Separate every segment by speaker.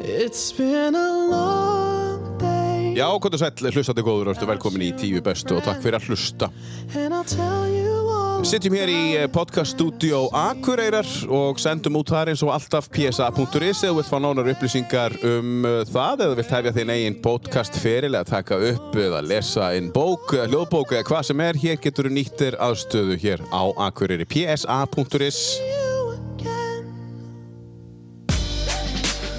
Speaker 1: It's been a long day
Speaker 2: Já, hvað er sæll, hlustandi góður, ertu velkomin í tíu bestu og takk fyrir að hlusta.
Speaker 1: And I'll tell you all
Speaker 2: Sittum hér í eh, podcaststudió Akureyrar og sendum út þar eins og alltaf psa.is eða vilt fá nánar upplýsingar um eh, það eða vilt hefja þinn eigin podcast ferilega að taka upp eða lesa inn bók, eða hljóðbók eða hvað sem er, hér getur þú nýttir aðstöðu hér á Akureyri psa.is
Speaker 1: you again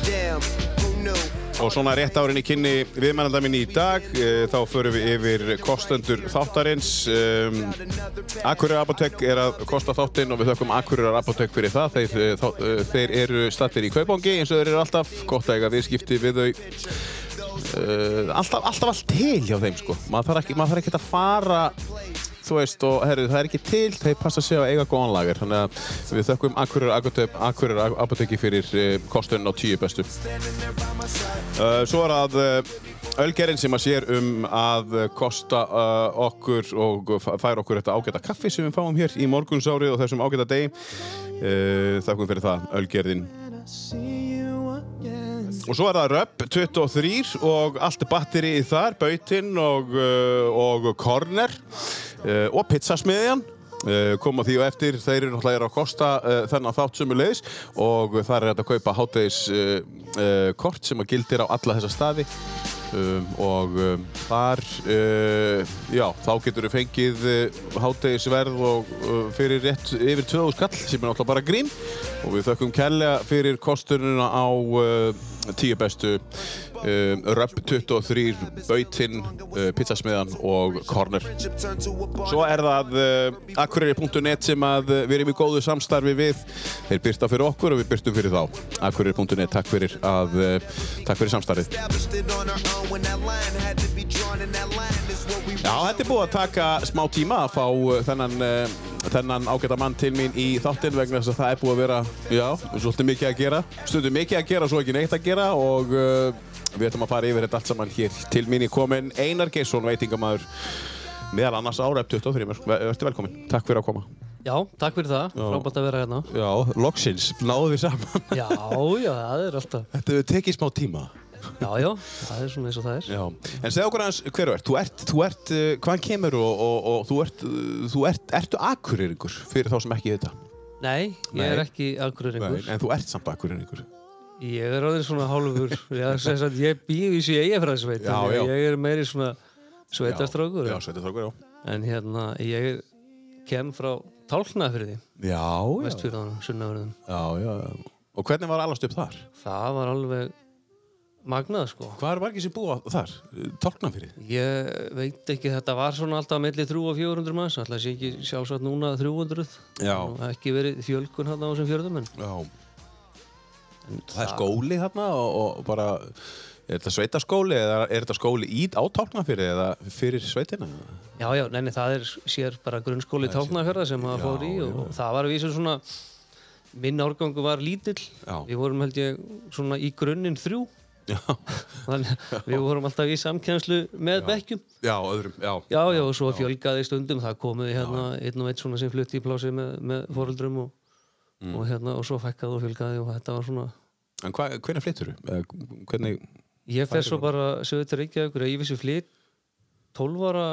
Speaker 3: Damn, who knew?
Speaker 2: og svona rétt árinni kynni viðmennanda minn í dag eh, þá förum við yfir kostendur þáttarins um, Akureyrar Apotek er að kosta þáttinn og við þökkum Akureyrar Apotek fyrir það. Þeir, eh, þá, eh, þeir eru stattir í kaupangi eins og þeir eru alltaf. Gott að eiga viðskipti við þau. Uh, alltaf, alltaf allt til hjá þeim sko. Maður þarf ekki, maður þarf ekki að fara þú veist og herru það er ekki til þeir passa sig á að eiga góðan lager þannig að við þökkum Akureyrar Apotek, Akureyrar Apoteki fyrir uh, kostun á tíu bestu uh, Svo er að uh, Ölgerinn sem að sér um að eh, kosta uh, okkur og fa- fær okkur þetta ágæta kaffi sem við fáum hér í morgunsárið og þessum ágæta degi uh, Þakkum fyrir það, Ölgerinn
Speaker 1: And I'll see you again
Speaker 2: Og svo er það Röpp 23 og allt batterið þar, Bautinn og, uh, og Korner uh, og Pizzasmiðjan uh, koma því og eftir, þeir eru náttúrulega að kosta uh, þennan þátt sömulegis og þar er þetta að kaupa hátegis uh, uh, kort sem að gildir á alla þessa staði um, og um, þar uh, já, þá getur við fengið uh, hátegisverð og uh, fyrir rétt yfir 2000 skall sem er náttúrulega bara grín og við þökkum kella fyrir kostununa á uh, tíu bestu um, Röpp 23, Bautinn uh, Pizzasmiðan og Korner
Speaker 3: Friendship turned to a bar.
Speaker 2: Svo er það uh, akureyri.net sem að uh, við erum í góðu samstarfi við. Þeir byrta fyrir okkur og við byrtum fyrir þá. Akureyri.net, takk fyrir að, uh, takk fyrir samstarfið.
Speaker 3: Established it on our own when that line had to be drawn, and that line is what we
Speaker 2: Já, þetta er búið að taka smá tíma að fá uh, þennan, uh, þennan ágæta mann til mín í þáttinn vegna þess að það er búið að vera, já, svolítið mikið að gera, stundum mikið að gera, svo ekki neitt að gera og uh, við ætlum að fara yfir þetta allt saman hér. Til mín er komin Einar Geirsson, veitingamæður, meðal annars áref 23, verður velkomin, takk fyrir að koma.
Speaker 4: Já, takk fyrir það, frábært að vera hérna
Speaker 2: Já, loksins, náðu við saman.
Speaker 4: Já, já, það er alltaf
Speaker 2: Þetta hefur tekið smá tíma.
Speaker 4: Já, já, það er svona eins og það er
Speaker 2: Já, en segð okkur aðeins hver þú ert, þú ert, þú ert, uh, hvaðan kemur og, og, og þú ert, uh, þú ert, ertu akureyringur fyrir þá sem ekki þetta?
Speaker 4: Nei, ég er
Speaker 2: Nei.
Speaker 4: ekki akureyringur
Speaker 2: en þú ert samt akureyringur.
Speaker 4: Ég er alveg svona hálfur Já, sem sagt, ég býð í sér eigafræðisveit
Speaker 2: Já, já.
Speaker 4: Ég er meiri svona sveitastrákur
Speaker 2: Já, sveitastrákur, já.
Speaker 4: En hérna, ég kem frá tálknafyrði
Speaker 2: Já, já.
Speaker 4: Vestfyrðanum, sunnafyrðum
Speaker 2: Já, já. Og hvernig var allast upp þar?
Speaker 4: Það var alveg magnað, sko
Speaker 2: Hvað er margir sem búa þar? Tálknan fyrir?
Speaker 4: Ég veit ekki, þetta var svona alltaf milli 3 og 400 manns Alltaf sé ekki sjálfsagt núna 300
Speaker 2: Já.
Speaker 4: Nú, Ekki verið fjölgun hérna á þessum fjörðum en
Speaker 2: Já. Það er skóli þarna og, og bara, er þetta sveitaskóli eða er þetta skóli í á tálknan fyrir eða fyrir sveitina?
Speaker 4: Já, já, neini, það er sér bara grunnskóli tálknarferða sem maður
Speaker 2: Já,
Speaker 4: fór í og það var að vísu svona, minn árgangu var lítill,
Speaker 2: Já.
Speaker 4: við vorum held ég svona í grunninn þrjú,
Speaker 2: Já.
Speaker 4: þannig að við vorum alltaf í samkjænslu með bekkjum.
Speaker 2: Já, öðrum, já.
Speaker 4: Já, já, og svo fjölgaði stundum, það komuði hérna einn og einn svona sem flutti í plási með, með foreldrum og,
Speaker 2: Mm.
Speaker 4: og hérna, og svo fækkaði og fjölgaði og þetta var svona,
Speaker 2: En hva, hvernig flyttur þú? Eh, Hvernig,
Speaker 4: ég fer svo bara sögðu til Reykjavíkur að ég vissi flytt 12 ára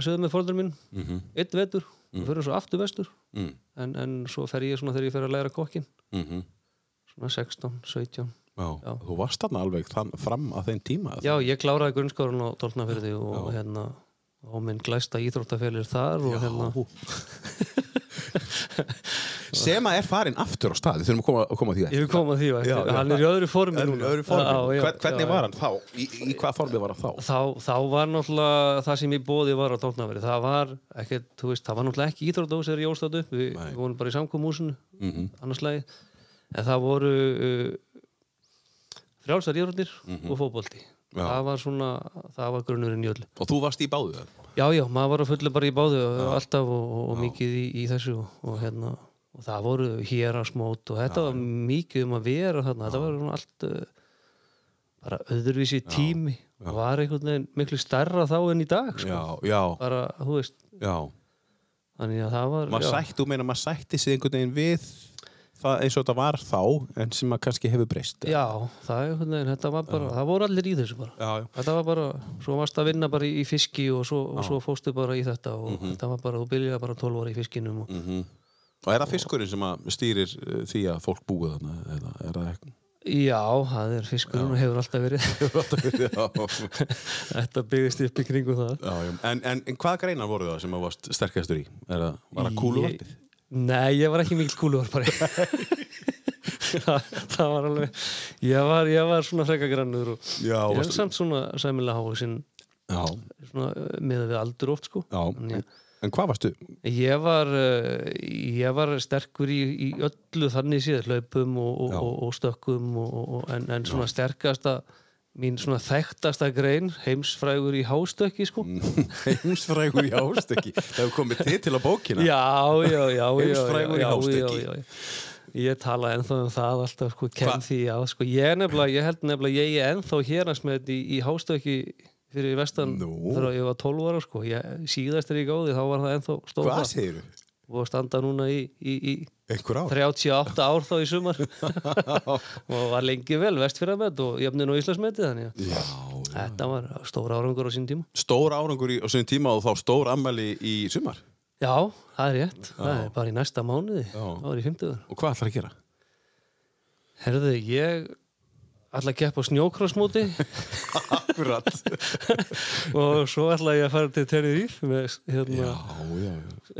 Speaker 4: sögðu með fóreldur minn
Speaker 2: Mhm.
Speaker 4: einn vetur, mm fyrir svo aftur vestur
Speaker 2: Mm.
Speaker 4: en, en svo fer ég svona þegar ég fer að læra kokkin
Speaker 2: mm
Speaker 4: svona 16, 17
Speaker 2: já. þú varst þarna alveg þann, fram að þeim tíma?
Speaker 4: Já, ég kláraði grunnskóran á Tólnafyrði og hérna og minn glæsta íþróttafelir þar og hérna
Speaker 2: Sem að er farin aftur á stað, við þurfum að koma, að koma að því
Speaker 4: ég vil koma að því, já,
Speaker 2: Já, já,
Speaker 4: hann er í öðru formi núna
Speaker 2: öðru formi,
Speaker 4: já, já,
Speaker 2: Hvern, hvernig
Speaker 4: já,
Speaker 2: var hann þá? Í, í hvað formi var hann þá?
Speaker 4: þá, þá var náttúrulega það sem ég bóði var á tóknafæri það var ekkert, þú veist, það var náttúrulega ekki íþróttahús þegar ég ólst þarna upp, við, við vorum bara í samkomúsinu mm -hmm. annarslagi en það voru uh, frjálsar íþróttir og fótbolti
Speaker 2: Já.
Speaker 4: það var svona, það var grunnurinn í öllu
Speaker 2: Og þú varst í báðu það?
Speaker 4: já, já, maður var að fullu bara í báðu og alltaf og, og, og mikið í, í þessu og, og hérna, og það voru hérasmót og þetta var mikið um að vera þarna, þetta var svona allt uh, bara öðruvísi tími já. var einhvern veginn miklu stærra þá en í dag sko.
Speaker 2: Já, já,
Speaker 4: bara, þú veist
Speaker 2: já.
Speaker 4: þannig að það var
Speaker 2: Maður
Speaker 4: já.
Speaker 2: sætti, þú meina maður sætti sig einhvern veginn við það eins og þetta var þá en sem að kannski hefur breyst
Speaker 4: Já, það er einhvern veginn, þetta var bara, það voru allir í þessu bara.
Speaker 2: já, já.
Speaker 4: Þetta var bara, svo varst að vinna bara í, í fiski og svo, og svo fóstu bara í þetta og þetta var bara, þú byrjaði bara 12 ára í fiskinum og,
Speaker 2: Og er það fiskurinn sem að stýrir uh, því að fólk búið þarna? Eða, er það ekki?
Speaker 4: Já, það er fiskurinn og hefur alltaf verið.
Speaker 2: já,
Speaker 4: þetta byggðist upp í kringum það.
Speaker 2: já. En, en, en hvaða greinar voru það sem að varst sterkastur í? Er það, var það kúluvarpið?
Speaker 4: Ég- Nei, ég var ekki mikill kúluvarpari það, það var alveg ég var, ég var svona freka grannur og
Speaker 2: Já,
Speaker 4: ég er
Speaker 2: varstu-
Speaker 4: samt svona sæmilega hávaksinn
Speaker 2: Já,
Speaker 4: svona uh, miðað við aldur oft sko
Speaker 2: já.
Speaker 4: En ég,
Speaker 2: En, en hvað varstu?
Speaker 4: ég var uh, ég var sterkur í, í öllu þannig síðan hlaupum og, og,
Speaker 2: Já.
Speaker 4: og, og stökkum og, og, og- en, en svona sterkasta mín svona þekktasta grein heimsfrægur í hástökki
Speaker 2: Mm.
Speaker 4: sko
Speaker 2: Heimsfrægur í ástökki Það hefur komið til til að bókina
Speaker 4: já, já, já, já,
Speaker 2: Heimsfrægur í
Speaker 4: já, já,
Speaker 2: hástökki.
Speaker 4: já, já. Ég tala ennþá um það alltaf, sko,
Speaker 2: Hva-
Speaker 4: kenn því á, sko, ég er nefnilega, ég held nefnilega, ég er ennþá hérans með þetta í, í hástökki fyrir vestan
Speaker 2: Nú.
Speaker 4: þegar ég var 12 ára, sko, ég, síðast er ég gáði, þá var það ennþá stóð
Speaker 2: Hvað
Speaker 4: það
Speaker 2: segirðu?
Speaker 4: og að standa núna í, í, í
Speaker 2: Einhver ár?
Speaker 4: 38 ár þá í sumar og var lengi vel vestfyrramet og jöfnin og Íslandsmetið, þannig að
Speaker 2: Já,
Speaker 4: þetta var stóra árangur á sín tíma.
Speaker 2: stór árangur í, á sinni tíma og þá stór ammæli í sumar
Speaker 4: Já, það er rétt, það er bara í næsta mánuði,
Speaker 2: Já.
Speaker 4: þá er ég 50
Speaker 2: Og hvað ætlar að gera?
Speaker 4: Herðu, ég ætla að keppa á snjókrossmóti
Speaker 2: Akkurat
Speaker 4: og svo ætla ég að fara til Tenerife með hérna,
Speaker 2: já, Mm.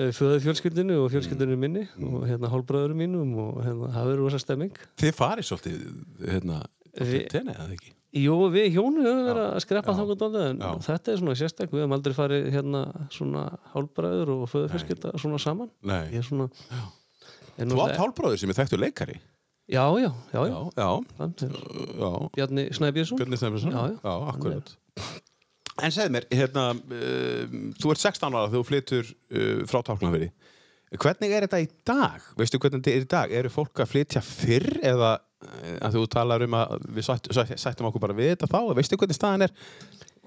Speaker 2: já
Speaker 4: föðu fjölskyldinu og fjölskyldinu minni og hérna hálfbræðurum mínum og hérna, það verður rosa stemming.
Speaker 2: Þið farið svolítið, hérna, Vi...
Speaker 4: Við-
Speaker 2: tenni eða ekki?
Speaker 4: Jú, við hjónu höfum verið að skreppa þangar dálítið en
Speaker 2: Já.
Speaker 4: þetta er svona sérstak, við hefum aldrei farið hérna svona hálfbræður og föðu fjölskylda svona saman.
Speaker 2: Nei.
Speaker 4: Ég er svona... er
Speaker 2: Þú átt
Speaker 4: náttúrulega-
Speaker 2: hálfbróður sem er þekktur leikari.
Speaker 4: Já, já, já, já.
Speaker 2: já,
Speaker 4: Hann er
Speaker 2: já.
Speaker 4: Bjarni Snæbjörnsson.
Speaker 2: Björn Stefnsson.
Speaker 4: Já, já.
Speaker 2: já akkurat. En segð mér, hérna, uh, þú ert 16 ára þegar þú flytur uh, frá Tálknafyrði. Hvernig er þetta í dag? Veistu hvernig þetta er í dag? Eru fólk að flytja fyrr eða eh, að þú talar um að við sætt, sætt, sættum okkur bara við þetta þá? Veistu hvernig staðan er?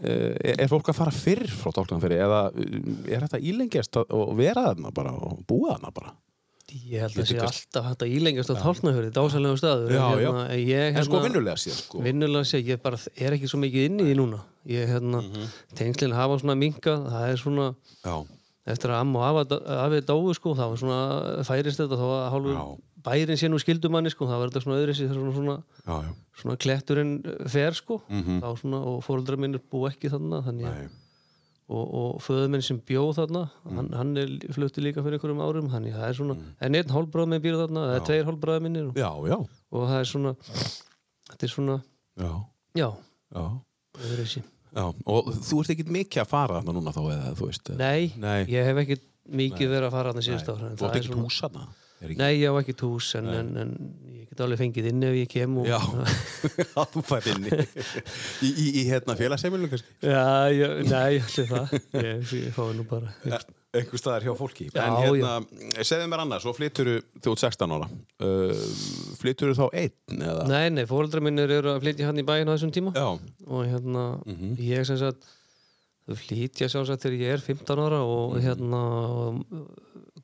Speaker 2: Uh, er er fólk að fara fyrr frá Tálknafyrði eða eh, er þetta ílengjast að, og vera þarna bara og búa þarna bara?
Speaker 4: Ég held að
Speaker 2: Veitu
Speaker 4: sé
Speaker 2: hvers-
Speaker 4: alltaf hægt að ílengjast að tálna fyrir dásalega staður.
Speaker 2: Já,
Speaker 4: En
Speaker 2: já.
Speaker 4: hérna, en Ég,
Speaker 2: En sko
Speaker 4: hérna,
Speaker 2: vinnulega síðan sko.
Speaker 4: Vinnulega sé, ég bara er ekki svo mikið inni í því núna. Ég, hérna,
Speaker 2: Mhm.
Speaker 4: mm tengslinn hafa svona minkað, það er svona,
Speaker 2: Já,
Speaker 4: eftir að amma og afa, afi dáu, sko, það var svona, færist þetta, þá var hálfur
Speaker 2: Já.
Speaker 4: bærin sé nú skildumanni, sko, það var þetta svona öðri sér, svona, svona,
Speaker 2: já, já.
Speaker 4: svona kletturinn fer, sko, þá svona, og fóreldrar minnir bú ekki þarna, þannig að,
Speaker 2: Mhm. Nei. Mhm.
Speaker 4: og, og föðuminn sem bjóð þarna hann, hann er flutti líka fyrir einhverjum árum þannig það er svona, en einn hálfbráð minn býr þarna það er tveir hálfbráð minnir og,
Speaker 2: Já, já,
Speaker 4: og það er svona þetta er svona,
Speaker 2: já,
Speaker 4: já
Speaker 2: já.
Speaker 4: öðruvísi.
Speaker 2: Já, og þú ert ekkit mikið að fara þarna núna þá eða þú veist eða-
Speaker 4: nei,
Speaker 2: Nei.
Speaker 4: ég hef ekki mikið verið að fara þarna síðust ára
Speaker 2: Þú ert ekkit svona... húsana er ekki...
Speaker 4: nei, ég hef ekki tús en, en, en ég get alveg fengið inn ef ég kem og,
Speaker 2: Já, Já, þú fær inn í, í, í, í hérna félagseimilinu kannski
Speaker 4: já ég, nei, allir það ég, ég fái nú bara
Speaker 2: einhver Eh, staðar hjá fólki
Speaker 4: Já,
Speaker 2: en hérna, segðu mér annars, svo flyturu þú ert 16 ára uh, flyturu þá einn eða
Speaker 4: nei, nei, fóreldrar minnir eru að flytja hann í bæinn á þessum tíma
Speaker 2: Já, Mhm.
Speaker 4: og hérna ég sem sagt þau flýtja sjálfsagt þegar ég er 15 ára og
Speaker 2: Mhm.
Speaker 4: hérna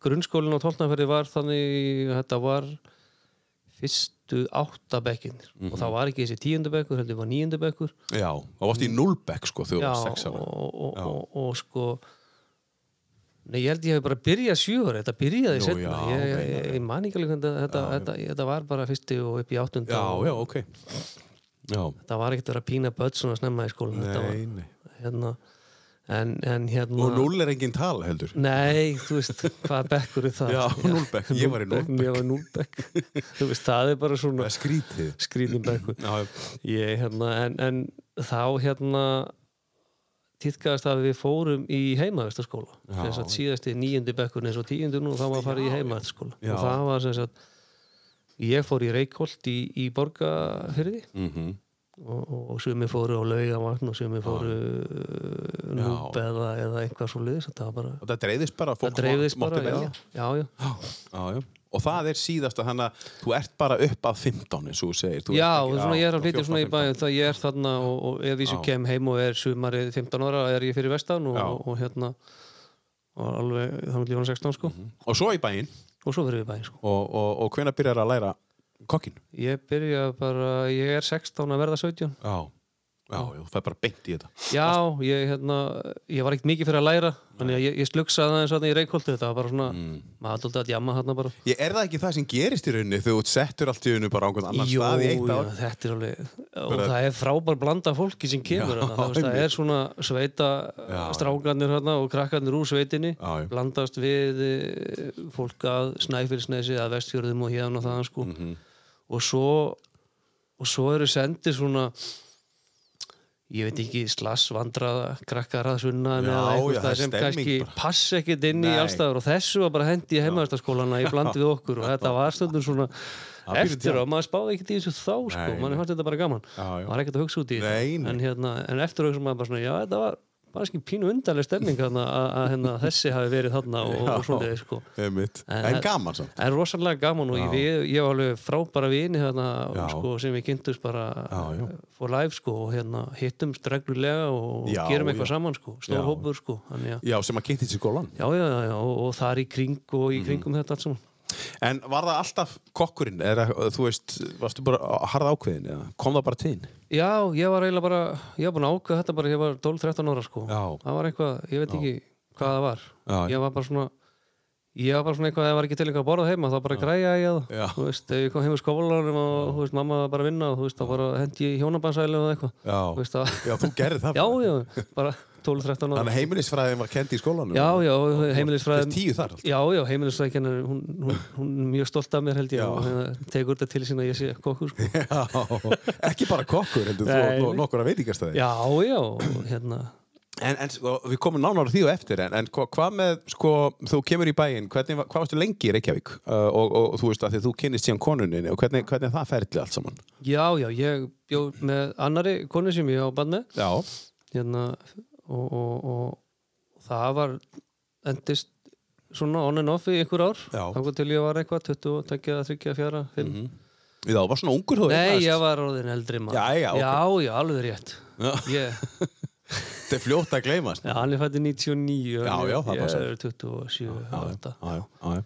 Speaker 4: grunnskólinn á tólnaferði var þannig þetta var fyrstu áttabekkinir
Speaker 2: Mhm.
Speaker 4: og það var ekki þessi tíundabekkur, heldur var níundabekkur
Speaker 2: já, þá varst í
Speaker 4: Mm.
Speaker 2: nullbekk sko þegar þú
Speaker 4: og,
Speaker 2: varst 6 ára
Speaker 4: og, og, og sko Nei, ég held ég hef bara byrjað sjöður, þetta byrjaði
Speaker 2: Nú,
Speaker 4: setna,
Speaker 2: já,
Speaker 4: ég, ég, ég man ekki alveg hvernig þetta, þetta, þetta, þetta var bara fyrsti og upp í áttunda
Speaker 2: Já,
Speaker 4: og
Speaker 2: já, ok Já,
Speaker 4: þetta var ekkert að vera að pína börn svona snemma í skólan, þetta var
Speaker 2: nei, nei
Speaker 4: hérna, en, en hérna
Speaker 2: Og null er engin tala heldur
Speaker 4: Nei, þú veist, hvað bekkur er það?
Speaker 2: Já, núllbekk, ég var í núllbekk.
Speaker 4: Ég var núlbekk, þú veist, það er bara
Speaker 2: Það
Speaker 4: svona
Speaker 2: er skrítið
Speaker 4: skrýðin bekkur
Speaker 2: Já, já.
Speaker 4: Ég, hérna, en, en þá hérna týðkaðast að við fórum í heimavistaskóla sem sagt síðasti níundi bekkurinn eins og tíundi nú þá var að fara í heimavistaskóla
Speaker 2: Já.
Speaker 4: og það var sem sagt ég fór í Reykholt í, í borgarfyrði
Speaker 2: Mhm.
Speaker 4: og, og, og sumi fóru á laugavatn og sumi fóru uh, núb eða, eða eitthvað svo liðis þetta var bara,
Speaker 2: Og það dreifðist bara, fólk
Speaker 4: það dreifðist
Speaker 2: mátti
Speaker 4: bara já,
Speaker 2: velja.
Speaker 4: já, já,
Speaker 2: Já. Já, já. Og það er síðasta, þannig að þú ert bara upp að 15, eins og þú segir. Þú
Speaker 4: já
Speaker 2: ert
Speaker 4: og svona, ég er
Speaker 2: já,
Speaker 4: að flytja
Speaker 2: 14,
Speaker 4: svona í
Speaker 2: 15.
Speaker 4: bæðin það ég er þarna og, og ef ég sem kem heim og er sumarið 15 ára er ég fyrir vestan og,
Speaker 2: Já.
Speaker 4: og, og hérna og alveg, þá er ég 16 sko
Speaker 2: Mhm. Og svo í bæinn,
Speaker 4: og svo fyrir við í bæinn sko.
Speaker 2: Og, og, og hvenær byrjar að læra kokkin?
Speaker 4: ég byrja bara, ég er 16 að verða 17
Speaker 2: Já, já, já það er bara beint í þetta.
Speaker 4: já, ég, hérna, ég var ekkert mikið fyrir að læra þannig að ég, ég slugsaði aðeins þarna í reikholti þetta var bara svona,
Speaker 2: Mm.
Speaker 4: maður haldið að jamma þarna bara
Speaker 2: Ég er það ekki það sem gerist í rauninni þegar þú ert settur allt í rauninni bara á einhvern annan
Speaker 4: Jú,
Speaker 2: stað í eitt
Speaker 4: já,
Speaker 2: ár?
Speaker 4: þetta er alveg og það er frábær blanda af fólki sem kemur
Speaker 2: Já,
Speaker 4: já, það, það
Speaker 2: einmitt.
Speaker 4: er svona sveita
Speaker 2: Já, já.
Speaker 4: strákanir hana, og krakkanir úr sveitinni
Speaker 2: Já, já.
Speaker 4: blandast við eh, fólk að Snæfellsnesi að Vestfjörðum og hérna og þaðan sko
Speaker 2: Mhm.
Speaker 4: og svo og svo eru sendir svona ég veit ekki slass vandraða krakkar að sunna
Speaker 2: Já,
Speaker 4: eða
Speaker 2: já,
Speaker 4: einhvers
Speaker 2: það er
Speaker 4: staðar sem
Speaker 2: stemming
Speaker 4: kannski
Speaker 2: bara.
Speaker 4: passa ekkit inn í
Speaker 2: Nei.
Speaker 4: allstaður og þessu var bara hendi í heimaðarstaskólana í bland við okkur og þetta var stundum svona
Speaker 2: Það býr til
Speaker 4: eftir á, maður spáði ekkert í þessu þá sko,
Speaker 2: Nei,
Speaker 4: maður
Speaker 2: nei.
Speaker 4: fannst þetta bara gaman
Speaker 2: Já, já.
Speaker 4: maður var ekkert að hugsa út í þetta.
Speaker 2: Nei, nei.
Speaker 4: en, hérna, en eftir hugsa maður bara svona já, þetta var bara ekki pínu undarleg stemning hérna, að, að hérna, þessi hafi verið þarna og, og svona sko.
Speaker 2: Einmitt.
Speaker 4: En-
Speaker 2: En gaman samt.
Speaker 4: en rosalega gaman og ég, við- ég var alveg frábæra vini hérna,
Speaker 2: Já.
Speaker 4: og, sko, sem ég kynntust bara
Speaker 2: Já, já.
Speaker 4: for life sko, og hérna, hittumst reglulega og
Speaker 2: Já,
Speaker 4: gerum
Speaker 2: já.
Speaker 4: eitthvað saman sko,
Speaker 2: Já.
Speaker 4: stór hópur sko, þannig að
Speaker 2: Já, sem að kynntist í skólan.
Speaker 4: Já, já, já, já, og, og þar í kring og
Speaker 2: Mhm.
Speaker 4: í kringum þetta allt saman.
Speaker 2: En var það alltaf kokkurinn? Eða, þú veist, varstu bara að harða ákveðin? Eða? Kom það bara til þín?
Speaker 4: Já, ég var eiginlega bara, ég var búin að ákveða þetta bara, ég var 12-13 ára sko.
Speaker 2: Já.
Speaker 4: Það var eitthvað, ég veit ekki hvað það var.
Speaker 2: Já.
Speaker 4: Ég var bara svona, ég var bara svona eitthvað, ef það var ekki til eitthvað að borða heima, þá bara græja ég að
Speaker 2: Já.
Speaker 4: það. Þú veist, ef ég kom heim úr skólanum og, þú veist, mamma var bara að vinna og, þú veist, þá bara hendi ég í hjónabandsælu eða eitthvað.
Speaker 2: Já.
Speaker 4: Þú veist það,
Speaker 2: Já, þú gerði það.
Speaker 4: já,
Speaker 2: bara.
Speaker 4: já, bara 12-13 ára.
Speaker 2: Þannig að heimilisfræðin var kend í skólanum.
Speaker 4: Já, já, heimilisfræðin
Speaker 2: Fyrst tíu þar alltaf.
Speaker 4: Já, já, heimilisfræðin, hún, hún, hún er mjög stolt af mér held ég
Speaker 2: Já.
Speaker 4: og hérna, tekur þetta til sín að ég sé kokkur sko.
Speaker 2: Já, ekki bara kokkur, heldur þú
Speaker 4: Nei.
Speaker 2: og no- nokkura veitingastæði.
Speaker 4: Já, já, og hérna
Speaker 2: En, en sko, við komum nánar að því og eftir, en, en hva- hvað með, sko, þú kemur í bæinn, hvernig, var- hvað varstu lengi í Reykjavík? Uh, og, og, þú veist að því þú kynnist síðan konuninni og hvernig, hvernig það ferli allt saman?
Speaker 4: Já, já, ég bjó með annari konu sem ég á bann með
Speaker 2: Já.
Speaker 4: hérna, og, og, og það var endist svona on and off í einhver ár
Speaker 2: Já.
Speaker 4: þá til ég var eitthvað 20, 22, 30, 4, 5
Speaker 2: Já, var svona ungur þú
Speaker 4: Nei,
Speaker 2: eignaðist.
Speaker 4: ég var orðin eldri maður
Speaker 2: Já, já, ok.
Speaker 4: já, já, alveg rétt
Speaker 2: Já.
Speaker 4: ég,
Speaker 2: Þetta er fljótt að gleymast.
Speaker 4: já, Hann er fætti 99
Speaker 2: Já,
Speaker 4: hann er-
Speaker 2: já, það
Speaker 4: Ég
Speaker 2: passar.
Speaker 4: er 27, 8
Speaker 2: já, já, já,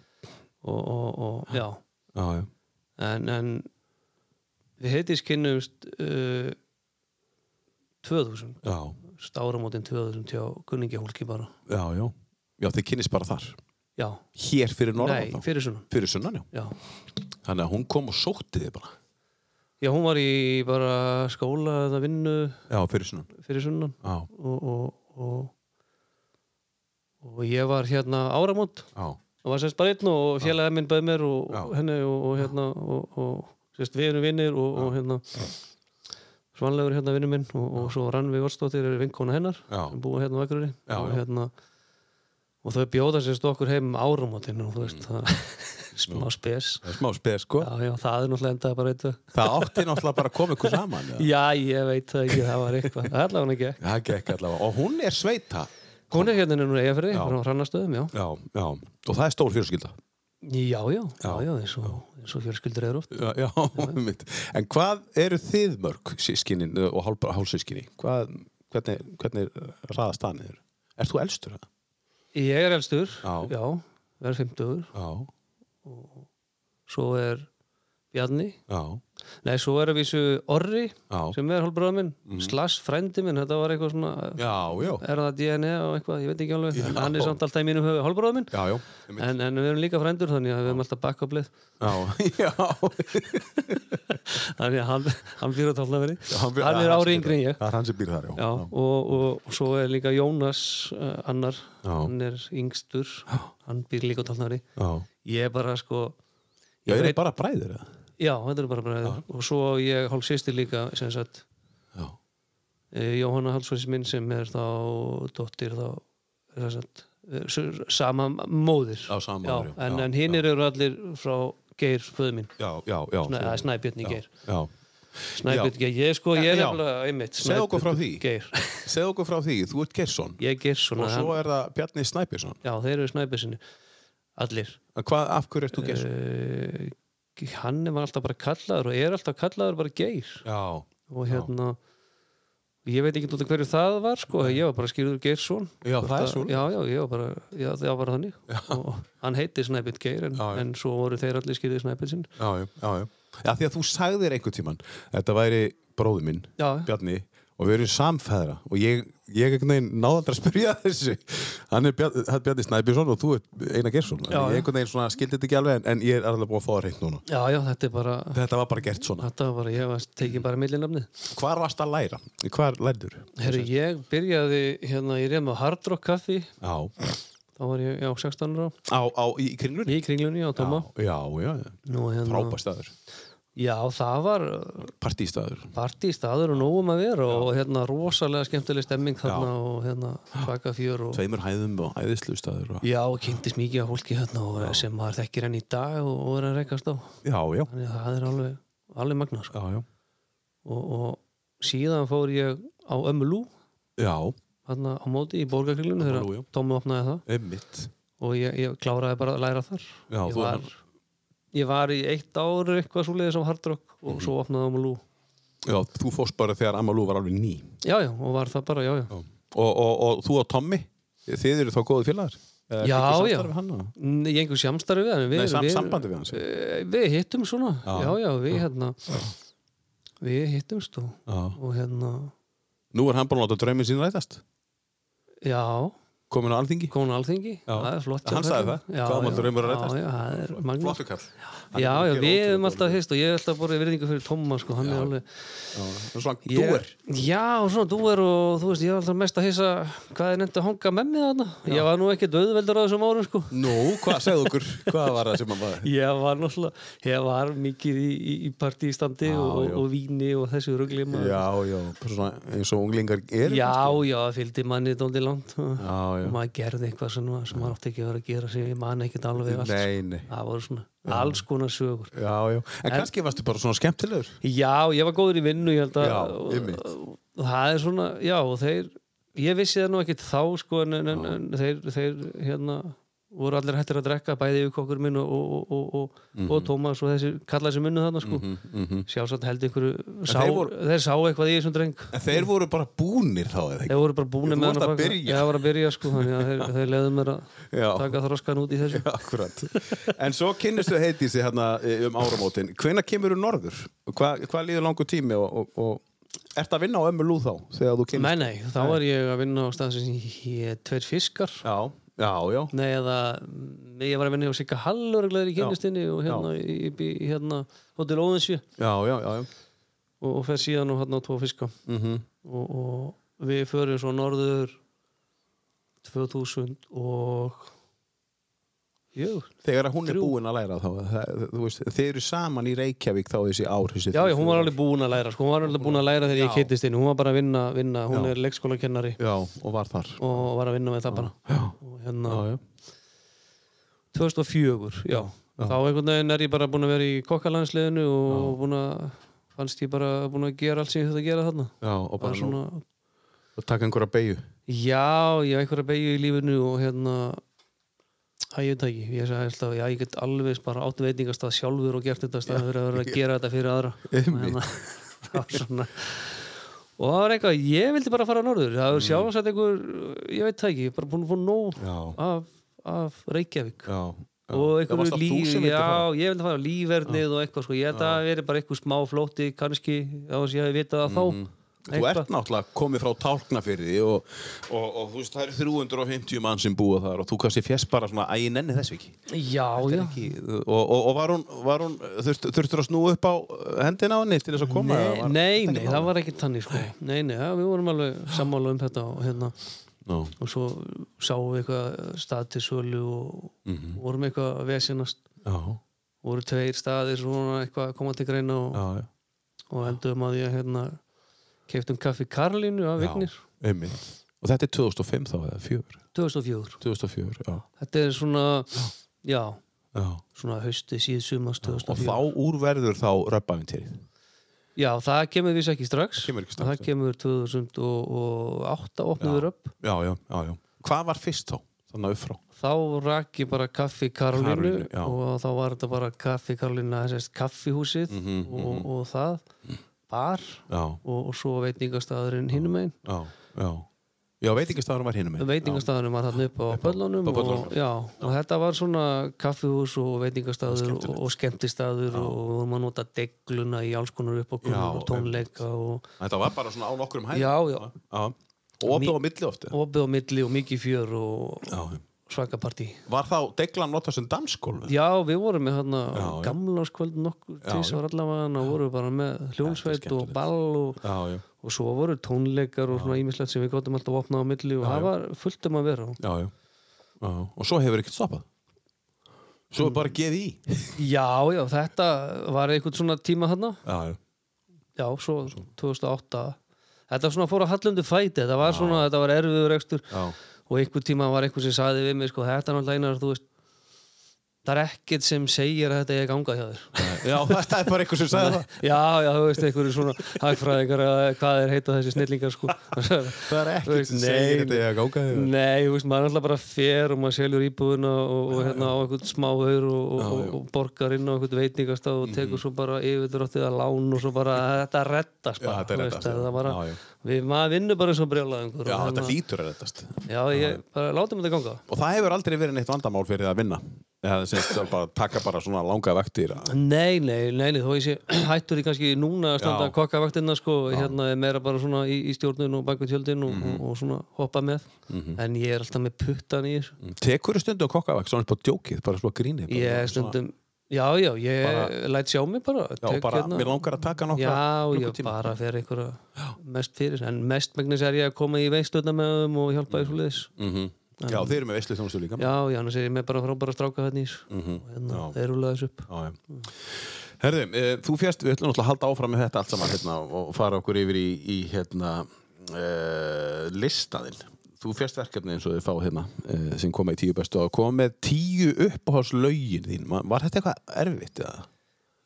Speaker 4: og, og, og já
Speaker 2: já, já.
Speaker 4: en, en við heitist kynnumst uh, 2000
Speaker 2: Já,
Speaker 4: stáramótin 2000 hjá Gunningi Hólki bara
Speaker 2: já, já. Já, þið kynnist bara þar.
Speaker 4: já,
Speaker 2: Hér fyrir
Speaker 4: nei,
Speaker 2: norðan þá.
Speaker 4: fyrir sunnan
Speaker 2: Fyrir sunnan, já.
Speaker 4: já.
Speaker 2: Þannig að hún kom og sótti þið bara.
Speaker 4: já, hún var í bara skóla eða vinnu
Speaker 2: Já, fyrir sunnan.
Speaker 4: fyrir sunnan
Speaker 2: Já,
Speaker 4: og, og, og, og ég var hérna áramót
Speaker 2: já,
Speaker 4: og var sérst bara einn og félagið minn bæði mér og
Speaker 2: Já.
Speaker 4: henni og, og hérna og, og sérst við erum vinnir og, og hérna svanlegur hérna vinnur minn og, og svo Rannvi Vorstóttir er vinkona hennar
Speaker 2: Já.
Speaker 4: sem búa hérna á Akureyri
Speaker 2: Já,
Speaker 4: og
Speaker 2: já.
Speaker 4: hérna og þau bjóða sérst okkur heim um áramótin og þú veist
Speaker 2: Mm.
Speaker 4: það smá spes
Speaker 2: það er smá speð, sko.
Speaker 4: já, já, það er náttúrulega endaði bara eitthvað
Speaker 2: Það átti náttúrulega bara að koma ykkur saman. eða?
Speaker 4: já, ég veit það ekki, það var eitthvað það allavega ekki
Speaker 2: Það gekk allavega. Og hún er sveita.
Speaker 4: hún er hérna núna eigafyrði,
Speaker 2: Já.
Speaker 4: frá hrannastöðum, já
Speaker 2: Já, já. Og það er stór fjölskylda.
Speaker 4: já, já, já, já, eins og, eins og fjölskyldur eru oft
Speaker 2: Já, já, mitt. En hvað eru þið mörg sískinin og hálf- hálfsískini? Hvað, hvernig, hvernig raðast það niður? Er þú elstur það?
Speaker 4: ég er elstur,
Speaker 2: Já.
Speaker 4: já verð 50
Speaker 2: Já,
Speaker 4: svo er Bjarni
Speaker 2: já,
Speaker 4: nei, svo er að vísu Orri
Speaker 2: já. Mhm.
Speaker 4: sem er hálfbróða minn, slass frændi minn þetta var eitthvað svona,
Speaker 2: Já, já.
Speaker 4: er það DNA og eitthvað, ég veit ekki alveg
Speaker 2: Já.
Speaker 4: hann er samt alltaf í mínum höfu hálfbróða minn
Speaker 2: Já, já. einmitt.
Speaker 4: en, en við erum líka frændur þannig að við erum alltaf bakkablið
Speaker 2: Já, já.
Speaker 4: þannig að hann, hann býr á tólnaveri
Speaker 2: býr-
Speaker 4: hann er
Speaker 2: hann
Speaker 4: ári
Speaker 2: sem býr
Speaker 4: yngri en ég
Speaker 2: Það er hann sem býr þar, já.
Speaker 4: Já, og, og, og svo er líka Jónas uh, annar,
Speaker 2: Já.
Speaker 4: hann er yngstur hann býr líka á tólnaveri
Speaker 2: Já,
Speaker 4: ég er bara sko
Speaker 2: já
Speaker 4: ég
Speaker 2: eru
Speaker 4: veit-
Speaker 2: bara bræður, eða?
Speaker 4: Já, þetta er bara bræður og svo á ég hálf sýstir líka sem sagt
Speaker 2: Já.
Speaker 4: eh, Jóhanna Hallsvæðis minn sem er þá dóttir þá sem sagt, eh, s- sama móðir
Speaker 2: Já, sama
Speaker 4: já,
Speaker 2: móðir, já.
Speaker 4: en,
Speaker 2: Já,
Speaker 4: en hinn eru allir frá Geir föðu minn
Speaker 2: Já, já, já.
Speaker 4: Nei, það er Snæbjörn í
Speaker 2: Já,
Speaker 4: Geir
Speaker 2: Já.
Speaker 4: Snæbjörn Geir, ég sko, ég er
Speaker 2: Já.
Speaker 4: nefnilega einmitt
Speaker 2: Segðu okkur frá því.
Speaker 4: Snæbjörn Geir,
Speaker 2: Segð okkur frá því, þú ert Geirsson
Speaker 4: ég er Geir svona
Speaker 2: og svo er það Bjarni Snæbjörnsson.
Speaker 4: Já, þeir eru Snæbjörnsinni Allir
Speaker 2: En Hvað, af hverju ert
Speaker 4: Eh.
Speaker 2: þú Geirsson?
Speaker 4: uh, Hann var alltaf bara kallaður og er alltaf kallaður bara Geir
Speaker 2: Já,
Speaker 4: og hérna ég veit ekki út af hverju það var sko, ég var bara skýrður Geirsson
Speaker 2: Já,
Speaker 4: Hvort
Speaker 2: það er
Speaker 4: að-
Speaker 2: svoleiðis.
Speaker 4: já, já, ég var bara, já, það var bara þannig og hann heiti Snæbjörn Geir en,
Speaker 2: Já, já.
Speaker 4: en svo voru þeir allir skýrðið Snæbjörn sinn
Speaker 2: Já, já, já, já. Já, því að þú sagðir einhvern tíman Þetta væri bróði minn,
Speaker 4: Já.
Speaker 2: Bjarni og við erum samfæðra og ég, ég einhvern veginn náði aldrei að spyrja að þessu Hann er Bjarni, hann er Bjarni Snæbjörnsson og þú ert Einar Geirsson
Speaker 4: Já,
Speaker 2: Ég
Speaker 4: já.
Speaker 2: einhvern veginn svona skildi þetta ekki alveg en, en ég er alveg búin að fá það reynd núna
Speaker 4: já, já, þetta er bara,
Speaker 2: Þetta var bara gert svona
Speaker 4: þetta var bara ég var tekið bara millinafnið
Speaker 2: Hvar varst að læra? Hvar lærður?
Speaker 4: herru, ég byrjaði hérna, ég reyna á Hard Rock Kaffi
Speaker 2: Á,
Speaker 4: þá var ég, já, 16 ára
Speaker 2: á, á í kringlunni?
Speaker 4: í kringlunni á Tóma
Speaker 2: Já, já, já.
Speaker 4: Nú, hérna,
Speaker 2: Frábær staður,
Speaker 4: já, það var uh,
Speaker 2: partístaður
Speaker 4: partí staður og nógum að vera og hérna rosalega skemmtileg stemming þarna og hérna svaka fjör og
Speaker 2: Tveimur hæðum og hæðislu staður og...
Speaker 4: já, og kynntist mikið af fólki hérna og sem maður þekkir enn í dag og, og er að rekast á
Speaker 2: Já, já,
Speaker 4: þannig að það er alveg, alveg magna sko.
Speaker 2: já, já,
Speaker 4: og, og síðan fór ég á Ömulú
Speaker 2: já,
Speaker 4: hérna á móti í borgarkriglunum
Speaker 2: Ömmu Lú, já.
Speaker 4: þegar Tómi opnaði það
Speaker 2: einmitt
Speaker 4: og ég, ég kláraði bara að læra þar
Speaker 2: Já,
Speaker 4: ég,
Speaker 2: þú-
Speaker 4: var, ég var í eitt ár eitthvað svo leiðis á Hardrock og
Speaker 2: Mhm.
Speaker 4: svo opnaði Ömulú
Speaker 2: Já, þú fórst bara þegar Amalú var alveg ný
Speaker 4: já, já, og var það bara, já, já
Speaker 2: og, og, og þú og Tommy þið eru þá góði félagar Eða
Speaker 4: Já,
Speaker 2: ertu í
Speaker 4: já.
Speaker 2: samstarfi við hann, eða?
Speaker 4: Nei, Í einhver samstarfi við hann við,
Speaker 2: Nei, sam,
Speaker 4: við,
Speaker 2: sambandi við hans já.
Speaker 4: Eh, Við hittum svona Já, já, við hérna Við hittumst og, og hérna
Speaker 2: Nú er hann bara að láta drauminn sín rætast
Speaker 4: Já,
Speaker 2: komin á alþingi
Speaker 4: konu alþingi
Speaker 2: Já.
Speaker 4: Það er flott hjá
Speaker 2: Hann sagði
Speaker 4: þeim.
Speaker 2: það.
Speaker 4: já,
Speaker 2: Hvað má
Speaker 4: já,
Speaker 2: draumur að rætast?
Speaker 4: Já, já, það er magna
Speaker 2: Flottur kall búinn að
Speaker 4: Já, já,
Speaker 2: gera
Speaker 4: við
Speaker 2: ótrúlega
Speaker 4: hefum alltaf hist og ég hef alltaf borðið virðingu fyrir Tómas sko, hann er alveg
Speaker 2: Hann er svona
Speaker 4: ég,
Speaker 2: dúer
Speaker 4: Já, svona dúer og þú veist, ég var alltaf mest að hissa hvað er nefnt að hanga með mig þarna Ég var nú ekki döðveldur á þessum árum sko
Speaker 2: Nú, hvað segðu okkur, hvað var það sem hann var
Speaker 4: Ég var náttúrulega, ég var mikið í, í, í partístandi og,
Speaker 2: já.
Speaker 4: og víni og þessu rugli maður.
Speaker 2: Já, já, bara svona eins og unglingar er
Speaker 4: Já, já, það fylgdi manni dóldi langt og
Speaker 2: já, já.
Speaker 4: maður gerði eitthvað sem, maður- sem maður átti ekki að vera að gera sem ég man ekkert alveg allt sko.
Speaker 2: Nei, nei,
Speaker 4: það voru svona alls konar sögur
Speaker 2: já, já En kannski varstu bara svona skemmtilegur
Speaker 4: Já, ég var góður í vinnu ég held að
Speaker 2: Já,
Speaker 4: og-
Speaker 2: einmitt.
Speaker 4: og það er svona, já, og þeir ég vissi það nú ekkert þá sko en, en, en, en þeir, þeir hérna voru allir hættir að drekka bæði yfir kokkur minn og, og, og, og,
Speaker 2: Mhm.
Speaker 4: og Tómas og þessi kallaði sem munnu þarna sko sjálfsagt held einhverju
Speaker 2: þeir
Speaker 4: sá, þeir,
Speaker 2: voru-
Speaker 4: sá eitthvað í þessum dreng
Speaker 2: En þeir voru bara búnir þá, eða ekki?
Speaker 4: Þeir voru bara búin
Speaker 2: Þú varst
Speaker 4: með hann á
Speaker 2: að
Speaker 4: bak-
Speaker 2: byrja.
Speaker 4: Ég var að byrja sko, þannig að þeir, þeir leiðu mér að
Speaker 2: Já.
Speaker 4: taka þroskan út í þessu.
Speaker 2: Akkurat. En svo kynnistu heitísi hérna eh, um áramótin. Hvenær kemur þú norður? Hvað hva líður langur tími og, og, og ert að vinna á ömmu lú þá þegar þú
Speaker 4: Nei,
Speaker 2: kynnist?
Speaker 4: nei, þá er ég að vinna á stað sem ég tveir fiskar.
Speaker 2: Já, já, já.
Speaker 4: Nei, eða mm, ég var að vinna hjá Sigga Hallur í kynistinni og hérna, í, í, hérna Hotel Óðinsjö
Speaker 2: Já, já, já. já.
Speaker 4: og, og fer síðan og hérna á tvo fiska.
Speaker 2: Mhm.
Speaker 4: -hmm. og, og við förum svo norður 2000 og jú,
Speaker 2: Þegar að hún er búin að læra þá, það, þú veist, þeir eru saman í Reykjavík þá þessi ár. Þessi
Speaker 4: já, já, hún var alveg búin að læra sko, hún var alveg búin að læra þegar ég kynntist henni, hún var bara að vinna, vinna hún
Speaker 2: Já.
Speaker 4: er leikskólakennari
Speaker 2: Já, og var þar.
Speaker 4: og var að vinna með það bara og hérna
Speaker 2: Já, já.
Speaker 4: 2004, já. þá einhvern veginn er ég bara búin að vera í kokkalandsliðinu og já. búin að fannst ég bara búin að gera allt sem ég þetta að gera þarna
Speaker 2: Já, og
Speaker 4: bara
Speaker 2: bara svona...
Speaker 4: svona,
Speaker 2: Og taka einhverja beigju.
Speaker 4: já, ég hef einhverja beigju í lífinu og hérna Æ, ég veit það ekki, ég sagði alltaf, já, ég get alveg bara átt veitingastað sjálfur og gert þetta staðið fyrir að vera að gera þetta fyrir aðra og hérna, það var svona og það var eitthvað, ég vildi bara fara norður það var sjálfsagt einhver, ég veit það ekki ég er bara búin að fá nóg
Speaker 2: Já.
Speaker 4: af, af Reykjavík
Speaker 2: Já. já.
Speaker 4: og
Speaker 2: Það varst
Speaker 4: einhverju
Speaker 2: það þú
Speaker 4: líf,
Speaker 2: sem vildir fara?
Speaker 4: já, ég vildi fara á lífvernið og eitthvað, sko, ég held að það verið bara eitthvað smá flóti, kannski, á þess að ég hefði vitað það þá
Speaker 2: Mhm. Þú ert náttúrulega komið frá tálknafyrði og, og, og þú veist, það eru 350 mann sem búa þar og þú kannski fjast bara svona að ég nenni þessu ekki.
Speaker 4: já, já,
Speaker 2: ekki og, og, og var hún, var hún þurft, þurftur að snú upp á hendina á henni til þess að koma? eða
Speaker 4: nei,
Speaker 2: var,
Speaker 4: nei, nei, það var ekki tannig, sko nei, nei, já, við vorum alveg sammála um þetta og hérna,
Speaker 2: no.
Speaker 4: og svo sáum við eitthvað stað til sölu og
Speaker 2: Mhm.
Speaker 4: vorum eitthvað að vesinast
Speaker 2: já,
Speaker 4: voru tveir staðir svona eitthvað að koma til greina og,
Speaker 2: já, já,
Speaker 4: og endum að ég hérna keftum kaffi Karlinu af Vignir
Speaker 2: einmitt og þetta er 2005 þá eða 4
Speaker 4: 2004,
Speaker 2: 2004, já,
Speaker 4: þetta er svona já,
Speaker 2: já.
Speaker 4: svona hausti síðsumast
Speaker 2: og
Speaker 4: 2004
Speaker 2: þá úrverður þá röpavintýrið
Speaker 4: Já, það kemur viss ekki strax
Speaker 2: Það kemur ekki strax,
Speaker 4: Það kemur 2008 opnum við upp
Speaker 2: já, já, já, já hvað var fyrst þá, þannig upp frá
Speaker 4: Þá rak ég bara kaffi Karolínu
Speaker 2: Karolínu, já. Mhm,
Speaker 4: og þá var þetta bara kaffi Karolína, þessast kaffihúsið og, og það bar
Speaker 2: já,
Speaker 4: og, og svo veitingastæðurinn hinum einn
Speaker 2: já, já. Já, veitingastafurinn var hinum minn.
Speaker 4: veitingastæðurinn var hann upp á
Speaker 2: Upp á- upp á
Speaker 4: pöllunum og,
Speaker 2: pöllunum.
Speaker 4: já, og þetta var svona kaffihús og veitingastæður og,
Speaker 2: Skemmtilegt.
Speaker 4: og skemmtistæður og við vorum að nota degluna í alls konar upp
Speaker 2: Já,
Speaker 4: og tónleika og
Speaker 2: Þetta var bara svona á nokkrum hæð.
Speaker 4: já, já,
Speaker 2: já. Og opið á milli ofti.
Speaker 4: opið á milli og mikið fjör og
Speaker 2: Já.
Speaker 4: svaka partí
Speaker 2: Var þá deglan notað sem dansgólf?
Speaker 4: Já, við vorum með hann
Speaker 2: Já, já.
Speaker 4: gamlarskvöld nokkur
Speaker 2: Já,
Speaker 4: tísar allavega hann og vorum við bara með hljónsveit
Speaker 2: Þetta er
Speaker 4: og ball og,
Speaker 2: Já, já,
Speaker 4: og svo voru tónleikar og svona ímislegt sem við gotum alltaf að opna á milli og það var fullt um að vera
Speaker 2: já, já. já. Og svo hefur ekkert stoppað. Svo er bara gefið í.
Speaker 4: Já, já, þetta var einhvern svona tíma hann
Speaker 2: Já, já.
Speaker 4: Já, svo 2008 Þetta svona fór að hallundu fæti þetta var svona, þetta var erfiður ekstur
Speaker 2: Já,
Speaker 4: og einhvern tíma var einhvern sem saði við mig sko, þetta er náttúrulega einar, þú veist það er ekkert sem segir að þetta er að ganga hjá þér
Speaker 2: já það er bara einhver sem sagði það.
Speaker 4: Já, já, þú veist, einhverju svona hagfræðingar eða hvað er heita þessi snillingar sko. Það
Speaker 2: Það er ekkert sem segir þetta eigi að ganga hjá þér.
Speaker 4: Nei, þú veist, maður er alltaf bara fer og maður seljur íbúðuna og, og hérna á einhvern smá haur og, og, og, og borgar inn á einhvern veitingastað og
Speaker 2: Mhm.
Speaker 4: tekur svo bara yfirdráttið að lán og svo bara þetta reddast bara,
Speaker 2: Já, þetta
Speaker 4: þú
Speaker 2: reddast, já.
Speaker 4: það bara,
Speaker 2: Já, já.
Speaker 4: Við, maður vinnur bara eins og brjálaðingur
Speaker 2: Já,
Speaker 4: og
Speaker 2: þetta
Speaker 4: hérna-
Speaker 2: lítur að rettast.
Speaker 4: Já, ég, bara látum þetta ganga
Speaker 2: Og það hefur aldrei verið neitt vandamál fyrir það að vinna. Það semst að bara taka bara svona langa vektir.
Speaker 4: Nei, nei, nei, nei, þó ég sé hættur í kannski núna að standa
Speaker 2: Já.
Speaker 4: að kokka vaktina sko, hérna er meira bara svona í, í stjórnin og bakvið tjöldin og,
Speaker 2: Mhm.
Speaker 4: og, og svona hoppa með en ég er alltaf með puttan í þessu
Speaker 2: Tekur þú stundu að kokka vekst, svona bara djókið, bara svona grínið. bara
Speaker 4: ég er
Speaker 2: svona-
Speaker 4: stundum, já, já, ég
Speaker 2: Bara-
Speaker 4: læt sjá mig bara,
Speaker 2: Já,
Speaker 4: tek
Speaker 2: bara, mér langar að taka nokkra
Speaker 4: hérna. Já, ég
Speaker 2: klukkutíma.
Speaker 4: bara fer einhverja mest fyrir, en mest megnis er ég að koma í veistlöðna með þeim og hjálpa í svo liðis
Speaker 2: Mhm. Já, þeir eru með veislu þjónustu líka.
Speaker 4: Já, já, annars er ég með bara frábæra stráka hérna í þessu og
Speaker 2: Mhm. já.
Speaker 4: hérna, þeir rúlega þessu upp
Speaker 2: Já, já. Herðu, e, þú fjast, við ætlum náttúrulega að halda áfram með þetta allt saman hérna, og fara okkur yfir í, í hérna, e, listaðinn. Þú fjast verkefni eins og þið fá hérna e, sem koma í tíu bestu og koma með tíu uppáhalslaugin þín. Ma- Var þetta eitthvað erfitt eða?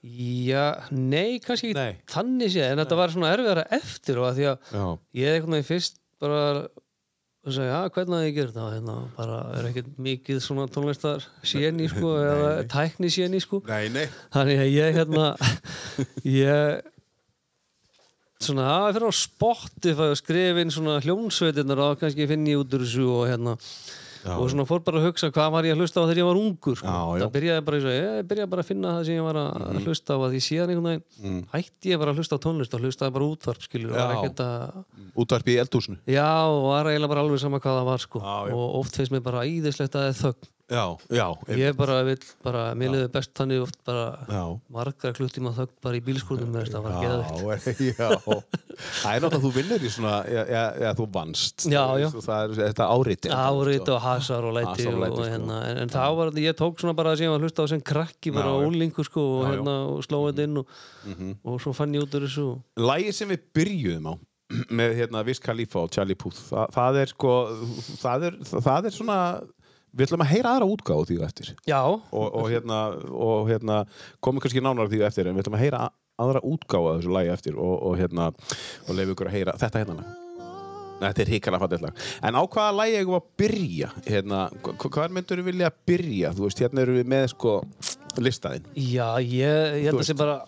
Speaker 4: Já, nei, kannski ekki
Speaker 2: Nei.
Speaker 4: þannig séð, en þetta var svona erfiðara eftir og að því að
Speaker 2: Já,
Speaker 4: ég einhvern veginn fyrst bara og sagði, já, hvernig að ég gera það hérna, bara er ekkert mikið svona tónlistar séni, sko, eða tækni séni, sko,
Speaker 2: nei, nei.
Speaker 4: þannig að ég hérna, ég svona, það er fyrir á Spotify og skrifa inn svona hljónsveitirnar og kannski finn ég út úr þessu og hérna
Speaker 2: Já.
Speaker 4: og svona fór bara að hugsa hvað var ég að hlusta á þegar ég var ungur sko.
Speaker 2: Já, Mhm. já.
Speaker 4: það byrjaði bara, eins og ég byrjaði bara að finna það sem ég var að mm. hlusta á að ég síðan einhvern veginn hætti ég bara að hlusta á tónlist og hlustaði bara á útvarp skilur, var
Speaker 2: Mm. Já.
Speaker 4: ekkert að
Speaker 2: Útvarpið í eldhúsinu.
Speaker 4: Já, og var eiginlega bara alveg sama hvað það var sko.
Speaker 2: Já, já.
Speaker 4: og oft finnst mér bara íðislegt að það er þögn
Speaker 2: Já, já. Ég...
Speaker 4: ég bara vil bara, mér liður best þannig oft bara
Speaker 2: Já.
Speaker 4: margra kluttíma þögn bara í bílskúrnum með þetta var
Speaker 2: Já,
Speaker 4: geðvikt
Speaker 2: já. Það er náttúrulega að þú vinnur í svona, já, já, já þú vannst.
Speaker 4: Já, já.
Speaker 2: Það er þetta áriði.
Speaker 4: árit og hasar og læti
Speaker 2: Hasar og
Speaker 4: og,
Speaker 2: læti, sko.
Speaker 4: hérna, en, en þá var þetta, ég tók svona bara það sem ég var að hlusta á sem krakki bara
Speaker 2: Já, já.
Speaker 4: ólingu sko
Speaker 2: Já, Mhm.
Speaker 4: og,
Speaker 2: já.
Speaker 4: hérna, og slóa þetta inn og, og svo fann ég út úr þessu
Speaker 2: Lægið sem við byrjuðum á með hérna Viz Khalifa og Charlie Puth það, það er sko það er, það er svona við ætlum að heyra aðra útgáðu því á eftir
Speaker 4: Já,
Speaker 2: og, og hérna, og hérna komum kannski nánar því á eftir en við ætlum að heyra a- aðra útgáðu að þessu lægi eftir og, og hérna og leifu ykkur að heyra þetta hérna lag. Nei, þetta er hikala fattilega en á hvaða lægi eigum við að byrja hérna, hvað myndur við vilja byrja þú veist, hérna erum við með sko listaðinn
Speaker 4: já, ég, ég held að sé bara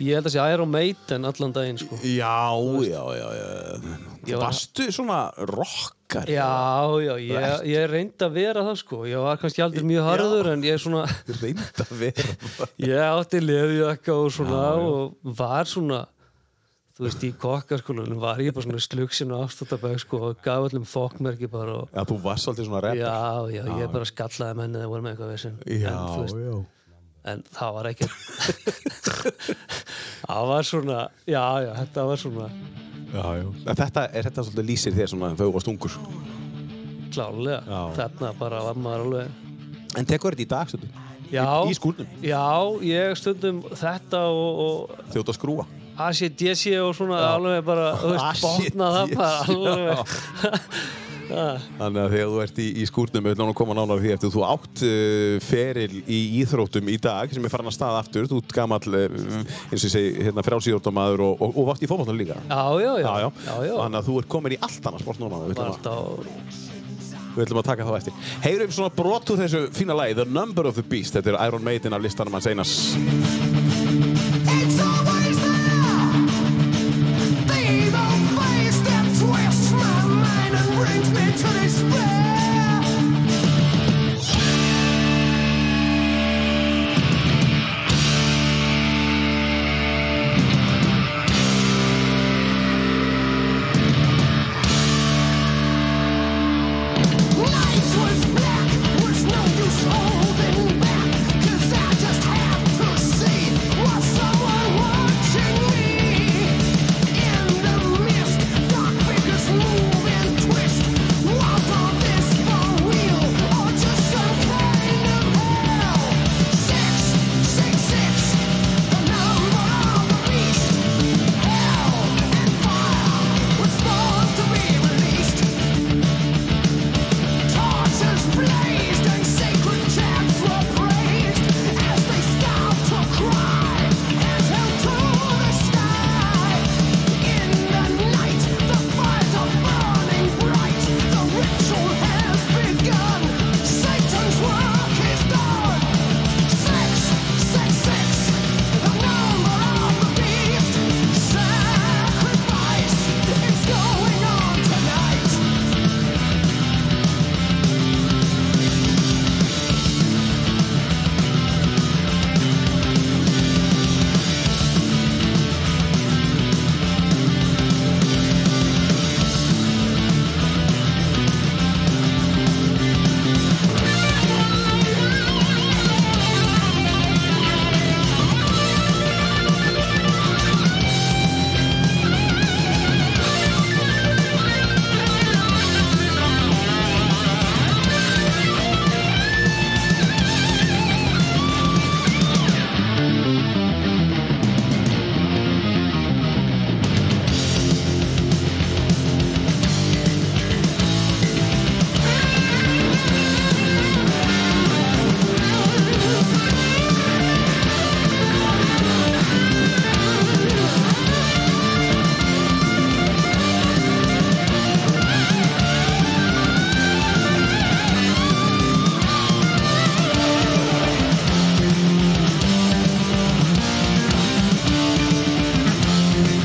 Speaker 4: ég held að sé Iron Maiden allan daginn sko
Speaker 2: Já, já, já, já.
Speaker 4: Ég var-
Speaker 2: Varstu svona rockar?
Speaker 4: Já, já, ég, ég reyndi að vera það sko Ég var kannski aldrei mjög harður en ég svona
Speaker 2: Reynd að vera það.
Speaker 4: Ég átti leðjaka og svona og var svona Þú veist, í kokkarskólanum var ég bara svona slugsin og afstættabæk sko og gaf öllum fokkmerki bara og
Speaker 2: Já, þú varst svolítið svona rap.
Speaker 4: Já, já, ég bara skallaði menni þegar voru með eitthvað vesinn
Speaker 2: já,
Speaker 4: en, þú veist,
Speaker 2: já.
Speaker 4: en það var ekki Það var svona, já, já, þetta var svona
Speaker 2: já, já. En Þetta er þetta svolítið lýsir þér svona þau varst ungur.
Speaker 4: klálega
Speaker 2: Já.
Speaker 4: Þarna bara var maður alveg
Speaker 2: En tekur þetta í dag svolítið?
Speaker 4: Já,
Speaker 2: Í skúrnum?
Speaker 4: Já, ég stundum þetta og, og
Speaker 2: Þjóta að skrúa.
Speaker 4: ACDC og svona alveg bara, þú veist, botna það
Speaker 2: ACDC,
Speaker 4: bara
Speaker 2: já.
Speaker 4: alveg.
Speaker 2: Þannig að þegar þú ert í, í skúrnum, við ætlum að koma nánar að því eftir þú átt uh, feril í íþróttum í dag sem er farin að staða aftur. Þú ert gamall, uh, eins og ég segi, hérna frjálsíðróttamæður og, og, og vart í fótbollan líka.
Speaker 4: Já, já,
Speaker 2: Já,
Speaker 4: já.
Speaker 2: já.
Speaker 4: já, já.
Speaker 2: Þannig að þú ert komin í allt annað sport núna. Við ætlum,
Speaker 4: Bara alltaf,
Speaker 2: að, við ætlum að taka þá eftir. Heyrum svona brot úr þessu fína lagi, The Number of the Beast. Þetta er Iron Maiden af listanum hans Einars.
Speaker 5: It's always there. brings me to despair. Lights was black, was no use holding back, 'cause I just had to see was someone watching me. In the mist, dark figures move and twist. Was all this for real, or just some kind of hell? Six, six, six, the number of the beast. Hell and fire was born to be released. Torches blazed and sacred chants were praised as they stopped to cry and held to the sky. In the night, the fires are burning bright. The ritual has begun. Satan's work is done. Six, six, six, the number of the beast. Sacrifice is going on tonight.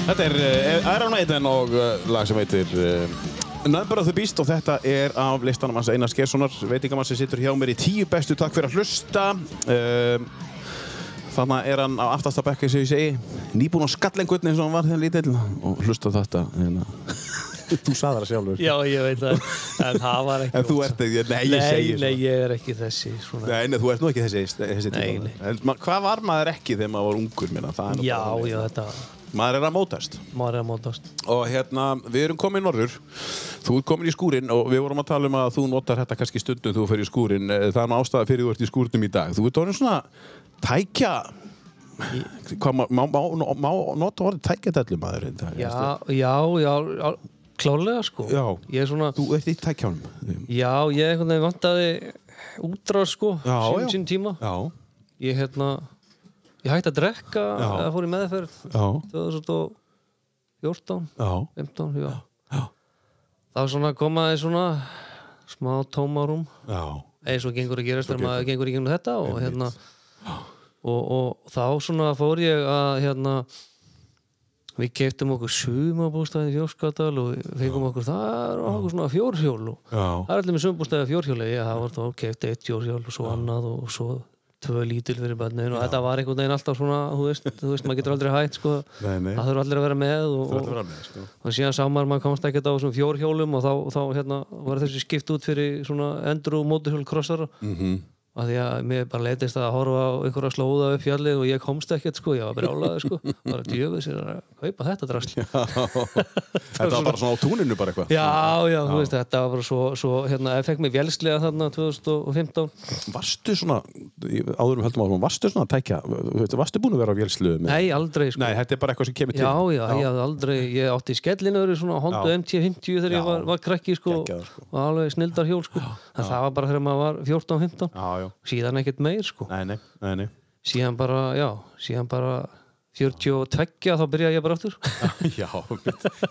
Speaker 2: Þetta er uh, Iron Maiden og uh, lag sem heitir uh, Number of the Beast og þetta er af listanum hans Einar Skerssonar, veitingamann sem situr hjá mér í tíu bestu, takk fyrir að hlusta. Um, Þannig er hann á aftasta bekki sem ég segi, nýbúinn á skallengunni eins og hann var þegar lítill og hlusta á þetta. hérna. En,
Speaker 6: Þú sagði það sjálfur.
Speaker 4: Já, ég veit það, en það var ekki
Speaker 2: en þú ert ekki, nei ég
Speaker 4: Nei,
Speaker 2: segi
Speaker 4: nei,
Speaker 2: svona.
Speaker 4: ég er ekki þessi svona.
Speaker 2: Nei, nei, þú ert nú ekki þessi, þessi
Speaker 4: Nei,
Speaker 2: tíma.
Speaker 4: nei.
Speaker 2: En ma- Hvað var maður ekki þegar maður var ungur minna?
Speaker 4: Já, já, þetta
Speaker 2: Maður er að mótast.
Speaker 4: maður er að mótast
Speaker 2: og hérna, við erum komin norður þú ert komin í skúrin og við vorum að tala um að þú notar þetta kannski stundum þegar þú fer í skúrin það er nú ástæða fyrir þú ert í skúrinum í dag þú ert orðin svona tækja hvað, má, má, má, má nota orðin tækjadallu maður í dag,
Speaker 4: Já,
Speaker 2: veistu?
Speaker 4: já, já, já klálega sko
Speaker 2: Já.
Speaker 4: Ég er svona,
Speaker 2: þú ert í tækjánum
Speaker 4: já, ég einhvern veginn vantaði útráð sko
Speaker 2: Já, já.
Speaker 4: sín, sín tíma
Speaker 2: já,
Speaker 4: Ég hérna, ég hætti að drekka
Speaker 2: Já.
Speaker 4: eða fór í meðferð
Speaker 2: já,
Speaker 4: 2014
Speaker 2: já
Speaker 4: 15, já.
Speaker 2: Já.
Speaker 4: Það var svona að koma í svona smá tómarum
Speaker 2: já,
Speaker 4: eins og gengur að gerast þegar maður gengur í gegnum þetta og hérna og, og þá svona fór ég að hérna við keftum okkur sumabústæðin í Fjóskadal og fengum okkur þar og okkur svona fjórhjól og
Speaker 2: já,
Speaker 4: það er allir með sumabústæði fjórhjóli ég það var þá keft eitt fjórhjól og svo annað og svo tvö lítil fyrir bönnin og þetta var einhvern veginn alltaf svona þú veist, þú veist maður getur aldrei hægt sko
Speaker 2: Nei, nei.
Speaker 4: það þurfa allir að vera með og,
Speaker 2: þú ert að
Speaker 4: og,
Speaker 2: vera með sko.
Speaker 4: og síðan sá maður að maður komst ekkert á þessum fjórhjólum og þá, þá hérna, var þessu skipt út fyrir svona endur og mótuhjól krossara -hmm. að því að mér bara leitist að horfa á einhverja slóða upp fjallið og ég komst ekkert sko, ég var brjálaði sko bara djöfið sér að kaupa þetta drasl
Speaker 2: þetta var bara svona á túninu bara eitthvað
Speaker 4: já, já, þú veist, þetta var bara svo, svo hérna, ef fekk mig vélslega þarna 2015
Speaker 2: varstu svona, áðurum höldum áfram varstu svona tækja, varstu búin að vera á vélsluðu með-
Speaker 4: nei, aldrei sko
Speaker 2: nei, þetta er bara eitthvað sem kemur til
Speaker 4: Já, já, ég hafði aldrei, ég átti í skellinu verið svona Honda
Speaker 2: Já.
Speaker 4: MT50 þegar ég
Speaker 2: Já.
Speaker 4: var, var krakki sko,
Speaker 2: Geggjaður, sko.
Speaker 4: og alveg snildar hjól sko. en það var bara þegar maður var 14-15
Speaker 2: já, já
Speaker 4: síðan ekkert meir sko
Speaker 2: Nei, nei, nei, nei.
Speaker 4: síðan bara, já, síðan bara 42 þá byrjaði ég bara aftur
Speaker 2: Já,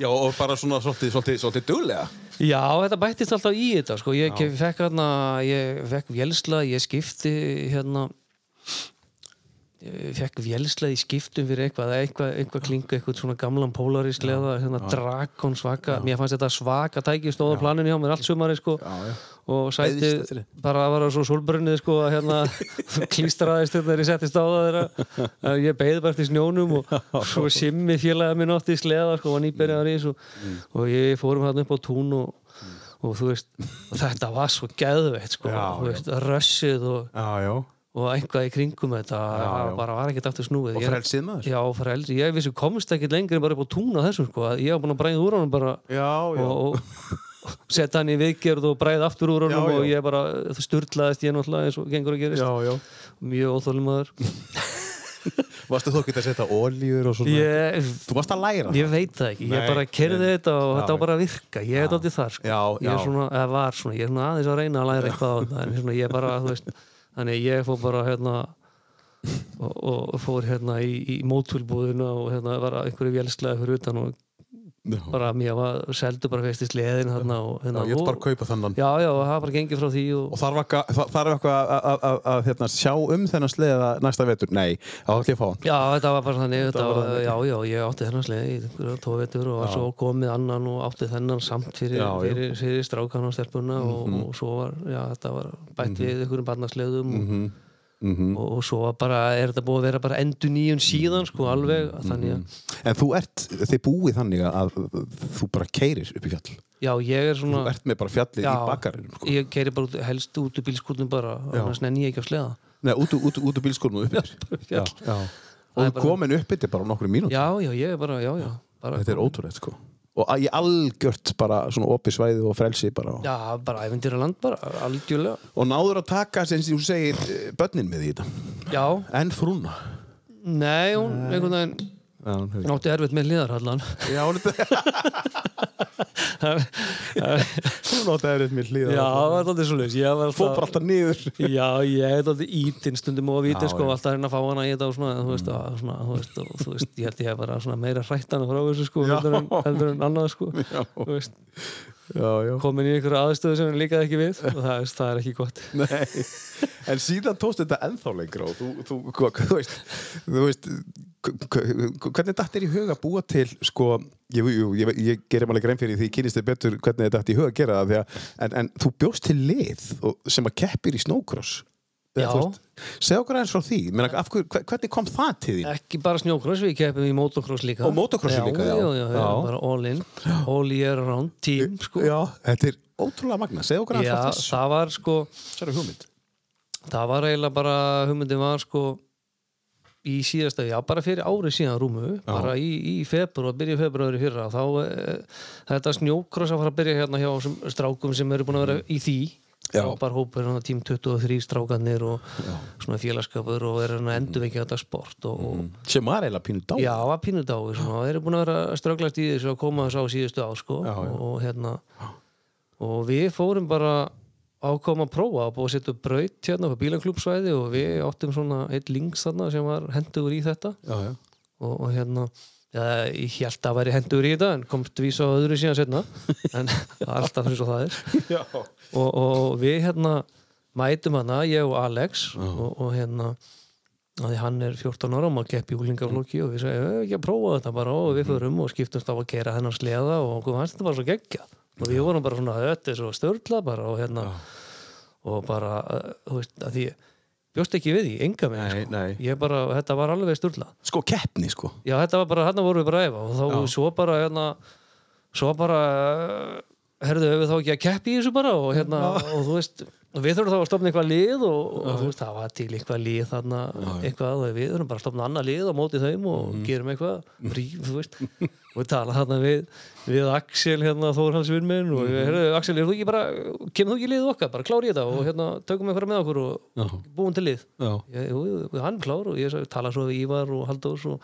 Speaker 2: já, og bara svona svolítið, svolítið, svolítið duglega.
Speaker 4: Já, þetta bættist alltaf í þetta sko. ég, ég fekk hérna, ég fekk vélsla ég skipti hérna ég fekk vélsleð í skiptum fyrir eitthvað eða eitthvað, eitthvað klinga, eitthvað svona gamlan Polaris leða, hérna Drakon svaka mér fannst þetta svaka tæki stóð á planinu hjá mér allt sumari sko og
Speaker 7: Leiðist
Speaker 4: sætið
Speaker 7: eftir því.
Speaker 4: bara að vara svo solbrunnið sko að hérna klístraðist hérna þegar ég settist á það þeirra að ég beið bara eftir snjónum og svo simmi félaga minn átti í sleða sko, var nýbyrjaðar í þessu og ég fórum hann upp á tún og, og þú veist, og þetta var svo geðveitt sko,
Speaker 2: Já,
Speaker 4: þú
Speaker 2: já.
Speaker 4: veist, rössið og
Speaker 2: Já, já.
Speaker 4: og eitthvað í kringum þetta já,
Speaker 2: já.
Speaker 4: bara var ekkert aftur snúið
Speaker 7: Og
Speaker 4: Ég-
Speaker 7: frelsið maður.
Speaker 4: já, frelsið, ég vissi komst ekkert lengur en bara upp á tún á þessum sko að ég var búin að bræða úr honum bara
Speaker 2: Já, já.
Speaker 4: og, og setja hann í viðgerð og bræða aftur úr honum
Speaker 2: Já, já.
Speaker 4: og ég bara það sturlaðist ég náttúrulega eins og gengur að gerist
Speaker 2: Já, já.
Speaker 4: mjög óþólimaður
Speaker 7: Varstu þó ekki að setja olíur og svona?
Speaker 4: ég,
Speaker 2: Þú varst að læra það.
Speaker 4: ég veit það ekki, ég
Speaker 2: Nei,
Speaker 4: bara kerði
Speaker 2: nei.
Speaker 4: þetta og
Speaker 2: Já,
Speaker 4: þetta var
Speaker 2: já.
Speaker 4: bara að virka, ég er dóttið þar sko.
Speaker 2: Já,
Speaker 4: ég er
Speaker 2: já.
Speaker 4: svona, eða var svona, ég er svona aðeins að reyna að læra eitthvað á þetta en svona ég bara, þú veist, þannig ég fór bara hérna og, og fór hérna í, í mótulbúðuna og hérna var einhverju vélslega fyrir utan og bara mér var, seldu bara fyrst í sleðin hérna og
Speaker 2: Já,
Speaker 4: hérna
Speaker 2: ég ætla bara
Speaker 4: og-
Speaker 2: að kaupa þannan.
Speaker 4: Já, já, og það var bara gengið frá því og
Speaker 2: Og þarf eitthvað- þa- þarf eitthvað að- að- að- að hérna, sjá um þennan sleða næsta vetur? Nei, þá ætlum ég að fá hann.
Speaker 4: Já, þetta var bara þannig, þetta var, já, já, ég átti þennan sleði í einhverja tóvetur og var svo komið annan og átti þennan samt fyrir,
Speaker 2: Já, Mhm. já.
Speaker 4: fyrir, fyrir strákan og stelpuna og, og svo var, já, þetta var
Speaker 2: Mhm.
Speaker 4: bætt við einhverjum barnasleðum og, og, og svo var bara, er þetta búið að vera bara endur nýjun síðan,
Speaker 2: Mhm.
Speaker 4: sko, alveg, þannig að,
Speaker 2: En þú ert, þið búið þannig að- að þú bara keirir upp í fjall.
Speaker 4: já, ég er
Speaker 2: Þú
Speaker 4: svona,
Speaker 2: ert með bara fjallið í bakarinnum. Sko.
Speaker 4: ég keiri bara út, helst út úr bílskúrnum bara,
Speaker 2: Já.
Speaker 4: annars nenni ég ekki á sleða.
Speaker 2: Nei, út, úr- út, úr- út úr bílskólum og upp
Speaker 4: bara
Speaker 2: yfir.
Speaker 4: fjall.
Speaker 2: Já, já.
Speaker 4: Það
Speaker 2: Og
Speaker 4: er
Speaker 2: þú
Speaker 4: bara-
Speaker 2: komin upp yfir bara á nokkru mínúti.
Speaker 4: Já, já, ég er bara, já, já, bara,
Speaker 2: Þetta er ótrúlegt, sko. Og að ég algjört bara svona opið svæði og frelsi bara. og-
Speaker 4: já, bara æfindýra land bara, algjörlega,
Speaker 2: Og náður að taka, sem þú segir, eh, börnin með í þetta.
Speaker 4: já,
Speaker 2: En frúna.
Speaker 4: nei, hún, einhvern veginn,
Speaker 2: Já, hún hefur-
Speaker 4: Hún átti erfitt með hliðarhallan
Speaker 2: Já, hún Hún átti að erut mér
Speaker 4: Já,
Speaker 2: hlýða
Speaker 4: það var alltaf svo leys Ég var
Speaker 2: Fór bara alltaf niður
Speaker 4: Já, ég hef alltaf ítinn stundum og
Speaker 2: Já,
Speaker 4: vítinn sko,
Speaker 2: já.
Speaker 4: alltaf að reyna að fá hana í þetta og svona, þú veist, að, svona, þú veist, og, þú veist ég held ég hef bara svona meira hrætt hana frá þessu sko,
Speaker 2: Já.
Speaker 4: heldur en, heldur en annað sko, þú veist,
Speaker 2: Já, já
Speaker 4: komin í einhverja aðstöðu sem hún líkaði ekki við og það, veist, það er ekki gott.
Speaker 2: Nei, en síðan tókst þetta ennþá lengra og þú, þú, hva, þú veist, þú veist k- k- hvernig datt er í hug að búa til sko, ég, jú, ég, ég gerir maður grein fyrir því ég kynist þið betur hvernig þetta datt í hug að gera það því að, en, en þú bjóst til lið og, sem að keppir í snowcross Eða,
Speaker 4: Já.
Speaker 2: þú veist, segja okkur aðeins frá því Menna, af hver, hver- hvernig kom það til því?
Speaker 4: Ekki bara snjókross, við keppum í motocross líka.
Speaker 2: Og motocrossi líka, já.
Speaker 4: Já, já, já,
Speaker 2: Já.
Speaker 4: bara all in, all year round, team sko.
Speaker 2: Já, þetta er ótrúlega magna, segja okkur aðeins
Speaker 4: Já,
Speaker 2: frá þessu
Speaker 4: það var sko,
Speaker 2: þessari hugmynd
Speaker 4: það var eiginlega bara hugmyndin var sko í síðasta, já bara fyrir árið síðan rúmu bara í, í februar, byrja februari fyrra þá e, þetta snjókross að fara að byrja hérna hjá sem, strákum sem eru búin að vera í því
Speaker 2: Já.
Speaker 4: bara hópur hann tím 23 strákanir og svona félagskapur og er hann að endurvekja þetta sport og, og
Speaker 2: sem var eiginlega pínu dá
Speaker 4: Já, að pínudái, svona, sko. þeir eru búin að vera að ströglast í þessu að koma þess á síðustu á, sko, og hérna, og við fórum bara ákoma að prófa að búið að setja upp braut hérna á bílanklúpsvæði og við áttum svona eitt links þarna sem var hendugur í þetta
Speaker 2: já, já.
Speaker 4: og, og hérna, ja, ég held að væri hendugur í þetta en komst vísa á öðru síðan setna, en það er alltaf eins og það er og, og við hérna mætum hana, ég og Alex og, og hérna að því hann er 14 ára og maður keppi í úlingaflokki og við segjum, "Ef ekki að prófa þetta bara og
Speaker 2: Mm.
Speaker 4: við förum og skiptumst á að gera hennar sleða og okkur fannst þetta bara svo geggja og við vorum bara svona öttis og störla bara og hérna og bara, uh, þú veist, að því bjóst ekki við því, enga með
Speaker 2: Nei,
Speaker 4: sko.
Speaker 2: nei.
Speaker 4: ég bara, þetta var alveg störla
Speaker 2: sko keppni sko
Speaker 4: Já, þetta var bara, hérna vorum við bara að efa og þá svo bara, hérna svo bara, eh, herðu, hefur þá ekki að keppi í þessu bara og hérna, og þú veist og við þurfum þá að stopna eitthvað lið og, og þú veist, það var til eitthvað lið þarna eitthvað, og við þurfum bara að stopna annað lið á móti þeim og gerum eitthvað rýf, þú veist, og tala þarna við við Axel, hérna, Þórhalsvinn minn og við, herðu, Axel, er þú ekki bara kemur þú ekki í liðið okkar, bara klári þetta og hérna, tökum eitthvað með okkur og búum til lið
Speaker 2: já.
Speaker 4: Ég- jú, jú, hann klár og ég sagði, tala svo við Ívar og Halldórs og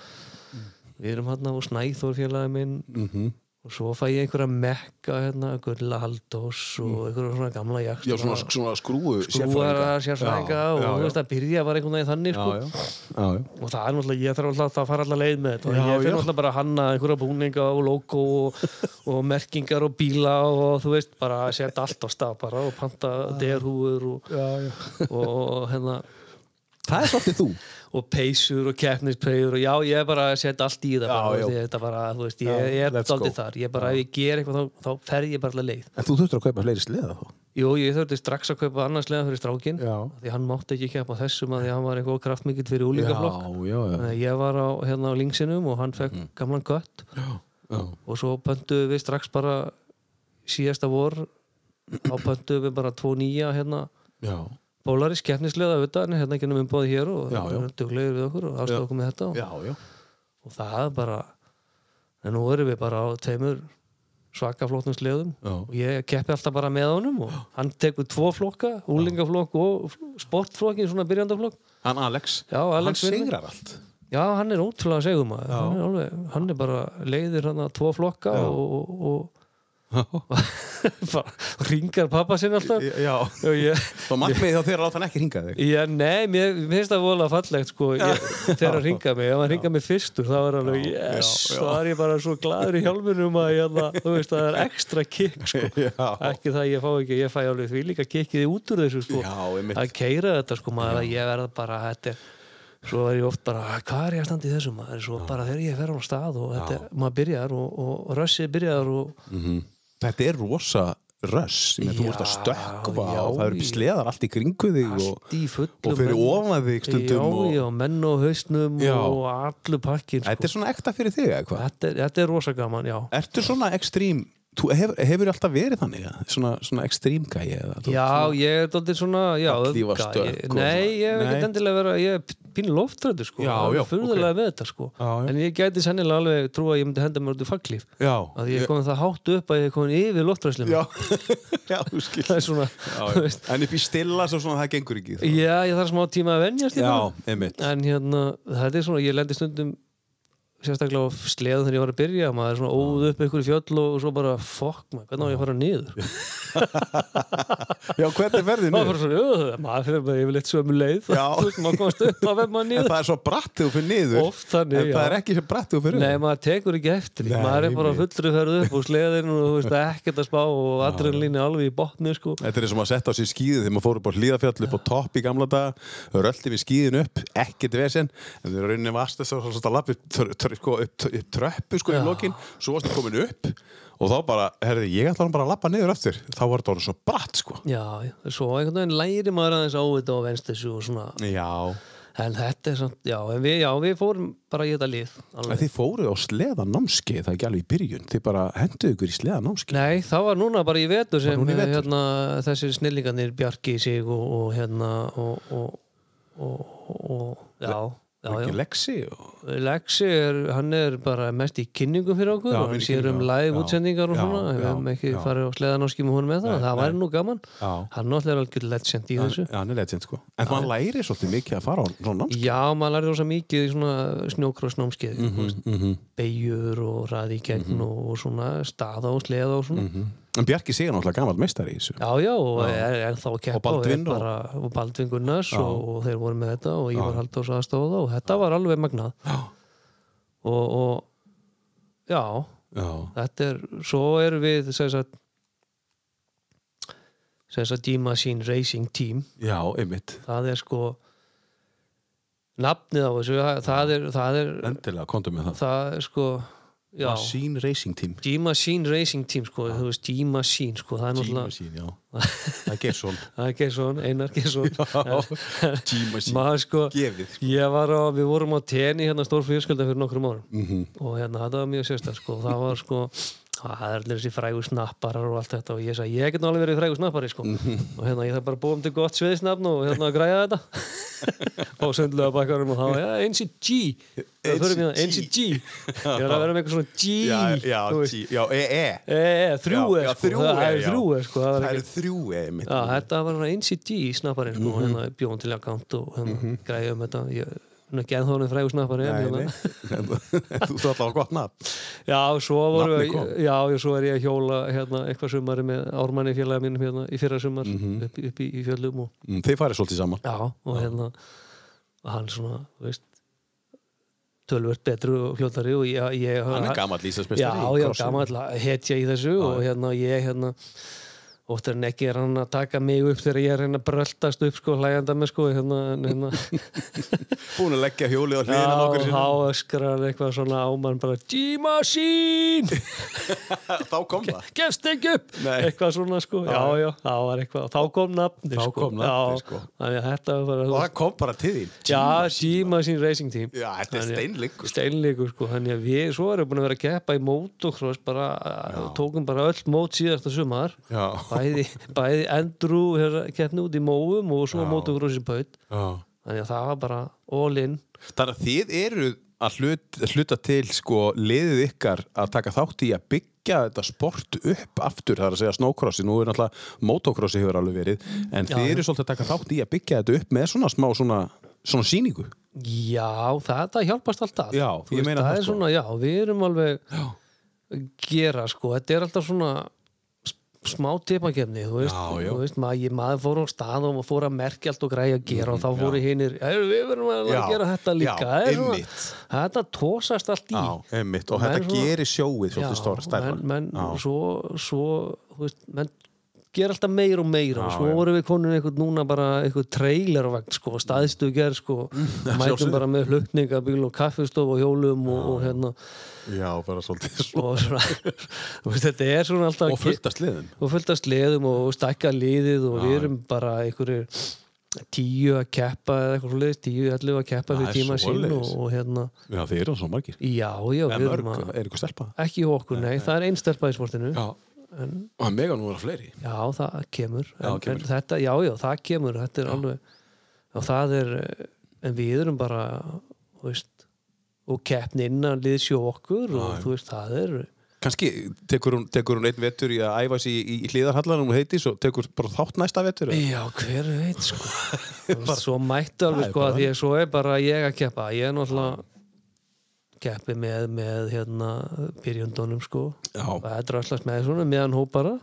Speaker 4: við erum hann og Snæþór félagi minn
Speaker 2: Mhm.
Speaker 4: -hmm. og svo fæ ég einhverja mekka hérna, Gulla Halldórs og einhverja svona gamla jakt
Speaker 2: Mm. Já, svona, svona skrúu
Speaker 4: sérfræðinga, sérfræðinga og þú veist að byrja var einhvern veginn þannig sko.
Speaker 2: já, já, já.
Speaker 4: og það er náttúrulega, ég þarf alltaf að fara alltaf leið með þetta og
Speaker 2: Já,
Speaker 4: ég
Speaker 2: já.
Speaker 4: fyrir náttúrulega bara að hanna einhverja búninga og logo og, og merkingar og bíla og þú veist, bara að setja allt á stað bara og panta derhúur og,
Speaker 2: Já, já.
Speaker 4: og, og hérna
Speaker 2: Það er svolítið þú
Speaker 4: og peysur og keppnispeyjur og já, ég er bara að setja allt í það bara,
Speaker 2: já.
Speaker 4: því þetta bara, þú veist, ég,
Speaker 2: Já,
Speaker 4: ég er
Speaker 2: let's go.
Speaker 4: daldið þar ég bara, ef ég ger eitthvað, þá, þá fer ég bara alla leið
Speaker 2: En þú þurftur að kaupa fleiri sleða þá
Speaker 4: Jú, ég þurfti strax að kaupa annars leiða fyrir strákin
Speaker 2: Já.
Speaker 4: því hann mátti ekki keppa á þessum að því hann var eitthvað kraftmikill fyrir úlíkaflokk
Speaker 2: já, Mhm.
Speaker 4: Þannig að ég var á, hérna á linksinum og hann fekk gamlan gött
Speaker 2: já.
Speaker 4: og svo pöntuðum við strax bara síðasta vor þá pöntuðum við bara tvo nýja hérna
Speaker 2: Já,
Speaker 4: Polaris keppnislega auðvitað en hérna ekki nefnum umbóði hér og
Speaker 2: Já, já.
Speaker 4: það er duglegir við okkur og aðstofa okkur með þetta og,
Speaker 2: já, já.
Speaker 4: og það er bara en nú erum við bara á tveimur svaka flottum sleðum
Speaker 2: Já.
Speaker 4: og ég keppi alltaf bara með honum og hann tekur tvo flokka, úlingaflokk og sportflokkin, svona byrjandaflokk
Speaker 1: Hann Alex
Speaker 4: Já, Alex
Speaker 2: Hann
Speaker 4: vinnur.
Speaker 2: sigrar allt
Speaker 4: Já, hann er ótrúlega segum að hann er, alveg, hann er bara leiðir hann að tvo flokka og, og, og bara ringar pappa sinn alltaf
Speaker 1: Já
Speaker 4: og ég,
Speaker 1: Þá markmiðið þá þeirra láta hann ekki hringa þig
Speaker 4: ég nei, mér mér finnst það vola fallegt sko, ég, þegar hann ringar mig ef hann ringar mig fyrstur, þá er hann alveg yes, þá er ég bara svo gladur í hjálminum að ég, alveg- þú veist, það er ekstra kikk sko. ekki það ég fá ekki, ég fæ alveg því líka kikkið út úr þessu sko.
Speaker 1: Já, einmitt
Speaker 4: að keira þetta sko maður að ég verð bara þetta er svo er ég oft bara, "Ah, hvað er ég að standa í þessu maður svo bara þegar ég fer á stað og þetta, maður byrjar og, og rössið byrjar og
Speaker 2: Þetta er rosa röss Ég meina, Þú
Speaker 4: Já,
Speaker 2: ert að stökkva
Speaker 4: já,
Speaker 2: og það eru
Speaker 4: ég-
Speaker 2: sleðar allt í kringu þig
Speaker 4: allt
Speaker 2: og,
Speaker 4: í fullum
Speaker 2: og fyrir
Speaker 4: menn-
Speaker 2: ofan þig
Speaker 4: já,
Speaker 2: stundum og,
Speaker 4: já, menn og hausnum
Speaker 2: Já.
Speaker 4: og allu pakkin sko.
Speaker 2: Þetta er svona ekta fyrir þig eða hvað
Speaker 4: þetta, er, þetta er rosa gaman, já
Speaker 2: Ertu svona ekstrím Þú hefur, hefur alltaf verið þannig eða? svona, svona ekstrím gæi eða þú-
Speaker 4: Já, ég er dóttir svona já,
Speaker 2: Fallhlífa
Speaker 4: öfga,
Speaker 2: stökk
Speaker 4: ég-
Speaker 2: og
Speaker 4: Nei,
Speaker 2: sko, svona.
Speaker 4: ég hef
Speaker 2: Nei.
Speaker 4: ekki endilega verið að- Ég er pínu loftrættu sko
Speaker 2: Já,
Speaker 4: Það er
Speaker 2: já,
Speaker 4: furðulega með þetta sko
Speaker 2: Já, já.
Speaker 4: En ég gæti sennilega alveg trú að ég myndi henda mér út í faglíf
Speaker 2: já,
Speaker 4: að ég er komin það hátt upp að ég er komin yfir loftræslum
Speaker 2: já, já, þú skil
Speaker 4: það er svona þú veist,
Speaker 2: En upp í stilla svo svona það gengur ekki sko. þá.
Speaker 4: já, ég þarf smá tíma að venjast í það.
Speaker 2: einmitt
Speaker 4: en hérna, þetta er svona, ég lendi stundum sérstaklega á sleðum þegar ég var að byrja maður er svona óð upp ykkur í fjöll og svo bara fokk maður, hvernig á ég að fara niður
Speaker 2: Já, hvernig verðið
Speaker 4: það
Speaker 2: nú?
Speaker 4: var bara svona, "Ugh", maður fyrir bara yfirleitt sömu leið
Speaker 2: Já.
Speaker 4: Þú veist, maður komast upp, þá verð maður
Speaker 2: En
Speaker 4: niður
Speaker 2: það er svo bratt þegar þú fyrir niður
Speaker 4: Oft þannig,
Speaker 2: En
Speaker 4: já.
Speaker 2: það er ekki svo bratt þegar þú fyrir
Speaker 4: Nei, maður tekur ekki eftir því.
Speaker 2: Nei,
Speaker 4: maður er bara
Speaker 2: einmitt.
Speaker 4: fullri ferð upp og sleðin og þú veist, ekkert að spá og adrenalínu alveg í botni sko.
Speaker 2: Þetta er eins og maður sett á sér skíðið þegar maður fór upp á hlýðafjall upp á topp í gamla daga, röldi við skíðin upp, ekkert vesen, en þegar rauninni varst þess að svo að lappi tr tr sko, upp, tr upp tröppu sko í lokin, svo varstu komin upp og þá bara, herði, ég ætla hann bara að lappa niður aftur, þá var þetta orðið svo bratt sko.
Speaker 4: Já, já, svo einhvern veginn læri maður aðeins á þetta og venst þessu og svona
Speaker 2: Já.
Speaker 4: en þetta er samt, já, en við, já, við fórum bara í þetta lið alveg.
Speaker 2: En þið fóruð á sleða námskeið, það er ekki alveg í byrjun, þið bara henduðu ykkur í sleða námskeið.
Speaker 4: Nei, það var núna bara í vetur sem
Speaker 2: núna í vetur?
Speaker 4: Hérna, þessir snillingarnir bjargi sig og, og hérna og, og, og, og já, já,
Speaker 2: Ekki
Speaker 4: já
Speaker 2: leksi og...
Speaker 4: Lexi er, hann er bara mest í kynningum fyrir okkur
Speaker 2: Já,
Speaker 4: og hann
Speaker 2: fyrir
Speaker 4: sér um
Speaker 2: kynningum,
Speaker 4: live
Speaker 2: já.
Speaker 4: útsendingar og
Speaker 2: Já,
Speaker 4: svona, við
Speaker 2: já,
Speaker 4: hefum ekki
Speaker 2: já.
Speaker 4: farið á sleðan og skimma honum með það,
Speaker 2: Nei,
Speaker 4: það væri
Speaker 2: nei.
Speaker 4: nú gaman
Speaker 2: Já.
Speaker 4: hann náttúrulega er algjör legend í þessu
Speaker 2: Já, hann er legend sko. En maður læri svolítið mikið að fara á svona námskeið.
Speaker 4: Já, maður lærði rosa mikið í svona snjókrossnámskeið mm
Speaker 2: Mhm.
Speaker 4: -hmm, beigjur og ræði í gegn og, og svona staða og sleða og
Speaker 2: Mhm.
Speaker 4: svona
Speaker 2: En Bjarki Sigur er náttúrulega gammal meistari í þessu.
Speaker 4: mhm. Já, já, og er, er þá að keppa
Speaker 2: Og Baldvin
Speaker 4: og, er
Speaker 2: og-
Speaker 4: bara, og Baldvin Gunnars og, og þeir voru með þetta og Ívar Halldórs aðstóða og þetta var alveg magnað og, og já,
Speaker 2: Já.
Speaker 4: þetta er, svo erum við sem sagt sem sagt D-Machine Racing Team
Speaker 2: Já, einmitt.
Speaker 4: það er sko nafnið á þessu, það- það er, það er
Speaker 2: Endilega, komdu með það.
Speaker 4: það er sko já,
Speaker 2: Machine Racing Team
Speaker 4: D-Machine Racing Team sko, þú veist D-Machine sko, það er náttúrulega
Speaker 2: G-Machine, já Það er Gerson
Speaker 4: það er Gesson, Einar Gesson
Speaker 2: G-Machine
Speaker 4: maður sko,
Speaker 2: Gefið
Speaker 4: ég var á við vorum á tenni hérna stór fjörskölda fyrir nokkrum árum
Speaker 2: Mhm.
Speaker 4: og hérna þetta var mjög sérstæð sko, það var sko það er allir þessi frægu snapparar og allt þetta og ég sagði, ég get nálega verið frægu snappari sko
Speaker 2: Mhm.
Speaker 4: og hérna ég þarf bara að búa um til gott sviðisnafn og hérna að græja þetta og söndlega bakkarum og það var, já, eins í G það fyrir mér, eins í G ég er að vera með eitthvað svona G
Speaker 2: Já, já,
Speaker 4: þú veist.
Speaker 2: G- já, E-E
Speaker 4: E, e, þrjú
Speaker 2: Já,
Speaker 4: er
Speaker 2: já,
Speaker 4: sko,
Speaker 2: þrjú
Speaker 4: það
Speaker 2: er,
Speaker 4: er
Speaker 2: já.
Speaker 4: þrjú er sko, það
Speaker 2: Það
Speaker 4: var
Speaker 2: eru
Speaker 4: ekki
Speaker 2: þrjú E mitt
Speaker 4: Já, þetta var svona NCD snapparinn sko,
Speaker 2: Mhm.
Speaker 4: hérna bjón til akkant og hérna græði um þetta ég er ekki ennþá hann frægur snappari en,
Speaker 2: Nei, nei.
Speaker 4: hérna,
Speaker 2: Þú þú ætla á gott nafn
Speaker 4: já, svo voru
Speaker 2: Nafnið kom.
Speaker 4: já, já, svo er ég að hjóla hérna, eitthvað sumari með ármanni félaga mínum hérna, í fyrra sumar
Speaker 2: Mhm.
Speaker 4: upp, upp í, í fjöllum og,
Speaker 2: Mm, Þið farið svolítið saman
Speaker 4: já, og hérna og hann svona, þú veist tölvert betru og fljóttari og ég, ég
Speaker 2: Hann er gammal lýsasmestari
Speaker 4: já, já, gammal hetja í þessu og hérna ég hérna Óttar en ekki er hann að taka mig upp þegar ég er hérna að bröltast upp sko hlægjanda með sko hérna, en hérna
Speaker 2: Búin að leggja hjólið á hliðina nokkur
Speaker 4: Já,
Speaker 2: sinna.
Speaker 4: þá öskrar hann eitthvað svona á mann bara G-Machine!
Speaker 2: Þá kom það.
Speaker 4: Gefst ekki upp!
Speaker 2: Nei.
Speaker 4: Eitthvað svona sko, já, já, það var eitthvað og þá kom nafni
Speaker 2: Þá
Speaker 4: sko
Speaker 2: kom nafnið,
Speaker 4: Já,
Speaker 2: sko.
Speaker 4: Þannig að þetta var bara
Speaker 2: Og það kom bara til þín.
Speaker 4: Já, G-Machine Racing Team
Speaker 2: Já, þetta er
Speaker 4: Þannig að-
Speaker 2: steinleikur.
Speaker 4: Steinleikur sko, þannig að við svo erum við búin að vera að keppa í motocross bara,
Speaker 2: Já.
Speaker 4: tókum bara öll mót síðasta sumar
Speaker 2: Já.
Speaker 4: bæði, bæði Andrew hérna, keppni út í móum og svo
Speaker 2: Já.
Speaker 4: motocrossi baut þannig að það var bara all in
Speaker 2: Þannig að þið eru að hlut, hluta til sko liðið ykkar að taka þátt í að byggja þetta sport upp aftur, það er að segja snowcrossi, nú er náttúrulega motocrossi hefur alveg verið, en
Speaker 4: Já,
Speaker 2: þið
Speaker 4: já.
Speaker 2: eru svolítið að taka þátt í að byggja þetta upp með svona smá svona, svona síningu.
Speaker 4: Já, þetta hjálpast alltaf
Speaker 2: Já, ég
Speaker 4: Þú veist,
Speaker 2: meina
Speaker 4: það
Speaker 2: það,
Speaker 4: er
Speaker 2: sko.
Speaker 4: svona, Já, við erum alveg já. gera sko, þetta er alltaf svona s- smá tipakefni þú veist,
Speaker 2: Já, já.
Speaker 4: Þú veist mað, ég, maður fór á stað og maður fór að merkja allt og græja að gera og þá fóru hinnir, við verum að,
Speaker 2: Mm-hmm, Já,
Speaker 4: gera þetta
Speaker 2: já,
Speaker 4: líka Það er svona-
Speaker 2: einmitt.
Speaker 4: þetta tósast allt í
Speaker 2: einmitt, og
Speaker 4: Menn
Speaker 2: þetta
Speaker 4: svona-
Speaker 2: gerir sjóið
Speaker 4: Já,
Speaker 2: svolítið stóra stærra.
Speaker 4: menn, menn
Speaker 2: Já.
Speaker 4: svo, svo þú veist, menn gera alltaf meira og meira og svo
Speaker 2: já.
Speaker 4: vorum við konum einhvern núna bara einhvern trailervagn sko, staðstu gerð sko, mætum
Speaker 2: sjálfsögðu.
Speaker 4: bara með hlutningabíl og kaffistof og hjólum og, og hérna
Speaker 2: Já, bara svolítið svona.
Speaker 4: og svona, þú veist, þetta er svona alltaf
Speaker 2: Og fullt af sliðum.
Speaker 4: og fullt af sleðum og stækka liðið og við erum bara einhverjir tíu að keppa eða eitthvað svoleiðis, tíu allir að keppa
Speaker 2: Það
Speaker 4: fyrir
Speaker 2: er
Speaker 4: tíma sín og,
Speaker 2: svoleiðis.
Speaker 4: og hérna,
Speaker 2: Já, þið eru svo margir.
Speaker 4: já, já,
Speaker 2: En
Speaker 4: við erum
Speaker 2: mörg,
Speaker 4: að
Speaker 2: er ykkur stelpa?
Speaker 4: ekki hjá okkur, nei, það er einn stelpa í sportinu
Speaker 2: Já, og það mega nú vera fleiri.
Speaker 4: Já, það kemur,
Speaker 2: Já,
Speaker 4: en,
Speaker 2: kemur.
Speaker 4: En þetta, Já, já, það kemur Þetta er alveg og það er, en við erum bara þú veist og keppni innan liðs hjá okkur og þú veist, það er
Speaker 2: Kanski tekur hún, tekur hún einn vetur í að æfa sig í, í hlýðarhallanum og heiti svo tekur bara þátt næsta vetur. eða?
Speaker 4: Já, hver veit, sko Þú veist, Svo mættu
Speaker 2: Það
Speaker 4: alveg,
Speaker 2: er
Speaker 4: sko,
Speaker 2: bara
Speaker 4: að því að svo er bara ég að keppa Ég er náttúrulega keppi með, með hérna, byrjöndunum, sko
Speaker 2: Já. Mhm.
Speaker 4: og það er dröslast með svona meðan hóp bara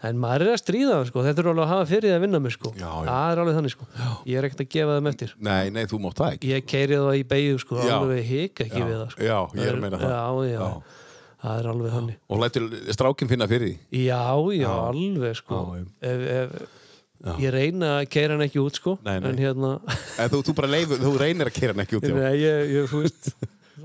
Speaker 4: en maður er að stríða það, sko Þetta er alveg að hafa fyrir því að vinna mig, sko
Speaker 2: Já, já.
Speaker 4: Það er alveg þannig, sko Ég er ekkert að gefa þeim eftir
Speaker 2: Nei, nei, þú mátt það ekki.
Speaker 4: ég keiri það í beigju sko,
Speaker 2: Já.
Speaker 4: alveg hika ekki
Speaker 2: Já.
Speaker 4: við það sko.
Speaker 2: Já, ég er að meina það.
Speaker 4: já, já,
Speaker 2: Já.
Speaker 4: það er alveg hann já,
Speaker 2: Og lætur strákinn finna fyrir því.
Speaker 4: já, alveg sko
Speaker 2: Já, já.
Speaker 4: ef, ef, ég reyna að keira hann ekki út sko
Speaker 2: Nei, nei.
Speaker 4: en hérna
Speaker 2: En þú, þú bara leifur, þú reynir að kera hann ekki út. Já.
Speaker 4: nei, ég, ég, þú veist,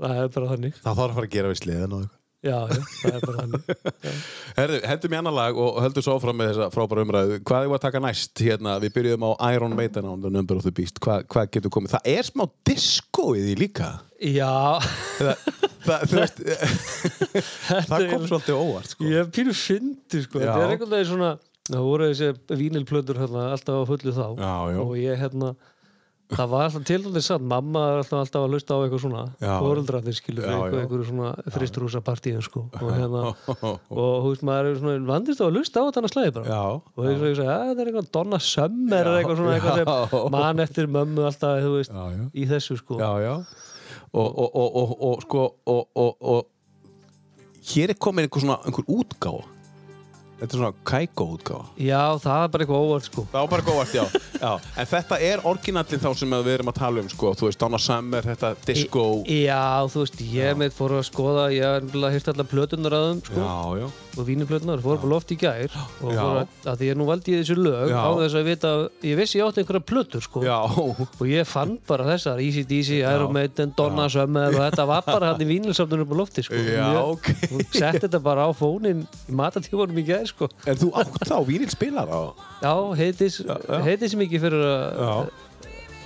Speaker 4: það er bara þannig
Speaker 2: Það þarf að fara að gera við sliðan og eitthvað.
Speaker 4: já, já, það er bara þannig
Speaker 2: Herðu, hendum í annan lag og höldum svo áfram með þessa frábæra umræðu. Hvað er að taka næst hérna? Við byrjuðum á Iron Maiden on the Number of the Beast. Hva, hvað getur komið? Það er smá diskoið í líka.
Speaker 4: já,
Speaker 2: Það, það, þú veist, það kom
Speaker 4: eiginlega-
Speaker 2: svolítið óvart, sko.
Speaker 4: ég er pínu fyndi sko,
Speaker 2: Já.
Speaker 4: þetta er einhvern veginn svona það voru þessi vínilplötur hérna, alltaf á fullu þá
Speaker 2: Já, já.
Speaker 4: og ég hérna það var alltaf til þess að mamma er alltaf, alltaf að hlusta á eitthvað svona
Speaker 2: Já.
Speaker 4: fóreldrarnir skilur
Speaker 2: Já, já.
Speaker 4: eitthvað, eitthvað svona fristrúsa partíðum sko og hérna og þú veist maður er svona vandist á að hlusta á þetta annars slæði bara
Speaker 2: Já.
Speaker 4: og ég svo ég segi að það er eitthvað Donna Summer eða eitthvað svona eitthvað
Speaker 2: Já.
Speaker 4: sem man eftir mömmu alltaf þú veist
Speaker 2: Já, já.
Speaker 4: í þessu sko
Speaker 2: já, já. Og, og, og, og, og sko og, og, og hér er komin einhver svona einhver útgáfa þetta er svona kæko útgáfa
Speaker 4: já það er bara eitthvað óvart sko
Speaker 2: Það var bara góðvart, já. já. En þetta er orginallin þá sem við erum að tala um, sko. Þú veist, Donna Summer, þetta disco.
Speaker 4: Já, þú veist, ég með fór að skoða ég hef nefnilega hýrt allar plötunar að þeim sko,
Speaker 2: já, já.
Speaker 4: og vínuplötunar, fór bara loft í gær og
Speaker 2: Já.
Speaker 4: fór að, að því ég nú valdi ég þessu lög
Speaker 2: Já.
Speaker 4: á þess að vita, að- ég vissi ég átti einhverja plötur sko,
Speaker 2: Já,
Speaker 4: og ég fann bara þessar Easy Deasy, Iron Maiden, Donna Summer og þetta var bara hann í vínilsamtunum upp á lofti sko.
Speaker 2: Já,
Speaker 4: Ég-
Speaker 2: ok.
Speaker 4: hún setti þetta bara á fónin í matatífunum í gær sko.
Speaker 2: en þú átt þá vínil spilar á.
Speaker 4: Já, heitis, heitis mikið fyrir að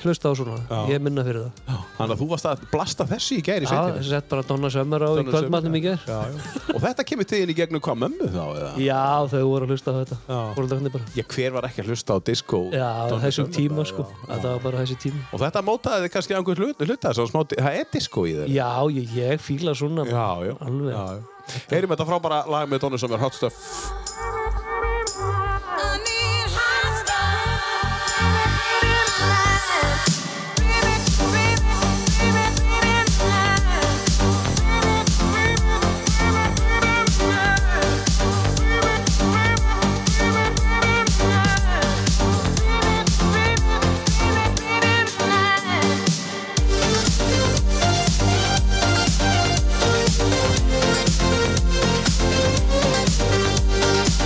Speaker 4: hlusta á svona,
Speaker 2: Já.
Speaker 4: ég minna fyrir það
Speaker 2: Þannig að þú varst að blasta þessu í gæri
Speaker 4: Já, þessi sett bara Donna Summer á í
Speaker 2: Donna Summer,
Speaker 4: kvöldmatnum í gær
Speaker 2: Já, já. Og þetta kemur til þín í gegnum hvað mömmu þá, eða?
Speaker 4: Já, þau voru að hlusta á þetta
Speaker 2: Já.
Speaker 4: Fóreldrarnir bara
Speaker 2: Já, hver var ekki að hlusta á disco?
Speaker 4: Já,
Speaker 2: Donna
Speaker 4: þessum
Speaker 2: Summer
Speaker 4: tíma
Speaker 2: bara,
Speaker 4: sko
Speaker 2: já.
Speaker 4: Þetta var bara þessi tíma
Speaker 2: Og þetta mótaði þig kannski einhvern hlut, hluta, svo smá, það er disco í þeir.
Speaker 4: Já, ég, ég fíla svona
Speaker 2: Já, já.
Speaker 4: Alveg.
Speaker 2: Já, já. Heyrim þetta frábæra lag með Donna Summer, Hot Stuff.
Speaker 5: I need hot stuff.
Speaker 8: Thank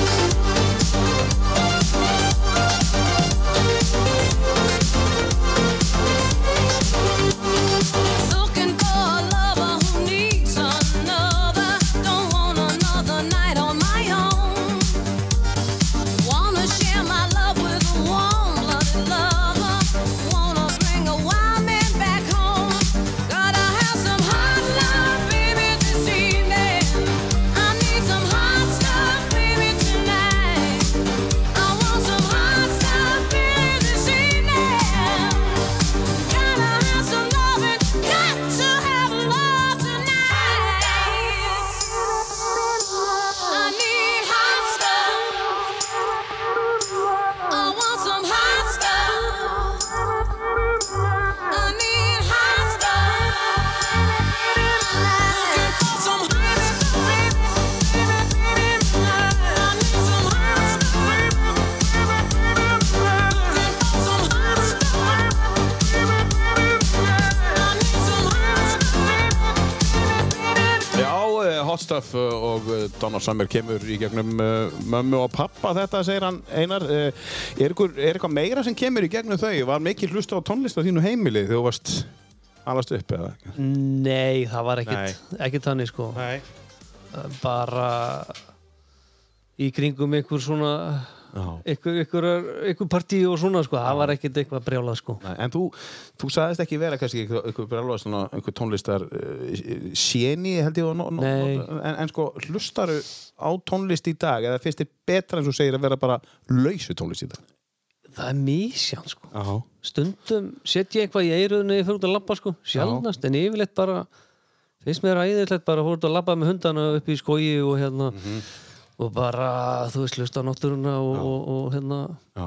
Speaker 2: stuff uh, og uh, Donna Summer kemur í gegnum uh, mömmu og pappa þetta segir hann Einar uh, er, ykkur, er eitthvað meira sem kemur í gegnum þau? Var mikið hlusta á tónlist á þínu heimili þegar þú varst alast upp eða?
Speaker 4: Nei, það var ekkit, ekkit þannig sko Eh,
Speaker 2: Nei
Speaker 4: bara í kringum einhver svona einhver, einhver, einhver partí og svona sko, það var ekkit eitthvað brjálað sko
Speaker 2: Nei, en þú, þú sagðist ekki vera kannski einhver, einhver, brjálaður svona, einhver tónlistar uh, séni held ég að no, no,
Speaker 4: Nei.
Speaker 2: en, en sko hlustaru á tónlist í dag eða finnst þér betra eins og segir að vera bara lausu tónlist í dag
Speaker 4: það er misján sko
Speaker 2: Já,
Speaker 4: stundum setja ég eitthvað í eiruðinu ég fyrir út að labba sko, sjálfnast en yfirleitt bara, finnst mér æðislegt bara að fór út að labba með hundana upp í skogi og hérna
Speaker 2: Mhm.
Speaker 4: og bara, þú veist, hlusta á náttúruna og, og, og hérna
Speaker 2: já,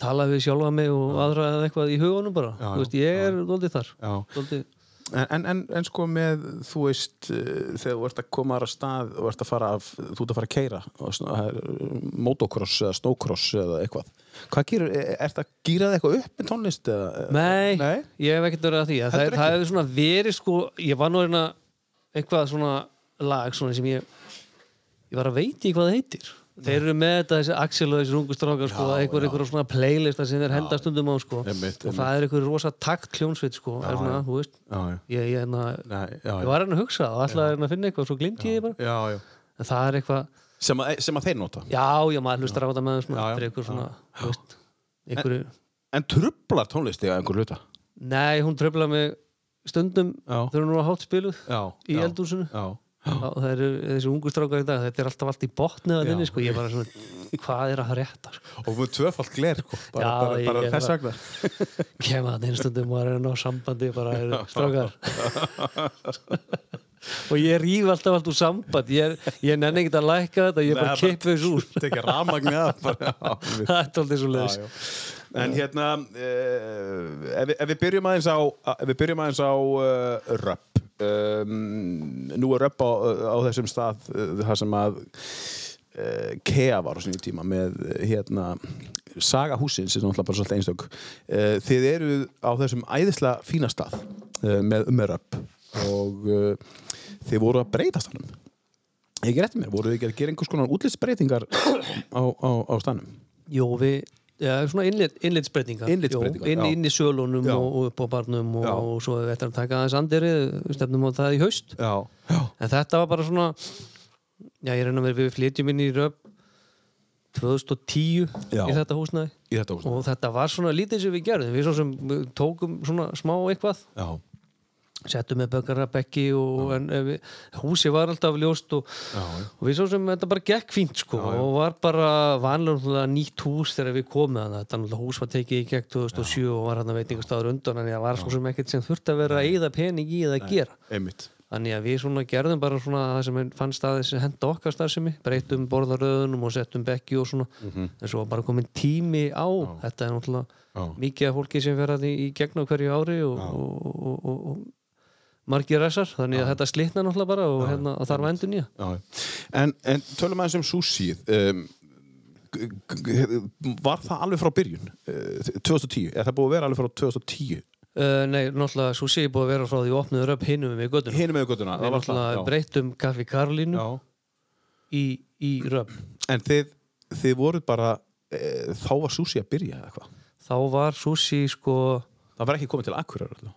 Speaker 4: tala við sjálfa mig og aðra eða eitthvað í hugunum bara,
Speaker 2: Já,
Speaker 4: þú veist, ég er doldið þar
Speaker 2: já.
Speaker 4: doldið,
Speaker 2: En, en- en, en sko með, þú veist uh, þegar þú ert að koma aðra stað og ert að fara af, þú ert að fara að keira og sn- það er, uh, motocross eða snowcross eða eitthvað, hvað e, gerur er, er það gýrað eitthvað upp með tónlist eða,
Speaker 4: nei,
Speaker 2: Nei?
Speaker 4: ég hef ekkert verið að því að það,
Speaker 2: Heldur
Speaker 4: það hefur svona verið sko ég var nú hérna eitthvað svona lag svona sem ég ég var að veiti hvað það heitir þeir eru með þetta þessi Axel og þessi rungu strákar sko, einhver, einhver svona playlista sem þeir henda stundum á sko,
Speaker 2: Einmitt,
Speaker 4: og það er einhver rosa takt kljónsveit sko, er svona, þú veist
Speaker 2: Já, já,
Speaker 4: ég, ég, hérna,
Speaker 2: Nei, já,
Speaker 4: ég var hérna að hugsa og alltaf hérna að finna eitthvað, svo glimti ég því bara
Speaker 2: já, já.
Speaker 4: en það er eitthvað
Speaker 2: Sem, að, sem að þeir nota
Speaker 4: Já, já, maður hlustar á þetta með þeim
Speaker 2: Já,
Speaker 4: svona,
Speaker 2: já,
Speaker 4: þetta er einhver svona, þú veist, einhverju,
Speaker 2: En trublar tónlisti að einhver hluta?
Speaker 4: nei, hún tröfla mig stundum,
Speaker 2: Já.
Speaker 4: þau eru nú að hátt spiluð
Speaker 2: Já.
Speaker 4: í eldúsinu,
Speaker 2: Já.
Speaker 4: það eru þessi ungu strákar í dag, þetta er alltaf allt í botni að þinni, sko, ég er bara svona, hvað er að frétta, sko,
Speaker 2: Og með tvöfald gler, sko. Bara,
Speaker 4: Já,
Speaker 2: bara,
Speaker 4: ég
Speaker 2: bara
Speaker 4: gerði
Speaker 2: þess
Speaker 4: það.
Speaker 2: vegna.
Speaker 4: kemur það einu stundum og er að ná sambandi, bara er strákar. og ég rýf alltaf allt úr samband, ég, er- ég nenni ekkert að lækka þetta, ég er bara
Speaker 2: Nei, bara-
Speaker 4: kipp þessu úr,
Speaker 2: Tekja rafmagni að. Bara, já,
Speaker 4: það er alltaf svo leiðis.
Speaker 2: já. En hérna, uh, ef, við- ef við byrjum aðeins á, ef við byrjum aðeins á uh, röpp. Um, nú er röpp á, á þessum stað uh, þar sem að uh, Kea var á sinni tíma með eh, hérna Saga húsins er náttúrulega bara svolítið einstök uh, Þið eru á þessum æðislega fína stað uh, með umöröp og uh, þið voru að breytast hannum Ekki rétt mér, voru þið ekki að gera einhvers konar útlitsbreytingar á, á, á stanum
Speaker 4: Jó, við, já, svona innlit, innlitsbreytingar
Speaker 2: Innlitsbreytingar,
Speaker 4: Jó, inn,
Speaker 2: já.
Speaker 4: inn í sölunum
Speaker 2: Já.
Speaker 4: og, og upp á barnum og,
Speaker 2: Já.
Speaker 4: og svo við ætlum að taka aðeins andiri stefnum á það í haust
Speaker 2: Já, já,
Speaker 4: en þetta var bara svona já, ég reyna með við flytjum inn í röp 2010
Speaker 2: Já.
Speaker 4: í þetta húsnæði
Speaker 2: í þetta húsinu
Speaker 4: og þetta var svona lítið sem við gerðum við svo sem uh, tókum svona smá eitthvað
Speaker 2: Já,
Speaker 4: settum með bökarabekki og en, eh, við, húsi var alltaf ljóst og, og við svo sem þetta bara gekk fínt sko og var bara vanlega nýtt hús þegar við komum þannig þetta náttúrulega hús var tekið í gegn 2007 og var hann að veitingastafur undan en það var sko sem ekkert sem þurfti að vera að eyða pening í eða gera
Speaker 2: einmitt
Speaker 4: þannig að við svona gerðum bara svona það sem fannst að þessi henda okkar starfsemi breytum borðaröðunum og settum bekki og svona en svo var bara komin tími á þetta er náttúrulega mikið af fólki sem verða í, í gegn á hverju ári og, og, og, og, og margir resar þannig að þetta slitna náttúrulega bara og hérna að þarf að endur nýja
Speaker 2: Já, en, en tölum aðeins um súsíð um, g- g- g- Var það alveg frá byrjun? Eh, 2010, er það búið að vera alveg frá 2010?
Speaker 4: uh, Nei, náttúrulega svo sé ég búið að vera frá því opnuður upp hinum við göttunum
Speaker 2: Hinum með göttuna
Speaker 4: við náttúrulega breytum kaffi Karlínu
Speaker 2: Já.
Speaker 4: í, í röfn
Speaker 2: En þið, þið voruð bara e, þá var Susi að byrja eða hvað
Speaker 4: þá var Susi sko
Speaker 2: Það var ekki komið til Akureyrar alltaf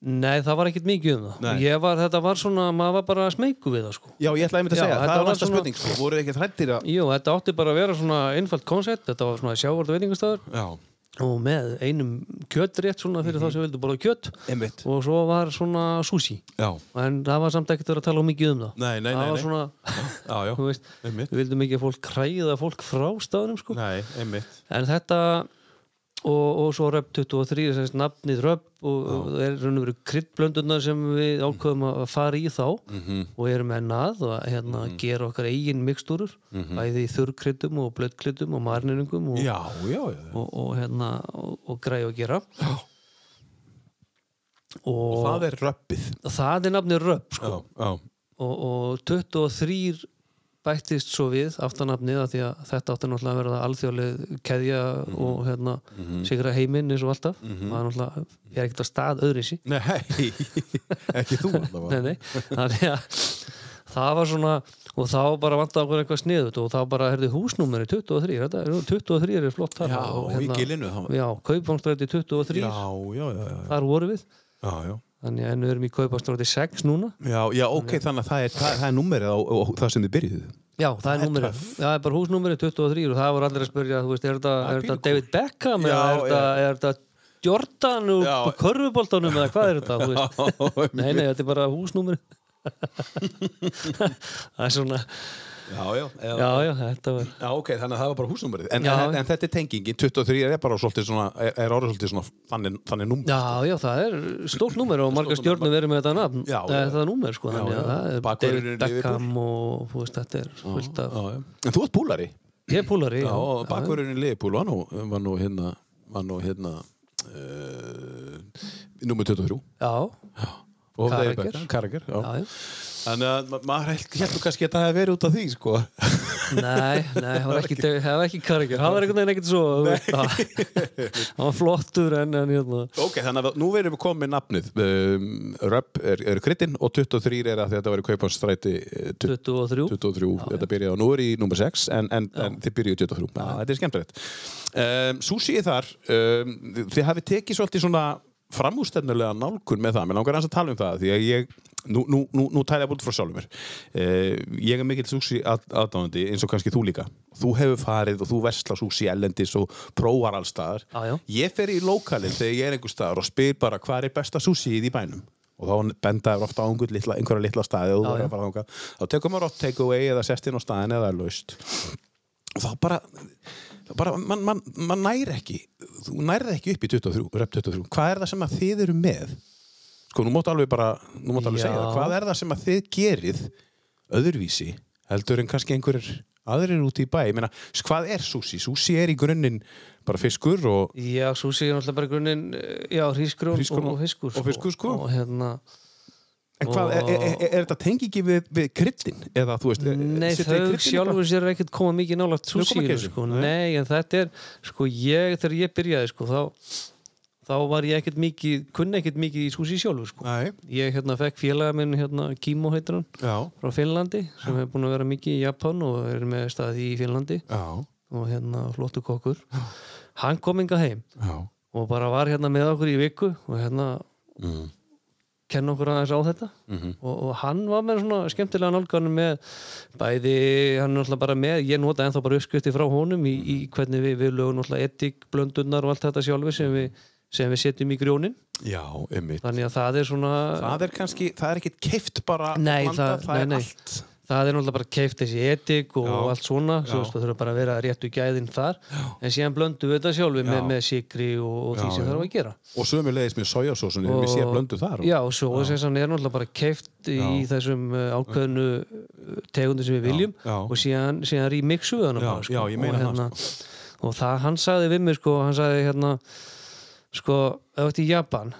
Speaker 4: Nei, það var ekkert mikið um það.
Speaker 2: Nei.
Speaker 4: Ég Var, þetta var svona, maður var bara að smeyku við það sko.
Speaker 2: Já, ég ætlaði einmitt að
Speaker 4: Já,
Speaker 2: segja,
Speaker 4: þetta
Speaker 2: það var
Speaker 4: var
Speaker 2: næsta
Speaker 4: svona-
Speaker 2: spurning sko. voruð þið ekki þrættir að
Speaker 4: Jú, þetta átti bara að vera svona einfalt koncept, þetta var svona sjávarda veitingastafur
Speaker 2: Já,
Speaker 4: og með einum kjötrétt svona fyrir
Speaker 2: Mhm.
Speaker 4: þá sem vildu bara kjött
Speaker 2: einmitt
Speaker 4: og svo var svona sushi.
Speaker 2: Já,
Speaker 4: En það var samt ekkert verið að tala of mikið um það.
Speaker 2: Nei, nei, nei,
Speaker 4: Það
Speaker 2: nei.
Speaker 4: var svona,
Speaker 2: já, já,
Speaker 4: þú veist,
Speaker 2: einmitt
Speaker 4: við vildum ekki að fólk kræða fólk frá staðunum sko.
Speaker 2: Nei, einmitt
Speaker 4: En þetta og, og svo Röp 23, þess að nafnið Röp og og það er raun og veru kryddblöndunar sem við ákveðum að fara í þá og erum enn að og hérna, gera okkar eigin mikstúrur bæði í þurrkryddum og blöddkryddum og marniringum og,
Speaker 2: Já, já, já
Speaker 4: og, og, hérna, og, og græði að gera Já. og, það,
Speaker 2: Það er röppið
Speaker 4: er... nafnið Röp sko.
Speaker 2: já,
Speaker 4: og, og 23 bættist svo við aftanafnið af því að þetta átti náttúrulega að verða alþjóðleg keðja
Speaker 2: Mhm.
Speaker 4: og hérna sigra heiminn eins og alltaf maður náttúrulega er ekkert að stað öðri sí
Speaker 2: Nei, ekki þú alltaf
Speaker 4: nei, nei, þannig að það var svona og þá bara vantaði okkur eitthvað sniðut og þá bara herði húsnúmeri 23 þetta, er- 23 er flott þar
Speaker 2: Já,
Speaker 4: og, hérna-
Speaker 2: í Gilinu, þá-
Speaker 4: já, Kaupangstræti 23
Speaker 2: já, já, já,
Speaker 4: þar vorum við
Speaker 2: já, já.
Speaker 4: þannig að en við erum í Kaupangstræti 6 núna
Speaker 2: Já, já, ok, þannig að það er, það, það er númerið á, á, á það sem þið byrjuðu.
Speaker 4: já, það er númeri, það er bara húsnúmeri 23 og það voru allir að spyrja, þú veist, er þetta er þetta David Beckham
Speaker 2: Já,
Speaker 4: eða er þetta, er þetta Jordan úr
Speaker 2: Já.
Speaker 4: körfuboltanum eða hvað er þetta, þú veist
Speaker 2: Já,
Speaker 4: Nei, nei, þetta er bara húsnúmeri Það er svona
Speaker 2: já, já,
Speaker 4: Já, já, þetta var
Speaker 2: Já, ok, þannig að það var bara húsnúmerið. En,
Speaker 4: Já.
Speaker 2: en, en þetta er tengingin, 23 er bara svolítið svona, er, er orðið svolítið svona þannig, þannig núm.
Speaker 4: Já, já, það er stórt númer og margar stjórnum verið með þetta nafn
Speaker 2: Já,
Speaker 4: Eh,
Speaker 2: já.
Speaker 4: Það númer, sko,
Speaker 2: Já,
Speaker 4: þannig
Speaker 2: já.
Speaker 4: að það er
Speaker 2: Bakvörðurinn í
Speaker 4: David
Speaker 2: Liverpool.
Speaker 4: Beckham og þú veist, þetta er fullt af
Speaker 2: En þú ert búlari.
Speaker 4: Ég er púlari
Speaker 2: Já, og bakverðurinn í Leifbúl var nú, var nú hérna, var nú hérna, uh, nummer 23.
Speaker 4: Já,
Speaker 2: Og það er
Speaker 4: Carragher.
Speaker 2: Beckham, Carragher, já.
Speaker 4: já, já
Speaker 2: Þannig að ma- maður held- heldur kannski að það hefði verið út af því, sko.
Speaker 4: Nei, nei, það var ekki, það var ekki karikir Það var einhvern veginn ekkert svo þú veist, Það það var flottur en, en hérna
Speaker 2: Ok, þannig að nú verðum við komið með nafnið. Um, Röpp er, er kryddin og 23 er að þetta verið kaupastræti 23.
Speaker 4: 23
Speaker 2: 23, þetta byrjaði á, nú er í nummer 6 en, en, en þið byrjuðu í 23, ja, þetta er skemmtilegt um, Susi er þar um, þið hafið tekið svolítið svona framústefnulega nálgun með það mér langar aðeins að tala um það því að ég, nú, nú, nú, nú tæla ég búin frá sjálfur mér uh, ég er mikill Susi aðdáðandi eins og kannski þú líka þú hefur farið og þú versla Susi ellendis og prófar allstaðar
Speaker 4: Já, já.
Speaker 2: ég fer í lokalinn þegar ég er einhver staðar og spyr bara hvað er besta súsíð í bænum og þá benda er ofta á einhver litla, einhverja litla staði og þú verður að fara þangað þá tekur maður oft take away eða sest inn á staðin eða er laust og þá bara, þá bara mann man, man nær ekki þú nærði ekki upp í 23, rep 23 hvað er það sem að þið eru með sko nú mátt alveg bara nú mátt alveg
Speaker 4: Já.
Speaker 2: segja það, hvað er það sem að þið gerið öðruvísi heldur en kannski einhverjir aðrir úti í bæ ég meina, hvað er súsi? Súsi er í grunninn bara fiskur og
Speaker 4: Já, súsi er náttúrulega bara í grunninn eh, Já, hrísgrón
Speaker 2: Hrísgrón og-
Speaker 4: og, og fiskur
Speaker 2: og fiskur, sko.
Speaker 4: Og hérna
Speaker 2: En hvað, er, er, er, er þetta tengi ekki við, við kryddin? Eða þú veist,
Speaker 4: Nei, þau sjálfur sér ekkert koma mikið nálægt
Speaker 2: koma
Speaker 4: sushi
Speaker 2: ekki þessu,
Speaker 4: sko. Nei, en þetta er sko ég, þegar ég byrjaði sko, þá, þá var ég ekkert mikið kunni ekkert mikið í sushi sjálfur sko.
Speaker 2: Nei,
Speaker 4: Ég hérna fekk félaga minn hérna Kimo heitir hann
Speaker 2: já,
Speaker 4: frá Finnlandi sem hefur búin að vera mikið í Japan og er með staði í Finnlandi
Speaker 2: já,
Speaker 4: og hérna flottu kokkur hann kom inga heim
Speaker 2: já,
Speaker 4: og bara var hérna með okkur í viku og hérna
Speaker 2: mm.
Speaker 4: kenna okkur aðeins á þetta
Speaker 2: Mhm.
Speaker 4: og, og hann var með svona skemmtilega nálganum með bæði, hann er náttúrulega bara með ég nota ennþá bara uppskrifti frá honum í, í hvernig við, við lögum náttúrulega etik, blöndunar og allt þetta sjálfi sem við, sem við setjum í grjónin
Speaker 2: já, einmitt.
Speaker 4: þannig að það er svona
Speaker 2: Það er kannski, það er ekkit keift bara
Speaker 4: Nei,
Speaker 2: blandað,
Speaker 4: það-
Speaker 2: það
Speaker 4: nei,
Speaker 2: er
Speaker 4: nei.
Speaker 2: allt.
Speaker 4: það er náttúrulega bara keift þessi etik og
Speaker 2: Já.
Speaker 4: allt svona svo
Speaker 2: Já.
Speaker 4: veist, það þurfa bara að vera réttu gæðin þar en síðan blöndum við þetta sjálfi með,
Speaker 2: Já.
Speaker 4: með sikri og, og því
Speaker 2: Já,
Speaker 4: sem
Speaker 2: já.
Speaker 4: þarf að gera
Speaker 2: Og sömulegis með sojasósunni, við séum blöndu þar. og-
Speaker 4: Já, og sjóðsessan er náttúrulega bara keift í þessum uh, ákveðnu uh, tegundu sem við viljum
Speaker 2: já.
Speaker 4: og síðan, síðan rýmixu við hana
Speaker 2: Já,
Speaker 4: bara, sko,
Speaker 2: já, ég meina
Speaker 4: og,
Speaker 2: það, sko.
Speaker 4: og það, hann sagði við mig sko, hann sagði hérna sko, ef þetta í Japan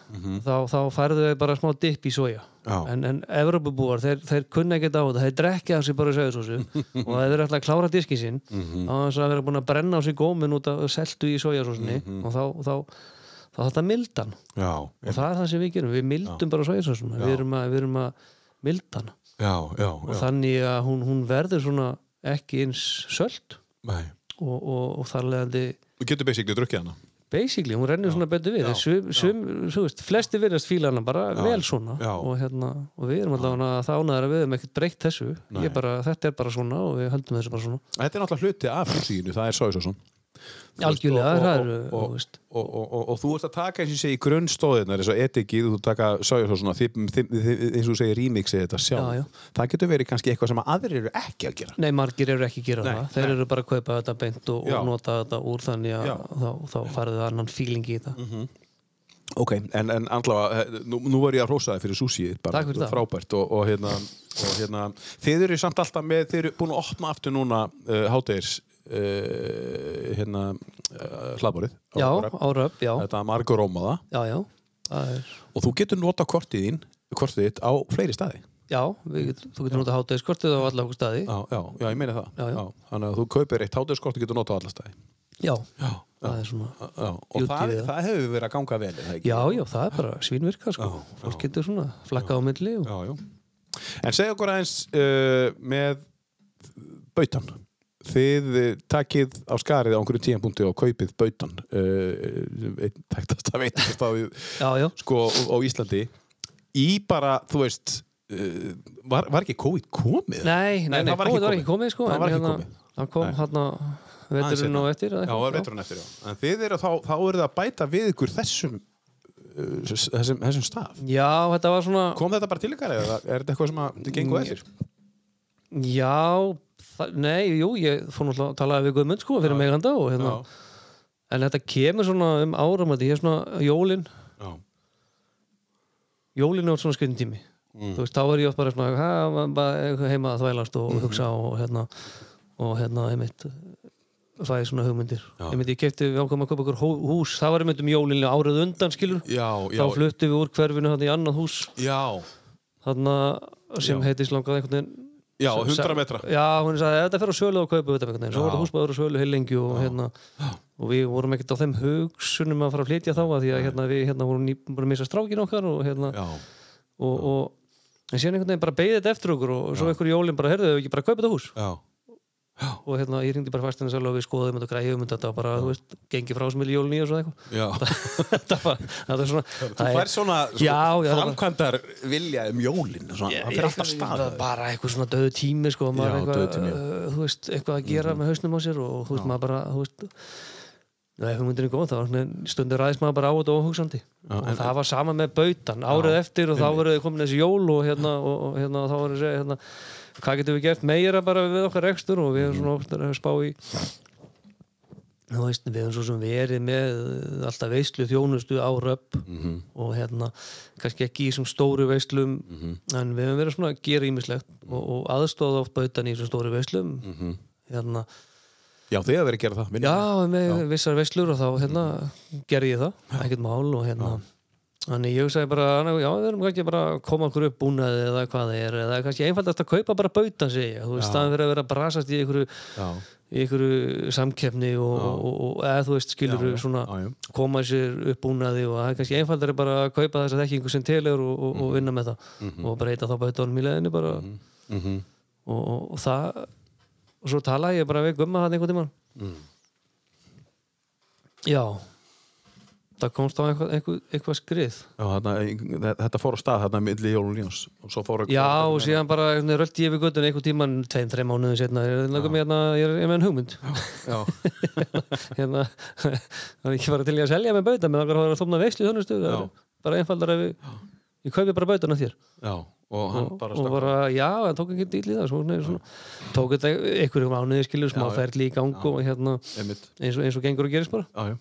Speaker 4: þá, þá færðu þau bara smá dipp í soja
Speaker 2: Mhm. Já.
Speaker 4: en, en Evropubúar, þeir, þeir kunna ekkert á þetta þeir drekja á sig bara sögðsósu og ef þeir eru alltaf að klára diskinn sinn
Speaker 2: Mhm.
Speaker 4: þá er það að vera búin að brenna á sig gómin út af seltu í sojasósunni
Speaker 2: Mhm.
Speaker 4: og þá, þá, þá, þá þetta mildan
Speaker 2: Já,
Speaker 4: og það er það sem við gerum, við mildum bara sojasósuna, við erum að, við erum að milda hana
Speaker 2: já, já,
Speaker 4: og
Speaker 2: já,
Speaker 4: þannig að hún, hún verður svona ekki eins sölt
Speaker 2: nei.
Speaker 4: og, og, og þar leðandi
Speaker 2: Þú getur basically drukkið hana.
Speaker 4: basically, hún rennur svona betur við já, sum, sum, svo veist, flesti virðast fíla hana bara vel svona
Speaker 2: Já.
Speaker 4: og, hérna, og við erum allavega að þánaðar að við erum ekkert breytt þessu Ég bara, þetta er bara svona og við höldum þessu bara svona
Speaker 2: Þetta er náttúrulega hluti af súsíinu, það er sojasósun.
Speaker 4: algjörlega,
Speaker 2: og- og-
Speaker 4: það eru,
Speaker 2: og-
Speaker 4: þú veist
Speaker 2: og, og, og, og þú ert að taka eins og ég segi grunnstóðirnar eins og etikið, þú taka sojasósuna þið- þið- þið- eins og þú segir remixið þetta sjálf
Speaker 4: Já, já.
Speaker 2: það getur verið kannski eitthvað sem að aðrir eru ekki að gera
Speaker 4: Nei, margir eru ekki að gera
Speaker 2: Nei,
Speaker 4: það. Þeir eru bara að kaupa þetta beint og,
Speaker 2: Já.
Speaker 4: og nota þetta úr þannig að
Speaker 2: Já. Mm.
Speaker 4: þá, þá farið það annan fíling í þetta.
Speaker 2: ok, en, en andlafa, nú, nú var ég að hrósa þið fyrir súsíð bara,
Speaker 4: Takk fyrir það.
Speaker 2: frábært og, og, hérna, og hérna þið eru samt alltaf með, þið eru búin að opna aftur núna uh, hátægis uh, hérna uh, hlaðborið á
Speaker 4: Já,
Speaker 2: Röfn.
Speaker 4: á röp, já,
Speaker 2: þetta margur ómaða
Speaker 4: já, já, það er,
Speaker 2: og þú getur nota kortið þín kortið þitt á fleiri staði
Speaker 4: já, við, get- þú getur notað hátegiskortið á alla okkur staði,
Speaker 2: Já, já, já, ég meina það
Speaker 4: Já, já.
Speaker 2: Þannig að þú kaupir eitt hátuðskort og getur notað á alla staði
Speaker 4: já, það er svona,
Speaker 2: já, Og
Speaker 4: Beauty
Speaker 2: það,
Speaker 4: við það.
Speaker 2: það hefur verið að ganga vel er það ekki?
Speaker 4: já, já, það er bara svínvirka, sko, fólk getur svona flakkað á milli og
Speaker 2: já, já En segja okkur aðeins uh, með bautan. Þið eh, takið á skarið á einhverju tíðanpunkti og kaupið bautan. Uh, Tæktast að veit
Speaker 4: Já, já.
Speaker 2: sko á Íslandi í bara, þú veist uh, var, var ekki COVID komið?
Speaker 4: Nei, nei, nei,
Speaker 2: það var ekki
Speaker 4: COVID var
Speaker 2: komið.
Speaker 4: ekki komið sko,
Speaker 2: Það
Speaker 4: en
Speaker 2: var ekki
Speaker 4: hérna-
Speaker 2: komið.
Speaker 4: Hann kom
Speaker 2: Nei.
Speaker 4: hann að
Speaker 2: Aðeins
Speaker 4: veturinn
Speaker 2: seinna.
Speaker 4: og eftir eða
Speaker 2: Já,
Speaker 4: eitthvað.
Speaker 2: var veturinn eftir, já. En þið eru þá, þá eru það að bæta við ykkur þessum uh, þessum, þessum stað.
Speaker 4: Já, þetta var svona
Speaker 2: Kom þetta bara til ykkar eða er þetta eitthvað sem að þið
Speaker 4: Mm,
Speaker 2: gengur eftir?
Speaker 4: Já, það- nei, jú, ég fór náttúrulega að tala við Guðmund sko fyrir meganda og hérna En þetta kemur svona um áramæti, ég er svona jólin
Speaker 2: Já.
Speaker 4: Jólin er oft svona skrifin tími
Speaker 2: Mm.
Speaker 4: Þú veist, þá er ég oft bara svona ha, ma- bara eitthvað heima að þvælast og
Speaker 2: Mhm.
Speaker 4: hugsa og hérna og hérna, einmitt fæði svona hugmyndir einmitt, ég kefti, við ákvæmum að kaupa okkur hó- hús það var einmitt um jólinu árið undan skilur
Speaker 2: Já, já,
Speaker 4: þá fluttum við úr hverfinu hann í annað hús
Speaker 2: já,
Speaker 4: þarna sem heitist langað einhvern veginn
Speaker 2: já, 100 metra.
Speaker 4: Já, hún sagði, þetta fyrir á sölu og kaupa þetta einhvern veginn, svo var þetta húsbæður og sölu heilengi og hérna, og við vorum ekkert á þeim hugsunum að fara að flytja þá að því að hérna, við hérna vorum nýbúin að missa strákin okkar og hérna,
Speaker 2: Já,
Speaker 4: og, og, en síðan einhvern veginn bara beigði þetta eftir okkur og svo einhver í jólinn bara, heyrðu, hefur ekki bara að kaupa þetta hús
Speaker 2: já,
Speaker 4: og hérna, ég ringdi bara fastinu sælu og við skoðum þetta og græjum um þetta og bara, þú veist, gengi frá sem í jólinn í og svo eitthvað
Speaker 2: já.
Speaker 4: Þetta var- þetta er svona
Speaker 2: Þú
Speaker 4: það er-
Speaker 2: fær svona,
Speaker 4: Já, já,
Speaker 2: svona
Speaker 4: það var-
Speaker 2: framkvæmdar vilja um jólin. Svona, það fyrir alltaf stað.
Speaker 4: Bara- bara eitthvað svona döðu tími sko, maður
Speaker 2: Já,
Speaker 4: eitthvað,
Speaker 2: dauður tími, já. Mm-hmm.
Speaker 4: uh, þú veist, eitthvað að gera með hausnum á sér og þú veist, maður bara þú veist, ef hugmyndin er góð þá var svona stundur aðeins maður bara á þetta óhugsandi og það var sama með bautan árið eftir og þá voru þau komin þessi jól og hérna, og, og, hérna og þá voru þessi hérna, hvað getum við gert meira bara við okkar rekstur og við erum svona oftar að spá í þú veist, við höfum svo sem verið með eh, alltaf veislu þjónustu ára upp og hérna, kannski ekki í þessum stóru veislum en við höfum verið svona að gera ímislegt og, og aðstóða oft bautan í þessum stóru veislum hérna,
Speaker 2: Já, þið hefur verið að gera það. minni.
Speaker 4: já, með vissar veislur og þá hérna, gerði ég það, ekkert mál og hérna, þannig ég sagði bara annað- já, við erum kannski bara að koma okkur upp búnaði eða hvað það er, eða kannski einfaldast að kaupa bara bautan, segi ég, þú veist, staðan fyrir að vera að brasast í einhverju
Speaker 2: já.
Speaker 4: í einhverju samkeppni og, og, og, og eða þú veist skilur
Speaker 2: Já, já,
Speaker 4: svona
Speaker 2: já, já.
Speaker 4: koma sér uppbúnaði og það er kannski einfaldari bara að kaupa þessa þekkingu sem til er og, og,
Speaker 2: Mhm.
Speaker 4: og vinna með það og breyta þá bara í leðinu bara
Speaker 2: Mhm.
Speaker 4: og, og, og það og svo talaði ég bara við gumma hann einhvern tímann
Speaker 2: Mhm.
Speaker 4: já það komst á eitthvað, eitthvað, eitthvað skrið
Speaker 2: Já, þarna, þetta fór á stað þarna milli Jólun Jóns og svo fór
Speaker 4: Já, og síðan bara einhvern veginn röldi ég við göttun einhvern tíman, tveim, þreim mánuðum setna ég, hérna, hérna, ég er ég er með en hugmynd
Speaker 2: já.
Speaker 4: hérna, það er ekki bara til ég að selja með bauta með langar að þóna veislu þjónustu það er bara einfaldar að við ég kaupi bara bautana þér
Speaker 2: já, og hann
Speaker 4: og
Speaker 2: bara
Speaker 4: og
Speaker 2: stakk
Speaker 4: bara, já, það tók ekki dýl í það svona, svona, tók þetta einhverjum ániði skilur smá
Speaker 2: Já, já.
Speaker 4: ferli í gang og hérna
Speaker 2: einmitt
Speaker 4: eins og, eins og gengur og gerist bara
Speaker 2: já,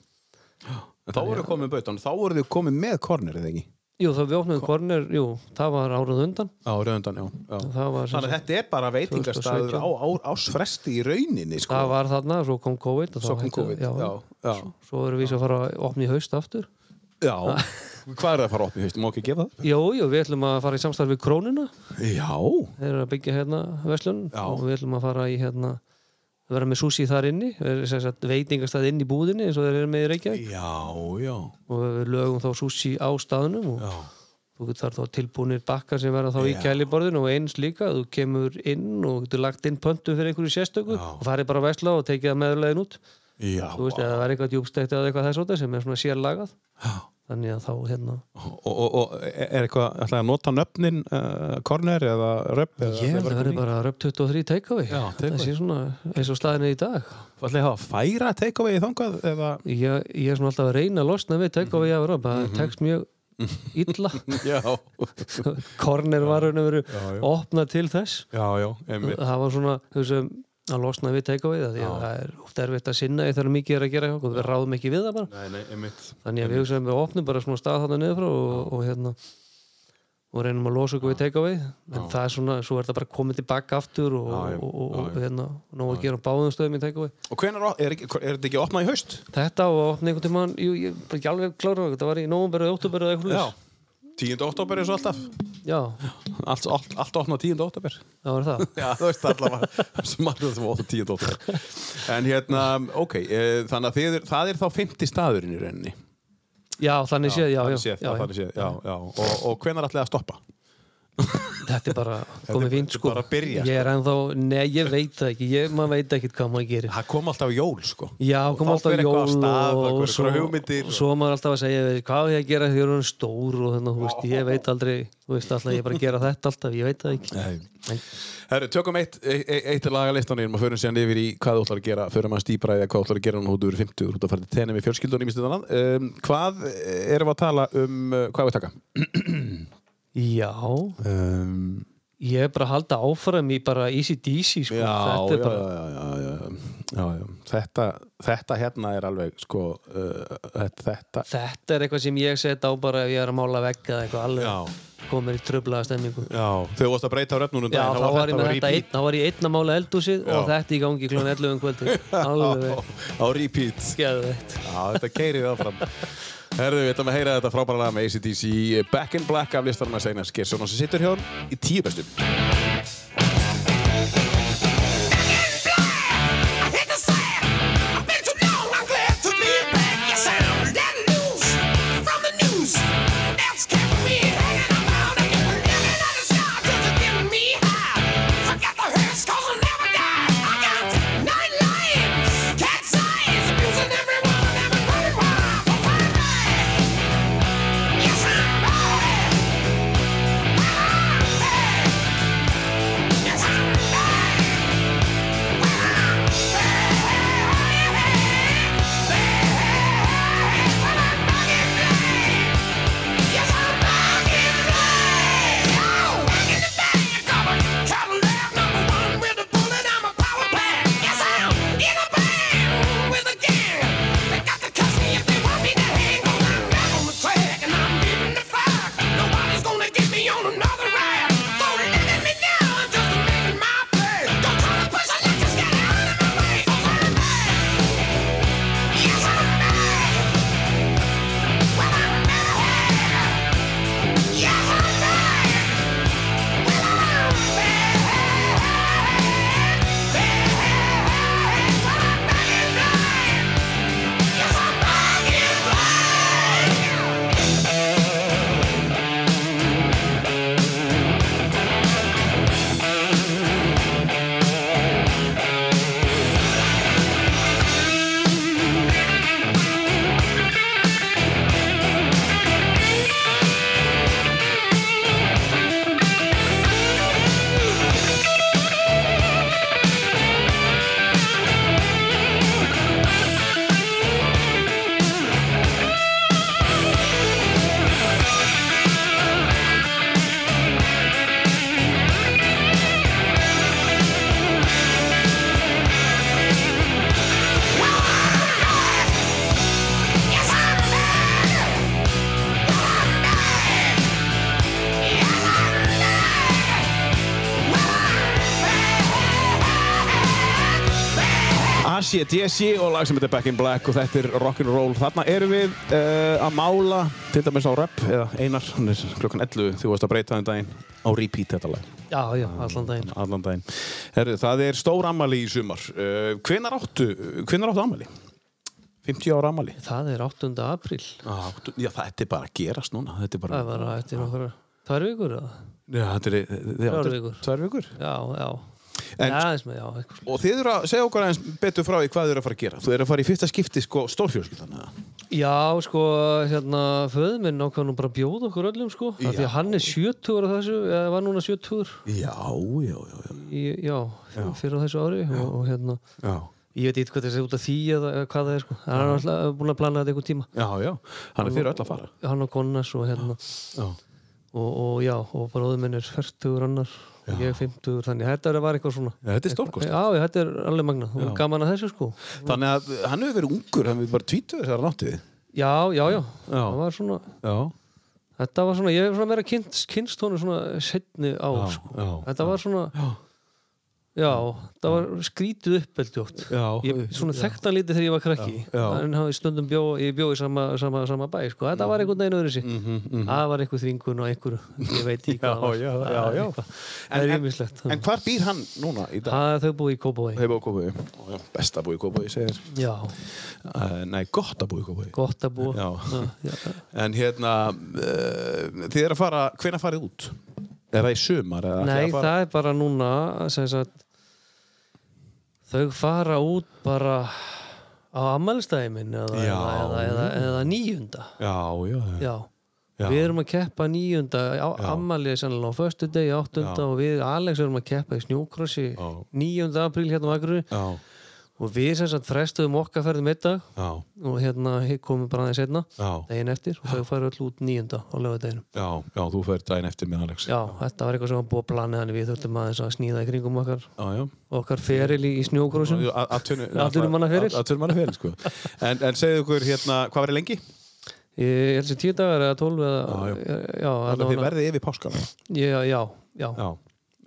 Speaker 2: já. En þá voru þið komið bautan, þá voru þið komið með kornir eða ekki?
Speaker 4: jú, þá við opnum kornir, jú, það var árað undan
Speaker 2: Já, rauðundan, já, já.
Speaker 4: það var,
Speaker 2: Þannig að þetta er bara veitingastaður á,
Speaker 4: 2017.
Speaker 2: á ásfresti í rauninni sko.
Speaker 4: það var þarna, svo kom COVID og þá
Speaker 2: Svo kom
Speaker 4: hætti-
Speaker 2: COVID,
Speaker 4: já,
Speaker 2: já, já.
Speaker 4: svo erum við svo að fara að opna í haust aftur
Speaker 2: já. Hvað er það að fara upp í haustum, má ekki gefa það?
Speaker 4: jú, jú, við ætlum að fara í samstarf við krónuna
Speaker 2: Já,
Speaker 4: þeir eru að byggja hérna verslun
Speaker 2: Já.
Speaker 4: og við ætlum að fara í hérna vera með sushi þar inni er, sagt, veitingastað inn í búðinni eins og þeir eru með í Reykjavík
Speaker 2: já, já
Speaker 4: og við lögum þá sushi á staðnum og þú getur þar þá tilbúinir bakkar sem verða þá í
Speaker 2: Já.
Speaker 4: kæliborðinu og eins líka þú kemur inn og getur lagt inn pöntum fyrir einhverju sérstöku
Speaker 2: Já.
Speaker 4: og farið bara að vesla og tekið það meðurlegin út
Speaker 2: Já,
Speaker 4: þú veist, eða það er eitthvað djúbstækt eða eitthvað þess óta sem er svona sérlagað þannig að þá hérna
Speaker 2: og, og, og er eitthvað, ætlaði að nota nöfnin uh, kornir eða röpp? eða-
Speaker 4: ég held að verði bara röp 23 takeaway
Speaker 2: Já,
Speaker 4: það
Speaker 2: takeaway.
Speaker 4: sé svona eins og staðinni í dag
Speaker 2: Ætlaði það að færa takeaway þangað eða
Speaker 4: ég, ég er svona alltaf að reyna að losna við
Speaker 2: Mhm.
Speaker 4: take away af Europa, það tekst mjög illa,
Speaker 2: Já,
Speaker 4: kornir var raun og veru opnað til þess
Speaker 2: já, já, einmitt
Speaker 4: það var svona, þú veist, að losna við take away það, því að það er oft erfitt að sinna þegar mikið er að gera og við ráðum ekki við það bara
Speaker 2: Nei, nei, einmitt
Speaker 4: þannig að við hugsaðum við opnum bara svona stað þarna niður frá og, og hérna og reynum að losa okkur við take away en það er svona, svo er það bara komið tilbaka aftur og,
Speaker 2: Já, já.
Speaker 4: og, og, og
Speaker 2: Já, já.
Speaker 4: hérna, nóg að gera á báðum stöðum í take away
Speaker 2: Og hvenær, op- er, ekki- er þetta ekki opnað í haust?
Speaker 4: þetta og opna einhvern tímann, jú, ég er bara ekki alveg klára þetta var í nóvumberðu, óttúberðu eða eitthvað svoleiðis.
Speaker 2: 10. oktober eins og alltaf
Speaker 4: Já,
Speaker 2: Allt, allt, allt opnað 10. oktober
Speaker 4: það var það.
Speaker 2: Já, þú veist allavega sem margur sem opnað 10. oktober En hérna, ok, e, þannig að þið, er- það er þá 50 staðurinn í rauninni
Speaker 4: Já, þannig séð, já, já.
Speaker 2: Þannig séð,
Speaker 4: já,
Speaker 2: þannig séð, já, já Og, og hvenær ætlaði að stoppa?
Speaker 4: þetta er bara komið fínt sko
Speaker 2: bara að byrja,
Speaker 4: ég er ennþá, nei ég veit það ekki ég, maður veit ekkert hvað maður gerir
Speaker 2: Það kom alltaf jól, sko.
Speaker 4: já, kom
Speaker 2: þá
Speaker 4: alltaf
Speaker 2: fer
Speaker 4: jól
Speaker 2: eitthvað af stað,
Speaker 4: og,
Speaker 2: það
Speaker 4: og
Speaker 2: eru
Speaker 4: svo,
Speaker 2: einhverjar hugmyndir og-
Speaker 4: svo maður alltaf að segja við, hvað er ég að gera þegar hún er stór og þannig, þú veist, ég veit aldrei þú veist, alltaf ég er bara að gera þetta alltaf, ég veit það ekki Nei.
Speaker 2: Herru, tökum eitt, eitt, eitt lagalistanum og förum síðan yfir í hvað þú ætlar að gera förum að stýpra eða hvað þú ætlar að gera núna þú eru 50 þú ert að fara til tenni með fjölskyldunum í stundan um, Hvað erum við að tala um uh, hvað er við að taka?
Speaker 4: já,
Speaker 2: Um,
Speaker 4: ég er bara að halda áfram í bara easy DC sko.
Speaker 2: já, já,
Speaker 4: þetta er bara,
Speaker 2: já, já, já, já, já, já. Þetta, þetta hérna er alveg sko, uh, þetta, þetta
Speaker 4: þetta er eitthvað sem ég set á bara ef ég er að mála vegg eða eitthvað alveg
Speaker 2: Já.
Speaker 4: komið í tröflaða stemmingu
Speaker 2: Já, þau varst að breyta á refnunum
Speaker 4: Já, þá var ég með þetta
Speaker 2: repeat.
Speaker 4: einn, þá var ég einn að mála eldúsið og þetta í gangi kl. 11 um kvöldi alveg
Speaker 2: Á- á repeat
Speaker 4: geðveitt
Speaker 2: Já, þetta keirið áfram. Herðu, við ætlum að heyra þetta frábæra lag með ACDC Back in Black af listanum að segna Skersson og sem sittur hjá hann í tíu bestum.
Speaker 5: Another ride, for letting me down, just making my play. Don't try to push, I let you get out of my way. Yes, I'm back.
Speaker 2: ACDC og lag sem heitir Back in Black og þetta er rock'n'roll. Þarna erum við uh, að mála, til dæmis á rep, eða einar, hann er klukkan 11, þú varst að breyta þann daginn á repeat þetta lag,
Speaker 4: Já, já, allan daginn
Speaker 2: allan daginn. Herðu, það er stór ammali í sumar. Uh, hvenar áttu, hvenar áttu ammali? 50 ára ammali?
Speaker 4: Það er 8. apríl
Speaker 2: Áttu, já, þetta er bara að gerast núna, þetta er bara...
Speaker 4: Það var að eftir nokkra tvær vikur eða?
Speaker 2: Já, þetta er, já,
Speaker 4: Þrjár
Speaker 2: þetta er
Speaker 4: vikur.
Speaker 2: tvær vikur.
Speaker 4: Já, já
Speaker 2: En- sko,
Speaker 4: En, já, eins með, já, eitthvað.
Speaker 2: Og þið eru að segja okkur aðeins betur frá því hvað þið eru að fara að gera. Þú eru að fara í fyrsta skipti sko stórfjölskyldan. eða?
Speaker 4: já, sko, hérna, föðu minn ákvað nú bara að bjóða okkur öllum, sko af Því að hann er 70 á þessu, eða var núna 70
Speaker 2: Já, já, já, já.
Speaker 4: í, já, fyrir á þessu ári og, og hérna,
Speaker 2: Já,
Speaker 4: ég veit eitthvað þessi út af því eða eða hvað það er, sko Hann er alltaf búin að plana þetta einhvern tíma
Speaker 2: já, já. Þannig þið eru öll að fara.
Speaker 4: hann og Gunnars og hérna
Speaker 2: Já.
Speaker 4: Og, og já, og bróðum minn er 40 annar og ég 50, þannig að þetta var eitthvað svona
Speaker 2: Já, þetta er stórkostlegt.
Speaker 4: Já, já, þetta er alveg magna, og gaman að þessu sko
Speaker 2: Þannig að hann hefur verið ungur, hann hefur bara tvítur þessar náttið.
Speaker 4: Já, já, já, það var svona
Speaker 2: Já.
Speaker 4: þetta var svona, ég hef svona meira kynst, kynst honum svona setni á sko.
Speaker 2: já,
Speaker 4: þetta var svona já. það var skrítið upp veldig oft
Speaker 2: Já,
Speaker 4: ég, svona þekktan lítið þegar ég var krakki já, já. en hafi stundum bjó, ég bjó í sama, sama, sama bæ sko. þetta
Speaker 2: Mm.
Speaker 4: var einhvern veginn öðru sér það var einhver þvingun og einhver ég veit ekki hvað það var
Speaker 2: Mhm, já,
Speaker 4: Það
Speaker 2: já,
Speaker 4: er
Speaker 2: já.
Speaker 4: eitthvað. það er ymislegt
Speaker 2: En hvar býr hann núna í dag?
Speaker 4: það er þau búið í Kópavói
Speaker 2: Hefur á Kópaví. Besta búið í Kópaví, segir.
Speaker 4: já,
Speaker 2: Uh, nei, gott að búið í Kópaví.
Speaker 4: gott að búa
Speaker 2: Já.
Speaker 4: já.
Speaker 2: eh, En hérna, uh, þið eru að fara, hvenær farið út? Er það í sumar? eða ætlið
Speaker 4: Nei,
Speaker 2: að fara?
Speaker 4: það er bara núna sem sagt, þau fara út bara á ammælstæðimin eða,
Speaker 2: Já.
Speaker 4: eða, eða, eða, eða níunda
Speaker 2: Já, já, já.
Speaker 4: já.
Speaker 2: Já.
Speaker 4: Við erum að keppa níunda á ammælið sannlega á föstu degi áttunda og við Alex erum að keppa í snjókrossi
Speaker 2: Já.
Speaker 4: níunda apríl hérna á Akureyri
Speaker 2: Já,
Speaker 4: og við sem sagt frestuðum okkar ferðum einn dag
Speaker 2: já,
Speaker 4: og hérna komum bara aðeins einna
Speaker 2: já,
Speaker 4: daginn eftir og þau færu öll út níunda á lögadeginu
Speaker 2: já, já, þú fyrir daginn eftir með Alex.
Speaker 4: Já, þetta var eitthvað sem var búið að plana þannig við þurftum aðeins að sníða í kringum okkar
Speaker 2: já. já.
Speaker 4: okkar feril í, í snjókrósum Atvinnumannaferil.
Speaker 2: Atvinnumannaferil sko. en, en segðu okkur hérna, hvað verið lengi?
Speaker 4: ég held sem tíu dagar eða tólf eða,
Speaker 2: Já,
Speaker 4: já, já,
Speaker 2: Þannig að þið
Speaker 4: allavega-
Speaker 2: verðið yfir páskana
Speaker 4: já, já, já,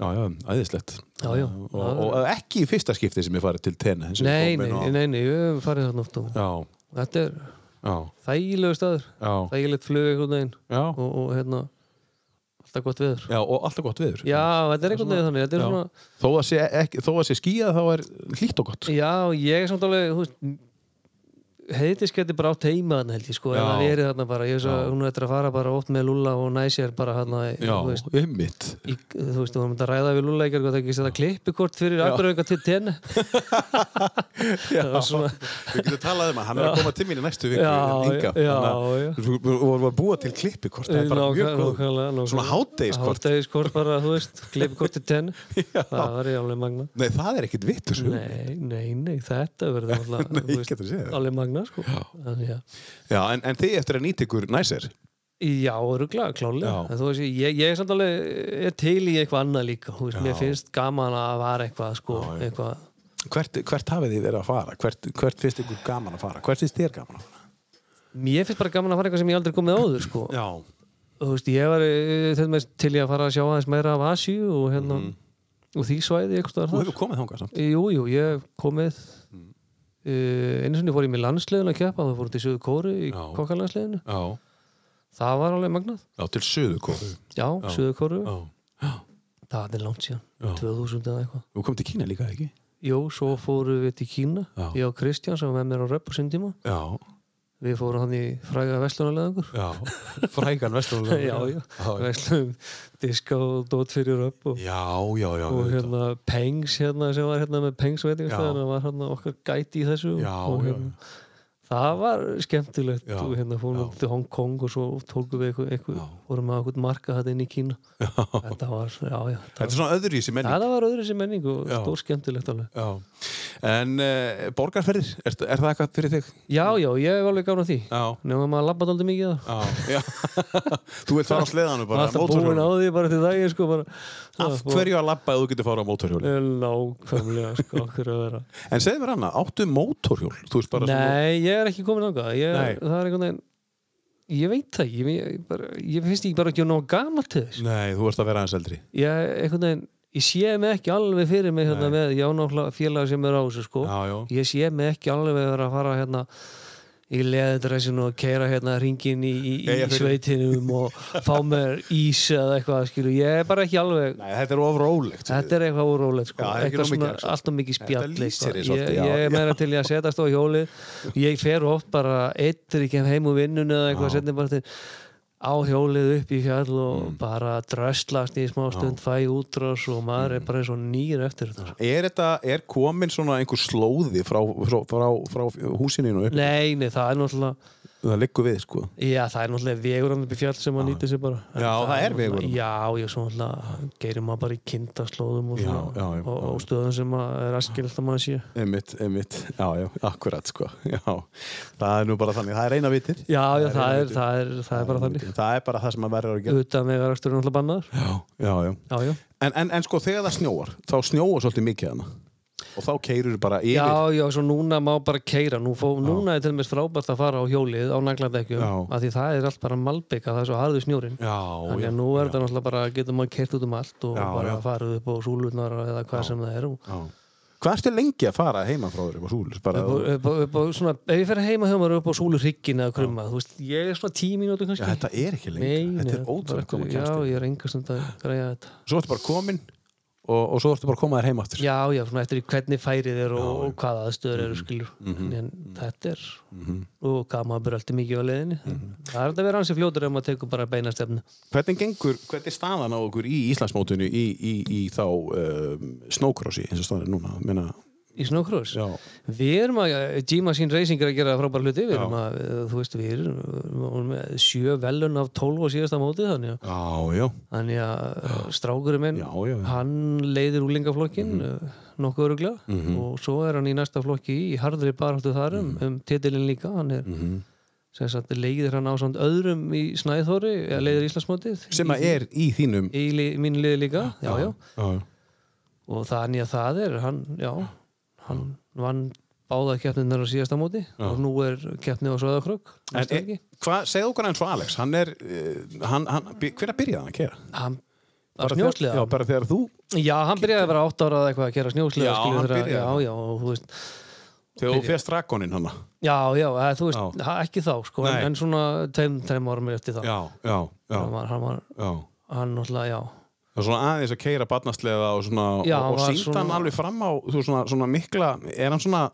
Speaker 2: Já, já, já, æðislegt
Speaker 4: Já, já.
Speaker 2: og, og, og ekki í fyrsta skipti sem ég farið til Tena eins og
Speaker 4: nei,
Speaker 2: ég kom inn
Speaker 4: nei,
Speaker 2: á-
Speaker 4: nei, nei, nei, við höfum farið þarna oft og
Speaker 2: Já,
Speaker 4: þetta er
Speaker 2: já,
Speaker 4: þægilegu staður
Speaker 2: já,
Speaker 4: þægilegt flug einhvern veginn
Speaker 2: já,
Speaker 4: og, og hérna, alltaf gott viður
Speaker 2: já og alltaf gott viður
Speaker 4: Já, þetta er einhvern veginn þannig, þetta er
Speaker 2: Já.
Speaker 4: svona
Speaker 2: Þó að sé, ekki, þó að sé skýjað þá er hlýtt og gott
Speaker 4: Já, ég er samt alveg, þú veist heitisk geti bara átt heima þarna held ég sko,
Speaker 2: Já.
Speaker 4: eða verið þarna bara, ég veist
Speaker 2: Já.
Speaker 4: að hún ættir að fara bara ótt með Lúlla og næsir bara þarna, í-
Speaker 2: Já,
Speaker 4: þú veist
Speaker 2: ummitt
Speaker 4: í, þú veist, þú varum að ræða við Lúla ekkert hvað það ekki setja klippikort fyrir akurauðingar til tenni var svona-
Speaker 2: Við getum talað um að hann er að koma til mín í næstu viku
Speaker 4: Já,
Speaker 2: en Inga,
Speaker 4: já, já.
Speaker 2: þannig að Við við vorum að búa til klippi Það er bara mjög góð Svona hátdegiskort
Speaker 4: hátegiskort bara, þú veist, klippikort til tenni það var ég alveg magna
Speaker 2: Nei, það er ekkit sko. vittur
Speaker 4: Nei, nei, nei, þetta verður alltaf,
Speaker 2: Nei, ég getur séð það.
Speaker 4: alveg magna sko. Þannig að-
Speaker 2: Já, en, en þið eftir að nýta ykkur næsir
Speaker 4: Já, öruglega, klálega
Speaker 2: Já.
Speaker 4: En þú veist, ég, ég er samt alveg er til í eitthvað annað líka þú veist, mér finnst gaman að vara eitthvað sko, eitthvað
Speaker 2: hvert, hvert hafið þið verið að fara? Hvert, hvert finnst ykkur gaman að fara? Hvert finnst þér gaman að fara?
Speaker 4: Mér finnst bara gaman að fara eitthvað sem ég aldrei komið áður sko.
Speaker 2: Já,
Speaker 4: þú veist, ég var eh, til dæmis til í að fara að sjá aðeins meira af Asíu og hérna og því svæði eitthvað staðar
Speaker 2: Mhm. þú
Speaker 4: þar.
Speaker 2: hefur komið Mhm. þangað samt
Speaker 4: Jú, jú, ég hef komið uh, einu sinni fór ég með landsliðun að keppa þá fór ég til Suðu Kóru í
Speaker 2: Já.
Speaker 4: kokkalandsliðinu
Speaker 2: Já,
Speaker 4: það var alveg magnað,
Speaker 2: já til söðu komið
Speaker 4: já, Suðu Kóru
Speaker 2: Já,
Speaker 4: það er langt síðan, 2000 eða eitthvað
Speaker 2: þú komið til Kína líka, ekki?
Speaker 4: Jú, svo fórum við til Kína
Speaker 2: Já.
Speaker 4: ég og Kristján sem var með mér á röpp á sinn tíma
Speaker 2: Já,
Speaker 4: við fórum hann í fræga vestlunarleðingur
Speaker 2: já Frægan vestunlega
Speaker 4: já, já, vestlunum diska og dót fyrir röpp og
Speaker 2: Já, já, já,
Speaker 4: og
Speaker 2: auðvitað.
Speaker 4: hérna Pengs hérna sem var hérna með Pengs veitingastæðina var hérna okkar gæti í þessu
Speaker 2: Já,
Speaker 4: og
Speaker 2: já,
Speaker 4: hérna, það var skemmtilegt
Speaker 2: Já,
Speaker 4: og hérna fórum við til Hong Kong og svo tókum við eitthvað, eitthvað fórum við að eitthvað marka þetta inn í Kína já. þetta var, já, já
Speaker 2: Þetta
Speaker 4: það,
Speaker 2: er svona öðru í þessi menning
Speaker 4: það var öðru sem menning og
Speaker 2: Já.
Speaker 4: stór skemmtilegt alveg
Speaker 2: Já, en uh, borgarferðir, er, er það eitthvað fyrir þig?
Speaker 4: já, já, ég hef alveg gána því
Speaker 2: Já.
Speaker 4: nema maður labba dálítið mikið það
Speaker 2: Já, já Þú vilt fara á sleðanum bara
Speaker 4: alltaf búin á því bara til daginn sko bara
Speaker 2: Af
Speaker 4: Já,
Speaker 2: hverju að labba ef þú getur fara á mótorhjóli?
Speaker 4: og- nákvæmlega sko, okkur að vera
Speaker 2: En segðu mér annað, áttu mótorhjól? Þú veist bara svona-
Speaker 4: Nei, ég er ekki komin ángað ég,
Speaker 2: Nei.
Speaker 4: Það er einhvern veginn Ég veit það ekki, ég, ég, bara, ég finnst ekki bara ekki nóg gamalt til þess
Speaker 2: Nei, þú varst að vera aðeins eldri
Speaker 4: Ég, einhvern veginn, ég sé mig ekki alveg fyrir mig hérna með, ég á náttúrulega félaga sem er á þessu sko
Speaker 2: Já, já.
Speaker 4: Ég sé mig ekki alveg vera að fara hérna í leðadressinu og keira hérna ringin í, í, í
Speaker 2: Eyjafirði.
Speaker 4: sveitinum og fá mér ís eða eitthvað skilu, ég er bara ekki alveg
Speaker 2: Nei, þetta er of rólegt
Speaker 4: Þetta er eitthvað órólegt sko,
Speaker 2: Já, það er ekki
Speaker 4: eitthvað
Speaker 2: nóg
Speaker 4: svona
Speaker 2: mikið, sko.
Speaker 4: alltaf mikið spjall
Speaker 2: lýsir
Speaker 4: eitthvað.
Speaker 2: þér
Speaker 4: ég,
Speaker 2: svolítið, já,
Speaker 4: ég er
Speaker 2: já.
Speaker 4: meira til í að setjast á hjólið ég fer oft bara eittir ekki heim úr vinnunni eða eitthvað setjum bara til á hjólið upp í fjall og
Speaker 2: Mm.
Speaker 4: bara dröslast í smá stund fæ útrás og maður
Speaker 2: Mm.
Speaker 4: er bara eins og nýr eftir þetta sko.
Speaker 2: Er þetta, er komin svona einhver slóði frá, frá, frá, frá húsinu og upp?
Speaker 4: Nei, nei, það er náttúrulega
Speaker 2: Það liggur við, sko
Speaker 4: já, það er náttúrulega vegur hann upp í fjall sem maður nýtir sér bara
Speaker 2: Já,
Speaker 4: En
Speaker 2: það er
Speaker 4: náttúrulega-
Speaker 2: vegur þarna.
Speaker 4: Já, ég svo náttúrulega geirir maður bara í kindaslóðum og,
Speaker 2: Já,
Speaker 4: svona,
Speaker 2: já, já, já.
Speaker 4: og, og stöðum sem að er askilt að maður sé
Speaker 2: Einmitt, einmitt, já, já, akkurat, sko Já, það er nú bara þannig, það er eina vitir
Speaker 4: Já, já, það er, það er, það er bara þannig
Speaker 2: Það er bara það sem að verður að gera
Speaker 4: Utan með verðarstur er náttúrulega bannaður
Speaker 2: Já, já, já
Speaker 4: Já, já,
Speaker 2: En, en, en sko, þegar það snjóar, þá snjóar svolítið mikið hana Og þá keirur bara yfir
Speaker 4: já, já, svo núna má bara keira Nú fó, Núna er til dæmis frábært að fara á hjólið á nagladekkjum,
Speaker 2: Já.
Speaker 4: af því það er allt bara malbika, það er svo harður snjórin Þannig
Speaker 2: já,
Speaker 4: að nú er þetta náttúrulega bara, getur maður keirt út um allt og
Speaker 2: Já,
Speaker 4: bara
Speaker 2: já.
Speaker 4: farið upp á súlunar eða hvað sem það er og
Speaker 2: já. Hvað ertu lengi að fara heima frá þér upp á súl? Bara,
Speaker 4: Upp á, upp á, upp á, svona, ef ég fer heima hjá maður upp á súlu hryggin eða krumma, þú veist, ég er svona tíu mínútur
Speaker 2: já,
Speaker 4: kannski
Speaker 2: þetta er ekki lengi,
Speaker 4: Nei, nei,
Speaker 2: þetta er
Speaker 4: bara
Speaker 2: ótrúlega koma
Speaker 4: eftir-
Speaker 2: kjæmst
Speaker 4: Já, ég er engast að græja þetta
Speaker 2: Svo ertu bara komin og og, og svo ertu bara að koma þér heim aftur Mhm,
Speaker 4: já, já, svona eftir í hvernig færið er og, og hvaða aðstöður eru skilur en þetta er og gama að byrja alltaf mikið á leiðinni
Speaker 2: Mhm.
Speaker 4: það er hægt að vera hansi fljótur ef maður tekur bara beina stefnu
Speaker 2: Hvernig gengur, hvernig er staðan á okkur í Íslandsmótinu í, í, í þá um, snókrossi eins og staðan er núna Meina,
Speaker 4: í snókrós
Speaker 2: Já.
Speaker 4: við erum að, G Machine Racing er að gera frábæra hluti við erum að, þú veist, við erum við vorum með sjö velun af 12 á síðasta móti þannig að,
Speaker 2: Já, já,
Speaker 4: þannig að strákurinn minn,
Speaker 2: Já, já, Mhm. já.
Speaker 4: hann leiðir úlingaflokkin nokkuð öruglega
Speaker 2: Mhm.
Speaker 4: og svo er hann í næsta flokki í harðri baráttu þar um, um titilin líka hann er
Speaker 2: Mhm.
Speaker 4: sem sagt leiðir hann á samt öðrum í Snæðþóri, eða leiðir Íslandsmótið
Speaker 2: Mhm. sem að er í þínum
Speaker 4: í li, mínu liði líka, já, já
Speaker 2: já.
Speaker 4: og þannig að það er hann, já, hann vann báða keppninar á síðasta móti og nú er keppni á Söðakrökk
Speaker 2: En, e, hvað, segðu okkur eins og Alex hann er, uh, hann, hann, hver að byrjaði hann að kera?
Speaker 4: hann
Speaker 2: Bara
Speaker 4: var
Speaker 2: þegar- Já,
Speaker 4: snjóslega
Speaker 2: bara þegar þú,
Speaker 4: já, hann byrjaði að vera átt ára eða eitthvað að gera snjóslega
Speaker 2: Já, hann byrjaði.
Speaker 4: já, já, og þú veist
Speaker 2: þegar þú fyrst rakoninn hann
Speaker 4: já, já, eða, þú veist,
Speaker 2: Já.
Speaker 4: ha, ekki þá sko,
Speaker 2: Nei.
Speaker 4: en, en svona tveim, tveim árum eftir þá
Speaker 2: Já, já, já,
Speaker 4: hann var, hann var,
Speaker 2: já.
Speaker 4: hann náttúrulega, já
Speaker 2: Það er svona aðeins að keira barnastlega og, svona,
Speaker 4: Já,
Speaker 2: og, og
Speaker 4: hann var
Speaker 2: sínda hann
Speaker 4: svona-
Speaker 2: alveg fram á þú, veist, svona, svona mikla, er hann svona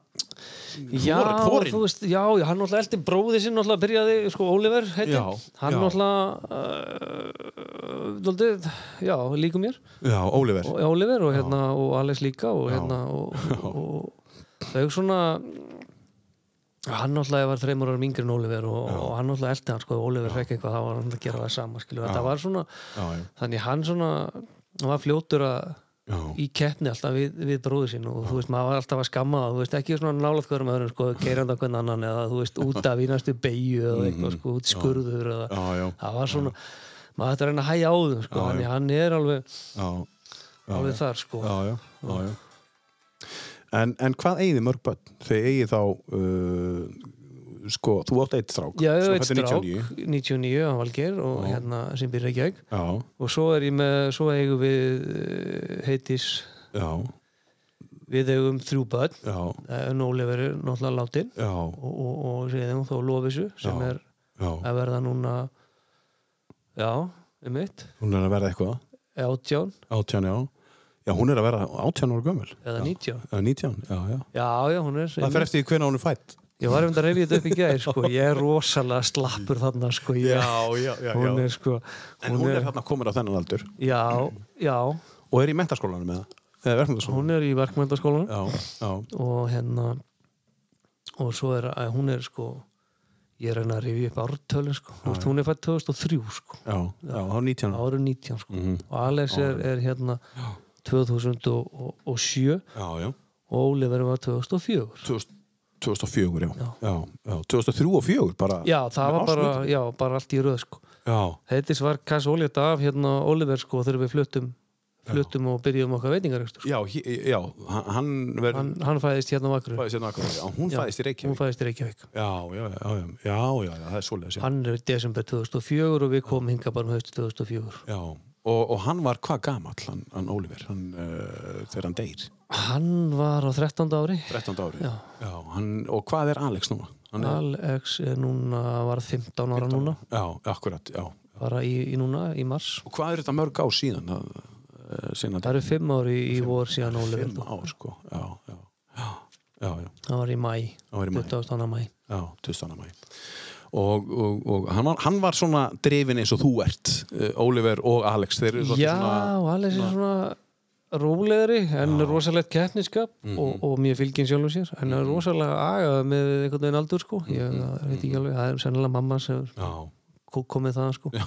Speaker 4: Já,
Speaker 2: Þorinn, þorinn.
Speaker 4: þú veist, já, já, hann náttúrulega eldi bróði sinn náttúrulega byrjaði, sko, Oliver heiti,
Speaker 2: Já,
Speaker 4: hann
Speaker 2: já.
Speaker 4: náttúrulega uh, daldið, já, líku mér
Speaker 2: Já, Oliver
Speaker 4: og Oliver og hérna og Alex líka og hérna og, og, og þau svona hann náttúrulega var þreymur árum yngri en Oliver og, og hann náttúrulega eldi hann sko og Oliver fekk eitthvað þá var hann að gera það sama skilu þetta var svona
Speaker 2: Já, já.
Speaker 4: þannig hann svona hann var fljótur að
Speaker 2: Já.
Speaker 4: í keppni alltaf við, við bróðu sín og þú veist maður var alltaf að skamma það þú veist ekki svona nálað hverjum öðrum sko geirandi á hvern annan eða þú veist út af í næstu beigju eða eitthvað sko út í skurður eða
Speaker 2: Mhm. Já, já.
Speaker 4: það var svona maður ætti að reyna að hæja á þau sko þannig hann er alveg
Speaker 2: Já,
Speaker 4: alveg þar sko
Speaker 2: já, já, já, já. En, en hvað eigið þið mörg börn? Þið eigið þá uh, sko, þú átt eitt strák
Speaker 4: Já, ég
Speaker 2: sem
Speaker 4: veit
Speaker 2: fæddur
Speaker 4: strák,
Speaker 2: 99.
Speaker 4: 99 á Valgeir og hérna sem býr ekki ekki
Speaker 2: Já,
Speaker 4: og svo er ég með, svo eigum við eh, heitis,
Speaker 2: já,
Speaker 4: við eigum þrjú börn eh,
Speaker 2: já,
Speaker 4: en Ólefur er náttúrulega látin
Speaker 2: já,
Speaker 4: og, og, og séðum þá Lofísu sem
Speaker 2: Já.
Speaker 4: er
Speaker 2: já
Speaker 4: að verða núna já, um eitt
Speaker 2: Hún er að verða eitthvað,
Speaker 4: átján
Speaker 2: átján, já Já, hún er að verða átján ára gömul
Speaker 4: eða nítján
Speaker 2: Já, nítján, já, já
Speaker 4: já, já, hún er
Speaker 2: Það fer eftir því hvernig hún er fætt
Speaker 4: ég var um þetta að reyfið þetta upp í gæðir sko. ég er rosalega slappur þarna sko. ég,
Speaker 2: já, já,
Speaker 4: hún er sko
Speaker 2: En hún er þarna komin á þennan aldur
Speaker 4: já, já,
Speaker 2: og er í mentaskólanum með það, eða verðmundaskólanum
Speaker 4: hún er í verkmyndaskólanum
Speaker 2: Já, já,
Speaker 4: og hérna og svo er að hún er sko ég er að reyna að rifja upp ártölin sko. Þú veist, hún er fætt 2003 sko.
Speaker 2: já, já, þá nítján Mhm. ára
Speaker 4: árum 19 sko. og Alex er, er hérna 2007
Speaker 2: Já, já
Speaker 4: og Oliver var 2004
Speaker 2: 2000 2004, já.
Speaker 4: Já.
Speaker 2: Já, já. 2003 og 4 bara
Speaker 4: já það var bara, já, bara allt í röð sko.
Speaker 2: já,
Speaker 4: heitis var kass ólíkt af hérna Oliver sko þegar við fluttum fluttum og byrjum okkar veitingarekstur sko.
Speaker 2: já, hé- já, hann- hann verður
Speaker 4: hann, hann fæðist hérna á Akru
Speaker 2: fæðist hérna akkur já, hún fæðist í
Speaker 4: hún
Speaker 2: Reykjavík
Speaker 4: fæðist í Reykjavík
Speaker 2: já, já, já, já, já, já, já, það er svoleiðis já.
Speaker 4: hann er í desember 2004 og við komum hinga bara um haustu 2004
Speaker 2: já, og, og hann var hvað gamall hann, hann Oliver, hann uh, þegar hann deyr,
Speaker 4: hann var á 13. ári
Speaker 2: 13. ári
Speaker 4: Já.
Speaker 2: hann, og hvað er Alex núna? Hann er,
Speaker 4: Alex er núna var 15 ára núna
Speaker 2: já, akkurat, já og
Speaker 4: bara í, í núna, í mars
Speaker 2: hvað eru þetta mörg á síðan að, uh, síðan
Speaker 4: það eru 5 ári í vor síðan Oliver
Speaker 2: fimm ár, sko já, já, já, já, já,
Speaker 4: það var í mæ,
Speaker 2: það var í maí
Speaker 4: 20. mæ
Speaker 2: Já, 20. mæ og, og, og hann, var, hann var svona drefin eins og þú ert eh, Oliver og Alex þeir eru
Speaker 4: já,
Speaker 2: svona
Speaker 4: og Alex er svona rólegri en rosalegt keppniskap
Speaker 2: Mhm.
Speaker 4: og, og mjög fylginn sjálfum sér en er rosalega agað með einhvern veginn aldur sko. ég
Speaker 2: Mhm.
Speaker 4: veit ekki alveg, það er sennilega mamma sem er
Speaker 2: já,
Speaker 4: kó- komið það sko. já,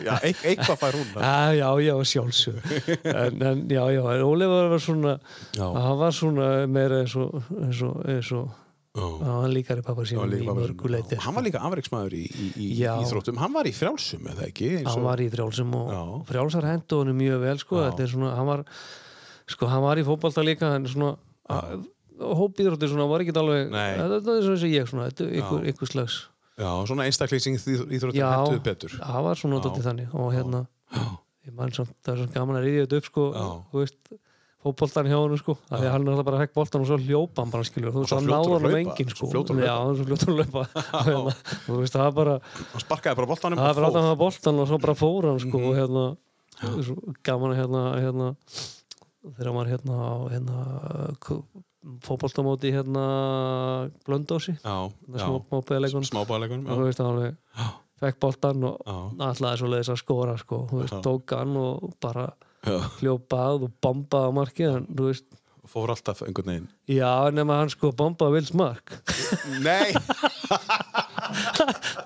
Speaker 2: já eit- eitthvað fær hún að-
Speaker 4: já, já, já sjálfsög en, en já, já, en Oliver var svona
Speaker 2: Já.
Speaker 4: hann var svona meira eins og eins og, eins og
Speaker 2: Já.
Speaker 4: hann var líkari pappa sínum
Speaker 2: Líka
Speaker 4: í sko.
Speaker 2: bara-
Speaker 4: mörguleiti
Speaker 2: hann var líka afreiksmaður í, í, í
Speaker 4: Já.
Speaker 2: íþróttum hann var í frjálsum eða ekki eins
Speaker 4: hann
Speaker 2: og,
Speaker 4: var í frjálsum og
Speaker 2: Já.
Speaker 4: frjálsar hendu honum mjög vel sko, þetta er svona, hann var sko, hann var í fótbalta líka en svona hópiðróttir svona var ekkert alveg
Speaker 2: Nei.
Speaker 4: þetta þetta er svona eins og ég svona, þetta er ykkur, ykkur slags
Speaker 2: já, svona einstakleysing íþróttum
Speaker 4: já,
Speaker 2: hentuð betur
Speaker 4: það var svona dóttir þannig og hérna, ég mann samt það er svona gaman að riðja þetta upp sko þú veist, fótboltan hjá honum sko af því að hann alltaf bara hekk boltan og svo hljópa hann bara skilur, þú veist,
Speaker 2: svo fljótur
Speaker 4: hann náði
Speaker 2: að
Speaker 4: honum
Speaker 2: hlaupa,
Speaker 4: engin
Speaker 2: svo
Speaker 4: sko
Speaker 2: fljótur að
Speaker 4: já, hann svo fljótur að hlaupa Og hérna, þú veist, það var bara
Speaker 2: hann sparkaði bara boltanum
Speaker 4: það
Speaker 2: og fór Mhm.
Speaker 4: var alltaf hann að boltan og svo bara fór hann sko og hérna svo gaman að hérna, hérna þegar maður hérna á hérna, fótboltamóti hérna blöndósi
Speaker 2: já,
Speaker 4: smábæðileikun og þú
Speaker 2: smábáleikunum
Speaker 4: veist að alveg fekk boltan og
Speaker 2: Já.
Speaker 4: alltaf svo leiðis að skora sko, þú veist, tók hann og bara
Speaker 2: Já.
Speaker 4: hljópað og bombaði á markið en þú veist,
Speaker 2: fór alltaf einhvern veginn
Speaker 4: já nema hann sko bombaði vils mark,
Speaker 2: nei,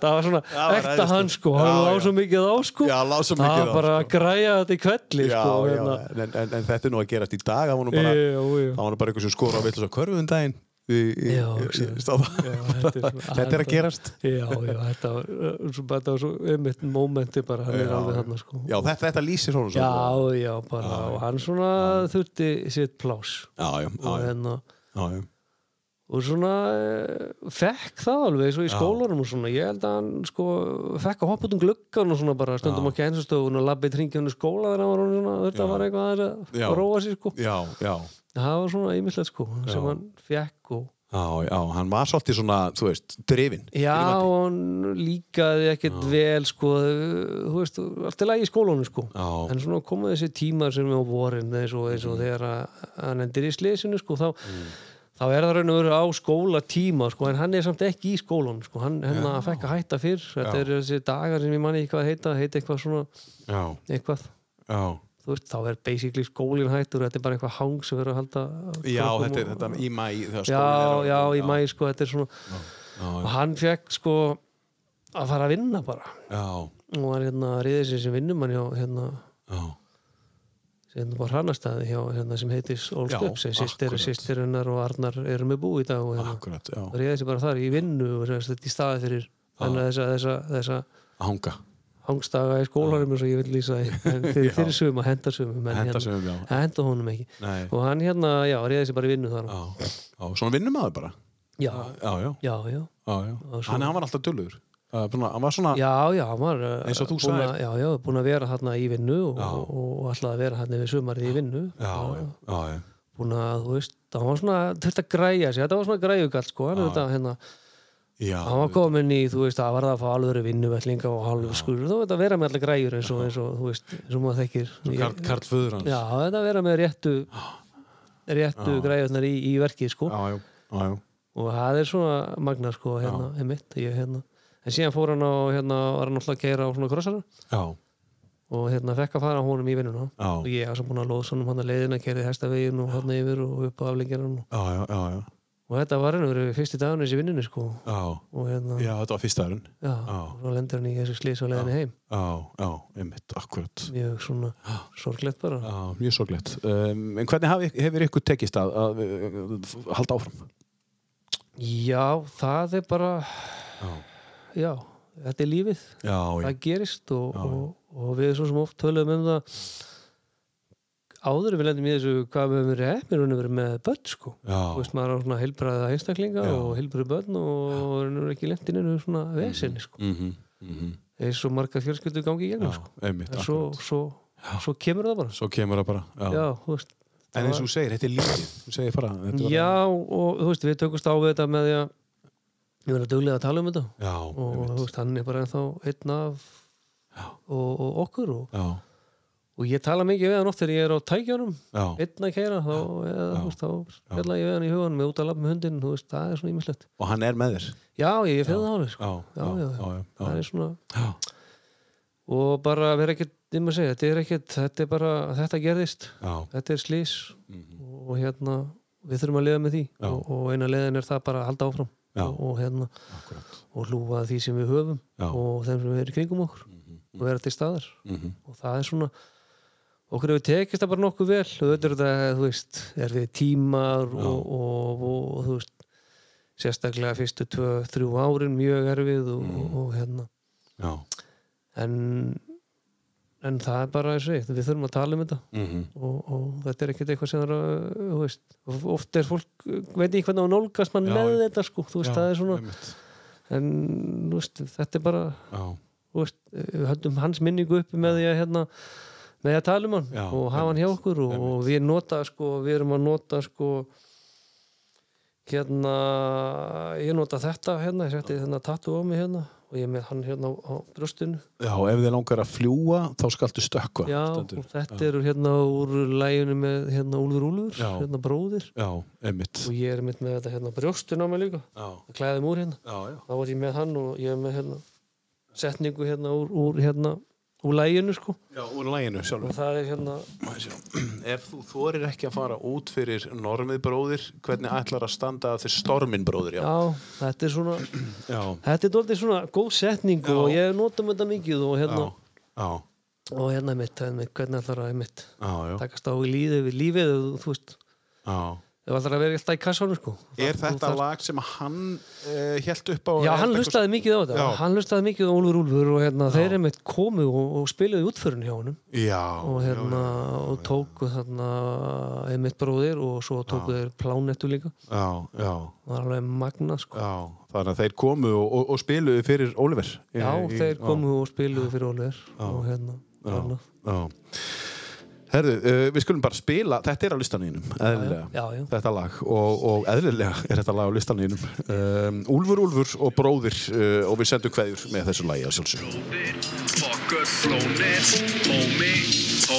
Speaker 4: það var svona
Speaker 2: Það var
Speaker 4: ekta
Speaker 2: æðislegt.
Speaker 4: hann sko, hann
Speaker 2: Já,
Speaker 4: lá
Speaker 2: já.
Speaker 4: svo mikið á sko,
Speaker 2: Já, lá svo
Speaker 4: það
Speaker 2: mikið
Speaker 4: var
Speaker 2: á, sko.
Speaker 4: bara að græja þetta í kvelli
Speaker 2: já,
Speaker 4: sko,
Speaker 2: já, en, en, en þetta er nú að gerast í dag það var nú bara,
Speaker 4: Jú, jú.
Speaker 2: það var nú bara einhver sem skora á villu svo körfuðum daginn í, í,
Speaker 4: Já,
Speaker 2: í,
Speaker 4: hugsaðu.
Speaker 2: í stáða
Speaker 4: Já, þetta, er svona-
Speaker 2: Þetta er að gerast.
Speaker 4: Já, já, þetta var, uh, svo- þetta var svo einmitt momenti bara, hann er
Speaker 2: Já,
Speaker 4: alveg
Speaker 2: já.
Speaker 4: þarna sko.
Speaker 2: já, þetta, þetta lýsir honum svo
Speaker 4: já, já, bara, og hann svona þurfti sitt plás
Speaker 2: já, já,
Speaker 4: og,
Speaker 2: já,
Speaker 4: hérna,
Speaker 2: já, já.
Speaker 4: og svona eh, fekk það alveg svo í skólanum og svona, ég held að hann sko fekk að hoppa út um gluggan og svona bara stundum á kænsustofunum og labbið tringjónu skóla þegar hann var orðinn svona, þetta var eitthvað aðeins að
Speaker 2: Já.
Speaker 4: róa sér sko,
Speaker 2: já, já
Speaker 4: það var svona einmittlega sko sem
Speaker 2: Já.
Speaker 4: hann fekk og
Speaker 2: Já, já, hann var svolítið svona, þú veist, drifin
Speaker 4: Já, og hann líkaði ekkert vel sko, þú veist, allt er lagi í skólanum sko.
Speaker 2: Já. Mm.
Speaker 4: en svona koma þessi tímar sem er á vorin eins og, eins og þegar að, hann endir í slesinu sko, þá, þá er það raun og veru á skóla tíma sko, en hann er samt ekki í skólanum sko. hann, hann að fekk að hætta fyrr þetta
Speaker 2: Já.
Speaker 4: eru þessi dagar sem ég manni ekki hvað heita heita eitthvað svona,
Speaker 2: Já,
Speaker 4: eitthvað
Speaker 2: já
Speaker 4: þú veist, þá er basically skólin hættur þetta er bara eitthvað hang sem verður að halda
Speaker 2: Já,
Speaker 4: krökkum
Speaker 2: þetta er
Speaker 4: og-
Speaker 2: þetta í mæ þegar
Speaker 4: já,
Speaker 2: skólinn er
Speaker 4: já,
Speaker 2: á-
Speaker 4: í mæ sko, þetta er svona og hann fekk sko að fara að vinna bara
Speaker 2: Já,
Speaker 4: og hann hérna riðið sér sem vinnumann hjá hérna,
Speaker 2: já,
Speaker 4: sem hérna bara hrannastæði hjá hérna sem heitis
Speaker 2: Já,
Speaker 4: Olstöp sem sýstir,
Speaker 2: akkurat.
Speaker 4: sýstir hennar og Arnar eru með bú í dag og hérna
Speaker 2: akkurat, já
Speaker 4: riðið sér bara þar í vinnu og sem sagt þetta í staði fyrir þannig að þessa, þessa, þessa
Speaker 2: Hanga,
Speaker 4: hangstaga í skólanum eins og ég vil lýsa því En fyrir, fyrir sumum að henda sumum en
Speaker 2: Henda sumum, já.
Speaker 4: hérna, að henda honum ekki
Speaker 2: Nei.
Speaker 4: og hann hérna, já, riðið sér bara í vinnu þar
Speaker 2: já, já, svona vinnum aður bara
Speaker 4: já,
Speaker 2: Já, já,
Speaker 4: já, já
Speaker 2: já, já Hann, hann var alltaf dölur Hann var svona,
Speaker 4: Já, já, hann var uh,
Speaker 2: Eins og þú
Speaker 4: búinn
Speaker 2: sagðir.
Speaker 4: að- Já, já, búin að vera hérna í vinnu og, og, og alltaf að vera hérna yfir sumarið í vinnu
Speaker 2: já, já, já, já.
Speaker 4: búin að, þú veist, það var svona þurft að græja sig, þetta var svona græjugall sko, hann, þetta, hérna,
Speaker 2: já
Speaker 4: hann var komin í, þú veist, að var það að fá alvöru vinnu vellinga og hálf skur, þú veist að vera með allar græjur eins og, eins og þú veist, eins og maður þekkir
Speaker 2: Karl, Karl föður hans
Speaker 4: Já, þetta að vera með réttu réttu græjurnar í, í verkið sko
Speaker 2: já, já, já, já.
Speaker 4: og það er svona magna sko, hérna, einmitt, ég, hérna en síðan fór hann á, hérna, var hann alltaf að keira á svona krossara
Speaker 2: já,
Speaker 4: og hérna fekk að fara honum í vinnuna
Speaker 2: Já.
Speaker 4: og ég var svo búin að loða svona um hann að leiðina kerði hestavegin og hann yfir og upp á aflengjaran og,
Speaker 2: já, já, já, já,
Speaker 4: og þetta var hann verið fyrsti dagun þessi vinnunni sko
Speaker 2: já.
Speaker 4: og hérna,
Speaker 2: Já, þetta var fyrsta örun
Speaker 4: já, og svo lendur hann í þessu slís á leiðinni heim
Speaker 2: Já, já, einmitt, akkurat
Speaker 4: mjög svona sorglegt bara
Speaker 2: Já, mjög sorglegt um, En hvernig hafi, hefur ykkur tekist að, að, að, halda áfram?
Speaker 4: já, það er bara já, þetta er lífið
Speaker 2: Já, já,
Speaker 4: það gerist og, og, og við svo sem oft töluðum um það áður en við lendum í þessu hvað við höfum verið hefnir og verið með börn sko
Speaker 2: Já.
Speaker 4: Þú veist maður á svona heilbræða einstaklinga og heilbræða börn og verður ekki lent inn einu svona
Speaker 2: Mm-hmm.
Speaker 4: vesinni sko mm -hmm. eins og margar fjölskyldu gangi í gegnum sko
Speaker 2: Mhm, einmitt,
Speaker 4: en svo, svo, svo kemur það bara
Speaker 2: svo kemur það bara já.
Speaker 4: já, þú veist það
Speaker 2: En eins
Speaker 4: var-
Speaker 2: og þú segir, þetta er lífið Þú segir bara, þetta var
Speaker 4: já, og þú veist við tökumst á við þetta með því að ég verður duglega að tala um þetta
Speaker 2: Já,
Speaker 4: og þú veist hann er bara ennþá einn af og, og okkur og
Speaker 2: já,
Speaker 4: og ég tala mikið við hann oft þegar ég er á tækjunum
Speaker 2: já,
Speaker 4: einn að keira þá, eða, þú veist, þá fjalla ég við hann í hugan með út að lafa með hundin þú veist, það er svona ímislegt
Speaker 2: og hann er með þér
Speaker 4: já, ég, ég finn það alveg sko.
Speaker 2: Já,
Speaker 4: já,
Speaker 2: já,
Speaker 4: já,
Speaker 2: já, já.
Speaker 4: það er sko- svona
Speaker 2: Já.
Speaker 4: og bara vera ekkert, ég maður segja, þetta er ekkert þetta er bara, þetta gerðist
Speaker 2: Já,
Speaker 4: þetta er slís
Speaker 2: Mhm.
Speaker 4: og hérna við þurfum að liða með því og, og eina leiðin er það bara að halda áfram
Speaker 2: Já.
Speaker 4: og, og hérna og hlúfa að því sem við höfum
Speaker 2: Já. Mhm,
Speaker 4: og þeim sem er í kringum okkur og vera til staðar og það er svona okkur hefur tekist það bara nokkuð vel og þetta er þetta, þú veist, er við tímar og, og, og, og þú veist sérstaklega fyrstu tvö, þrjú árin mjög erfið og,
Speaker 2: Mhm.
Speaker 4: og hérna
Speaker 2: já,
Speaker 4: en en það er bara þessi, við þurfum að tala um þetta
Speaker 2: mhm,
Speaker 4: og, og þetta er ekkert eitthvað sem er að, þú veist, of- oft er fólk veit ekki hvernig á nálgast mann
Speaker 2: Já,
Speaker 4: með
Speaker 2: ég-
Speaker 4: þetta sko, þú veist,
Speaker 2: já,
Speaker 4: það er svona
Speaker 2: einmitt.
Speaker 4: en, þú veist, þetta er bara
Speaker 2: Já,
Speaker 4: þú veist, við höldum hans minningu uppi með því að hérna, með því að tala um hann
Speaker 2: Já,
Speaker 4: og hafa hann hjá okkur og, og við nota sko, við erum að nota sko hérna, ég nota þetta hérna, ég setti þennan tattu á mig hérna og ég er með hann hérna á, á brjóstinu
Speaker 2: Já, ef þið langar að fljúa, þá skaltu stökkva.
Speaker 4: Já,
Speaker 2: stendur.
Speaker 4: og þetta eru hérna úr læginu með hérna Úlfur Úlfur,
Speaker 2: Já.
Speaker 4: hérna bróðir
Speaker 2: Já, einmitt.
Speaker 4: og ég er mitt með þetta hérna á brjóstinu á mig líka
Speaker 2: Já,
Speaker 4: að klæðum úr hérna,
Speaker 2: já, já.
Speaker 4: þá var ég með hann og ég er með hérna setningu hérna úr, úr hérna úr læginu sko
Speaker 2: Já, úr læginu sjálfur.
Speaker 4: og það er hérna
Speaker 2: Sjá, Ef þú þorir ekki að fara út fyrir normið bróðir, hvernig ætlar að standa að þér stormin bróðir? Já,
Speaker 4: Já, þetta er svona
Speaker 2: já,
Speaker 4: Þetta er doldið svona góð setning og ég nota með þetta mikið og
Speaker 2: já,
Speaker 4: hérna,
Speaker 2: já,
Speaker 4: og hérna mitt, mitt hvernig ætlar að mitt
Speaker 2: já, já,
Speaker 4: takast á í lífið, við lífið og þú veist,
Speaker 2: já.
Speaker 4: ef ætlar að vera alltaf í kassanum sko.
Speaker 2: Er
Speaker 4: Þú
Speaker 2: þetta
Speaker 4: þarft-
Speaker 2: lag sem hann uh, held upp á?
Speaker 4: Já,
Speaker 2: er
Speaker 4: hann
Speaker 2: þetta
Speaker 4: hlustaði mikið á þetta,
Speaker 2: Já.
Speaker 4: hann hlustaði mikið á Úlfur Úlfur og hérna, þeir er mitt komu og, og spilaði útförun hjá honum
Speaker 2: eitthvað- Já,
Speaker 4: og hérna, og tóku þarna einmitt bróðir og svo tóku þeir plánettu líka,
Speaker 2: já, já,
Speaker 4: það var alveg magna sko.
Speaker 2: já. Þannig að þeir komu og, og, og spiluðu fyrir Oliver. í-
Speaker 4: Já,
Speaker 2: í-
Speaker 4: þeir komu og spiluðu fyrir Úlfur og hérna, hérna.
Speaker 2: Já. Herðu, uh, við skulum bara spila, þetta er á listanínum, eðlilega,
Speaker 4: Já, já.
Speaker 2: þetta lag og, og eðlilega er þetta lag á listanínum. Um, Úlfur, Úlfur og bróðir uh, og við sendum kveðjur með þessu lagi að sjálfsög.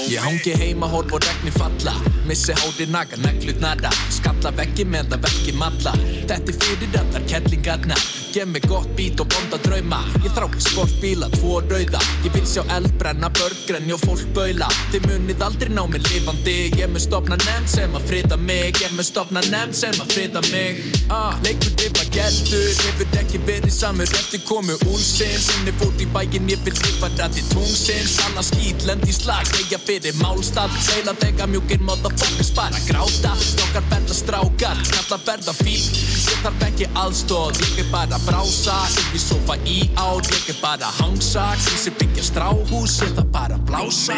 Speaker 9: Ég hangi heima, horf og regni falla Missi hádi naga, neglut nada Skalla veggi með það veggi malla Þetta er fyrir allar kellingarna Gef mig gott bít og bonda drauma Ég þrái sportbíla, tvo rauða Ég vil sjá eld brenna, börn grenja og fólk baula Þið munið aldrei ná mig lifandi Ég mun stopna nefn sem að frita mig Ég mun stopna nefn sem að frita mig ah, Leikur dipa geldur Hefur ekki verið samur eftir komu úlsins Inni fórt í bæinn, ég vil lifa rætti tungsins Alla skýt, lend í slag, eiga fyrir málstað Seila tega mjúkir, motherfuckers bara gráta Stokkar verða strákar, kalla verða fíl Ég þarf ekki aðstóð, ég er bara að brása Upp í sofa í ár, ég er bara að hangsa Krísi byggja stráhús, ég þarf bara að blása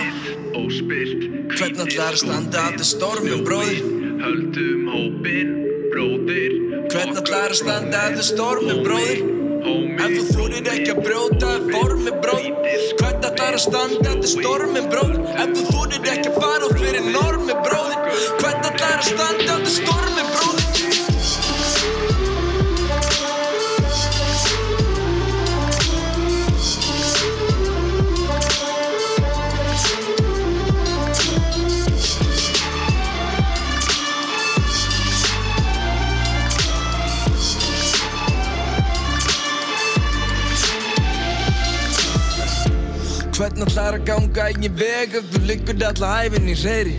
Speaker 8: Hvern allar að standa að þið
Speaker 9: um
Speaker 8: stormum, bróðir? Höldum hópin, bróðir Hvern allar að standa að þið stormum, bróðir? Ef þú þúrir ekki að brjóta formi, bróðir Hvern allar að standa að þið stormum, bróðir? Ef þú þúrir ekki að fara út fyrir normi, bróðir Hvern allar að standa að þið stormum, bróðir? Hvern allar að ganga eigin veg ef þú liggur alla æfinn í reyri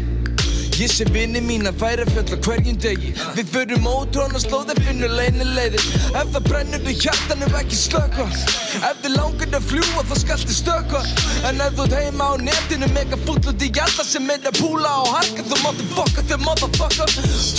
Speaker 8: Ég sé vinni mín að færa fjöll á hverjum degi Við förum ótrón og slóðar finnur leynilegðir Ef það brennur við hjartanum ekki slökva Ef þið langar að fljúa þá skalt þið stökva En ef þú ert heima á netinu mega fúll út í alla sem er að púla og harka Þú máttu fokka þau motherfucker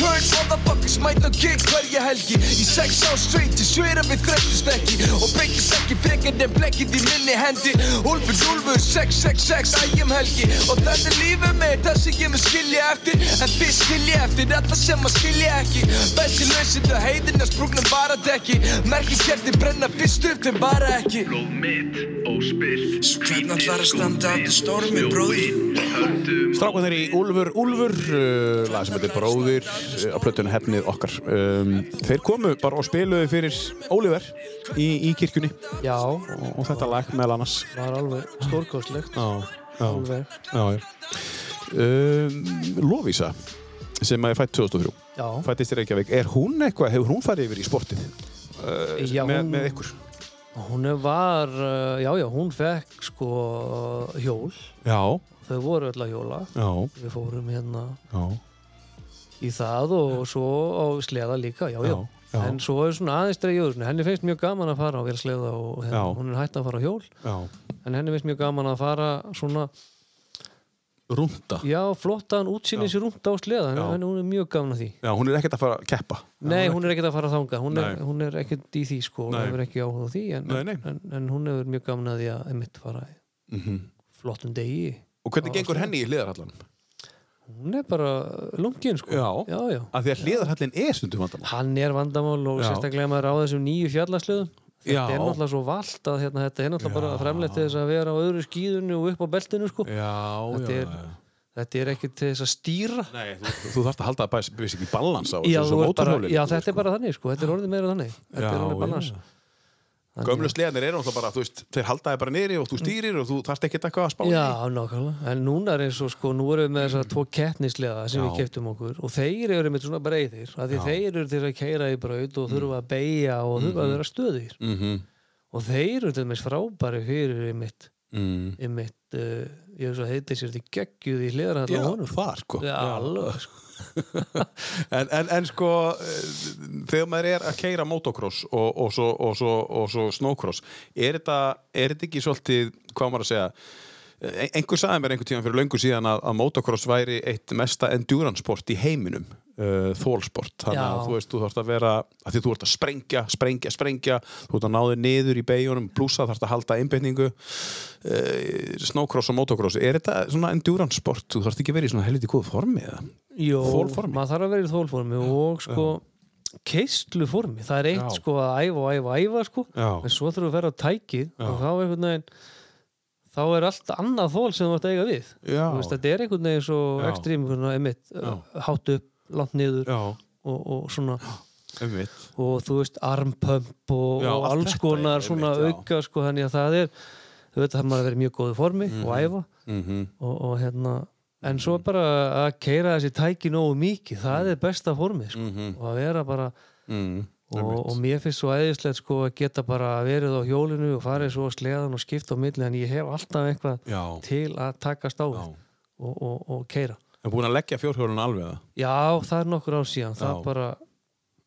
Speaker 8: Turn motherfuckers mæta og gig hverja helgi Í sex á straight til svira við þreytust ekki Og breytist ekki frekar en blekkið í minni hendi Úlfur, úlfur, 666, ægjum helgi Og þetta er lífið mitt, það sem ég mun skilja eftir En þið skilja eftir, alla sem að skilja ekki Bessi lausinn og heiðin að sprúgnum varadekki Merki kerti brenna fyrst upp, þeim vara ekki Hvern allar að standa að þið stormi, bróðir?
Speaker 2: Strákan þeir í Úlfur, Úlfur, uh, lag sem heitir Bróðir, uh, á plötunni hefnið okkar. Um, þeir komu bara og spiluðu fyrir Oliver í, í kirkjunni
Speaker 4: Já,
Speaker 2: og, og þetta lag meðal annars.
Speaker 4: var alveg stórkostlegt
Speaker 2: Já, já.
Speaker 4: alveg.
Speaker 2: Já, já. Um, Lovísa sem að er fætt 2003
Speaker 4: Já,
Speaker 2: fættist í Reykjavík, er hún eitthvað hefur hún farið yfir í sportið
Speaker 4: já,
Speaker 2: með,
Speaker 4: hún,
Speaker 2: með ykkur?
Speaker 4: hún er var, uh, já, já, hún fekk sko hjól,
Speaker 2: Já,
Speaker 4: þau voru öll að hjóla,
Speaker 2: já,
Speaker 4: við fórum hérna
Speaker 2: já,
Speaker 4: í það og svo á sleða líka, já, já.
Speaker 2: Já, já.
Speaker 4: En svo er svona aðeins dreigið úr, þessu. henni finnst mjög gaman að fara á vera sleða og hérna,
Speaker 2: Já.
Speaker 4: hún er hætt að fara á hjól,
Speaker 2: já.
Speaker 4: en henni finnst mjög gaman að fara svona,
Speaker 2: Rúnda
Speaker 4: já, flottan útsýnis rúmt á sleða, henni,
Speaker 2: Já.
Speaker 4: henni hún er mjög gaman að því.
Speaker 2: Já, hún er ekkert að fara að keppa
Speaker 4: Nei, hún er ekkert að fara þangað, hún er,
Speaker 2: Nei.
Speaker 4: hún er ekkert í því sko, hún
Speaker 2: Nei.
Speaker 4: hefur ekki áhuga á því en,
Speaker 2: Nei, nei.
Speaker 4: En, en hún hefur mjög gaman að því að emitt fara í
Speaker 2: Mhm.
Speaker 4: flottum degi
Speaker 2: Og hvernig gengur henni í hliðarhallan?
Speaker 4: hún er bara lungin sko
Speaker 2: Já.
Speaker 4: já,
Speaker 2: Af því að hliðarhallin er stundum vandamál
Speaker 4: hann er vandamál og
Speaker 2: Já.
Speaker 4: sérstaklega maður á þessum nýju fjallasliðum
Speaker 2: Já.
Speaker 4: þetta er náttúrulega svo vald að hérna, þetta er náttúrulega bara fremlegt til þess að vera á öðru skíðunni og upp á beltinu sko
Speaker 2: Já,
Speaker 4: þetta er, Þetta er ekki til þess að stýra
Speaker 2: Nei, þú, þú þarfst að halda að bæs, bæs ekki balans á
Speaker 4: Já,
Speaker 2: þessu
Speaker 4: þú ert bara,
Speaker 2: mótorhjólinu,
Speaker 4: já
Speaker 2: sko.
Speaker 4: þetta er bara þannig sko. Þetta er orðið meira þannig Þetta er orðið balans Þannig-
Speaker 2: Gömlu sleðanir eru náttúrulega bara, þú veist, þeir haldaði bara niðri og þú stýrir og þú þarft ekkert eitthvað að spá í.
Speaker 4: Já, nákvæmlega. En núna er eins og sko, nú erum við með þessar tvo kettnislega sem við keftum okkur og þeir eru með svona breyðir af því þeir eru til að keira í braut
Speaker 2: Mm.
Speaker 4: og þurfa að beigja og þurfa að vera stöðir
Speaker 2: Mhm,
Speaker 4: og þeir eru til dæmis frábæri fyrir einmitt,
Speaker 2: mhm.
Speaker 4: einmitt uh, ég hef svo heitið sér því geggjuð í hlera
Speaker 2: Já,
Speaker 4: á honum.
Speaker 2: þar sko
Speaker 4: Já, alveg. Sko.
Speaker 2: en, en, en sko eh, þegar maður er að keira motocross og, og, svo, og, svo, og svo snowcross er þetta, er þetta ekki svolítið hvað á maður að segja eh, einhver sagði mér einhver tíma fyrir löngu síðan að, að motocross væri eitt mesta endurance sport í heiminum uh, þólsport, þannig að
Speaker 4: Já.
Speaker 2: þú veist þú þarfst að vera, að því þú ert að sprengja sprengja, sprengja, þú ert að náði niður í beigunum, blúsa þarfst að halda einbeinningu uh, snowcross og motocross er þetta svona endurance sport þú þarfst ekki að vera í svona helviti góð formi eða?
Speaker 4: Jó,
Speaker 2: Þolformi.
Speaker 4: maður þarf að vera í þólformi og sko keistluformi, það er eitt
Speaker 2: Já.
Speaker 4: sko að æfa og æfa og æfa sko
Speaker 2: Já.
Speaker 4: en svo þurfum við að vera á tækið og þá einhvern veginn þá er allt annað þól sem þú ert að eiga við
Speaker 2: Já.
Speaker 4: Þú veist, þetta er einhvern veginn svo ekstrím einhvern veginn emitt, hátt upp, langt niður
Speaker 2: Já,
Speaker 4: og, og svona
Speaker 2: einmitt
Speaker 4: og þú veist armpump og,
Speaker 2: Já,
Speaker 4: og
Speaker 2: allt
Speaker 4: alls
Speaker 2: þetta
Speaker 4: konar
Speaker 2: er
Speaker 4: svona
Speaker 2: einmitt, já.
Speaker 4: auka sko, þannig að það er þú veit það maður að vera í mjög góðu formi og æfa
Speaker 2: Mhm.
Speaker 4: og, og hérna en svo bara að keira þessi tæki nógu mikið, það
Speaker 2: Mhm.
Speaker 4: er besta formi sko, og að vera bara mhm.
Speaker 2: mm.
Speaker 4: og, og mér finnst svo æðislegt sko að geta bara verið á hjólinu og farið svo á sleðan og skipta á milli en ég hef alltaf eitthvað
Speaker 2: Já.
Speaker 4: til að takast á við og, og, og keira
Speaker 2: En búin að leggja fjórhjólun alveg það
Speaker 4: Já, það er nokkur ár síðan, það
Speaker 2: Já.
Speaker 4: bara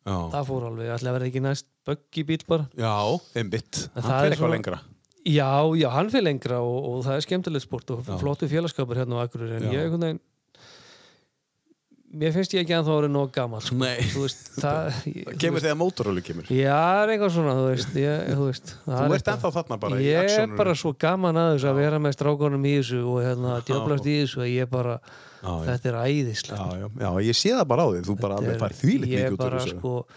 Speaker 2: Já,
Speaker 4: það fór alveg, ætla að vera ekki næst böggi bíl bara
Speaker 2: já einmitt
Speaker 4: En
Speaker 2: Hann
Speaker 4: það
Speaker 2: fer
Speaker 4: er
Speaker 2: eitthvað
Speaker 4: svona-
Speaker 2: lengra
Speaker 4: Já, já, hann fyrir lengra og, og það er skemmtilegt sport og flottu félagskapur hérna á Akureyri en
Speaker 2: Já.
Speaker 4: ég einhvern veginn mér finnst ég ekki að það voru nóg gammal sko.
Speaker 2: Nei.
Speaker 4: þú veist, það
Speaker 2: Það kemur þegar mótorhjólu kemur
Speaker 4: Já, það er eitthvað svona, þú veist, ég, þú veist það
Speaker 2: Þú
Speaker 4: er
Speaker 2: ert
Speaker 4: eitthvað.
Speaker 2: ennþá þarna bara í
Speaker 4: Ég er
Speaker 2: actioninu.
Speaker 4: bara svo gaman að þess að vera með strákonum í þessu og hérna djöflast í þessu að ég bara,
Speaker 2: já.
Speaker 4: þetta er æðislega
Speaker 2: já, já, já, ég sé það bara á þig Þú bara alveg fær þvílitt
Speaker 4: ég
Speaker 2: mikið út úr
Speaker 4: bara
Speaker 2: þessu
Speaker 4: sko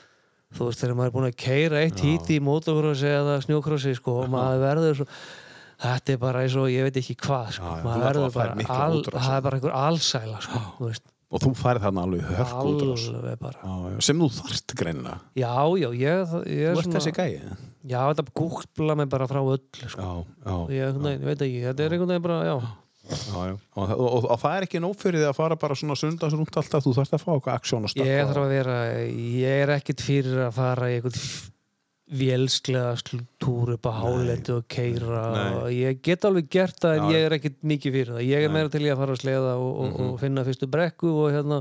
Speaker 4: þú veist þegar maður er búin að keira eitt híti í motocrossi eða snjókrossi sko og maður verður svo þetta er bara eins og ég veit ekki hvað sko.
Speaker 2: Já, já, þú
Speaker 4: maður
Speaker 2: náttúrulega
Speaker 4: verður
Speaker 2: fær
Speaker 4: bara,
Speaker 2: mikla
Speaker 4: al,
Speaker 2: útrás.
Speaker 4: það er bara einhver alsæla sko, þú veist,
Speaker 2: Og þú færð þarna alveg hörk út úr þessu
Speaker 4: alveg bara
Speaker 2: Já, já, Sem þú þarft greinlega
Speaker 4: já, já, ég, ég
Speaker 2: Þú
Speaker 4: er
Speaker 2: ert þessi gæi eða?
Speaker 4: já, þetta gúkla mig bara frá öllu sko.
Speaker 2: Já, já,
Speaker 4: ég, nei, ég veit ekki, þetta er einhvern veginn bara já,
Speaker 2: já, já. Og, og, og, og það er ekki nóg fyrir þig að fara bara svona sundagsrúnt alltaf, þú þarft að fá eitthvað aksjón og
Speaker 4: ég
Speaker 2: starta
Speaker 4: þarf að vera ég er ekkit fyrir að fara í einhvern vélsklega slútúr upp á hálendi og keira og ég get alveg gert það en ég er ekkit mikið fyrir það ég er meira til ég að fara að sleða og, og,
Speaker 2: Mhm.
Speaker 4: og finna fyrstu brekku og, hérna,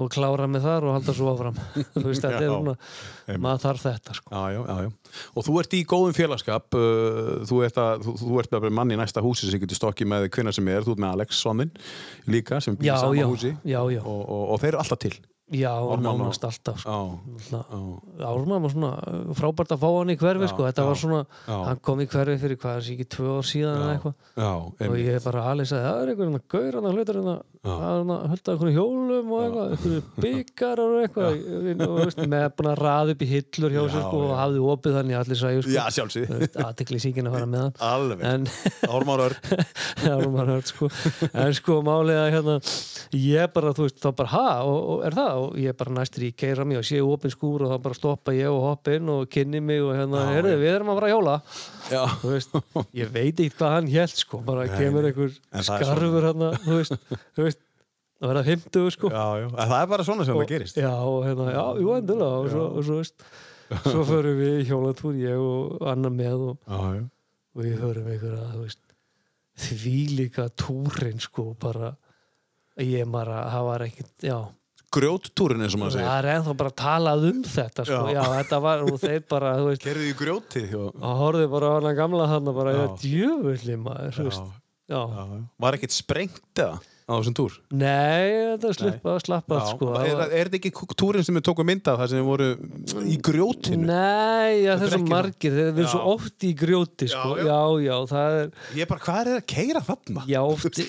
Speaker 4: og klára með þar og halda svo áfram þú veist þetta er svona maður þarf þetta sko
Speaker 2: Já, já, já, já. Og þú ert í góðum félagskap, uh, þú ert, að, þú, þú ert með mann í næsta húsi sem getur stokkið með hvenna sem er, þú ert með Alex Svannin líka sem býr í
Speaker 4: já,
Speaker 2: sama
Speaker 4: já,
Speaker 2: húsi
Speaker 4: já, já,
Speaker 2: Og, og, og þeir eru alltaf til.
Speaker 4: já,
Speaker 2: Ármann og-
Speaker 4: nánast alltaf sko.
Speaker 2: Já,
Speaker 4: Náttúrulega, Ármann var svona uh, frábært að fá hann í hverfi sko. þetta var svona,
Speaker 2: já.
Speaker 4: hann kom í hverfi fyrir hvað, þessi ekki tvö ár síðan eða eitthvað
Speaker 2: já,
Speaker 4: og
Speaker 2: einmitt.
Speaker 4: ég bara alveg sagði, það er einhvern veginn að gaur hérna, hann að hlutar hann að hölda einhvern hérna hjólum og eitthvað, einhvern byggar og eitthvað Ég- og veist, með búin að raða upp í hillur hjá sér sko, og hafði opið þannig að allir sæju
Speaker 2: Já,
Speaker 4: sko,
Speaker 2: sjálfsög.
Speaker 4: aðtekli síkin að fara með hann
Speaker 2: Alveg.
Speaker 4: en
Speaker 2: Ármár Örn.
Speaker 4: Já, nú maður hört sko en sko málið að hérna ég bara, þú veist, þá bara ha og, og er það, og ég bara næstur í keira mig og sé opin skúr og þá bara stoppa ég og hoppa inn og kynni mig og hérna, heyrðu, við erum að fara að hjóla
Speaker 2: Já.
Speaker 4: þú veist, ég veit ekki hvað hann hélt sko, bara kemur einhver
Speaker 2: það er
Speaker 4: skarfur hérna, þú veist þú veist, það verða 50 sko
Speaker 2: Já, já. En það er bara svona sem það gerist.
Speaker 4: já, og hérna, já, jú, endilega og svo, og svo veist, svo förum við í hjólatúr ég og annar með og
Speaker 2: Já, já.
Speaker 4: og ég höfum einhverja þú veist, þvílíka túrin sko bara ég bara, það var ekkert já,
Speaker 2: Grjóttúrin eins og maður
Speaker 4: það
Speaker 2: segir.
Speaker 4: er ennþá bara talað um þetta sko, já, þetta var og þeir bara, þú veist,
Speaker 2: Gerðu í grjóti. Og...
Speaker 4: og horfðu bara á hana gamla þarna bara, já, djöfulli maður þú veist, já,
Speaker 2: Já, já. Var ekkert sprengt eða á þessum túr?
Speaker 4: nei, þetta sluppa, slappað sko,
Speaker 2: er,
Speaker 4: það
Speaker 2: er,
Speaker 4: var
Speaker 2: er þetta ekki túrin sem við tókum mynda það sem við voru í grjótinu?
Speaker 4: Nei,
Speaker 2: Þetta
Speaker 4: já,
Speaker 2: er
Speaker 4: þessu
Speaker 2: ekki
Speaker 4: margir, þeir eru svo oft í grjóti, sko,
Speaker 2: Já,
Speaker 4: já, já, það er,
Speaker 2: Ég bara, hvað er að keira þarna?
Speaker 4: já, oft,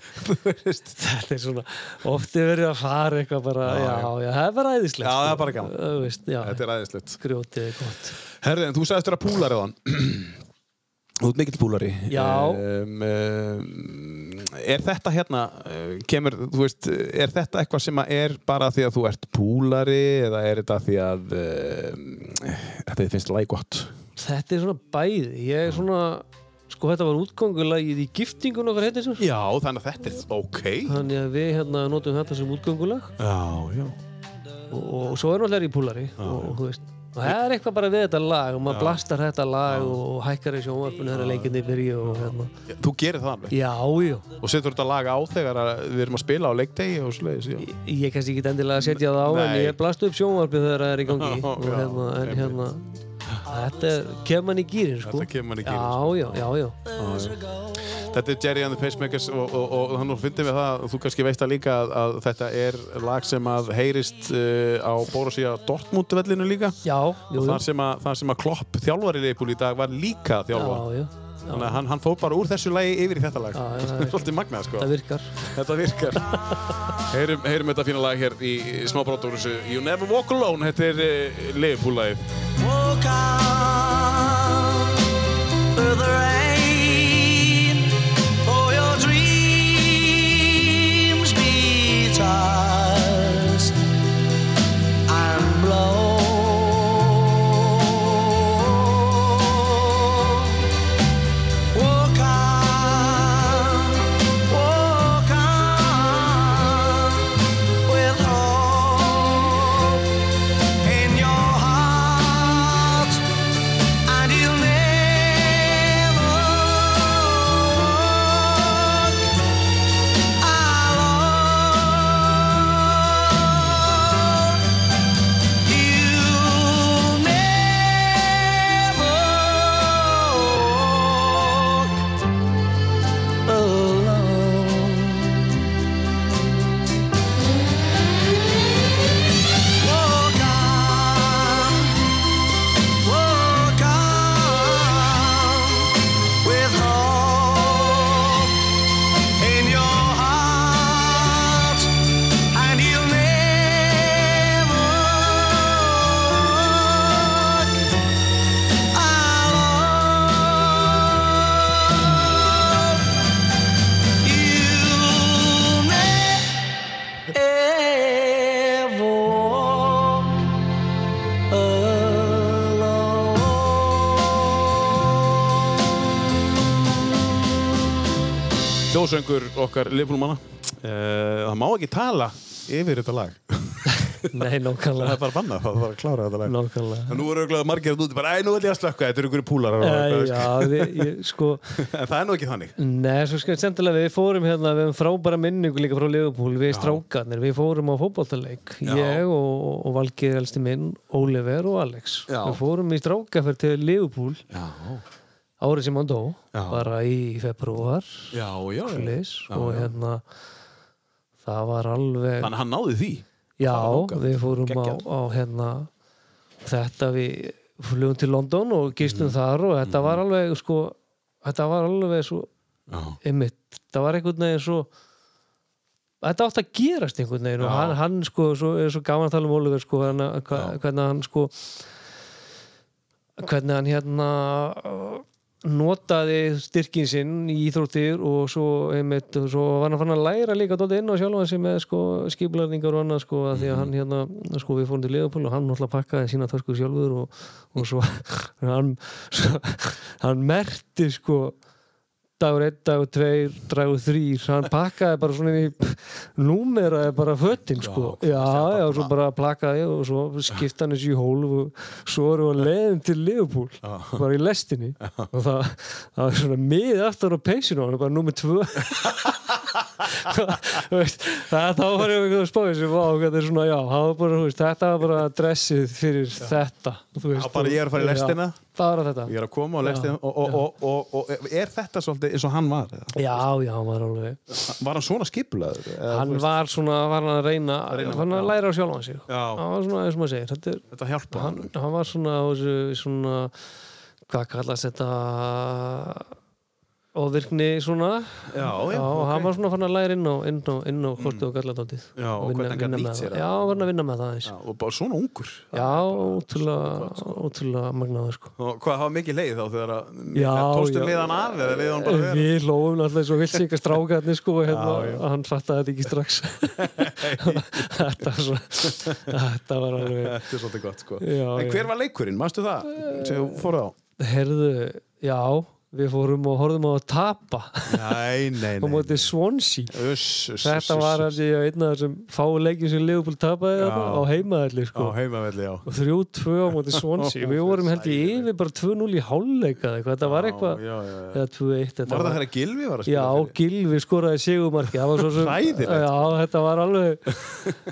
Speaker 4: þetta er svona ofti verið að fara eitthvað bara já, já, það er bara æðislegt
Speaker 2: Já,
Speaker 4: sko.
Speaker 2: það er bara gaman.
Speaker 4: Þú veist, já,
Speaker 2: Þetta er aðeinslegt.
Speaker 4: grjótið er gott
Speaker 2: Herði, en þú sagðist þér að púlar eðan. Þú ert mikill púlari.
Speaker 4: Já.
Speaker 2: Um, um, er þetta hérna, eh, kemur, þú veist, er þetta eitthvað sem að er bara því að þú ert púlari eða er þetta því að uh, þetta þið finnst læg gott?
Speaker 4: Þetta er svona bæði. Ég er svona, sko þetta var útgangulagið í giftingun okkar hérna sem.
Speaker 2: Já, þannig að þetta er ok.
Speaker 4: Þannig að við hérna notum þetta sem útgangulag
Speaker 2: Já, já.
Speaker 4: og, og svo er náttúrulega í púlari og, og þú veist. Og það er eitthvað bara við þetta lag og maður blastar þetta lag og hækkar í sjónvarpinu þegar leikinni byrja og hérna.
Speaker 2: Þú gerir það alveg.
Speaker 4: Já, já.
Speaker 2: Og setur þetta lag á þegar að við erum að spila á leikdegi og sliðis, já.
Speaker 4: Ég ég kannski ekki endilega að setja það á en
Speaker 2: Nei.
Speaker 4: ég blastu upp sjónvarpinu þegar það er í gangi
Speaker 2: Já,
Speaker 4: og
Speaker 2: já,
Speaker 4: hérna, en
Speaker 2: einmitt.
Speaker 4: hérna þetta er, kemur mann í gýrin sko.
Speaker 2: Þetta kemur mann í gírinn,
Speaker 4: Já, já, já, já.
Speaker 2: Þetta er Jerry and the Pacemakers og, og, og, og hann úr fyndi við það, þú kannski veist það líka að, að þetta er lag sem að heyrist uh, á Borussia Dortmund vellinu líka
Speaker 4: Já, jú, jú.
Speaker 2: þar sem, að, þar sem að Klopp þjálfari leipúl í dag var líka þjálfa
Speaker 4: Já, já.
Speaker 2: þannig að hann, hann fór bara úr þessu lagi yfir í þetta lag
Speaker 4: Já, já, það er-
Speaker 2: svolítið magnað sko
Speaker 4: Það virkar.
Speaker 2: þetta virkar heyrum, heyrum þetta fína lag hér í smá brottúrusu You Never Walk Alone, þetta er uh, leipúl lagi
Speaker 3: Walk on through the rain. For your dreams be tossed and blown. Walk on, walk on with hope in your heart, and you'll never walk alone. You'll never walk alone. Walk on, walk on with hope in your heart, and you'll never walk alone. You'll never ever walk alone.
Speaker 2: þjóðsöngur okkar leipúlmanna uh, það má ekki tala yfir þetta lag
Speaker 4: Nei,
Speaker 2: það er
Speaker 4: nákvæmlega.
Speaker 2: bara bannað, það er bara að klára þetta lag
Speaker 4: Nákvæmlega.
Speaker 2: En nú eru auðvitað margir að núti bara, æ, nú ætlum ég að slökka, þetta eru ykkur púlar
Speaker 4: Eh, Já, við, ég, sko,
Speaker 2: En það er nú ekki þannig
Speaker 4: Nei, svo skemmt sendilega við fórum hérna, við hefum frábæra minningu líka frá Liverpool, við strákanir, við fórum á fótboltaleik, ég og, og Valgeir elsti minn, Oliver og Alex.
Speaker 2: Já.
Speaker 4: Við fórum í strákaferð til Liverpool Já. árið sem hann dó,
Speaker 2: Já.
Speaker 4: bara í februar,
Speaker 2: Já, já,
Speaker 4: leis, og hérna, það var alveg...
Speaker 2: Þannig að hann náði því
Speaker 4: Já,
Speaker 2: fara þangað.
Speaker 4: við fórum á,
Speaker 2: Geggjað.
Speaker 4: á hérna þetta við flugum til London og
Speaker 2: Mhm.
Speaker 4: gistum þar og þetta var alveg sko, þetta var alveg svo einmitt, það var einhvern veginn svo þetta átti að gerast einhvern veginn og hann, hann sko, svo, er svo gaman að tala um Oliver sko, hann, hvernig hann sko hvernig hann hérna uh, notaði styrkin sinn í íþróttir og svo, einmitt, og svo var hann fann að læra líka dótið inn á sjálfan sig með sko, skiplarningar og annað sko, að því að hann hérna sko, við fórum til Leopold og hann náttúrulega pakkaði sína törsku sjálfur og, og svo hann, svo, hann merti sko dagur einn, dagur tveir, dagur þrýr hann pakkaði bara svona í númeraði bara fötin sko já, já, og svo bara plakaði og svo skipta hann þessu í hólf og svo erum við að leiðin til Liverpool bara í lestinni og það, það var svona mið aftur á peysinu hann bara númer tvö Þú veist, það, þá var ég einhvern veginn að spáði sem var þetta er svona, já, það var bara, þú veist, þetta var bara dressið fyrir þetta þú veist,
Speaker 2: Já, bara ég er að fara í
Speaker 4: Já,
Speaker 2: lestina.
Speaker 4: bara þetta
Speaker 2: Ég er að koma og lesti og, og, og, og, og er þetta svolítið eins og hann var? eða?
Speaker 4: já, já, hann var alveg
Speaker 2: Var hann svona skipulaður? Eða,
Speaker 4: hann
Speaker 2: þú veist,
Speaker 4: var svona, var hann að reyna, var hann að læra á sjálfan sig
Speaker 2: Já.
Speaker 4: hann var svona, eins og maður segir þetta er,
Speaker 2: Þetta hjálpa
Speaker 4: hann,
Speaker 2: hann
Speaker 4: hann var svona, á þessu, svona hvað kallast þetta og virkni svona
Speaker 2: Já, Mm.
Speaker 4: Já, hann var svona fann að læra inn á, inn á, inn á korti og galladótið
Speaker 2: Já, og hvernig hann gat nýtt sér það.
Speaker 4: það Já, hann að vinna með það eins Já,
Speaker 2: Og bara svona ungur.
Speaker 4: ótrúlega, ótrúlega magnaður sko
Speaker 2: Og hvað, hafa mikið leið þá þegar að...
Speaker 4: Já,
Speaker 2: Tóstu
Speaker 4: já.
Speaker 2: leiðan af eða leiðan bara vera?
Speaker 4: Við lófum alltaf svo vilt sig að stráka hann sko og hérna, og hann fattaði þetta ekki strax Þetta var svo Þetta var alveg
Speaker 2: Þetta er svolítið gott, sko.
Speaker 4: Já,
Speaker 2: en
Speaker 4: já. Eh.
Speaker 2: hver var leikurinn, manstu það? Sem þú fór á?
Speaker 4: Herðu, já Við fórum og horfðum á að tapa
Speaker 2: Nei, nei,
Speaker 4: á móti Swansea
Speaker 2: Uss, uss,
Speaker 4: Þetta var
Speaker 2: uss, uss.
Speaker 4: alveg einn af þessum fáleikjum sem Leopold tapaði þarna á heimaðalli
Speaker 2: Á
Speaker 4: sko
Speaker 2: heimavelli, já.
Speaker 4: og 3-2 á móti Swansea við vorum held ég yfir bara 2-0 í hálfleika eða eitthvað, þetta var eitthvað
Speaker 2: Já, já, já.
Speaker 4: eða 2-1 þetta
Speaker 2: Var það
Speaker 4: var-
Speaker 2: þegar Gilvi var að
Speaker 4: Já,
Speaker 2: spila fyrir?
Speaker 4: Gilvi skoraði sigumarki það var svo sem
Speaker 2: Hræðilegt.
Speaker 4: Já, þetta var alveg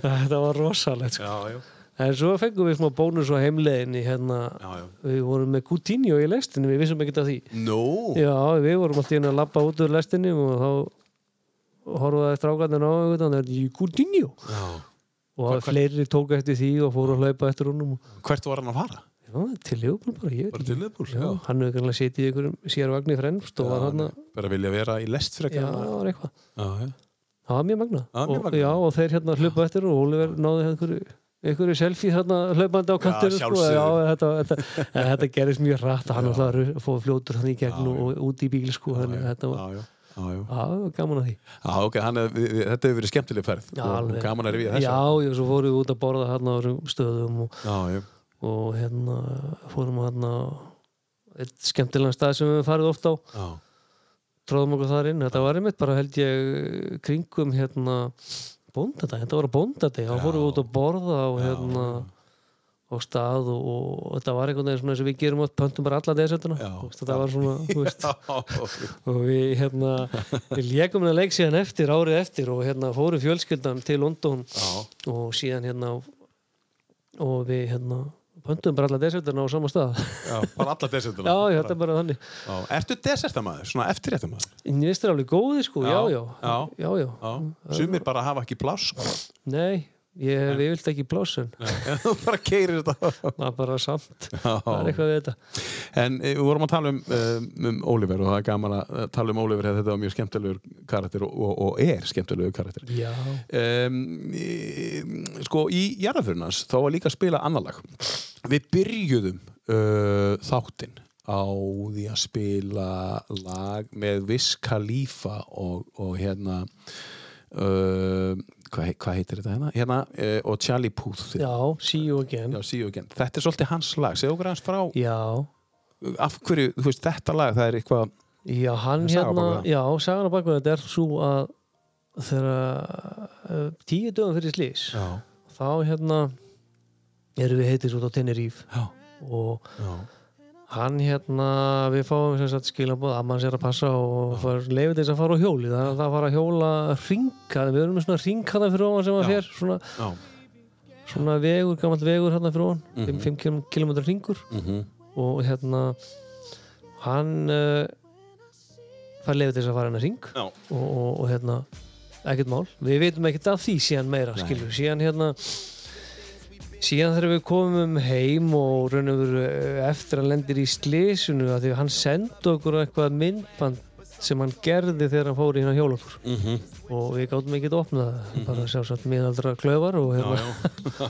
Speaker 4: þetta var rosalegt sko.
Speaker 2: Já, já.
Speaker 4: en svo fengum við smá bónus á heimleiðinni hérna,
Speaker 2: Já, já.
Speaker 4: við vorum með Coutinho í lestinni við vissum ekkert af því
Speaker 2: Nú,
Speaker 4: Já, við vorum alltaf inn að labba út úr lestinni og þá horfaði strákarnir á og þannig að ég Coutinho Já. og fleiri tók eftir því og fóru að hlaupa eftir honum og
Speaker 2: hvert var hann að fara?
Speaker 4: Já, til Leopold bara, ég veit
Speaker 2: Bara
Speaker 4: ekki.
Speaker 2: til Liverpool,
Speaker 4: Já,
Speaker 2: já.
Speaker 4: hann hefur kannski setið í einhverjum sérvagni fremst og var hann að,
Speaker 2: Bara vilja vera í lest
Speaker 4: já,
Speaker 2: frekar.
Speaker 4: það var eitthvað.
Speaker 2: Já, já.
Speaker 4: Það var mjög magna.
Speaker 2: var mjög
Speaker 4: Og-
Speaker 2: magnað.
Speaker 4: Já, og þeir hérna hlupa eftir og Oliver náði einhverju, einhverju selfie hérna hlaupandi á kantinu.
Speaker 2: sjálfsögðu.
Speaker 4: já, þetta, þetta, en þetta gerist mjög rætt að hann alltaf fóði fljótur hann í gegn og út í bíl sko, þannig að þetta var,
Speaker 2: Já, já. Já, já.
Speaker 4: já, það var gaman að því.
Speaker 2: Já, ok, hann, hef- við- við- þetta hefur verið skemmtileg ferð.
Speaker 4: Já,
Speaker 2: og, og
Speaker 4: alveg.
Speaker 2: gaman er við þess.
Speaker 4: Já, já, svo fórum við út að borða hérna á þessum stöðum og,
Speaker 2: já, já.
Speaker 4: og hérna fórum hérna eitt skemmtilegan stað sem við höfum farið oft á.
Speaker 2: já.
Speaker 4: tróðum okkur þar inn, þetta var einmitt bara held ég kringum hérna bóndadag, þetta var bóndadag þá fórum við út að borða og hérna á stað og, og þetta var einhvern veginn svona eins og við gerum átt pöntum bara alla desertuna, Þú veist, þetta var svona þú veist, og við hérna við lékum það leik síðan eftir, árið eftir og hérna fórum fjölskyldan til London
Speaker 2: Já.
Speaker 4: og síðan hérna og við hérna pöntum bara alla desertuna á sama stað
Speaker 2: Já, bara alla desertuna.
Speaker 4: já, já, þetta er bara þannig
Speaker 2: Já. Ertu desertamaður, svona eftirréttamaður?
Speaker 4: Mér finnst þér alveg góði sko, já,
Speaker 2: Já,
Speaker 4: já,
Speaker 2: já.
Speaker 4: já, já.
Speaker 2: Já.
Speaker 4: Mm.
Speaker 2: Sumir bara hafa ekki pláss. sko.
Speaker 4: Nei, ég hef yfirlt ekki plássun
Speaker 2: En Þú bara keirir þetta.
Speaker 4: það er bara samt
Speaker 2: Já.
Speaker 4: það er eitthvað við þetta
Speaker 2: En eh, við vorum að tala um, um, um Oliver og það er gaman að eh, tala um Oliver eða þetta var mjög skemmtilegur karakter og, og, og er skemmtilegur karakter.
Speaker 4: Já,
Speaker 2: um, í- sko í jarðaförunans þá var líka að spila annar lag við byrjuðum uh, þáttinn á því að spila lag með Wiz Khalifa og, og hérna uh, hvað, hei- hvað heitir þetta hérna, hérna uh, og Charlie Puth
Speaker 4: já, see you again
Speaker 2: Já, see you again. Þetta er svolítið hans lag, segðu okkur hans frá
Speaker 4: Já,
Speaker 2: af hverju, þú veist, þetta lag það er eitthvað,
Speaker 4: já, hann
Speaker 2: Það er saga
Speaker 4: hérna
Speaker 2: bak við það.
Speaker 4: Já, sagan á bakveg þetta er svo að þegar uh, tíu dögum fyrir slís já. þá hérna erum við heitir út á Tenerife
Speaker 2: Já.
Speaker 4: og hann hérna við fáum sem sagt skilabóð að mann sér að passa og fær leifið þess að fara á hjóli það er það fara að hjóla ringa við erum með svona ringkana fyrir ofan sem að fer svona
Speaker 2: já, Mhm.
Speaker 4: svona vegur, gammal vegur hérna fyrir hann mm -hmm. 5 km, hringur og hérna hann uh, fær leiði til þess að fara hennar hring
Speaker 2: Já.
Speaker 4: og, og, og hérna ekkert mál, við veitum ekkert af því síðan meira skilur, síðan hérna síðan þegar við komum heim og raunum við eftir að lendir í slísunu að því að hann sendi okkur eitthvað myndband sem hann gerði þegar hann fór í hérna hjólokur mm
Speaker 2: Mhm.
Speaker 4: og við gáttum ekki að opna það bara sjálfsagt miðaldra klöfar og hérna,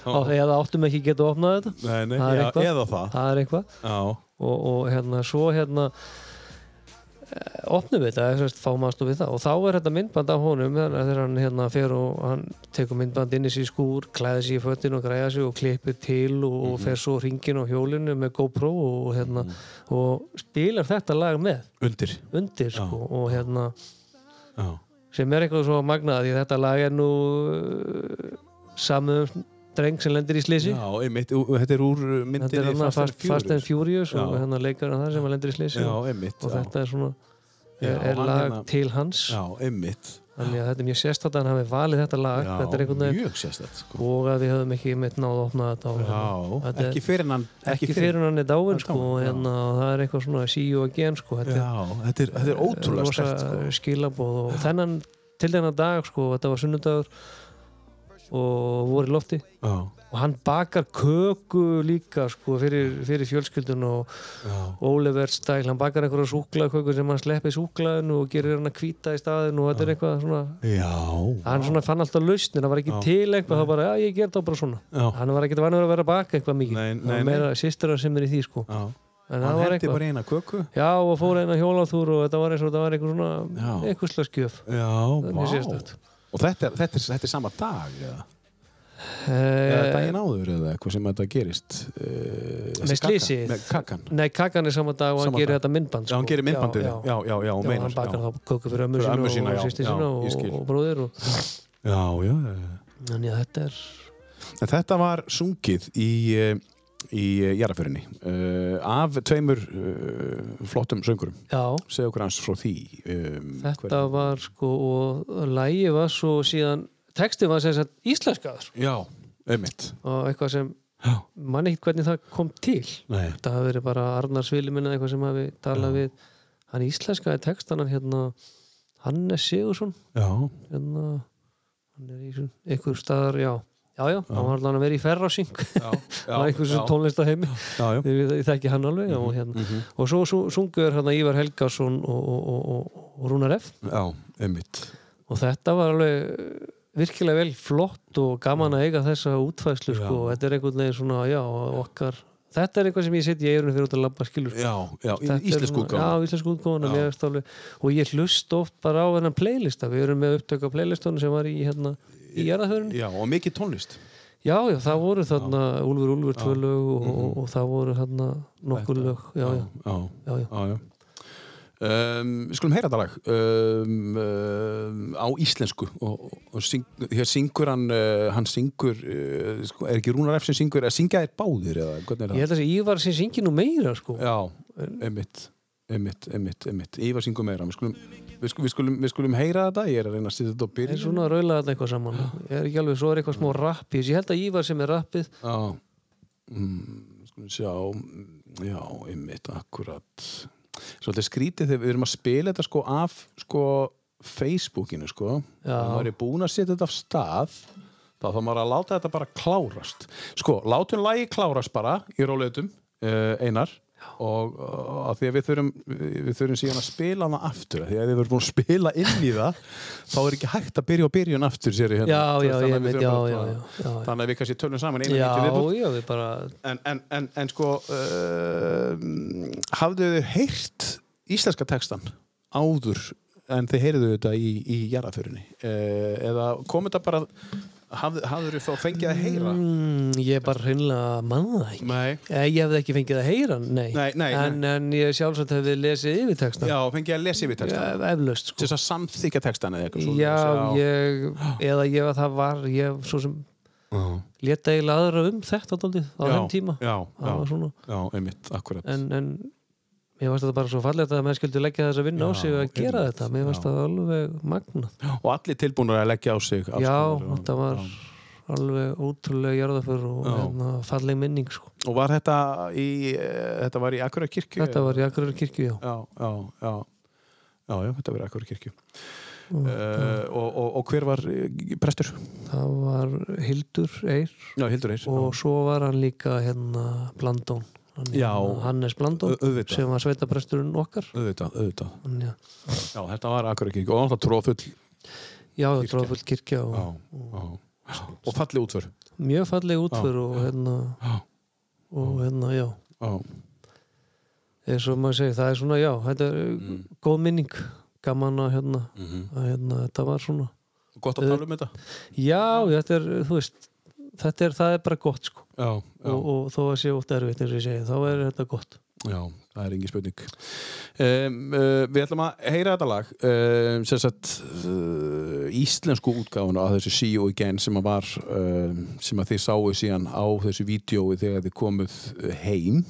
Speaker 4: Á- eða áttum ekki að geta opnað þetta
Speaker 2: nei, nei,
Speaker 4: það er
Speaker 2: já,
Speaker 4: eitthvað.
Speaker 2: eða það
Speaker 4: það er eitthvað
Speaker 2: já,
Speaker 4: og, og hérna svo hérna eh, opnum við þetta eða sérst fáum aðstof við það og þá er þetta myndband af honum þannig að þegar hann hérna fer og hann tekur myndband inn í sér skúr klæði sér í föttin og græða sér og klippir til og, og fer svo ringin á hjólinu með GoPro og, hérna og spilar þetta lag með
Speaker 2: undir
Speaker 4: undir sko og hérna
Speaker 2: já,
Speaker 4: sem er eitthvað svo magnað því að þetta lag er nú uh, samum dreng sem lendir í slisi
Speaker 2: já einmitt, og þetta er úr
Speaker 4: þetta er
Speaker 2: myndinni
Speaker 4: hann Fast, Fast and Furious og
Speaker 2: Já.
Speaker 4: hérna leikar hann þar sem hann lendir í slisi
Speaker 2: Já,
Speaker 4: og
Speaker 2: einmitt
Speaker 4: og
Speaker 2: já.
Speaker 4: þetta er svona
Speaker 2: Já,
Speaker 4: er, er
Speaker 2: hann
Speaker 4: lag
Speaker 2: hérna-
Speaker 4: til hans
Speaker 2: Já, einmitt
Speaker 4: þannig að þetta er mjög sérstætt að hann hafi valið þetta lag
Speaker 2: já,
Speaker 4: þetta er einhvern veginn
Speaker 2: Mjög sérstætt sko.
Speaker 4: og að við höfum ekki meitt náð að opna þetta og-
Speaker 2: Já,
Speaker 4: þetta
Speaker 2: ekki
Speaker 4: er,
Speaker 2: fyrir hann
Speaker 4: ekki fyrir hann er dáin sko
Speaker 2: dáinn,
Speaker 4: og
Speaker 2: já.
Speaker 4: hérna, og það er eitthvað svona sí og again sko þetta er
Speaker 2: Já, þetta er, þetta er ótrúlega
Speaker 4: rosa
Speaker 2: sterkt sko.
Speaker 4: skilabóð og þennan til þennan dag sko, þetta var sunnudagur og voru í lofti
Speaker 2: Já.
Speaker 4: og hann bakar köku líka sko, fyrir, fyrir fjölskyldun og Oliver stæl, hann bakar einhverja súklaköku sem hann sleppi í súklaðinu og gerir hann að hvíta í staðinu og þetta er eitthvað svona
Speaker 2: Já.
Speaker 4: hann svona fann alltaf lausnin, það var ekki til eitthvað þá bara, já ég ger það bara svona
Speaker 2: Já.
Speaker 4: hann var ekki vanur að vera að baka eitthvað mikið
Speaker 2: Nei,
Speaker 4: það
Speaker 2: nei,
Speaker 4: var
Speaker 2: nei.
Speaker 4: meira sýstara sem er í því sko
Speaker 2: Já.
Speaker 4: en
Speaker 2: Hann
Speaker 4: það var
Speaker 2: hendi
Speaker 4: eitthvað
Speaker 2: bara eina köku.
Speaker 4: já og fór einn að hjólaþúr og þetta var eins og þetta var eitthvað svona
Speaker 2: Já.
Speaker 4: eitthvað slagsgjöf
Speaker 2: Já,
Speaker 4: er
Speaker 2: vá.
Speaker 4: mjög sérstakt.
Speaker 2: Og þetta, er- þetta, er, þetta er sama dag, eða? Eða
Speaker 4: Eh,
Speaker 2: daginn áður eða eitthvað sem þetta gerist? eh, þessi
Speaker 4: Með
Speaker 2: kakan-
Speaker 4: slysið?
Speaker 2: Með kakan.
Speaker 4: nei kakan er sama dag og hann
Speaker 2: Sama
Speaker 4: gerir
Speaker 2: dag.
Speaker 4: þetta myndband sko.
Speaker 2: Já, hann gerir myndbandið. Já, já, já, já,
Speaker 4: Já,
Speaker 2: meinar,
Speaker 4: hann bakar
Speaker 2: já.
Speaker 4: þá köku fyrir ömmu
Speaker 2: Fyrir
Speaker 4: sína
Speaker 2: ömmu sína,
Speaker 4: og
Speaker 2: já,
Speaker 4: sýsti
Speaker 2: já,
Speaker 4: sína
Speaker 2: ég skil.
Speaker 4: og, og bróðir og,
Speaker 2: Já, já. já.
Speaker 4: en já, þetta er
Speaker 2: En þetta var sungið í, eh, í jarðaförinni uh, af tveimur uh, flottum söngurum.
Speaker 4: já,
Speaker 2: Segðu okkur hans frá því. Um,
Speaker 4: þetta var sko og lægi var svo síðan texti var sem sagt íslenskaður
Speaker 2: Já, einmitt.
Speaker 4: og eitthvað sem
Speaker 2: Já.
Speaker 4: mann ekkert hvernig það kom til
Speaker 2: Nei.
Speaker 4: þetta hafi verið bara Arnar Sviliminn eða eitthvað sem hafi talað við hann íslenskaði textan hann hérna Hannes Sigursson
Speaker 2: Já.
Speaker 4: hérna, hann er í svon- einhver staðar, já já, já, hann var allan að vera í ferrasing
Speaker 2: já,
Speaker 4: hann var einhver sem
Speaker 2: já.
Speaker 4: tónlista heimi
Speaker 2: Já, já.
Speaker 4: ég, ég þekki hann alveg og, hérna. og svo, svo sungur hérna Ívar Helgason og, og, og, og, og Rúnar F
Speaker 2: Já, einmitt.
Speaker 4: og þetta var alveg virkilega vel flott og gaman að eiga þessa útfæslu sko, og þetta er einhvern veginn svona, já, okkar þetta er eitthvað sem ég setja í eirunum fyrir út að labba skilur sko.
Speaker 2: Já, já,
Speaker 4: Þetta er
Speaker 2: íslensku
Speaker 4: svona-
Speaker 2: útgáfan.
Speaker 4: Já, íslensku útgáfana, mér finnst alveg og ég hlust oft bara á þennan playlista við erum með upptöku á playlistunum sem var í hérna í jarðahörunni
Speaker 2: Já, og mikið tónlist.
Speaker 4: Já, já, það voru þarna Úlfur Úlfur tvö lög og, og, og það voru hérna nokkur lög já, já,
Speaker 2: Já,
Speaker 4: já, já.
Speaker 2: já, já. Um, við skulum heyra þetta lag um, um, á íslensku og, og, og syng, hér syngur hann uh, hann syngur uh, sko, er ekki Rúnar F. sem syngur, að syngja þér báðir eða hvernig er
Speaker 4: Ég
Speaker 2: það?
Speaker 4: held að þessi Ívar sem syngi nú meira sko
Speaker 2: Já, einmitt einmitt, einmitt, einmitt, Ívar syngur meira við skulum, við, skulum, við, skulum, við skulum heyra þetta ég er að reyna að stýta þetta á
Speaker 4: er
Speaker 2: byrjun
Speaker 4: svona að raula þetta eitthvað saman ég er ekki alveg, svo er eitthvað smá rappi ég held að Ívar sem er rappið
Speaker 2: Já mm, skulum sjá Já, einmitt, akkurat Svolítið skrítið þegar við erum að spila þetta sko af sko Facebookinu sko Já. maður er búin að setja þetta af stað þá þá maður að láta þetta bara klárast Sko, látum lagi klárast bara í róleitum uh, einar og uh, af því að við þurfum við þurfum síðan að spila hana aftur af því að við erum búin að spila inn í það þá er ekki hægt að byrja á byrjun aftur sér hérna.
Speaker 4: Já, já,
Speaker 2: Þannig að
Speaker 4: ég
Speaker 2: við
Speaker 4: veit,
Speaker 2: þurfum
Speaker 4: já,
Speaker 2: bara-
Speaker 4: já, já, já, já.
Speaker 2: þannig að við kannski tölum saman einu
Speaker 4: já,
Speaker 2: nýttu viðbútt
Speaker 4: já, við bara
Speaker 2: en, en, en, en sko uh, hafðu þið heyrt íslenska textan áður en þið heyrðu þetta í, í jarðaförinni uh, eða kom þetta bara hafðu, hafðu þið þá fengið að heyra
Speaker 4: mm, ég bara hreinlega manna það ekki
Speaker 2: nei,
Speaker 4: Eh, ég hefði ekki fengið að heyra, hann, nei,
Speaker 2: Nei, nei,
Speaker 4: en, en ég sjálfsagt hefði lesið yfir textan
Speaker 2: já, fengið að lesa yfir textan
Speaker 4: eflaust
Speaker 2: til
Speaker 4: sko.
Speaker 2: þess að samþykja textan eða eitthvað
Speaker 4: já,
Speaker 2: svoleiðis,
Speaker 4: ég eða ég að það var, ég svo sem leta eiginlega aðra um þetta daldið á
Speaker 2: já,
Speaker 4: þeim tíma
Speaker 2: já,
Speaker 4: það var
Speaker 2: já,
Speaker 4: svona
Speaker 2: já, einmitt, akkurat
Speaker 4: en, en mér varst þetta bara svo fallegt að menn skildi leggja þess að vinna á sig að gera
Speaker 2: einmitt,
Speaker 4: þetta mér varst það alveg magnað
Speaker 2: og allir tilbúinur að leggja á sig alls
Speaker 4: já,
Speaker 2: konar,
Speaker 4: þetta var alveg ótrúlega jarðaför og hérna, falleg minning sko.
Speaker 2: og var þetta í eh, þetta var í Akureyri kirkju
Speaker 4: þetta var í Akureyri kirkju já.
Speaker 2: já, já, já Já, já, þetta verið akkur kirkju
Speaker 4: Mm,
Speaker 2: uh, og, og, og hver var eh, prestur?
Speaker 4: það var Hildur Eir
Speaker 2: Já, Hildur Eir
Speaker 4: og svo var hann líka hérna Blandón hann,
Speaker 2: Já.
Speaker 4: hérna, Hannes Blandón
Speaker 2: Au- auðvitað.
Speaker 4: sem var sveitapresturinn okkar
Speaker 2: Auðvitað, auðvitað
Speaker 4: hann, já,
Speaker 2: Já, þetta var akkur kirkju og náttúrulega tróðfull
Speaker 4: já dróðfull kirkja og
Speaker 2: Já, já
Speaker 4: mm.
Speaker 2: Og falli útför
Speaker 4: mjög falleg útför og hérna og hérna, já
Speaker 2: Já,
Speaker 4: eins og maður segir, það er svona, já, þetta er mm. góð minning, gaman að hérna,
Speaker 2: Mhm.
Speaker 4: að hérna, þetta var svona
Speaker 2: gott að tala um þetta
Speaker 4: já, þetta er, þú veist þetta er, það er bara gott, sko
Speaker 2: Já, já,
Speaker 4: og, og þó að sé ótt erfitt, eins og ég segi, þá er þetta gott
Speaker 2: já, það er engin spurning um, uh, Við ætlum að heyra þetta lag um, sem sagt uh, íslensku útgáfuna að þessu See You Again sem að var um, sem að þið sáu síðan á þessu vídjói þegar þið komuð eh, heim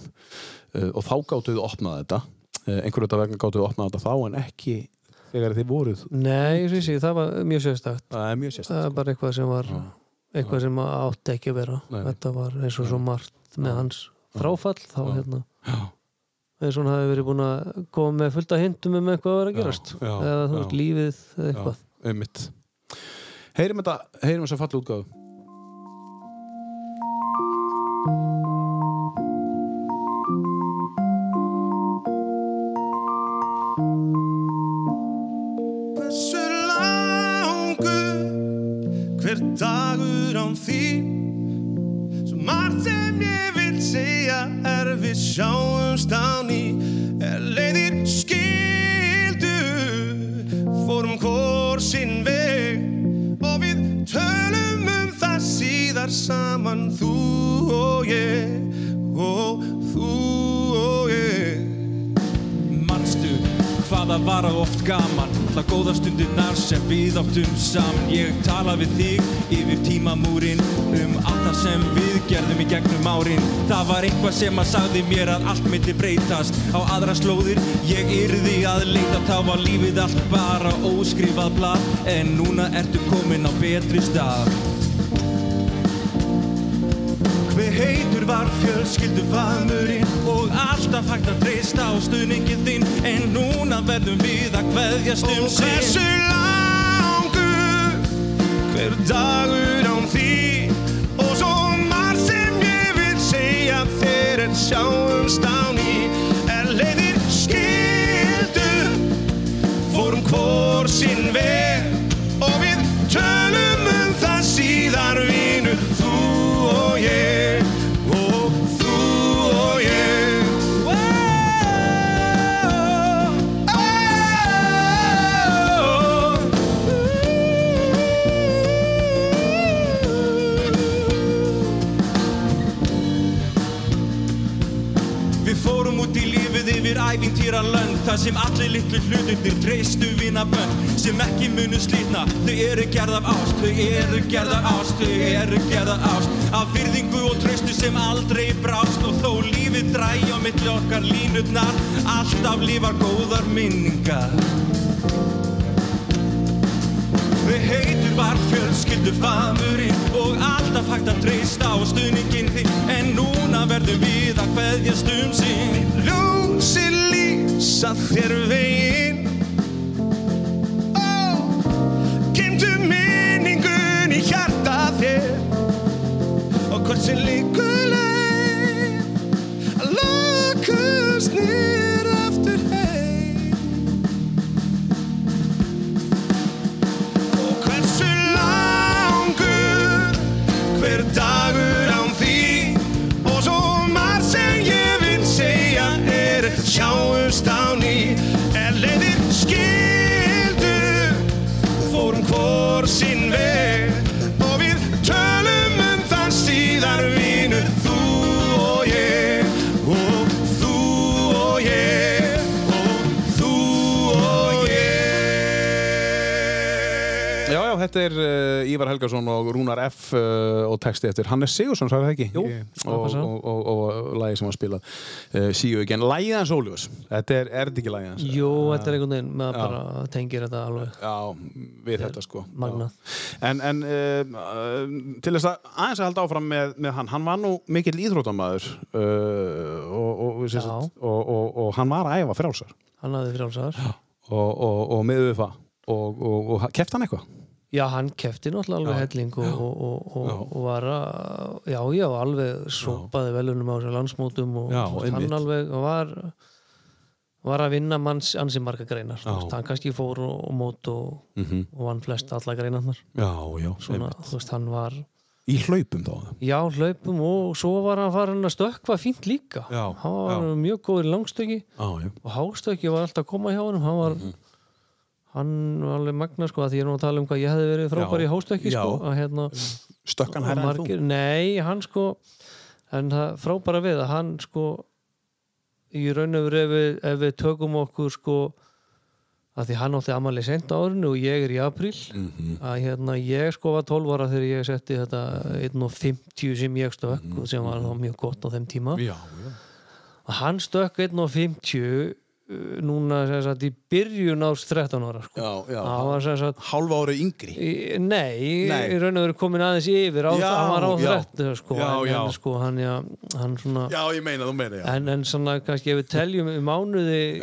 Speaker 2: uh, og þá gáttu þið opnað þetta uh, einhverju þetta vegna gáttu þið opnað þetta þá en ekki þegar þið voruð
Speaker 4: nei, eins og ég segi, það var mjög sérstakt
Speaker 2: það er mjög sérstæð
Speaker 4: það er bara eitthvað sem var eitthvað sem átti ekki að vera
Speaker 2: Nei.
Speaker 4: þetta var eins og svo margt með hans fráfall, þá hérna eins og hann hafi verið búin að koma með fullta hindum um eitthvað að vera að gerast
Speaker 2: já,
Speaker 4: eða þú
Speaker 2: já.
Speaker 4: veist, lífið, eða eitthvað
Speaker 2: einmitt heyrim þetta, heyrim þess að falla útgáfu
Speaker 10: Hversu langur hver dagur án þín Svo margt sem ég vil segja er við sjáumst á ný Er leiðir skildu Fórum hvor sinn veg Og við tölum um það síðar saman Þú og ég Og þú og ég
Speaker 11: Manstu hvaða var að oft gaman Það góða stundirnar sem við áttum saman Ég tala við þig yfir tímamúrin Um allt það sem við gerðum í gegnum árin Það var eitthvað sem að sagði mér að allt myndi breytast Á aðra slóðir ég yrði að leita Þá var lífið allt bara óskrifað blað En núna ertu komin á betri stað Hver heitur var fjölskyldu faðmurinn og alltaf hægt að treysta á stuðningin þinn en núna verðum við að kveðjast um
Speaker 10: Og hversu langur hver dagur án því Og svo marg sem ég vil segja þér en sjáumst á ný Er leiðir skildu, fórum hvor sinn veg Og við tölum um það síðar vinu Þú og ég, og þú og ég
Speaker 11: Við fórum út í lífið yfir ævintýra lönd Það sem allir litlu hlutirnir treystu vina bönn Sem ekki munu slítna Þau eru gerð af ást, þau eru gerð af ást Þau eru gerð af ást Af virðingu og traustu sem aldrei brást Og þó lífið dræi á milli okkar línutnar Alltaf lifar góðar minningar Við heitur var fjölskyldu famurinn og alltaf hægt að treysta á stuðninginn þinn en núna verðum við að kveðjast um sinn
Speaker 10: Ljósi lýsa þér veginn Ó, Kymdu minningun í hjarta þér Og hvort sem líkur leið Að lokast nýr aftur heim Og hversu langur hver dagur án því og svo margt sem ég vil segja er sjáumst á ný er leiðir skildu fórum hvor sinn veg og við tölum um það síðar vinu þú og ég og þú og ég og þú og ég
Speaker 2: Já, já, þetta er uh, Ívar Helgason og Rúnar F uh, og texti eftir Hannes Sigursson, sagði það ekki?
Speaker 4: Jú,
Speaker 2: Ég-
Speaker 4: það
Speaker 2: og,
Speaker 4: passar.
Speaker 2: og, og, og, og lagi sem hann spilað uh, Síu ekki, en lagið hans Óljós Þetta er, er þetta ekki lagið hans?
Speaker 4: Jó, þetta er einhvern veginn, maður bara tengir þetta alveg
Speaker 2: Já, við þetta sko
Speaker 4: magnað.
Speaker 2: Já. En, en uh, uh, til þess að aðeins að halda áfram með, með hann hann var nú mikill íþrótamaður uh, og, og, sem
Speaker 4: Já.
Speaker 2: sagt, og, og, og hann var að æfa frjálsar
Speaker 4: Hann hafði frálsar
Speaker 2: og, og, og með við það og, og, og keft hann eitthvað?
Speaker 4: Já, hann kefti náttúrulega alveg helling og, og, og, og, og var að já, já, alveg sópaði velunum á sér landsmótum og
Speaker 2: Já,
Speaker 4: þú veist,
Speaker 2: einmitt.
Speaker 4: hann alveg var var að vinna manns ansi marga greinar þú veist, hann kannski fór og, og mót og,
Speaker 2: Mhm.
Speaker 4: og vann flest alla greinarnar
Speaker 2: Já, já,
Speaker 4: svona, þú veist, hann var
Speaker 2: í hlaupum þá
Speaker 4: já, hlaupum og svo var hann farin að stökkva fínt líka
Speaker 2: Já,
Speaker 4: hann var mjög góður í langstöki
Speaker 2: Já, já
Speaker 4: og hástöki var alltaf að koma hjá honum hann var
Speaker 2: Mhm.
Speaker 4: hann var alveg magna sko að því ég er nú að tala um hvað ég hefði verið frábær
Speaker 2: Já.
Speaker 4: í hástöki sko
Speaker 2: Já. Mhm.
Speaker 4: að hérna
Speaker 2: Stökkan
Speaker 4: og
Speaker 2: hærra en þú?
Speaker 4: margir, nei, hann sko en það frábæra við að hann sko í raun og veru ef, við- ef við tökum okkur sko að því hann átti amali sent á árinu og ég er í apríl
Speaker 2: Mhm.
Speaker 4: að hérna ég sko var 12 ára þegar ég setti þetta 1.50 sem ég stökk og sem var þá mjög gott á þeim tíma
Speaker 2: Mhm. Já, já
Speaker 4: að hann stökk 1.50 uh, núna sem sagt í byrjun árs 13 ára sko.
Speaker 2: Já, já.
Speaker 4: hann var sem sagt
Speaker 2: Hálfa ári yngri
Speaker 4: í- Nei,
Speaker 2: Nei.
Speaker 4: í raun og veru komin aðeins yfir á,
Speaker 2: Já,
Speaker 4: hann var á
Speaker 2: já.
Speaker 4: 13 sko,
Speaker 2: Já,
Speaker 4: en,
Speaker 2: já.
Speaker 4: en sko hann, ja, hann svona
Speaker 2: Já, ég meina, þú meina, já
Speaker 4: en, en svona kannski ef við teljum í mánuði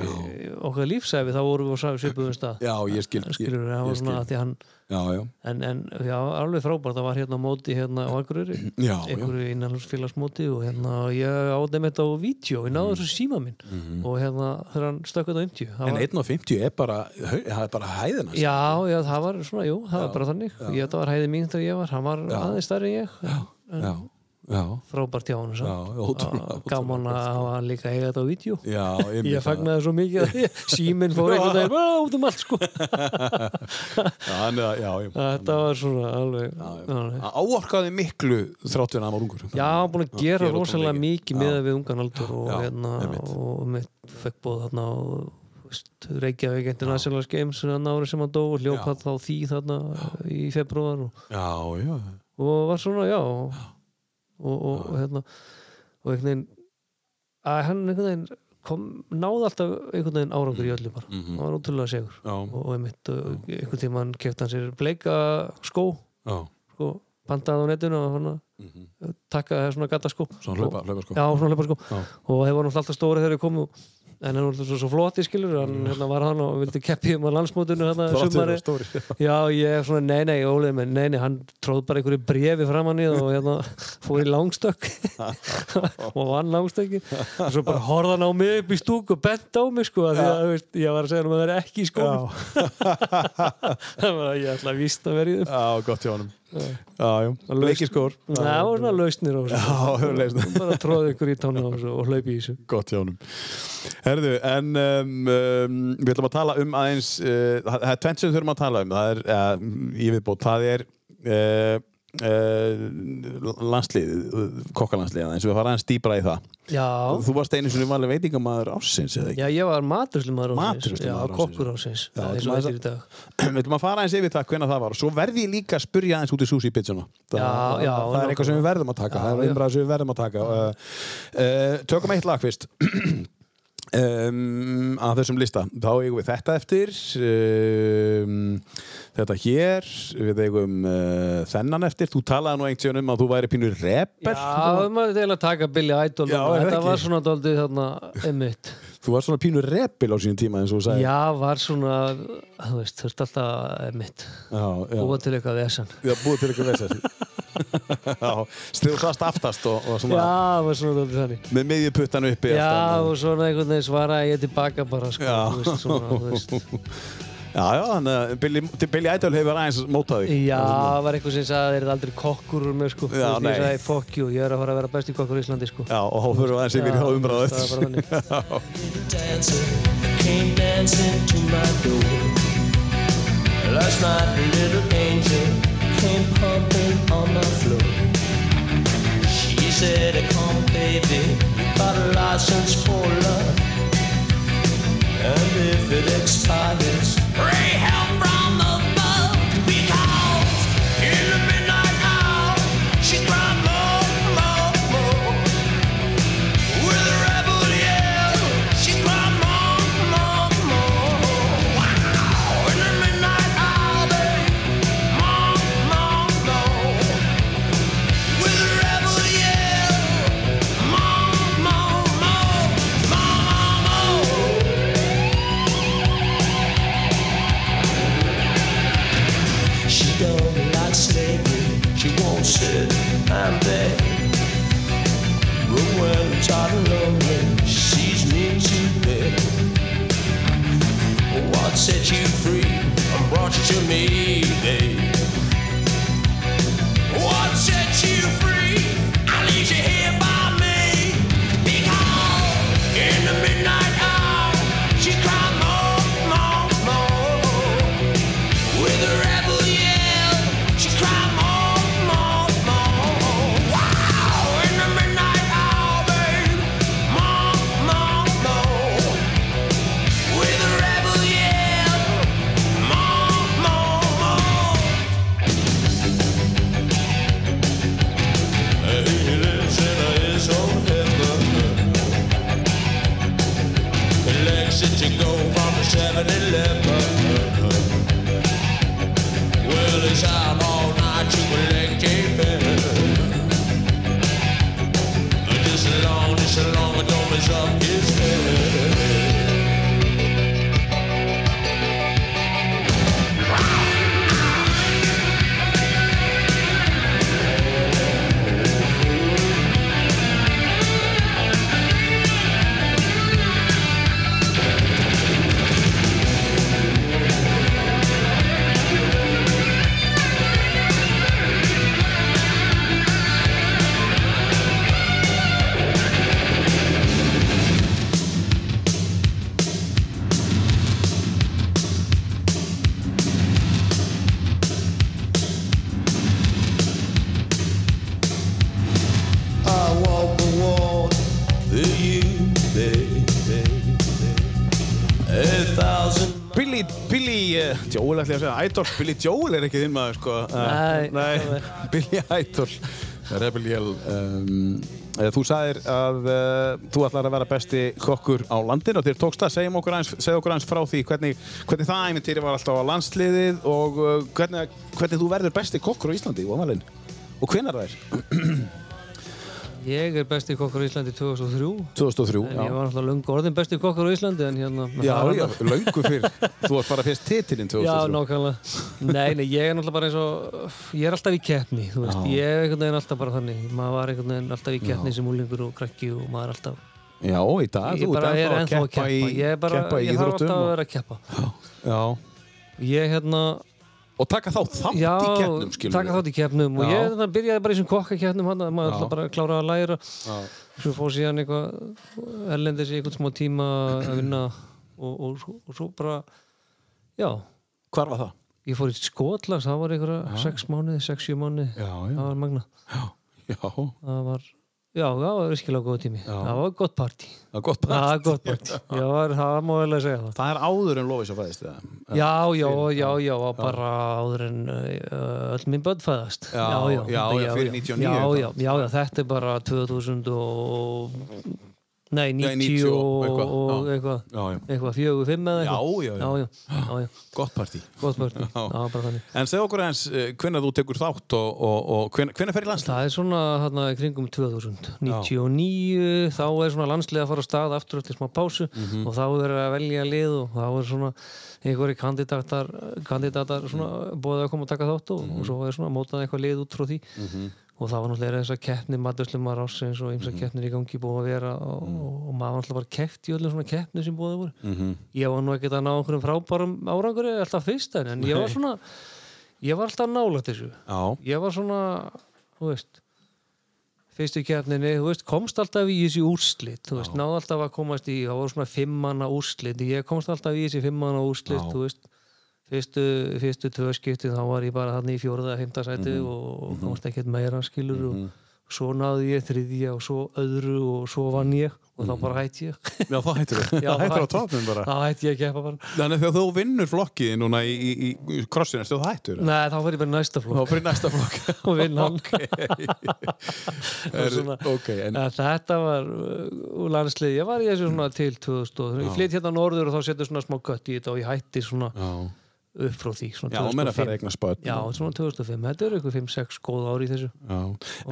Speaker 4: okkar lífsæfi þá vorum við á svipuðum stað
Speaker 2: Já, ég skil, ég,
Speaker 4: skilur, það
Speaker 2: ég
Speaker 4: var svona
Speaker 2: skil.
Speaker 4: að því hann
Speaker 2: já, já,
Speaker 4: en, en já, alveg frábært það var hérna móti hérna á Akureyri
Speaker 2: já, já.
Speaker 4: einhverju innanlúsfélagsmóti og hérna ég áðum þetta á vídeo, ég
Speaker 2: Mm.
Speaker 4: náði þessu síma minn og hérna þegar hann stökkuð á 50 það
Speaker 2: Mhm. En
Speaker 4: var,
Speaker 2: 1.50 er bara, hau- það er bara hæðina
Speaker 4: já, já, það var svona, jú, það var bara þannig ég þetta var hæði mín þegar ég var, hann var aðeins stærri en ég en
Speaker 2: já, já,
Speaker 4: frábært hjá hann
Speaker 2: já, ótrúlega
Speaker 4: gaman að hafa líka eiga þetta á vídeo
Speaker 2: ótrúlega. Já, ég
Speaker 4: ég fagnaði svo mikið að ég- síminn fór einhvern veginn "Vá, út um allt sko
Speaker 2: Já, já, já Ah,
Speaker 4: þetta var svona alveg alveg.
Speaker 2: Hann Áorkaði miklu þrátt við að hann var ungur
Speaker 4: Já, hann var búin að gera
Speaker 2: gera
Speaker 4: rosalega
Speaker 2: tónleiki.
Speaker 4: mikið með við ungan aldur og
Speaker 2: Já,
Speaker 4: hérna
Speaker 2: einmitt.
Speaker 4: og mitt fekk bóð þarna og veist, Reykjavík International Games þarna árið sem hann dó og
Speaker 2: Já.
Speaker 4: hljópað þá því þarna í februar og,
Speaker 2: Já, já,
Speaker 4: og var svona, já og, og, og hérna og einhvern veginn að hann einhvern veginn kom, náði alltaf einhvern veginn árangur í öllu bara mm hann var ótrúlega segur
Speaker 2: já,
Speaker 4: og einmitt og einhvern tímann kefti hann sér bleika skó
Speaker 2: já
Speaker 4: sko, pantaði á netinu og svona, takkaði það svona gata sko
Speaker 2: Svona hlaupa, hlaupa sko
Speaker 4: Já, svona hlaupa sko
Speaker 2: Já.
Speaker 4: og þeir voru náttúrulega alltaf stóri þegar þeir komu en hann var alltaf svo, svo flotti skilur hann hérna var hann og vildi keppi um að landsmótinu hérna
Speaker 2: Þrátt við að
Speaker 4: sumari
Speaker 2: hann var Mm. stóri.
Speaker 4: já, ég svona, nei, nei, Óli menn, nei, nei, hann tróð bara einhverju brefi fram hann í það og hérna fór í langstökk og vann langstökki og svo bara horða hann á mig upp í stúk og bent á mig sko af því að þú veist, ég var að segja hann að það er ekki í skónum það var að ég ætla að víst að vera í þeim
Speaker 2: Já, gott hjá honum Já, já, bleiki skór
Speaker 4: það var svona lausnir á þessu
Speaker 2: Já, leist
Speaker 4: bara tróði ykkur í tónu á þessu og hlaupi í þessu
Speaker 2: Gott hjá honum Herðu, en um, um, við ætlum að tala um aðeins uh, það það er tvennt sem við þurfum að tala um það er, uh, ég viðbót, það er uh, uh, landslið kokkalandslið eins og við fara aðeins dýbra í það
Speaker 4: já,
Speaker 2: Þú varst einu sinni valið veitingamæður ársins eða ekki?
Speaker 4: Já, ég var maturslumaður
Speaker 2: Matreiðslumaður
Speaker 4: Já,
Speaker 2: ársins.
Speaker 4: kokkur ásins
Speaker 2: Já,
Speaker 4: Það er
Speaker 2: þú
Speaker 4: svo
Speaker 2: maður-
Speaker 4: heitir í dag
Speaker 2: Við ætlum að fara aðeins yfir það hvenna það var og svo verði ég líka að spurja aðeins út í sushi pizzuna Það,
Speaker 4: Já,
Speaker 2: það,
Speaker 4: já,
Speaker 2: það er eitthvað sem við verðum að taka það
Speaker 4: Já,
Speaker 2: er umræða sem við verðum að taka uh, uh, Tökum eitt lag fyrst um, að þessum lista þá eigum við þetta eftir um, þetta hér við eigum uh, þennan eftir þú talaði nú einhvern veginn um að þú væri pínur rebel
Speaker 4: Já, maður til að taka Billy Idol
Speaker 2: Já, er
Speaker 4: núna.
Speaker 2: það
Speaker 4: Þetta
Speaker 2: ekki?
Speaker 4: var svona doldið þarna emitt
Speaker 2: þú var svona pínur rebel á sínum tíma eins og þú sagði
Speaker 4: Já, var svona þú veist, þurft alltaf emitt
Speaker 2: já, já.
Speaker 4: búa til eitthvað vesan
Speaker 2: Já, búið til eitthvað vesir Já, stiðu sast aftast og, og svona
Speaker 4: Já, var svona doldið þannig
Speaker 2: með miðju puttan uppi
Speaker 4: Já,
Speaker 2: alltaf.
Speaker 4: og svona einhvern veginn svaraði ég tilbaka bara sko,
Speaker 2: Já.
Speaker 4: þú veist, svona, þú veist.
Speaker 2: já, já, þannig að Billy, til Billy Idol hefur aðeins mótað þig
Speaker 4: Já, var eitthvað sem sagði þeir eru aldrei kokkur úr mér sko, Þú
Speaker 2: Já,
Speaker 4: veist,
Speaker 2: nei.
Speaker 4: ég sagði fuck you, ég er að fara að vera besti kokkur í Íslandi sko.
Speaker 2: Já, og þá fyrir aðeins yfir í þá umræðu
Speaker 4: það var bara
Speaker 2: eftir.
Speaker 4: þannig
Speaker 8: dancer came dancing to my door. Last night, a little angel came pumping on the floor. She said, Come, baby, you got a license for love. And if it expires, pray help from above. Because in the midnight hour, she cried, more, more, more. With a rebel yell, she cried, more, more, more. Wow! In the midnight hour, babe, more, more, more. With a rebel yell, more, more, more, more, more, more. She don't like slavery. She wants it. I'm there. But when I'm tired and lonely, she sees me too bed. What set you free and brought you to me, babe? What set you free? I lead you here by me. Because in the midnight hour, she cried more, more, more. With a rebel yell, she cried more, more, more. Wow! In the midnight hour, babe, more, more, more. With a rebel yell, more, more, more. He lives in his own heaven. Elections you go from the 7-Eleven. Well, it's out all night to collect a bill. This long, this long, I don't mess up his head.
Speaker 2: Billy, Billy, uh, Joel ætla ég að segja, Idol, Billy Joel er ekki þinn maður sko.
Speaker 4: Nei,
Speaker 2: nei,
Speaker 4: alveg.
Speaker 2: Billy Idol, Rebelliel. Um, eh, þú sagðir að uh, þú ætlar að vera besti kokkur á landinu og þér tókst það, segjum okkur aðeins, segjum okkur aðeins frá því hvernig, hvernig það æmintýri var alltaf á landsliðið og uh, hvernig, hvernig þú verður besti kokkur á Íslandi og ámalinn og hvenar það er?
Speaker 4: Ég er besti kokkur á Íslandi 2003
Speaker 2: 2003,
Speaker 4: En ég var náttúrulega lungu orðin besti kokkur á Íslandi en hérna
Speaker 2: Já,
Speaker 4: það er
Speaker 2: já,
Speaker 4: annað.
Speaker 2: löngu fyrr. Þú varst bara fyrst titilinn 2003.
Speaker 4: Já, nákvæmlega Nei, nei, ég er náttúrulega bara eins og Ég er alltaf í keppni, þú veist Ég er einhvern veginn alltaf bara þannig Maður var einhvern veginn alltaf í keppni sem úlingur og krakki og maður er alltaf
Speaker 2: Já, í dag,
Speaker 4: Ég
Speaker 2: Ah, þú ert
Speaker 4: bara er
Speaker 2: ennþá
Speaker 4: ennþá að keppa
Speaker 2: í,
Speaker 4: Ég er bara,
Speaker 2: keppa í
Speaker 4: ég þarf alltaf
Speaker 2: íþróttum
Speaker 4: að
Speaker 2: og,
Speaker 4: vera að keppa
Speaker 2: já.
Speaker 4: Ég hérna,
Speaker 2: og taka þá þátt
Speaker 4: já,
Speaker 2: í keppnum, skilur
Speaker 4: taka þátt í keppnum og
Speaker 2: Já.
Speaker 4: ég þarna byrjaði bara í þessum kokkakeppnum hann, maður
Speaker 2: Já.
Speaker 4: alltaf bara kláraði að læra svo fór síðan eitthvað erlendis í eitthvað smá tíma að vinna og, og, og, og svo bara já,
Speaker 2: Hvar var það?
Speaker 4: ég fór í Skotlands það var einhverja 6 mánuði, 6-7 mánuði
Speaker 2: Já, já.
Speaker 4: það var magna
Speaker 2: Já, það
Speaker 4: það var, já, það var virkilega góð tími það var gott partí
Speaker 2: er gott
Speaker 4: það
Speaker 2: bara.
Speaker 4: var gott partí, já, það má vel að segja það
Speaker 2: Það er áður en lofið svo fæðist það.
Speaker 4: Já, já, já, já, bara áður en uh, öll minn börn fæðast
Speaker 2: Já, já, já, fyrir 99
Speaker 4: já,
Speaker 2: þá.
Speaker 4: já, já, já, þetta er bara 2000 og nei, 90,
Speaker 2: 90 og
Speaker 4: og
Speaker 2: eitthvað,
Speaker 4: og
Speaker 2: já.
Speaker 4: eitthvað,
Speaker 2: Já, já.
Speaker 4: eitthvað, fjögur, fimm eða eitthvað
Speaker 2: Já, já, já.
Speaker 4: já, já, já, já,
Speaker 2: Gott partí.
Speaker 4: gott börn, já, bara þannig
Speaker 2: En segð okkur eins hvenna þú tekur þátt og, og, og hvenna, hvenna fer í landslag?
Speaker 4: Það er svona hérna í kringum 2000 99, þá er svona landslið að fara á stað aftur eftir smá pásu og þá er að velja lið og þá er svona einhverju kandidatar, kandidatar svona bóðið að koma og taka þátt og, og svo er svona mótað eitthvað lið út frá því og þá var náttúrulega þess að keppni matverslumar ásins og ymsa keppnir í gangi búið að vera og, og, og maður var náttúrulega bara keppt í öllum svona keppni sem búið voru ég var nú ekkert að ná einhverjum frábærum árangur alltaf fyrst en, en ég var svona ég var alltaf nálægt þessu
Speaker 2: Já.
Speaker 4: ég var svona, þú veist fyrstu keppninni, þú veist, komst alltaf í þessi úrslit, þú veist, náði alltaf að komast í það voru svona fimmanna úrslit ég komst alltaf í þessi fimmanna úrslit, þú veist fyrstu, fyrstu tvö skipti þá var ég bara hann í fjórða, fymta sæti
Speaker 2: Mhm.
Speaker 4: og komst ekkert meira skilur og svo náði ég þriðja og svo öðru og svo vann ég og þá bara hætti ég
Speaker 2: Já, það hættir þú. Mhm.
Speaker 4: Já,
Speaker 2: Það hættir á
Speaker 4: hætti-
Speaker 2: topnum bara.
Speaker 4: þá hætti ég að keppa bara
Speaker 2: Þannig að þegar þú vinnur flokkið núna í, í, í krossinu, þá hættur þú.
Speaker 4: Nei, þá fyrir bara í næsta flokk
Speaker 2: Þá fyrir næsta flokk.
Speaker 4: og vinn hann
Speaker 2: Er-
Speaker 4: svona-
Speaker 2: ok, en
Speaker 4: en þetta var uh, landslið, ég var í þessu
Speaker 2: Mm.
Speaker 4: svona til 2000 ég flytt hérna norður og þá setjum svona smá gött í þetta og ég hætti svona upp frá því svona
Speaker 2: já, meina að fara
Speaker 4: 2005
Speaker 2: eignar spöld.
Speaker 4: já, svona 2005, þetta eru ykkur 5-6 góð ári í þessu
Speaker 2: Já,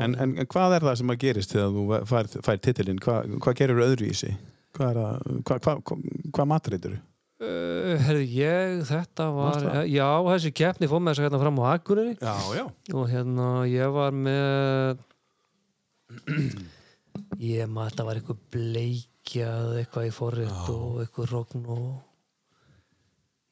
Speaker 2: en, en en hvað er það sem að gerist þegar þú fær, fær titilinn? Hva, hvað gerir öðru í sig? Hvað, er að, hvað, hvað, hvað, hvað matreitur þú?
Speaker 4: uh, herði ég, þetta var
Speaker 2: Varstu það?
Speaker 4: já, þessi keppni fór með þess að hérna fram á Akureyri
Speaker 2: Já, já.
Speaker 4: og hérna ég var með ég maður þetta var eitthvað bleikjað eitthvað í forrétt og eitthvað rogn og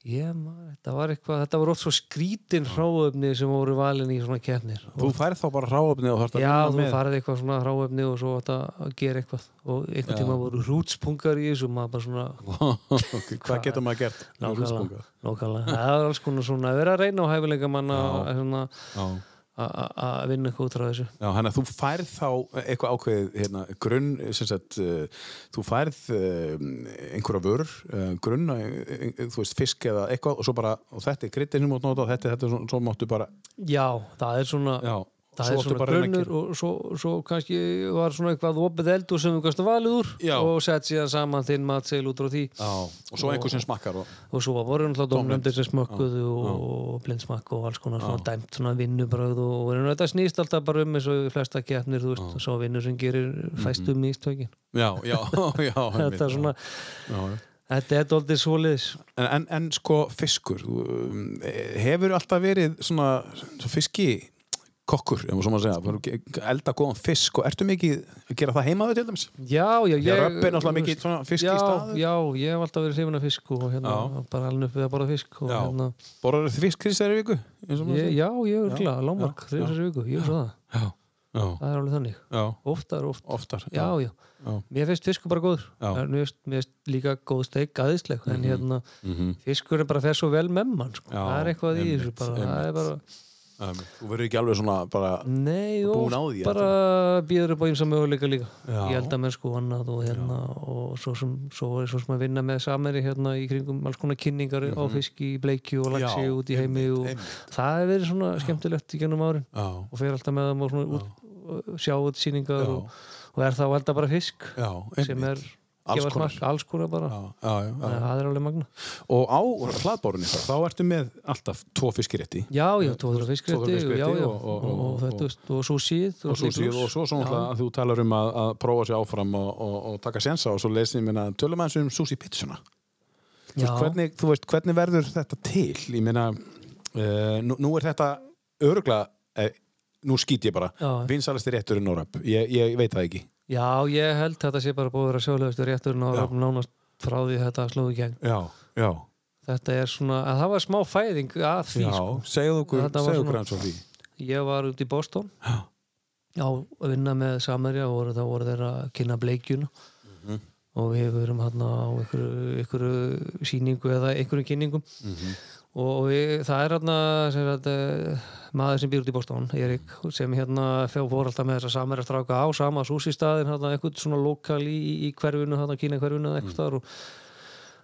Speaker 4: ég maður þetta var eitthvað þetta var oft svo skrítin hráöfni sem voru valin í svona keppnir
Speaker 2: Þú færð þá bara ráöfni og þarfst að
Speaker 4: já þú
Speaker 2: vinna með.
Speaker 4: farið eitthvað svona hráöfni og svo átt að gera eitthvað og einhvern tíma voru rútspungar í þessu og maður bara svona
Speaker 2: ok, hvað getur maður gert? með
Speaker 4: nákvæmlega
Speaker 2: rúsbunga?
Speaker 4: nákvæmlega. það var alls konar svona að vera að reyna á hæfileika manna að svona-
Speaker 2: Já.
Speaker 4: að- að að vinna eitthvað út frá þessu
Speaker 2: Já, hann að þú færð þá eitthvað ákveðið hérna, grunn, sem sagt, uh, þú færð uh, einhverja vörur, uh, grunn, uh, þú veist, fisk eða eitthvað og svo bara, og þetta er kryddin sem þú mátt nota og þetta, þetta, er svona- svo máttu bara,
Speaker 4: Já, það er svona
Speaker 2: já,
Speaker 4: það
Speaker 2: svo
Speaker 4: er
Speaker 2: áttu
Speaker 4: svona
Speaker 2: bara að reyna að
Speaker 4: grunnur og svo, svo kannski var svona eitthvað opið eldur sem þú kannski valið úr
Speaker 2: Já.
Speaker 4: og sett síðan saman þinn matseil út frá því
Speaker 2: Já, og svo einhver sem smakkar og,
Speaker 4: og svo voru náttúrulega domnefndir sem smökkuðu og blindsmakk og alls konar svona dæmt svona vinnubröð og, og en þetta snýst alltaf bara um eins og í flesta keppnir þú veist, svo vinnur sem gerir
Speaker 2: Mhm.
Speaker 4: fæstum mm -hmm. ístökin
Speaker 2: já, já, já, einmitt,
Speaker 4: þetta er svona,
Speaker 2: já, já.
Speaker 4: þetta er doldið svoleiðis
Speaker 2: En, en, en sko fiskur þú, um, hefur alltaf verið svona, svona fiski kokkur, ef maður svo maður segja, bara ge- elda góðan fisk og ertu mikið að gera það heimaðu til dæmis?
Speaker 4: Já,
Speaker 2: Því
Speaker 4: já, ég
Speaker 2: að Röbbi er náttúrulega mikið svona fisk í
Speaker 4: já,
Speaker 2: staður.
Speaker 4: Já, ég hef alltaf verið hrifin af fisk og hérna,
Speaker 2: Já.
Speaker 4: bara alveg upp við að borða fisk og
Speaker 2: Já.
Speaker 4: hérna
Speaker 2: Borður þið fisk þessari viku? eins og maður
Speaker 4: Ég,
Speaker 2: segir?
Speaker 4: já, ég er glæð, lámark, þrjusar viku, ég er svo það.
Speaker 2: já,
Speaker 4: Það er alveg þannig.
Speaker 2: já,
Speaker 4: Oftar, oft.
Speaker 2: oftar.
Speaker 4: Já, já.
Speaker 2: Já.
Speaker 4: Mér finnst fiskur bara góður.
Speaker 2: Já. Mhm.
Speaker 4: En Mér finnst, mér finnst líka góð steik aðeinsleg. En hérna, fiskur er bara fer svo vel með mann, sko.
Speaker 2: Já,
Speaker 4: það er eitthvað í
Speaker 2: einmitt,
Speaker 4: þessu bara. Það er bara,
Speaker 2: Um, þú verður ekki alveg svona bara
Speaker 4: Nei, og
Speaker 2: búin á því,
Speaker 4: bara býður upp á eins möguleika líka í eldamennsku og annað og hérna og svo sem, svo, svo sem að vinna með sameri hérna í kringum alls konar kynningar á fiski, í bleikju og
Speaker 2: Mhm.
Speaker 4: lagsi
Speaker 2: Já,
Speaker 4: út í heimi og það hefur verið svona skemmtilegt í gennum árin
Speaker 2: Já,
Speaker 4: og fer alltaf með þeim og svona út, sjá út síningar
Speaker 2: Já.
Speaker 4: og, og er það að valda bara fisk
Speaker 2: já,
Speaker 4: sem er
Speaker 2: Alls
Speaker 4: gefast
Speaker 2: konar.
Speaker 4: mark, alls konar bara
Speaker 2: Já, já, já, já.
Speaker 4: Þannig að það er alveg magna
Speaker 2: Og á hlaðbórunni þá ertu með alltaf tvo fiskirétti
Speaker 4: Já, já,
Speaker 2: tóður
Speaker 4: tóður fiskrétti
Speaker 2: fiskrétti
Speaker 4: já, já,
Speaker 2: og- og-
Speaker 4: og, og,
Speaker 2: og-
Speaker 4: þetta, veist, og súsíð
Speaker 2: og svo, síð, og svo svona að þú talar um að, að prófa sér áfram og, og, og taka sensa og svo lesin minna, tölum aðeins um Susi Pitsuna þú veist, hvernig, þú veist, hvernig verður þetta til? Ég meina, uh, nú, nú er þetta örgla, uh, nú skýt ég bara,
Speaker 4: Já.
Speaker 2: vinsalasti rétturinn og röp, ég, ég veit það ekki.
Speaker 4: Já, ég held þetta sé bara búið að vera sjóðlegustu rétturinn og
Speaker 2: Já.
Speaker 4: röfn nánast frá því þetta slóðu í gegn.
Speaker 2: Já, já.
Speaker 4: Þetta er svona, að það var smá fæðing af því.
Speaker 2: Já,
Speaker 4: Sko.
Speaker 2: segðu okkur,
Speaker 4: Þetta var
Speaker 2: segðu
Speaker 4: svona-
Speaker 2: okkur hans og því.
Speaker 4: Ég var út í Boston á að vinna með Samerja og voru, þá voru þeir að kynna bleikjuna og við verum hann á einhverju, einhverju síningu eða einhverju kynningum og, og ég, það er hann sem sagt, eh, maður sem býr út í Boston, Erik sem hérna fjó- fór alltaf með þess að Samerja stráka á sama súsi staðin, hann einhvern svona lokal í, í hverfinu, hann kynna hverfinu eða eitthvað staðar og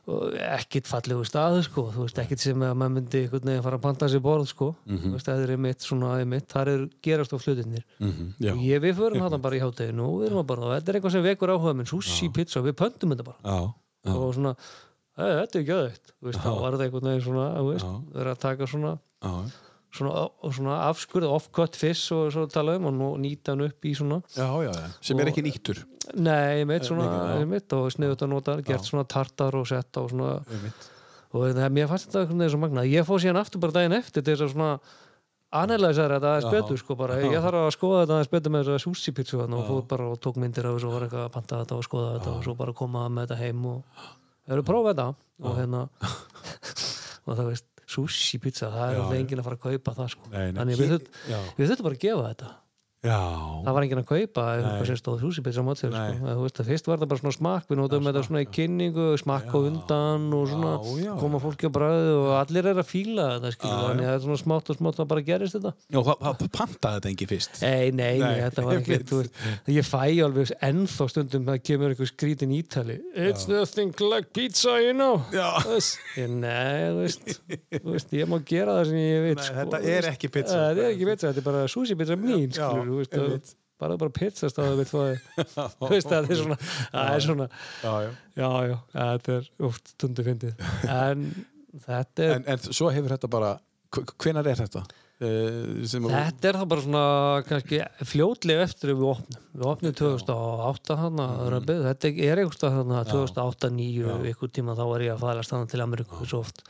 Speaker 4: og ekkit fallegu stað sko, þú veist, ekkit sem að maður myndi einhvern veginn fara að panta sér borð sko, þú veist, það er einmitt svona einmitt, þar er gerast á flutinir
Speaker 2: Já,
Speaker 4: og ég, við förum hann bara í hátæðinu og við erum að borða og þetta er eitthvað sem vekur áhuga minn, sushi, pizza við pöntum þetta bara
Speaker 2: já, já,
Speaker 4: og svona, "Æ, þetta er gjöðvægt þú veist, þá var þetta einhvern veginn svona, þú veist, verið að taka svona
Speaker 2: já,
Speaker 4: svona, svona afskurð, off-cut fish og svo tala um og nú nýta hann upp í svona
Speaker 2: já, já, já, sem er ekki nýttur.
Speaker 4: Nei, ég
Speaker 2: Eh,
Speaker 4: mitt svona, ég mitt og sniðut að nota, gert svona tartar og sett og svona og hérna, það, mér fannst þetta einhvern veginn svo magnað ég fór síðan aftur bara daginn eftir til þess að svona analysaður þetta aðeins betur sko bara, ég þarf að skoða þetta aðeins betur með þess að sushi pizza þarna og fór bara og tók myndir af þessu og var eitthvað að panta þetta og skoða þetta og svo bara koma með þetta heim og erum prófa þetta og hérna og það veist, sushi pizza það er alltaf enginn að fara að kaupa það sko
Speaker 2: Nei, nei.
Speaker 4: þannig við,
Speaker 2: Hér-
Speaker 4: þurft-
Speaker 2: já.
Speaker 4: við þurfum bara að gefa þetta
Speaker 2: Já,
Speaker 4: það var enginn að kaupa eitthvað sem stóð húsi betur á mót þér
Speaker 2: Nei.
Speaker 4: sko. Eða, þú veist, að fyrst var það bara svona smakk við notum þetta svona í kynningu, smakk og undan og svona
Speaker 2: Já, já.
Speaker 4: koma fólki á bræðu og allir er að fíla þetta skilur þannig að svona smátt og smátt það bara gerist þetta
Speaker 2: já, það- það pantaði þetta engi fyrst.
Speaker 4: Nei, nei, nei,
Speaker 2: Nei,
Speaker 4: þetta var ekki
Speaker 2: einmitt.
Speaker 4: þú veist, ég fæ alveg ennþá stundum það kemur einhver skrítin ítali It's nothing like pizza, you know
Speaker 2: Já.
Speaker 4: Þess- ég, Nei, þú veist, þú veist ég má gera það sem ég veit
Speaker 2: Nei,
Speaker 4: sko,
Speaker 2: þetta
Speaker 4: þú
Speaker 2: er
Speaker 4: veist.
Speaker 2: ekki pizza.
Speaker 4: Þetta er ekki pizza, þetta er bara sushi pizza mín skilur, þú veist, og bara bara pizza stáðu við þú veist, það er svona það er svona,
Speaker 2: Já, já.
Speaker 4: já, já þetta er oft stundu fyndið en þetta er
Speaker 2: En, en svo hefur þetta bara, hvenar er þetta? Uh, sem að-
Speaker 4: Þetta er það bara svona kannski fljótlega eftir ef við opnum. Við opnum 2008 hann
Speaker 2: Mm.
Speaker 4: að röpið, þetta er einhverstað hann að 2008-2009 ykkur tíma þá var ég að fæðast hann til Ameríku svo oft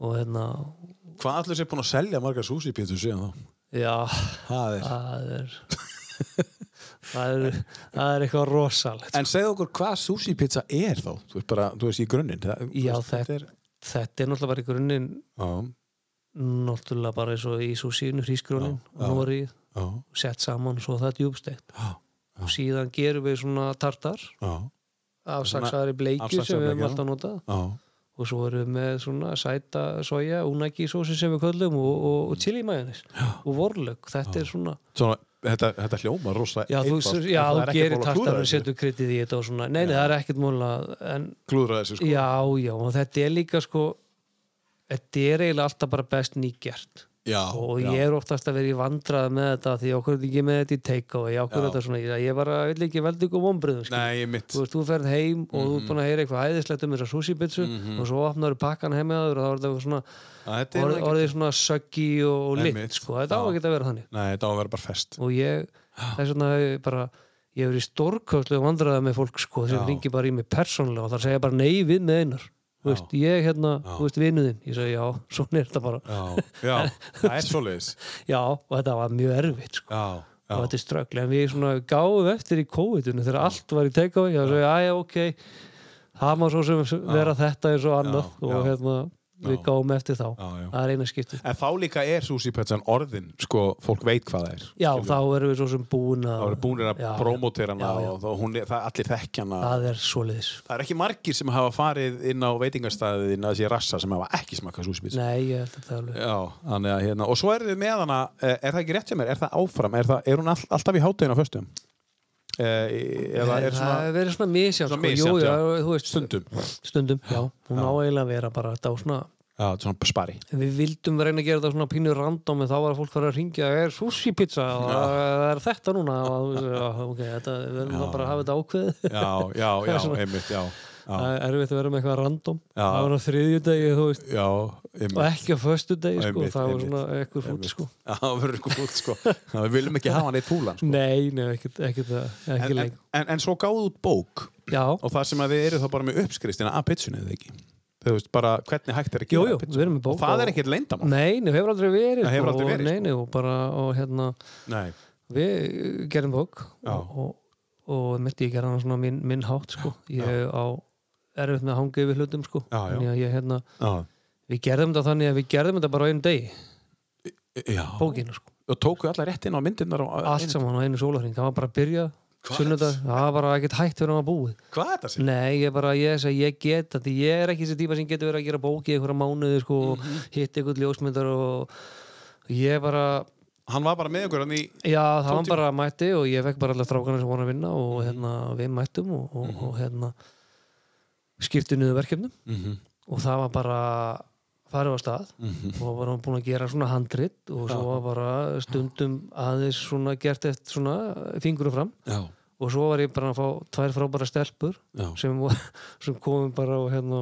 Speaker 4: og hérna,
Speaker 2: Hvað allir sér búin að selja margar súsipítur síðan þá?
Speaker 4: já,
Speaker 2: Það er.
Speaker 4: það er... Það er, það er eitthvað rosalegt
Speaker 2: En segðu okkur hvað súsipizza er þá? Þú veist bara, þú veist í grunninn. það- þú
Speaker 4: Já,
Speaker 2: veist,
Speaker 4: þetta er, þetta er náttúrulega bara í grunninn
Speaker 2: Já,
Speaker 4: náttúrulega bara eins og í súsínu, hrísgrunin og Nórið,
Speaker 2: já,
Speaker 4: sett saman svo það er djúbstegt
Speaker 2: já,
Speaker 4: og síðan gerum við svona tartar
Speaker 2: já,
Speaker 4: afsaksaðari bleikju sem
Speaker 2: afsaxaðri
Speaker 4: við
Speaker 2: bleikju,
Speaker 4: höfum
Speaker 2: já.
Speaker 4: alltaf notað
Speaker 2: já.
Speaker 4: og svo erum við með svona sæta soja, unagi sósi sem við köllum og, og, og chili majónis og vorlög, þetta er svona
Speaker 2: Svona, þetta, þetta hljóma rosa
Speaker 4: já, þú,
Speaker 2: einfalt, en
Speaker 4: já,
Speaker 2: það er
Speaker 4: þú
Speaker 2: ekki mál
Speaker 4: gerir
Speaker 2: að klúðra
Speaker 4: tartar og
Speaker 2: þessu.
Speaker 4: setur kryddið í þetta og svona nei, nei, það er ekkert múla en
Speaker 2: Klúðra þessu sko.
Speaker 4: já, já, og þetta er líka sko þetta er eiginlega alltaf bara best nýgjert
Speaker 2: já,
Speaker 4: og
Speaker 2: já.
Speaker 4: ég er oftast að vera í vandrað með þetta því okkur er þetta ekki með þetta í take-away okkur
Speaker 2: Já.
Speaker 4: er þetta svona, ég- ég bara vil ekki veldi ykkur vombriðum
Speaker 2: Nei, Mhm. ég mitt.
Speaker 4: þú veist, þú ferð heim og þú er búin að heyra eitthvað æðislegt um þessa sushi pizzu
Speaker 2: Mhm.
Speaker 4: og svo opnar þú pakkan heim með þaður og þá er þetta svona
Speaker 2: Að þetta er
Speaker 4: orð,
Speaker 2: nú ekki-
Speaker 4: orðið svona söggi og, og
Speaker 2: Einmitt.
Speaker 4: lit, sko, þetta á
Speaker 2: Já.
Speaker 4: að geta að vera þannig
Speaker 2: Nei, þetta á að vera bara fest.
Speaker 4: og ég, þess vegna hef ég bara ég hef verið stórkostlega vandræða með fólk sko, sem ringi bara í mig persónlega og það segja bara nei við með einar Þú veist, ég hérna, þú veist, vinuðinn ég segi já, svona er þetta bara já,
Speaker 2: Já, já, það er svoleiðis.
Speaker 4: og þetta var mjög erfitt sko
Speaker 2: Já, já.
Speaker 4: og þetta er ströggli, en við svona gáum eftir í COVID-unu þegar allt var í take-away og það sagði, aðja, ok það má svo sem vera þetta eins og annað
Speaker 2: Já,
Speaker 4: og
Speaker 2: já.
Speaker 4: hérna, við gáum eftir þá
Speaker 2: Já, já.
Speaker 4: það er eina skiptið
Speaker 2: En þá líka er Susi Petsan orðin, sko, fólk veit hvað það er.
Speaker 4: já,
Speaker 2: Skilur.
Speaker 4: þá erum við svo sem búin
Speaker 2: Það
Speaker 4: að
Speaker 2: eru búinir að
Speaker 4: Já, já.
Speaker 2: promotera hana
Speaker 4: Já, já.
Speaker 2: og þá hún er, það er allir þekkjana. Það,
Speaker 4: það er svoleiðis
Speaker 2: er ekki margir sem hafa farið inn á veitingastæðið inn að þessi rassa sem hafa ekki smakað Susi Petsan.
Speaker 4: nei, ég held að það er alveg
Speaker 2: Já, þannig að hérna, og svo erum við með hana, eh, er það ekki rétt hjá mér, er það áfram, er, það, er hún all, alltaf í hátegin á föstum? Eða er
Speaker 4: Eh, það
Speaker 2: svona
Speaker 4: hefur verið svona misjátt
Speaker 2: Svona
Speaker 4: sko. Jú,
Speaker 2: misjafnt,
Speaker 4: já,
Speaker 2: já.
Speaker 4: þú veist,
Speaker 2: stundum?
Speaker 4: stundum, já, hún á eiginlega að vera bara þetta á svona
Speaker 2: Já, svona spari.
Speaker 4: við vildum reyna að gera þetta svona pínu random en þá var að fólk fara að ringja er sushi pizza og það er þetta núna og, já, ok, þetta, við verðum þá bara að hafa þetta ákveð
Speaker 2: Já, já, já,
Speaker 4: Svona-
Speaker 2: einmitt, já. Já,
Speaker 4: það er erfitt að vera með eitthvað random
Speaker 2: Já.
Speaker 4: það var á þriðjudegi, þú veist
Speaker 2: já, einmitt.
Speaker 4: og ekki á föstudegi, sko,
Speaker 2: Einmitt,
Speaker 4: það var
Speaker 2: einmitt,
Speaker 4: svona eitthvað fútt, sko
Speaker 2: Já, það verður eitthvað fútt, sko. Já, Við viljum ekki hafa hann eitt fúlan, sko.
Speaker 4: nei, nei, ekkert, ekkert það,
Speaker 2: En,
Speaker 4: ekki
Speaker 2: en,
Speaker 4: lengur
Speaker 2: en, en svo gáðu út bók
Speaker 4: já,
Speaker 2: og það sem að þið eru þá bara með uppskristina að pitsunni eða ekki. Þú veist, bara hvernig hægt er að
Speaker 4: Jú,
Speaker 2: gera
Speaker 4: jú,
Speaker 2: pizzuna.
Speaker 4: við erum með bók
Speaker 2: Og það
Speaker 4: og-
Speaker 2: er ekkert leindamál.
Speaker 4: nei, nei, hefur aldrei verið,
Speaker 2: Það hefur aldrei verið,
Speaker 4: og,
Speaker 2: sko.
Speaker 4: nei, nei, og bara, og hérna
Speaker 2: Nei.
Speaker 4: við gerum bók
Speaker 2: Já.
Speaker 4: og, og, og mitt ég gera hana svona minn, minn hátt sko. ég á erfitt með að hanga yfir hlutum sko.
Speaker 2: Já, já.
Speaker 4: Þannig að ég, hérna,
Speaker 2: Já.
Speaker 4: við gerðum þetta þannig að við gerðum þetta bara á einu degi
Speaker 2: já.
Speaker 4: bókinu, sko.
Speaker 2: Og tókuðu allar rétt inn á myndirnar og...
Speaker 4: allt saman á einu sólarhring það var bara að byrja sunnudag, það var ekkert hægt fyrir hann að búið
Speaker 2: Hvað er þetta sem?
Speaker 4: Nei, ég bara, ég, segi, ég get þetta ég er ekki þessi típa sem getur verið að gera bók í einhverja mánuði, sko, mm
Speaker 2: Mhm.
Speaker 4: hitt einhvern ljósmyndar og ég bara
Speaker 2: Hann var bara með ykkur hann í...
Speaker 4: Já, það var bara mætti og ég fekk bara allar strákana sem voru að vinna og
Speaker 2: Mhm.
Speaker 4: hérna, við mættum og, og, og hérna skiptum niður verkefnum
Speaker 2: Mhm.
Speaker 4: og það var bara farið á stað
Speaker 2: Mhm.
Speaker 4: og var hann búin að gera svona handrit og svo var bara stundum aðeins svona gert eftir svona fingurum fram
Speaker 2: Já.
Speaker 4: og svo var ég bara að fá tvær frábæra stelpur
Speaker 2: Já.
Speaker 4: sem, voru- sem komum bara og hérna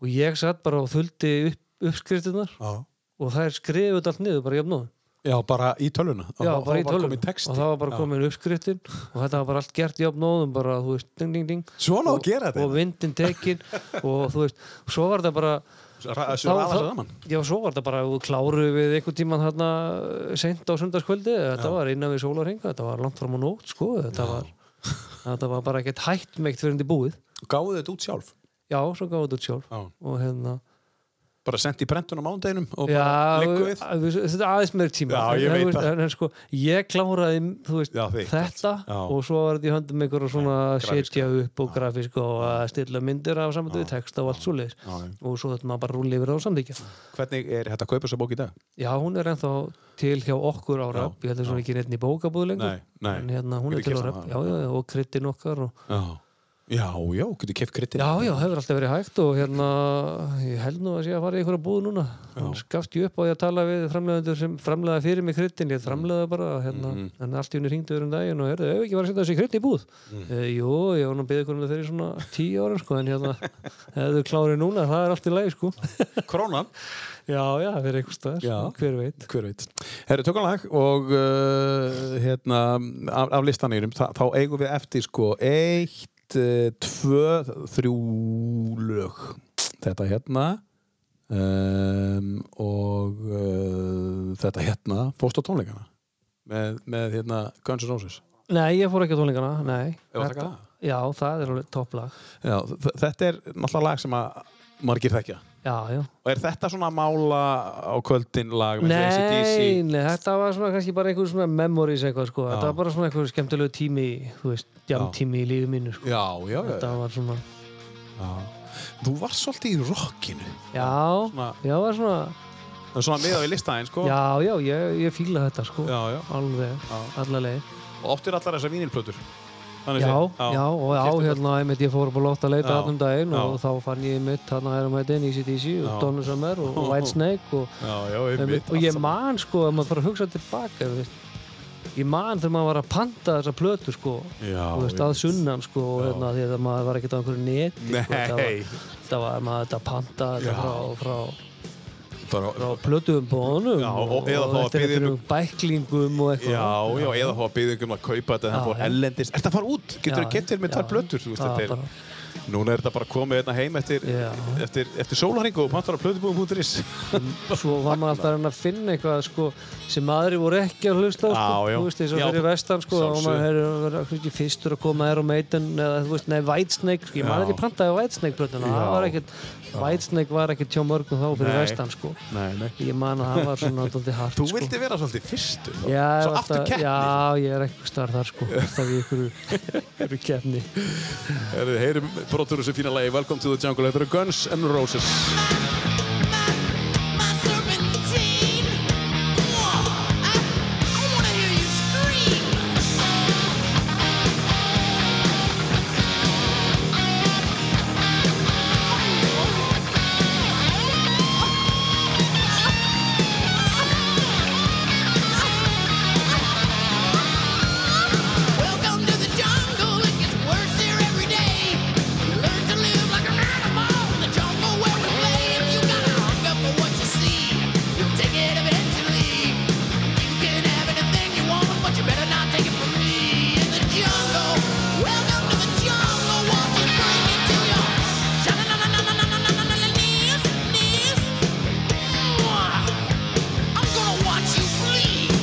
Speaker 4: og ég satt bara og þuldi upp, uppskriftunar
Speaker 2: Já.
Speaker 4: og þær skrifuð allt niður bara jafnóðum
Speaker 2: Já, bara í tölvuna.
Speaker 4: Já,
Speaker 2: Og þá-
Speaker 4: bara í
Speaker 2: þá var
Speaker 4: tölvun
Speaker 2: kominn texti.
Speaker 4: og það var bara komin uppskriftin og þetta var bara allt gert jafnóðum bara, þú veist, ding, ding, ding
Speaker 2: Svona á að
Speaker 4: Og-
Speaker 2: gera þetta.
Speaker 4: og vindin tekin og þú veist, og svo var þetta bara
Speaker 2: Ra- Þessu
Speaker 4: þá-
Speaker 2: raða
Speaker 4: þá-
Speaker 2: saman.
Speaker 4: já, svo var þetta bara ef þú kláru við einhvern tíman þarna sent á sundarskvöldi, þetta var innan við sólarhinga þetta var langt fram á nót, sko þetta var, þetta var bara ekkert hægt meikt fyrir þetta búið,
Speaker 2: Gáðu þetta út sjálf.
Speaker 4: já, svo gáði þetta út sjálf
Speaker 2: Já.
Speaker 4: og hérna
Speaker 2: Bara sendi í prentun á mándeginum og bara
Speaker 4: Já,
Speaker 2: liggu við.
Speaker 4: við- þetta er aðeins meir tíma
Speaker 2: Já, ég
Speaker 4: En,
Speaker 2: veit
Speaker 4: þú veist,
Speaker 2: það.
Speaker 4: en, en, sko, Ég kláraði þú veist,
Speaker 2: Já, þitt,
Speaker 4: þetta
Speaker 2: já.
Speaker 4: og svo var þetta í höndum ykkur og svona að
Speaker 2: grafíska.
Speaker 4: setja upp og grafísk og að stilla myndir af saman við texta og allt svo leir
Speaker 2: Já, já.
Speaker 4: og svo þetta maður bara rúli yfir það og samtíkja
Speaker 2: Hvernig er þetta að kaupa þessa bók í dag?
Speaker 4: Já, hún er ennþá til hjá okkur á röp ég held að svona ekki neitt í bókabúð lengur
Speaker 2: Nei, nei.
Speaker 4: en hérna hún
Speaker 2: Getur
Speaker 4: er til á
Speaker 2: keypt
Speaker 4: röp
Speaker 2: hana?
Speaker 4: já, já, já, og kryddin okkar og...
Speaker 2: Já, já, já, getur keft kritin
Speaker 4: Já, já, hefur alltaf verið hægt og hérna ég held nú að sé að fara í einhverja búð núna þannig skafst ég upp á því að tala við framlegaðendur sem framlegaði fyrir mig kryddin ég framlegaði bara, hérna,
Speaker 2: Mhm.
Speaker 4: en allt í henni ringdu um daginn og herðu, hefur ekki var að setja þessi krydd í búð mm.
Speaker 2: Mhm.
Speaker 4: Jú, ég var nú að beða hvernig fyrir svona tíu ára, sko, en hérna ef þú klárir núna, það er allt í lagi, sko
Speaker 2: Krónan,
Speaker 4: Já, já, fyrir einhvers staðar,
Speaker 2: Já.
Speaker 4: hver veit
Speaker 2: hver veit Herru, tökum lag og uh, hérna, af, af listanýrum þá, þá eigum við eftir sko eitt, uh, tvö, þrjú lög Þetta hérna um, og uh, þetta hérna fórst á tónleikana með, með hérna Guns N' Roses
Speaker 4: Nei, ég fór ekki á tónleikana, nei
Speaker 2: Eigum við að taka
Speaker 4: Þetta-
Speaker 2: það?
Speaker 4: Já, það er alveg topplag
Speaker 2: Já, þ- þetta er náttúrulega lag sem að margir þekkja
Speaker 4: Já, já,
Speaker 2: Og er þetta svona mála á kvöldin lag með ACDC?
Speaker 4: Nei, nei, þetta var svona kannski bara einhver svona memories eitthvað sko. Þetta var bara svona einhver skemmtilegu tími, þú veist, jamtími í lífi mínu sko.
Speaker 2: Já, já, já,
Speaker 4: Þetta var svona,
Speaker 2: Þú varst svolítið í rockinu.
Speaker 4: já,
Speaker 2: Svona-
Speaker 4: já, var svona,
Speaker 2: Það er svona miðað við listaðinn, sko.
Speaker 4: já, já, ég, ég fíla þetta sko.
Speaker 2: já. já.
Speaker 4: Alveg, alla leið.
Speaker 2: Og oft er allar þessar vínilplötur. Þannig
Speaker 4: Já,
Speaker 2: séð.
Speaker 4: já, og á
Speaker 2: Keyptu
Speaker 4: hérna, einmitt, ég fór upp á loft að leita
Speaker 2: Já,
Speaker 4: allan daginn og
Speaker 2: já.
Speaker 4: þá fann ég mitt, þarna E erum við þetta ACDC og
Speaker 2: Já.
Speaker 4: Donna Summer og Whitesnake og
Speaker 2: Já, já, einmitt.
Speaker 4: og ég
Speaker 2: allt saman.
Speaker 4: man sko ef maður fara að hugsa tilbaka þú veist, ég man þegar maður var að panta þessa plötu sko
Speaker 2: Já,
Speaker 4: þú veist, að sunnan sko og hérna, því að maður var ekkert á einhverju neti sko, þetta
Speaker 2: Nei.
Speaker 4: var, þetta var maður þetta panta þetta frá,
Speaker 2: Bara-
Speaker 4: frá, frá plötuðum bónum
Speaker 2: Já, og- eða þá að
Speaker 4: eftir
Speaker 2: biðja
Speaker 4: einhverjum bæklingum og eitthvað
Speaker 2: Já, já, eða þá að byggja um að kaupa þetta þannig að
Speaker 4: Já,
Speaker 2: fór
Speaker 4: já.
Speaker 2: ellendist. Er þetta að fara út? Getur
Speaker 4: Já,
Speaker 2: þú kett þér með
Speaker 4: já,
Speaker 2: tvær plötur? Þú veist,
Speaker 4: það
Speaker 2: þetta er,
Speaker 4: bara-
Speaker 2: Núna er þetta bara komið einna heim eftir,
Speaker 4: Já.
Speaker 2: eftir, eftir sólaringu og pantar á plötubúðum.is
Speaker 4: svo var maður alltaf að reyna að finna eitthvað sko, sem aðri voru ekki að hlusta á, sko,
Speaker 2: Já, já.
Speaker 4: þú veist, eins og
Speaker 2: Já,
Speaker 4: fyrir vestan sko, og
Speaker 2: sjálfsögðu.
Speaker 4: maður hefur verið kannski fyrstur að koma Iron Maiden eða þú veist, nei, Whitesnake, sko, ég maður ekki prantaði Whitesnake blöðuna, það var ekkert Whitesnake var ekkert hjá mörgum þá fyrir
Speaker 2: Nei.
Speaker 4: vestan sko.
Speaker 2: Nei, nei
Speaker 4: ég man að það var svona alltaf hart
Speaker 2: Þú
Speaker 4: sko.
Speaker 2: vildi vera svolítið fyrstu
Speaker 4: Já, ég
Speaker 2: Svo
Speaker 4: var
Speaker 2: aftur
Speaker 4: alltaf-
Speaker 2: keppni
Speaker 4: Já, ég er eitthvað starf þar sko, alltaf í ykkur, ykkur keppni
Speaker 2: Herðu, heyrum brotur þessu fína lagi Welcome to the Jungle Þetta eru Guns N' Roses
Speaker 5: Welcome to the jungle, it gets worse here every day. Learn to live like an animal in the jungle where we play. If you gotta hung up for what you see, you'll take it eventually. You can have anything you want, but you better not take it from me. In the jungle, welcome to the jungle, won't you bring it to your knees, knees? I'm gonna watch you bleed.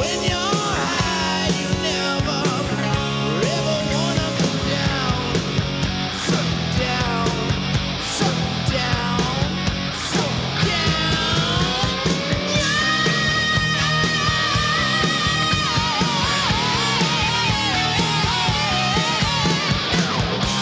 Speaker 5: When you're high, you never ever wanna come down. Suck down, suck down, suck down. Yeah.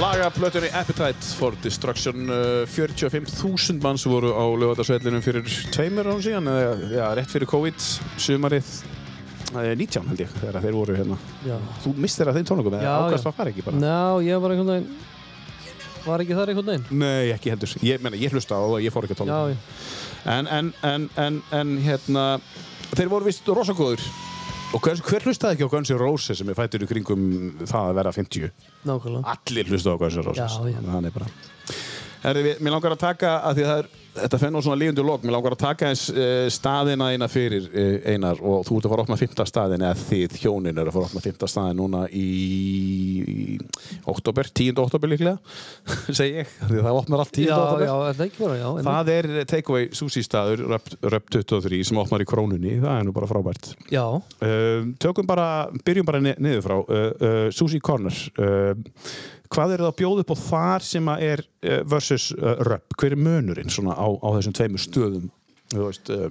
Speaker 2: Laga plötunni Appetite for Destruction uh, 45.000 manns voru á lögatarsvellinum fyrir tveimur án síðan eða, já, rétt fyrir COVID sumarið eh, 19 held ég þegar þeir voru hérna
Speaker 4: Já,
Speaker 2: Þú mistir að þeim tónleikum eða
Speaker 4: Já,
Speaker 2: ákvæmst
Speaker 4: já.
Speaker 2: að fara ekki bara
Speaker 4: Ná, ég var einhvern veginn Var ekki þar einhvern veginn?
Speaker 2: Nei, ekki heldur Ég, meina, ég hlusta á það, ég fór ekki að
Speaker 4: Já,
Speaker 2: tónleikum
Speaker 4: já.
Speaker 2: en, en, en, en, en hérna þeir voru vist rosakóður og hver, hver hlustaði ekki á Guns N' Roses sem er fættur í kringum það að vera 50
Speaker 4: nákvæmlega
Speaker 2: allir hlustaði á Guns N' Roses
Speaker 4: Já, já.
Speaker 2: Þannig að hann er bara Herri, við- mér langar að taka að því að það er þetta fenn og svona lífundu lok, mér langar að taka eins uh, staðina eina fyrir uh, einar og þú ert að fara að opna fymta staðin eða þið hjónin eru að fara að opna fymta staðin núna í, í oktober, 10. oktober líklega segi ég, af því að það opnar allt 10.
Speaker 4: Já,
Speaker 2: oktober
Speaker 4: já, er það ekki bara, já einmitt.
Speaker 2: Það er takeaway sushi staður Röp 23 sem opnar í krónunni það er nú bara frábært
Speaker 4: Já,
Speaker 2: um, Tökum bara, byrjum bara ni- niður frá uh, uh, Sushi Corner uh, Hvað eru það að bjóða upp á þar sem að er uh, versus uh, Röp? Hver er munurinn svona á, á þessum tveimur stöðum? Þú veist, uh,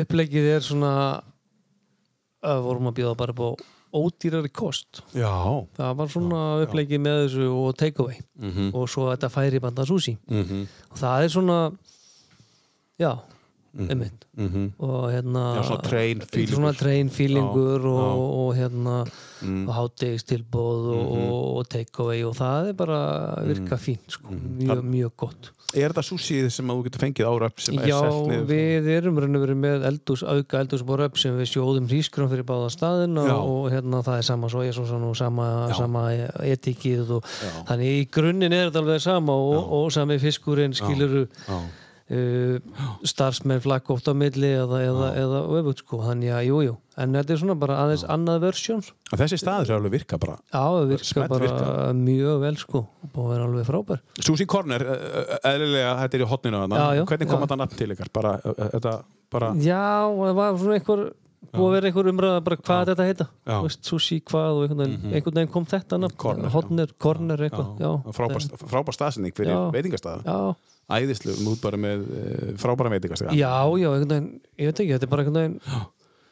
Speaker 4: uppleggið er svona að vorum að bjóða bara upp á ódýrari kost
Speaker 2: Já
Speaker 4: Það var svona uppleggið með þessu og takeaway
Speaker 2: Mhm.
Speaker 4: og svo þetta færi banda sushi og það er svona já, einmitt og hérna
Speaker 2: Mhm. Já, svona train feelingur. Mhm.
Speaker 4: svona train feelingur og, og hérna mm. hátegistilbóð og, og, og takeaway og það er bara virka
Speaker 2: Mhm.
Speaker 4: fínt sko, mjög, mjög gott
Speaker 2: Er þetta sushi sem að þú getur fengið á Röp sem er
Speaker 4: Já,
Speaker 2: selt niður?
Speaker 4: við erum raun og verið með eldús, auka eldús boröp sem við sjóðum hrískrum fyrir báða staðin og,
Speaker 2: Já.
Speaker 4: og hérna það er sama sojasósan og sama, sama etikið og þannig í grunninn er þetta alveg sama og, og sami fiskurinn skilur uh, starfsmenn flakk oft á milli eða, eða, eða öfut sko, þannig að jú, jú en þetta er svona bara aðeins annað versjón
Speaker 2: En Þessi staður er alveg virka bara
Speaker 4: Já, það virka
Speaker 2: Smell
Speaker 4: bara
Speaker 2: virka.
Speaker 4: mjög vel sko og búið að vera alveg frábær
Speaker 2: Sushi Corner, eh, eh, eðlilega þetta er í hotninu þarna.
Speaker 4: Já, já,
Speaker 2: Hvernig kom
Speaker 4: já.
Speaker 2: þetta nafn til ykkar? Bara, eh, eh, þetta bara
Speaker 4: Já, og það var svona einhver búið að vera einhver umræða bara hvað þetta heita
Speaker 2: Já. Mhm.
Speaker 4: Þú veist, sushi hvað og einhvern veginn, einhvern veginn kom þetta nafn,
Speaker 2: Corner, já.
Speaker 4: hotner, corner eitthvað já,
Speaker 2: frábært frábær staðsynning fyrir
Speaker 4: Já.
Speaker 2: veitingastæða
Speaker 4: já,
Speaker 2: æðislu, út bara með uh, frábæra veitingastæða
Speaker 4: já, já, einhvern veginn ég veit ekki,
Speaker 2: Mhm.
Speaker 4: þetta er bara einhvern veginn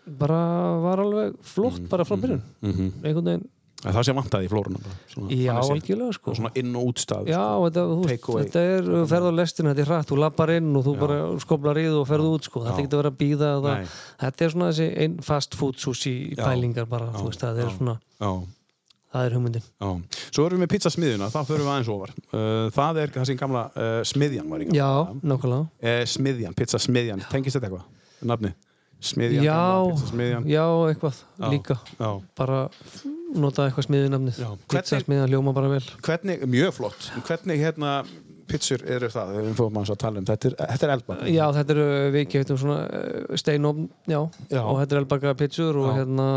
Speaker 4: bara var alveg flott bara frá byrjun einhvern veginn
Speaker 2: Það er það sem vantaði í flórunum Mhm. bara, svona,
Speaker 4: Já,
Speaker 2: þannig séð.
Speaker 4: algjörlega sko
Speaker 2: Svona inn og útstað
Speaker 4: Já, þetta, þú,
Speaker 2: Take
Speaker 4: veist,
Speaker 2: away.
Speaker 4: þetta er þú ferð á lestina, þetta er hratt, þú lappar inn og þú bara skoblar í þú og ferð út sko þetta er ekki að vera að býða
Speaker 2: Nei.
Speaker 4: það, þetta er svona þessi ein fast food sushi pælingar bara, þú veist, það er svona
Speaker 2: Já,
Speaker 4: það er hugmyndin,
Speaker 2: já. Svo erum við með pizzasmiðjuna, það förum við aðeins ofar uh, Það er það sem gamla uh, smiðjan var í gamla
Speaker 4: já, nákvæmlega
Speaker 2: uh, Smiðjan, pizzasmiðjan, tengist þetta eitthvað? Nafni? Smiðjan, gamla
Speaker 4: já,
Speaker 2: pizzasmiðjan
Speaker 4: já, eitthvað líka
Speaker 2: Já.
Speaker 4: bara nota eitthvað smiðunamnið pizza
Speaker 2: Hvernig-
Speaker 4: smiðan hljóma bara vel
Speaker 2: Hvernig, mjög flott Hvernig hérna pizzur eru það? Við fórum aðeins að tala um þetta er, Þetta er eldbann
Speaker 4: já þetta eru uh, við getum svona uh, steinofn já,
Speaker 2: Já.
Speaker 4: og þetta eru elbaka pitsur og hérna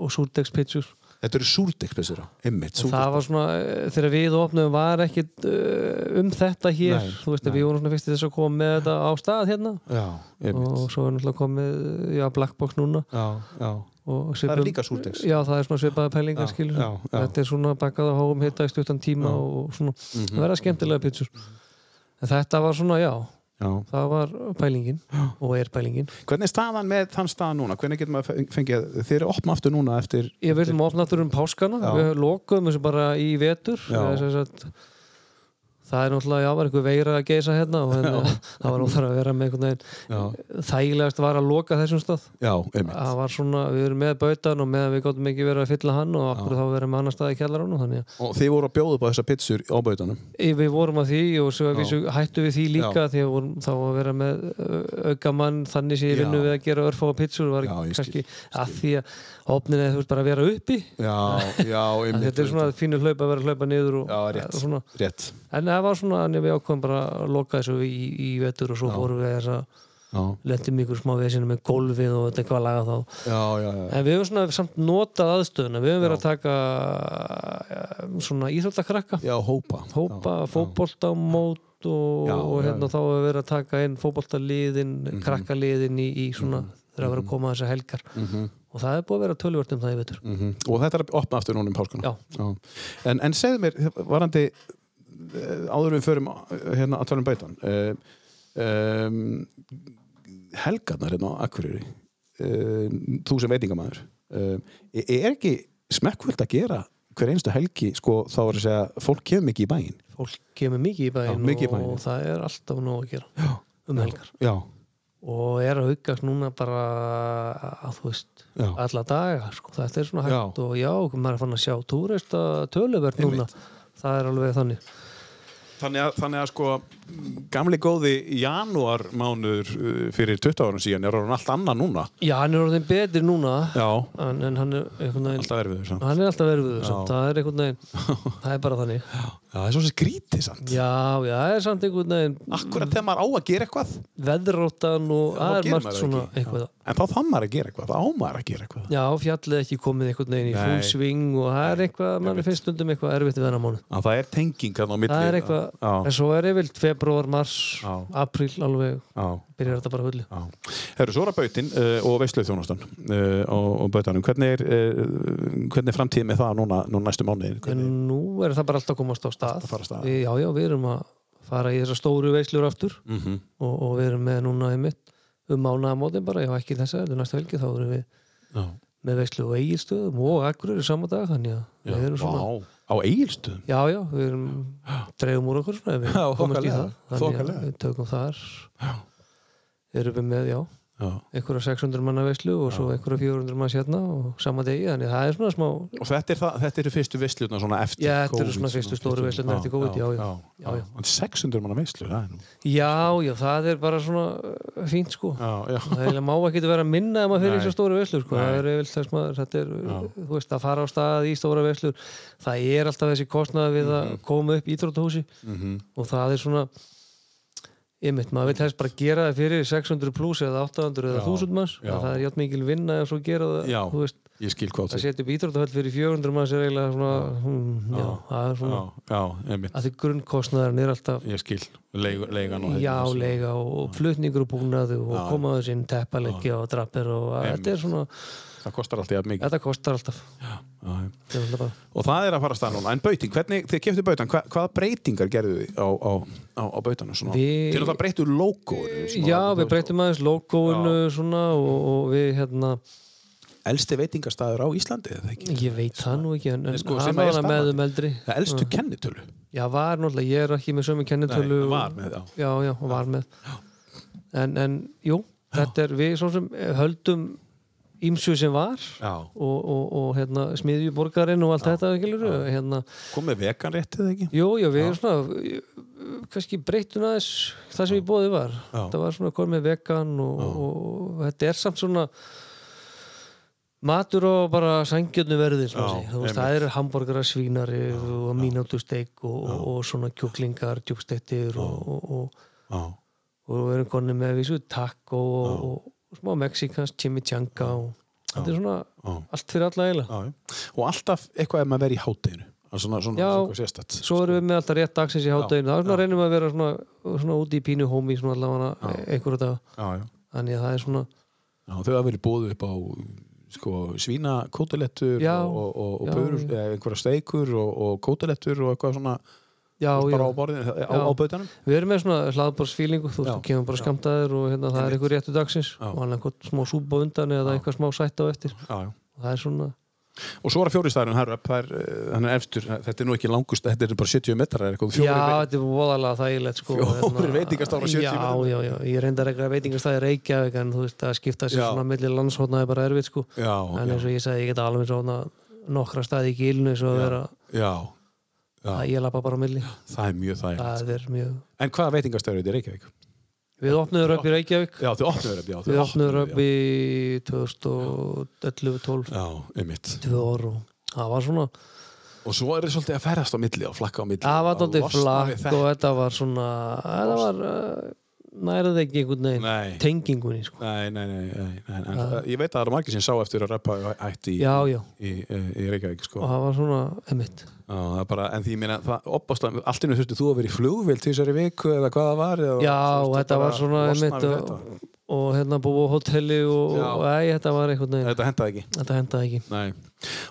Speaker 4: og súrdegs pitsur
Speaker 2: Þetta eru súrdegspizzur á Einmitt,
Speaker 4: það var svona uh, þegar við opnum var ekkit uh, um þetta hér
Speaker 2: Nei,
Speaker 4: þú veist að við vorum svona fyrst í þess að koma með þetta á stað hérna
Speaker 2: Já, einmitt
Speaker 4: og svo er náttúrulega komið já, Blackbox núna
Speaker 2: Já, já
Speaker 4: og
Speaker 2: Það
Speaker 4: svipum,
Speaker 2: eru líka súrdegs
Speaker 4: Já, það er svona svipaða pælingar skilur
Speaker 2: já, já.
Speaker 4: Þetta er svona bakað á háum hita í stuttan tíma og svona,
Speaker 2: Mhm.
Speaker 4: það verða skemmtilega pítsur En þetta var svona, já
Speaker 2: Já.
Speaker 4: það var pælingin og er pælingin
Speaker 2: Hvernig er staðan með þann staðan núna? Hvernig getur maður feng- fengið Þeir eru opna aftur núna eftir
Speaker 4: Ég viljum opna aftur um páskana við lokuðum þessu bara í vetur
Speaker 2: Já.
Speaker 4: eða sem sagt, það er náttúrulega, já, var einhver veira að geisa hérna og hérna, það var óþar að vera með einhvern veginn þægilegast var að loka þessum stað
Speaker 2: Já, einmitt
Speaker 4: það var svona, við erum með bautan og meðan við gáttum ekki verið að fylla hann og okkur þá verið með annar stað í kjallaranum þannig að
Speaker 2: Og þið voru að bjóða upp á þessar pizzur á bautanum
Speaker 4: Í- Við vorum að því og svo að vísu hættu við því líka því að vorum þá að vera með aukamann þannig sem ég vinnu við að gera örfáa pitsur var
Speaker 2: Já, ég
Speaker 4: kannski að því að opnin eða þú veist bara að vera uppi
Speaker 2: Já, já,
Speaker 4: að þetta er svona fínu hlaup að vera að hlaupa niður og,
Speaker 2: Já, rétt.
Speaker 4: og svona.
Speaker 2: Rétt
Speaker 4: en það var svona en við ákvæðum bara að loka þessu í, í vetur og svo fórum við þess að
Speaker 2: Já,
Speaker 4: letum ykkur smá vesinu með gólfið og þetta eitthvað að laga þá
Speaker 2: já, já, já.
Speaker 4: en við höfum svona samt notað aðstöðuna við höfum verið að taka eh, svona íþróttakrakka
Speaker 2: já hópa
Speaker 4: hópa, fótboltamót og,
Speaker 2: Já, já,
Speaker 4: og
Speaker 2: Mhm.
Speaker 4: hérna þá hefur verið að taka inn fótboltaliðin, krakkaliðin í, í svona þegar að vera að koma þessar helgar og það er búið að vera tölvört um það í vetur
Speaker 2: Mhm. Og þetta er að opna aftur núna um páskana
Speaker 4: Já.
Speaker 2: En, en segðu mér, varandi eh, áður en við förum eh, hérna að tala um bautan uh, um, Helgarnar hérna á Akureyri uh, þú sem veitingamæður uh, er ekki smekkvöld að gera hver einstu helgi, sko, þá er að segja fólk kemur mikið í bæinn
Speaker 4: fólk kemur mikið í bæinn,
Speaker 2: Já, mikið í bæinn.
Speaker 4: og það er alltaf nóg að gera já, um helgar
Speaker 2: Já,
Speaker 4: og er að aukast núna bara að þú veist
Speaker 2: Já.
Speaker 4: alla daga, sko, þetta er svona hægt og já, maður er fann að sjá túrista töluvert núna, það er alveg þannig
Speaker 2: Þannig að, þannig að sko gamli góði janúarmánuður eh, fyrir 20 árum síðan er orðan allt annað núna
Speaker 4: já, hann er orðin betri núna
Speaker 2: Já,
Speaker 4: en, en hann er einhvern veginn
Speaker 2: alltaf erfiður samt.
Speaker 4: hann er alltaf verið við samt, það er einhvern veginn það er bara þannig
Speaker 2: Já, það er svo sem skrítið samt
Speaker 4: já, já, það er samt einhvern veginn
Speaker 2: Akkurat þegar maður á að gera eitthvað
Speaker 4: veðróttan og það
Speaker 2: þá
Speaker 4: er
Speaker 2: gerir
Speaker 4: margt
Speaker 2: maður
Speaker 4: svona
Speaker 2: ekki.
Speaker 4: eitthvað
Speaker 2: En þá þarf maður að gera eitthvað, þá á maður að gera eitthvað
Speaker 4: já, fjallið ekki komið einhvern veginn í full swing og það er eitthvað, mann finnst stundum eitthvað erfitt við hennar mánu
Speaker 2: En það er tenging þarna á milli
Speaker 4: það er eitthvað,
Speaker 2: Já,
Speaker 4: en svo er yfirlt februar, mars,
Speaker 2: Já.
Speaker 4: apríl alveg,
Speaker 2: já,
Speaker 4: byrjar þetta bara hullu
Speaker 2: já Herru, svo er að bautin uh, og veistlöf þjónastan uh, og, og bautanum Hvernig er, uh, hvernig er framtíð með það núna, núna næstu mánuðin?
Speaker 4: en
Speaker 2: Hvernig
Speaker 4: nú er það bara alltaf að komast á stað,
Speaker 2: að fara af stað.
Speaker 4: Við, já, já, við erum að fara í þessar stóru veislur aftur
Speaker 2: Mhm.
Speaker 4: og, og við erum með núna einmitt um mánaðamótin bara, já ekki þessa heldur næsta helgi, þá erum við
Speaker 2: Já.
Speaker 4: með veislu og eigilstöðum og akkurir sama dag þannig að við erum svona
Speaker 2: Vá, á eigilstöðum
Speaker 4: já, já, við erum dreifum úr okkur svona, ef við
Speaker 2: Já,
Speaker 4: komumst í
Speaker 2: þokkalega,
Speaker 4: það þannig að
Speaker 2: þokkalega.
Speaker 4: við tökum þar erum við með, já
Speaker 2: Já.
Speaker 4: einhverja 600 manna veislu og svo einhverja 400 manns hérna og sama degi, þannig að það er svona smá
Speaker 2: Og þetta, er það, þetta eru fyrstu veistlutna svona eftir
Speaker 4: Já, þetta eru
Speaker 2: COVID,
Speaker 4: svona fyrstu stóru veislurnar eftir COVID, já, já. Já, já.
Speaker 2: En 600 manna veislu, það er nú
Speaker 4: já, já, það er bara svona uh, fínt sko
Speaker 2: Já, já,
Speaker 4: það eiginlega má ekki vera að minna ef maður fyrir
Speaker 2: Nei.
Speaker 4: þessu stóru veslur sko. það
Speaker 2: Nei.
Speaker 4: er yfirleitt þess maður þetta er, þú veist, að fara á stað í stóra veslur það er alltaf þessi kostnaði við
Speaker 2: Mhm.
Speaker 4: að koma upp í Íþróttahúsi og það er svona einmitt, maður vil helst bara gera það fyrir 600 pluss eða 800 eða
Speaker 2: Já,
Speaker 4: 1000 manns
Speaker 2: já.
Speaker 4: það er játn mikil vinna ef svo gera það
Speaker 2: Já.
Speaker 4: þú veist,
Speaker 2: ég skil hvað
Speaker 4: að
Speaker 2: til
Speaker 4: setja upp íþróttahöll fyrir 400 manns er eiginlega svona, hmm, já, það er svona
Speaker 2: Já, já, einmitt,
Speaker 4: að því grunnkostnaðarinn er alltaf
Speaker 2: ég skil Leigu- leigan og þetta
Speaker 4: Já,
Speaker 2: og svo.
Speaker 4: leiga og, og flutningur og búnaðu og koma þessi inn teppaleggja og drappir og að, þetta er svona,
Speaker 2: Það kostar alltaf jafn mikið
Speaker 4: þetta kostar alltaf
Speaker 2: Já, já.
Speaker 4: Þetta er alltaf bara.
Speaker 2: Og það er að fara að staða núna En bautin, hvernig, þið keftu bautan hva, Hvaða breytingar gerðu þið á, á, á, á bautanum? Svona?
Speaker 4: Við-
Speaker 2: Til að það breyttu logo
Speaker 4: Já, við breytum aðeins logoinu svona og, og við hérna
Speaker 2: elsti veitingastæður á Íslandi eða ekki?
Speaker 4: Ég veit það nú ekki, en, en
Speaker 2: sko, sem
Speaker 4: hann
Speaker 2: að
Speaker 4: var
Speaker 2: er
Speaker 4: hana með
Speaker 2: spennandi.
Speaker 4: um eldri.
Speaker 2: Það er elstu kennitölu
Speaker 4: Já, var náttúrulega, ég er ekki með sömu kennitölu.
Speaker 2: Nei,
Speaker 4: og-
Speaker 2: var með, já.
Speaker 4: Já, já, og var með. En, en jú, þetta er, við svo sem eh, höldum ímsu sem var
Speaker 2: Já.
Speaker 4: og, og, og hérna, smiðjuborgarinn og allt þetta, ekki, hérna,
Speaker 2: Komið vegan réttið eða ekki?
Speaker 4: Jú, jú, við erum svona eh, kannski breytun aðeins það sem í bóði var það var svona komið vegan og, og þetta er samt svona matur og bara sangjötnu verði
Speaker 2: Já,
Speaker 4: veist,
Speaker 2: einmitt.
Speaker 4: það eru hambúrgara svínari og mínútusteik og, og, og svona kjúklingar, djúkstektir og, og,
Speaker 2: Já,
Speaker 4: og, og við erum konni með vissu taco og, og, smá mexikans, chimichanga og þetta er svona
Speaker 2: Já.
Speaker 4: allt fyrir alla eiginlega
Speaker 2: já, já. Og alltaf eitthvað ef maður verið í hátteginu Svona, svona,
Speaker 4: Já.
Speaker 2: svona sérstætt
Speaker 4: svo erum við með alltaf rétt dagsins í hátteginu það er svona reynum við að vera svona, svona úti í pínu hómi svona allavega einhverju dag
Speaker 2: já, já.
Speaker 4: þannig að það er svona
Speaker 2: Já, Þau hafa verið búið upp á sko, svína kótalettur
Speaker 4: Já,
Speaker 2: og, og, og, og
Speaker 4: já,
Speaker 2: pörur,
Speaker 4: já.
Speaker 2: eða einhverja steikur og, og kótalettur og eitthvað svona
Speaker 4: já, já.
Speaker 2: bara á borðinu, á,
Speaker 4: Já.
Speaker 2: á bautanum
Speaker 4: við erum með svona hlaðbórsfílingu þú,
Speaker 2: Já.
Speaker 4: þú kemur bara skamtaður og hérna, það er einhver réttu dagsins
Speaker 2: Já.
Speaker 4: og hann er eitthvað smá súpa á undan eða eitthvað smá sætt á eftir
Speaker 2: já, já.
Speaker 4: og það er svona
Speaker 2: Og svo er að fjóristæðurinn herra upp, það er, eh, hann er efstur, þetta er nú ekki langust, þetta er bara 70 metrar eða eitthvað,
Speaker 4: já,
Speaker 2: fjórir,
Speaker 4: þetta er voðalega þægilegt sko,
Speaker 2: Fjórir veitingastaðar á 70
Speaker 4: já,
Speaker 2: metrum.
Speaker 4: já, já, ég reyndar eitthvað veitingastæði Reykjavík en þú veist að skipta sér
Speaker 2: Já.
Speaker 4: svona milli landshotna er bara erfitt sko
Speaker 2: Já,
Speaker 4: en
Speaker 2: já.
Speaker 4: eins og ég sagði, ég get alveg svona nokkra staði í gilinu svo að vera
Speaker 2: já,
Speaker 4: að ég lappa bara á milli
Speaker 2: það er mjög þægilegt.
Speaker 4: það er mjög
Speaker 2: En hvaða veitingastæður er þetta í Reykjavík?
Speaker 4: Við opnuðum upp í Reykjavík
Speaker 2: Já, þau opnuður upp, já. þau
Speaker 4: Við opnuðum upp
Speaker 2: já.
Speaker 4: í 2011-12
Speaker 2: Já, einmitt.
Speaker 4: tvö ár og það var svona
Speaker 2: Og svo er það svolítið að ferðast á milli og flakka á milli.
Speaker 4: það var
Speaker 2: og
Speaker 4: tóttið
Speaker 2: losna við
Speaker 4: flakk
Speaker 2: þetta.
Speaker 4: og þetta var svona það var uh, nærið ekki einhvern veginn
Speaker 2: Nei.
Speaker 4: tengingunni sko.
Speaker 2: Nei, nei, nei, nei, nei, nei. Uh. Ég veit að það eru margir sem sá eftir að rappa ætti í,
Speaker 4: Ah. Já, Ah. já.
Speaker 2: í, í, í Reykjavík, sko.
Speaker 4: og það var svona emitt
Speaker 2: Já, það er bara, en því ég meina, það, opastan, allt innu þurftu þú að vera í flugvél til þessari viku eða hvað það var? Eða,
Speaker 4: já
Speaker 2: þú
Speaker 4: og
Speaker 2: veist,
Speaker 4: þetta
Speaker 2: bara
Speaker 4: var svona
Speaker 2: losna
Speaker 4: emitt
Speaker 2: við
Speaker 4: og,
Speaker 2: þetta.
Speaker 4: og hérna búið á hotelli og,
Speaker 2: Já.
Speaker 4: og ei, þetta var einhvern veginn
Speaker 2: Þetta hendaði ekki.
Speaker 4: þetta hendaði ekki
Speaker 2: Nei.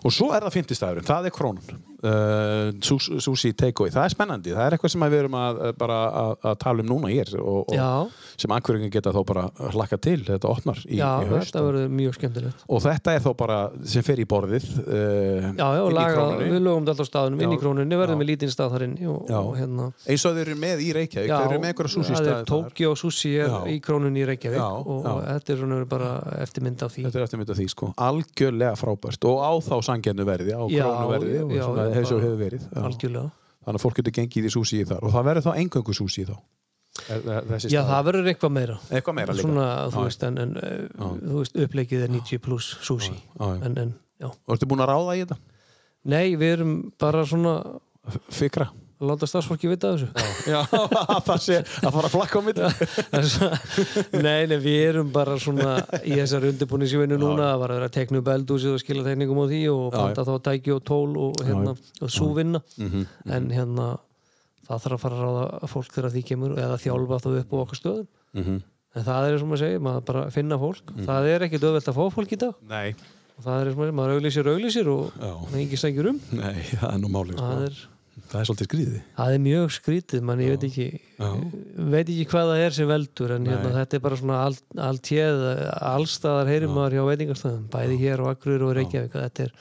Speaker 2: Og svo er það fymtistæðurinn, það er krónan uh, sus- Sushi takeaway, það er spennandi það er eitthvað sem að við erum að, eh, bara, að, að tala um núna hér og,
Speaker 4: Já.
Speaker 2: og sem akkuringin geta þá bara hlakka til þetta opnar í,
Speaker 4: já,
Speaker 2: í haust
Speaker 4: þetta verður mjög skemmtilegt
Speaker 2: og þetta er þá bara sem fer í borðið uh,
Speaker 4: já, já,
Speaker 2: inn í
Speaker 4: laga,
Speaker 2: Krónunni.
Speaker 4: við lögum þetta alltaf á staðunum inn í
Speaker 2: Já.
Speaker 4: krónunni, verðum við lítinn stað þar inn og,
Speaker 2: Já.
Speaker 4: og hérna
Speaker 2: eins og þeir eru með í Reykjavík,
Speaker 4: Já,
Speaker 2: þeir eru með einhverja sushi
Speaker 4: það er
Speaker 2: staði
Speaker 4: Tokyo Sushi er
Speaker 2: Já.
Speaker 4: í krónunni í Reykjavík
Speaker 2: Já,
Speaker 4: og
Speaker 2: já.
Speaker 4: þetta er svona bara eftirmynd af því
Speaker 2: Þetta er eftir mynda því sko, algjörlega frábært og á þá sangjarnu verði, á
Speaker 4: Já,
Speaker 2: krónu verði og
Speaker 4: já,
Speaker 2: svona
Speaker 4: já,
Speaker 2: hefur
Speaker 4: bara-
Speaker 2: hefur verið já.
Speaker 4: algjörlega
Speaker 2: þannig að fólk getur gengið í súsí þar og það verður þá engöngu súsí þá Er- er- þessi
Speaker 4: Já,
Speaker 2: staður.
Speaker 4: það verður eitthvað meira
Speaker 2: Eitthvað meira líka.
Speaker 4: Svona, þú
Speaker 2: Já.
Speaker 4: veist, en, en eh, þú veist, uppleikið er 90 pluss sushi
Speaker 2: Já, já.
Speaker 4: En, en, já
Speaker 2: Og ertu búin að ráða í þetta?
Speaker 4: Nei, við erum bara svona
Speaker 2: Fikra
Speaker 4: að láta starfsfólki vita af þessu
Speaker 2: Já, það sé að fara að flakka á mitt
Speaker 4: Það er svo- Nei, nei, við erum bara svona í þessar undirbúni sem við erum núna það var að vera að tekna upp eldúsið og skila tekningum á því og panta þá tæki og tól og hérna, og súvinna en hérna, það þarf að fara að ráða fólk þegar því kemur eða þjálfa þá upp á okkar stöðum en það er sem að segja, maður bara finna fólk það er ekkit auðvelt að fá fólk í dag
Speaker 2: Nei,
Speaker 4: og það er sem að segja, maður auglýsir auglýsir og
Speaker 2: Já.
Speaker 4: það er ekki sækjur um
Speaker 2: nei, það er nú málið sko.
Speaker 4: það er,
Speaker 2: Það er svolítið skrýði
Speaker 4: það er mjög skrítið mann ég veit ekki, veit ekki hvað það er sem veldur en hérna, þetta er bara svona allt, allt hér, allstaðar heyrir maður hjá veitingarstæðum, bæði hér og Akurur og Reykjavík þetta er,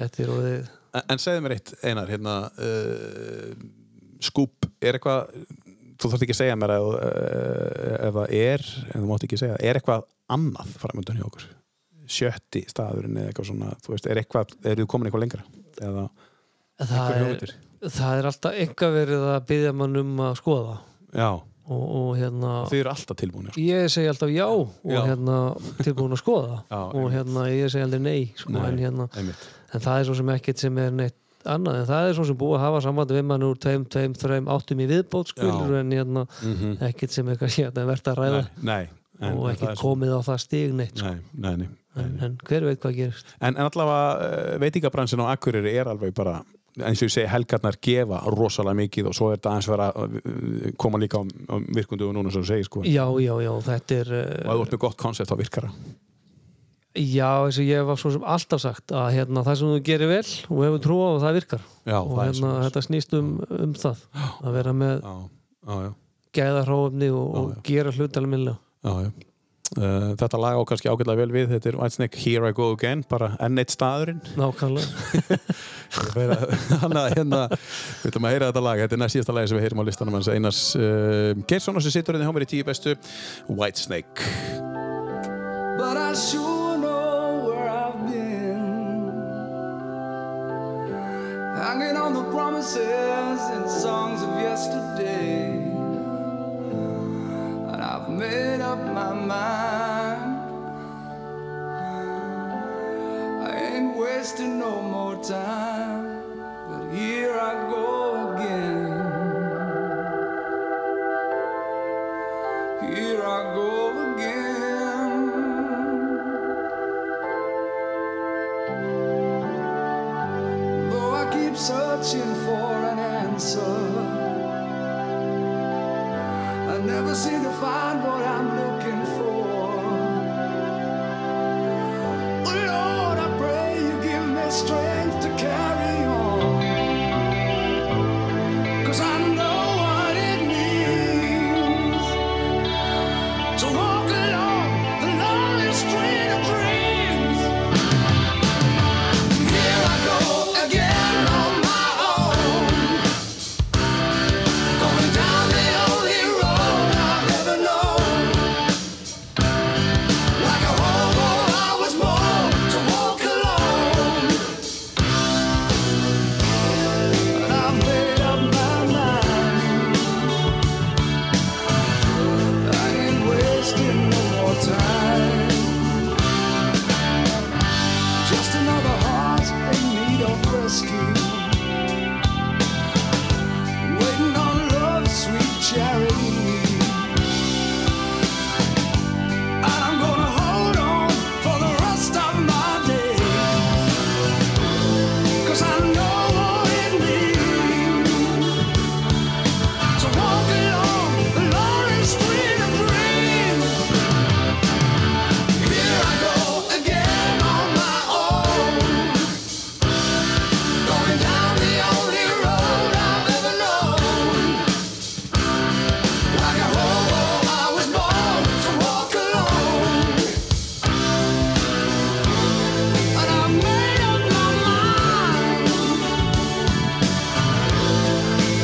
Speaker 4: þetta er orðið,
Speaker 2: En, en segðu mér eitt, Einar, hérna uh, Skúb, er eitthvað Þú þarft ekki að segja mér að, uh, ef það er, en þú mátt ekki segja Er eitthvað annað framöndan hjá okkur? Sjötti staðurinn eða eitthvað svona Þú veist, er eitthvað, eru þú komin eitthvað lengra? Eða,
Speaker 4: það
Speaker 2: Einhver
Speaker 4: er það er alltaf eitthvað verið að byggja mann um að skoða
Speaker 2: já,
Speaker 4: og, og hérna
Speaker 2: þið eru alltaf tilbúin
Speaker 4: ég segi alltaf já og
Speaker 2: Já.
Speaker 4: hérna tilbúin að skoða
Speaker 2: Já,
Speaker 4: og hérna ég segi aldrei nei, sko, en hérna
Speaker 2: Einmitt
Speaker 4: en það er svo sem ekkert sem er neitt annað en það er svo sem búið að hafa samband við mann úr tveim, tveim, þreim, áttum í viðbót skilur en hérna, ekkert sem er kannski að verðt að ræða
Speaker 2: Nei, Mhm. nei
Speaker 4: og
Speaker 2: það er
Speaker 4: ekkert
Speaker 2: svo-
Speaker 4: komið á það stig neitt sko.
Speaker 2: Nei, nei, nei, nei.
Speaker 4: en, en hver veit hvað gerist
Speaker 2: En, en allavega eh, veitingabransin á Akureyri er alveg bara eins og ég segi helgarnar gefa rosalega mikið og svo er þetta aðeins vera að eh, koma líka á, á virkundu og núna sem þú segir sko
Speaker 4: já, já, já, þetta er
Speaker 2: og að þú ert með gott koncept á virkara
Speaker 4: eh, já, eins og ég var svo sem alltaf sagt að hérna, það sem þú gerir vel og hefur trú á það virkar
Speaker 2: Já,
Speaker 4: og
Speaker 2: það er
Speaker 4: hérna,
Speaker 2: svoleiðis.
Speaker 4: þetta snýst um, um það að vera með
Speaker 2: Já, já, já,
Speaker 4: gæða hrófni og, og gera hlut alveg minnilega
Speaker 2: já, já. Uh, þetta lag á kannski ágætlega vel við þetta er Whitesnake Here I Go Again bara enn eitt staðurinn
Speaker 4: nákvæmlega
Speaker 2: þannig að hérna við ætlum að heyra þetta lag, þetta er næst síðasta lagi sem við heyrum á listanum hans Einars uh, Geirsson og sem situr hérna hjá mér í tíu bestu Whitesnake
Speaker 10: But I sure know where I've been. Hanging on the promises and songs of yesterday. And I've made up my mind. I ain't wasting no more time. But here I go again. Here I go again. Though I keep searching for an answer, I never seem to find what I'm looking for. Lord, I pray you give me strength to carry on. Cause I know what it means to walk along the lonely street of dreams. Here I go again on my own, going down the only road I've ever known. Like a hobo, I was born to walk alone, and I've made up my mind. I ain't wasting no more time. Just another heart in need of rescue. Waiting on love, sweet charity. And I'm gonna hold on for the rest of my days. 'Cause I know what it means to walk along the lonely street of dreams. Here I go again on my own, going down the only road I've ever known. Like a hobo, I was born to walk alone, and I made up my mind.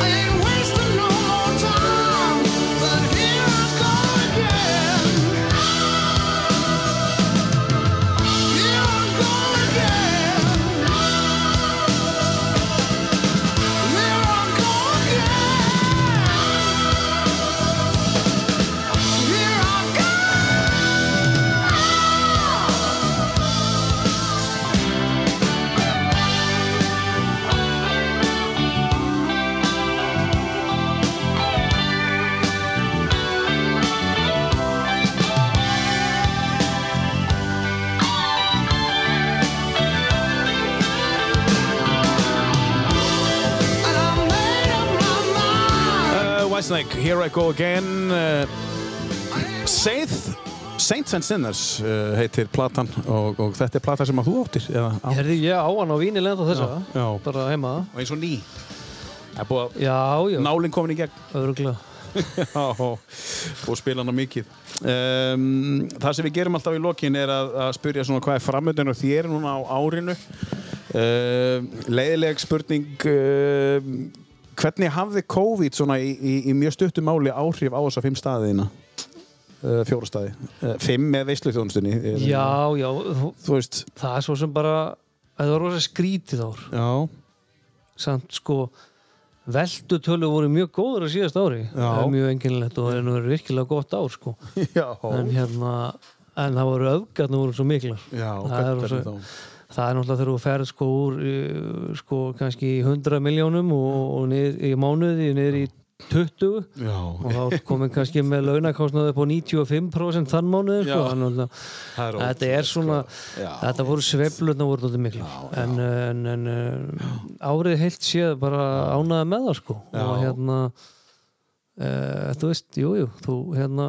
Speaker 10: I ain't wasting no more time, but here I go again. Here I go again. Here I go again. Here I go. And I made up my mind.
Speaker 2: uh, Whitesnake, Here I Go Again uh, Saith Saints and Sinners uh, heitir platan og, og þetta er plata sem að þú áttir eða á
Speaker 4: Ég herði ég á hann á víni lenda þessa
Speaker 2: Já, já.
Speaker 4: bara heima
Speaker 2: og eins og ný Það er búið
Speaker 4: já, já,
Speaker 2: að nálinn komin í gegn
Speaker 4: öðruglega
Speaker 2: Já, og spila hana mikið um, Það sem við gerum alltaf í lokin er að, að spyrja svona hvað er framöndin og þér núna á árinu um, leiðileg spurning um, hvernig hafði COVID svona í, í, í mjög stuttum máli áhrif á þessa fimm staðina uh, fjóra staði uh, fimm með veisluþjónustunni eh,
Speaker 4: já, já, þú-
Speaker 2: þú veist
Speaker 4: það er svo sem bara það var rosa skrítið ár
Speaker 2: já,
Speaker 4: samt sko veldutölu voru mjög góður á síðast ári það er mjög enginlegt og það er virkilega gott ár sko
Speaker 2: já,
Speaker 4: en hérna en það voru öfgarnir voru svo miklar
Speaker 2: já
Speaker 4: það, er
Speaker 2: hvernig
Speaker 4: rosa,
Speaker 2: þá?
Speaker 4: það er náttúrulega þegar þú ferð sko úr eh, sko kannski í 100 miljónum og, og niður, í mánuði niður í 20
Speaker 2: já,
Speaker 4: og þá komum kannski með launakostnaði upp á 95% þann mánuði sko,
Speaker 2: Já.
Speaker 4: en náttúrulega-
Speaker 2: Það er sko.
Speaker 4: þetta er svona þetta voru sveiflutna voru þetta miklu en, eh, en, en eh, árið heilt séð bara ánaði með það sko og
Speaker 2: Já.
Speaker 4: hérna uh, þú veist, jú, jú, þú hérna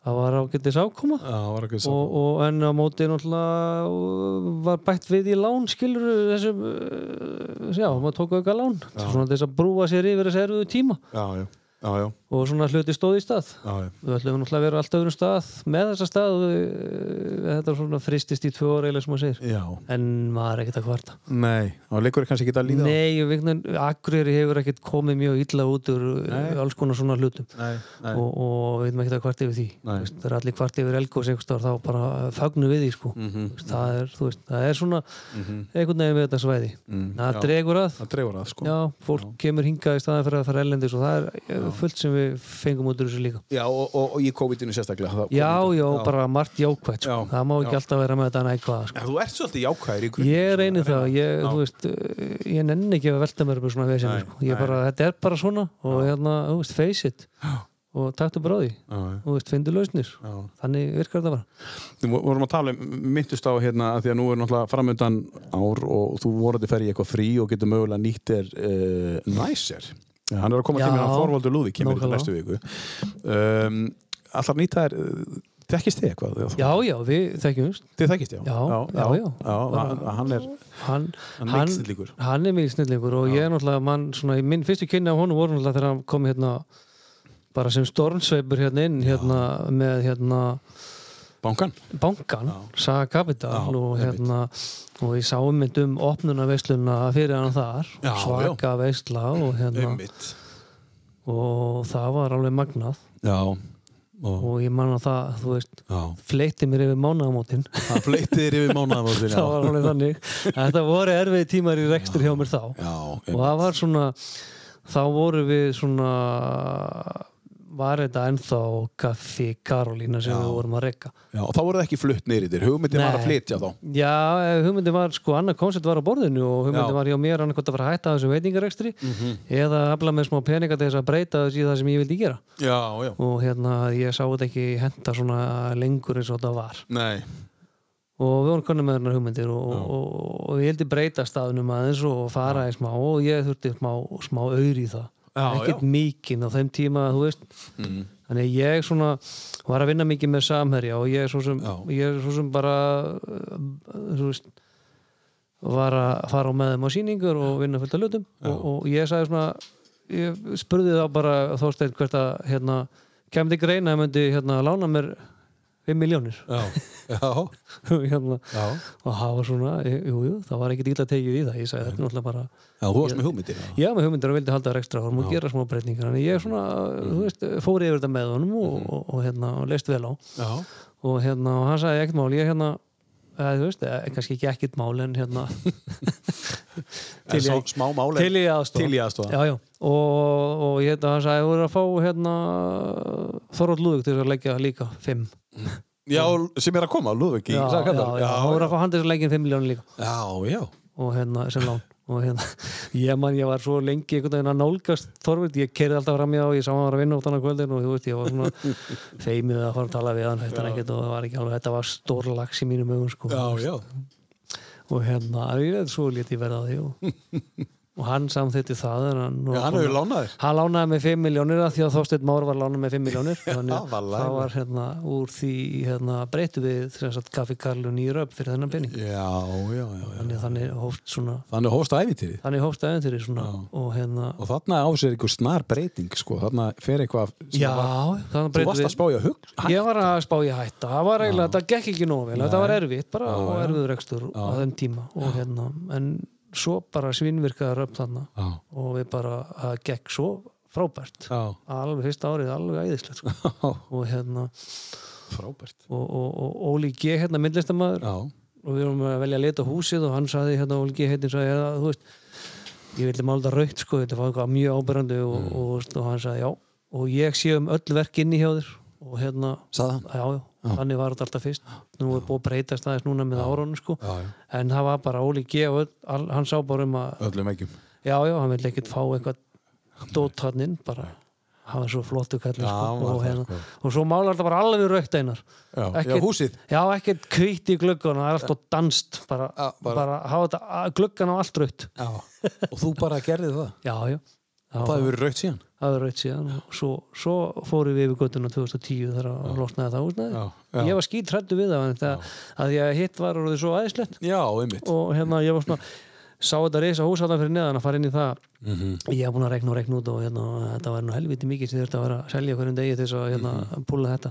Speaker 4: það var ágættis ákoma
Speaker 2: það var ekki svo
Speaker 4: og, og en á móti náttúrulega uh, var bætt við í lán eh, skilur þessum uh, já, maður tók auka lán svona til þess að brúa sér yfir þess erfiðu tíma
Speaker 2: já, já, já, já
Speaker 4: og svona hluti stóð í stað
Speaker 2: Já, já.
Speaker 4: við ætlum náttúrulega að vera alltaf öðrum stað með þessa stað og eh, þetta svona fristist í tvö ára eiginlega sem maður segir
Speaker 2: Já,
Speaker 4: en maður er ekkert að kvarta
Speaker 2: nei, og leikur er kannski ekki að líða á.
Speaker 4: Nei, vegna, Akureyri hefur ekkert komið mjög illa út úr
Speaker 2: Nei.
Speaker 4: Nei. alls konar svona hlutum
Speaker 2: Nei, nei.
Speaker 4: og, og við veitum ekkert að kvart yfir því
Speaker 2: Nei.
Speaker 4: Þú veist, það er allir kvart yfir elgós einhverstaðar þá bara fagnum við því sko. mm
Speaker 2: Mhm.
Speaker 4: það, er, þú veist, það er svona einhvern veginn með þetta svæði það
Speaker 2: Mm, já.
Speaker 4: dregur að
Speaker 2: Það dregur að, sko.
Speaker 4: Já, fólk kemur hingað í staðan fyrir að fara ellendis og það er eh, fullt sem við fengum út úr þessu líka
Speaker 2: Já, og, og, og í COVID-inu sérstaklega. það-
Speaker 4: Já,
Speaker 2: COVID-inu.
Speaker 4: já, bara margt jákvætt sko.
Speaker 2: Já,
Speaker 4: það má ekki
Speaker 2: já.
Speaker 4: alltaf vera með þetta nækvað sko.
Speaker 2: En þú ert svolítið jákvæður í grunn.
Speaker 4: Ég reynir það, ég, þú veist, eh, ég nenni ekki að velta mér upp í svona vesinu,
Speaker 2: Nei,
Speaker 4: sko. Ég bara, þetta er bara svona og hérna, þú veist, face it og taktu bara á því,
Speaker 2: Já,
Speaker 4: þú veist, fyndu lausnir. Þannig virkar þetta bara.
Speaker 2: Við vorum að tala um, myndust á hérna að því að nú er náttúrulega framöndan ár og þú voruð að ferja í eitthvað frí og getur mögulega nýtt þér uh, næsir. Hann er að koma
Speaker 4: Já.
Speaker 2: til mér að Þorvaldur Lúði kemur í
Speaker 4: Nákvæmlega.
Speaker 2: næstu viku. Um, Allar nýta þér, eh, þekkist þið eitthvað?
Speaker 4: Já, já, við þekkjumst.
Speaker 2: Þið þekkist, já.
Speaker 4: Já, já, já.
Speaker 2: hann, hann er,
Speaker 4: Hann,
Speaker 2: Hann er mikill snillingur.
Speaker 4: Hann er mikið snillingur og ég er náttúrulega, mann, svona, í minn fyrstu kynni af honum voru náttúrulega þegar hann kom hérna, bara sem stormsveipur hérna inn, hérna, með, hérna,
Speaker 2: bankan.
Speaker 4: bankan, Saga Capital og, hérna, og ég sá mynd um opnunarveisluna fyrir hann þar
Speaker 2: Já,
Speaker 4: svaka veisla og, hérna,
Speaker 2: Einmitt.
Speaker 4: og það var alveg magnað
Speaker 2: Já, og,
Speaker 4: og ég man að það, þú veist
Speaker 2: já.
Speaker 4: fleitti mér yfir mánaðamótin
Speaker 2: Hann fleitið þér yfir mánaðamótin.
Speaker 4: það var alveg þannig þetta voru erfiði tímar í rekstur hjá mér þá
Speaker 2: Já,
Speaker 4: og
Speaker 2: einmitt.
Speaker 4: það var svona þá voru við svona var þetta ennþá kaffi Karolína sem við vorum að rekka
Speaker 2: já, og þá voruð ekki flutt neyri þér. Hugmyndið var
Speaker 4: Nei.
Speaker 2: að flytja þá.
Speaker 4: Já, eh, hugmyndin var sko, annað koncept var á borðinu og hugmyndin
Speaker 2: Já. Mhm.
Speaker 4: var hjá mér annað hvort að fara að hætta af þessum veitingarekstri eða afla með smá peninga til þess að breyta þessi í það sem ég vildi gera
Speaker 2: Já, já.
Speaker 4: og hérna ég sá þetta ekki henda svona lengur eins og þetta var
Speaker 2: Nei,
Speaker 4: og við vorum konum með þennar hugmyndir og, og, og, og ég heldur breyta staðnum aðeins og fara í smá og ég þurfti smá, smá auður í það
Speaker 2: Já,
Speaker 4: ekkert
Speaker 2: já. Mhm.
Speaker 4: mikinn á þeim tíma þú veist þannig að ég svona var að vinna mikið með samherja og ég svo sem,
Speaker 2: Já.
Speaker 4: ég svo sem bara uh, þú veist var að fara á með þeim á sýningur og vinna fullt af hlutum og, og ég sagði svona ég spurði þá bara Þorstein hvert að hérna, kemdi greina að myndi hérna, lána mér 5 miljónir
Speaker 2: já, já.
Speaker 4: hérna,
Speaker 2: Já,
Speaker 4: og hafa svona, jú, jú, það var ekkert illa tegið í það, ég sagði þetta er náttúrulega bara
Speaker 2: já þú varst með hugmyndir
Speaker 4: já, með hugmyndir og vildi halda rekstra og gera smá breytingar, en ég svona þú veist, fór yfir þetta með honum og, og, og hérna, og leist vel á
Speaker 2: Já,
Speaker 4: og hérna, og hann sagði ekkert mál, ég hérna eða, þú veist, eða, kannski ekki ekkert mál en hérna
Speaker 2: til
Speaker 4: Til
Speaker 2: svo,
Speaker 4: í-
Speaker 2: smá máli
Speaker 4: til í aðstofa
Speaker 2: Til í aðstofa.
Speaker 4: já, já. og, og hérna, hann sagði, þú er að fá hérna, Þorvald Lúðug til þess að leggja líka 5
Speaker 2: Já, sem er að koma, Lúðvík í
Speaker 4: já, já,
Speaker 2: Sakadal.
Speaker 4: já, hann er að fá hann til þess að leggja 5 miljónir líka
Speaker 2: já, já,
Speaker 4: og hérna sem lán og hérna, ég man, ég var svo lengi einhvern veginn að nálgast Þorvild, ég kerði alltaf fram í það og ég sá hann var að vinna út hann að kvöldin og þú veist, ég var svona feimið að fara að tala við hann, hættan ekkert og það var ekki alveg, þetta var stór lags í mínum augum sko,
Speaker 2: já, já.
Speaker 4: og hérna, ég er svo lítið verða á því og, og hann samþýtti það en hann,
Speaker 2: Já, hann hefur lánað þér.
Speaker 4: hann lánaði með 5 miljónir af því að Þorsteinn Már var lánað með 5 miljónir þannig
Speaker 2: var
Speaker 4: að
Speaker 2: lánað.
Speaker 4: það var hérna úr því hérna, breytu við sem sagt, Kaffi Karlu nýra upp fyrir þennan pening
Speaker 2: Já, já, já, já.
Speaker 4: þannig, þannig hófst svona
Speaker 2: Þannig hóst æfintýrið.
Speaker 4: þannig hófst æventýri svona og hérna
Speaker 2: Og þarna á sér einhver snar breyting, sko. Þarna fer eitthvað... sem
Speaker 4: já,
Speaker 2: var-
Speaker 4: þannig
Speaker 2: Þú varst
Speaker 4: breytum
Speaker 2: að spája hug.
Speaker 4: við ég var að spá ég hætta, það var eiginlega þetta gekk ekki nóg vel, þetta var erfitt, bara og erfiður rekstur á þeim tíma og hérna, en svo bara svinvirkaður upp þarna
Speaker 2: Já.
Speaker 4: og við bara, það gekk svo frábært
Speaker 2: Já.
Speaker 4: alveg fyrsta árið, alveg æðislegt sko. og hérna,
Speaker 2: Frábært.
Speaker 4: og, og, og Óli G hérna myndlistamæður
Speaker 2: Já,
Speaker 4: og við vorum að velja að leta húsið og hann saði hérna Óli G heitin saði, ja, þú veist ég vildi mála þetta raukt sko, þetta var eitthvað mjög ábyrrandi og, mm. og, og, og hann saði já og ég sé um öll verk inni hjá þér og hérna,
Speaker 2: sagði hann.
Speaker 4: já, já, þannig var þetta alltaf fyrst, nú er búið að breytast aðeins núna með árunum sko,
Speaker 2: Já, já.
Speaker 4: en það var bara Óli G og öll, all, hann sá bara um að
Speaker 2: Öllum ekki.
Speaker 4: já, já, hann vildi ekkert fá eitthvað dót hann inn, bara hann var svo flottu kallið
Speaker 2: hann
Speaker 4: sko,
Speaker 2: var
Speaker 4: og,
Speaker 2: það,
Speaker 4: hérna,
Speaker 2: sko.
Speaker 4: og svo málar þetta bara alveg raukt einar
Speaker 2: Já,
Speaker 4: Ekkert-
Speaker 2: já, húsið.
Speaker 4: Já, ekkert kvít í gluggan, það er alltaf danst bara, bara, hafa þetta gluggan á allt raut
Speaker 2: Já. Og þú bara gerði það.
Speaker 4: Já, já, já
Speaker 2: Það hefur verið raukt síðan.
Speaker 4: það er raut síðan og svo, svo fórum við yfir göttuna 2010 þegar að losnaði það húsnaði
Speaker 2: Já, já.
Speaker 4: Ég var skítrættu við það en það, að því að hitt var orðið svo aðeinslegt
Speaker 2: Já, einmitt.
Speaker 4: og hérna ég var svona sá þetta reysa hús allan fyrir neðan að fara inn í það
Speaker 2: Mhm.
Speaker 4: ég hef búin að rekna og rekna út og hérna, þetta var nú helviti mikið sem þurfti að vera að selja hverjum degi til þess að hérna,
Speaker 2: Mhm.
Speaker 4: púla þetta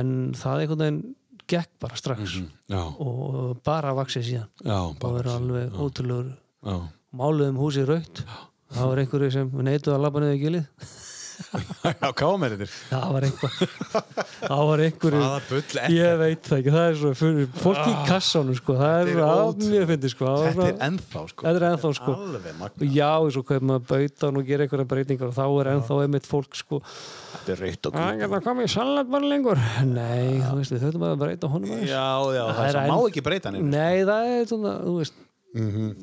Speaker 4: en það einhvern veginn gekk bara strax
Speaker 2: Já,
Speaker 4: og bara vaxið síðan
Speaker 2: já,
Speaker 4: og
Speaker 2: bara,
Speaker 4: verið alveg ótrúlegur
Speaker 2: já.
Speaker 4: máluðum húsið raukt það var einhverju sem neituð að labba niður gilið
Speaker 2: Já, kámeritir.
Speaker 4: það var einhver það var einhverju
Speaker 2: Hvaða bull er Ah,
Speaker 4: ég veit það ekki, það er svo fyrir, fólk í kassanum sko, það er
Speaker 2: Þetta er
Speaker 4: að
Speaker 2: ótrú-
Speaker 4: mjög fyndi sko, það var
Speaker 2: Þetta er
Speaker 4: svona-
Speaker 2: ennþá, sko.
Speaker 4: þetta er ennþá sko
Speaker 2: Alveg magna.
Speaker 4: og já, svo kaup maður bautan og gera einhverja breytingar og þá er ennþá einmitt fólk sko
Speaker 2: Ah.
Speaker 4: Ah,
Speaker 2: Þetta er reitt og Ah.
Speaker 4: að geta komið í salat bara lengur nei, þú veist, við þauðum að breyta honum aðeins.
Speaker 2: Já, já, það,
Speaker 4: Það
Speaker 2: það
Speaker 4: er
Speaker 2: má
Speaker 4: enn-
Speaker 2: ekki breyta sko. Mhm. hann
Speaker 4: nei, það er svona, þú veist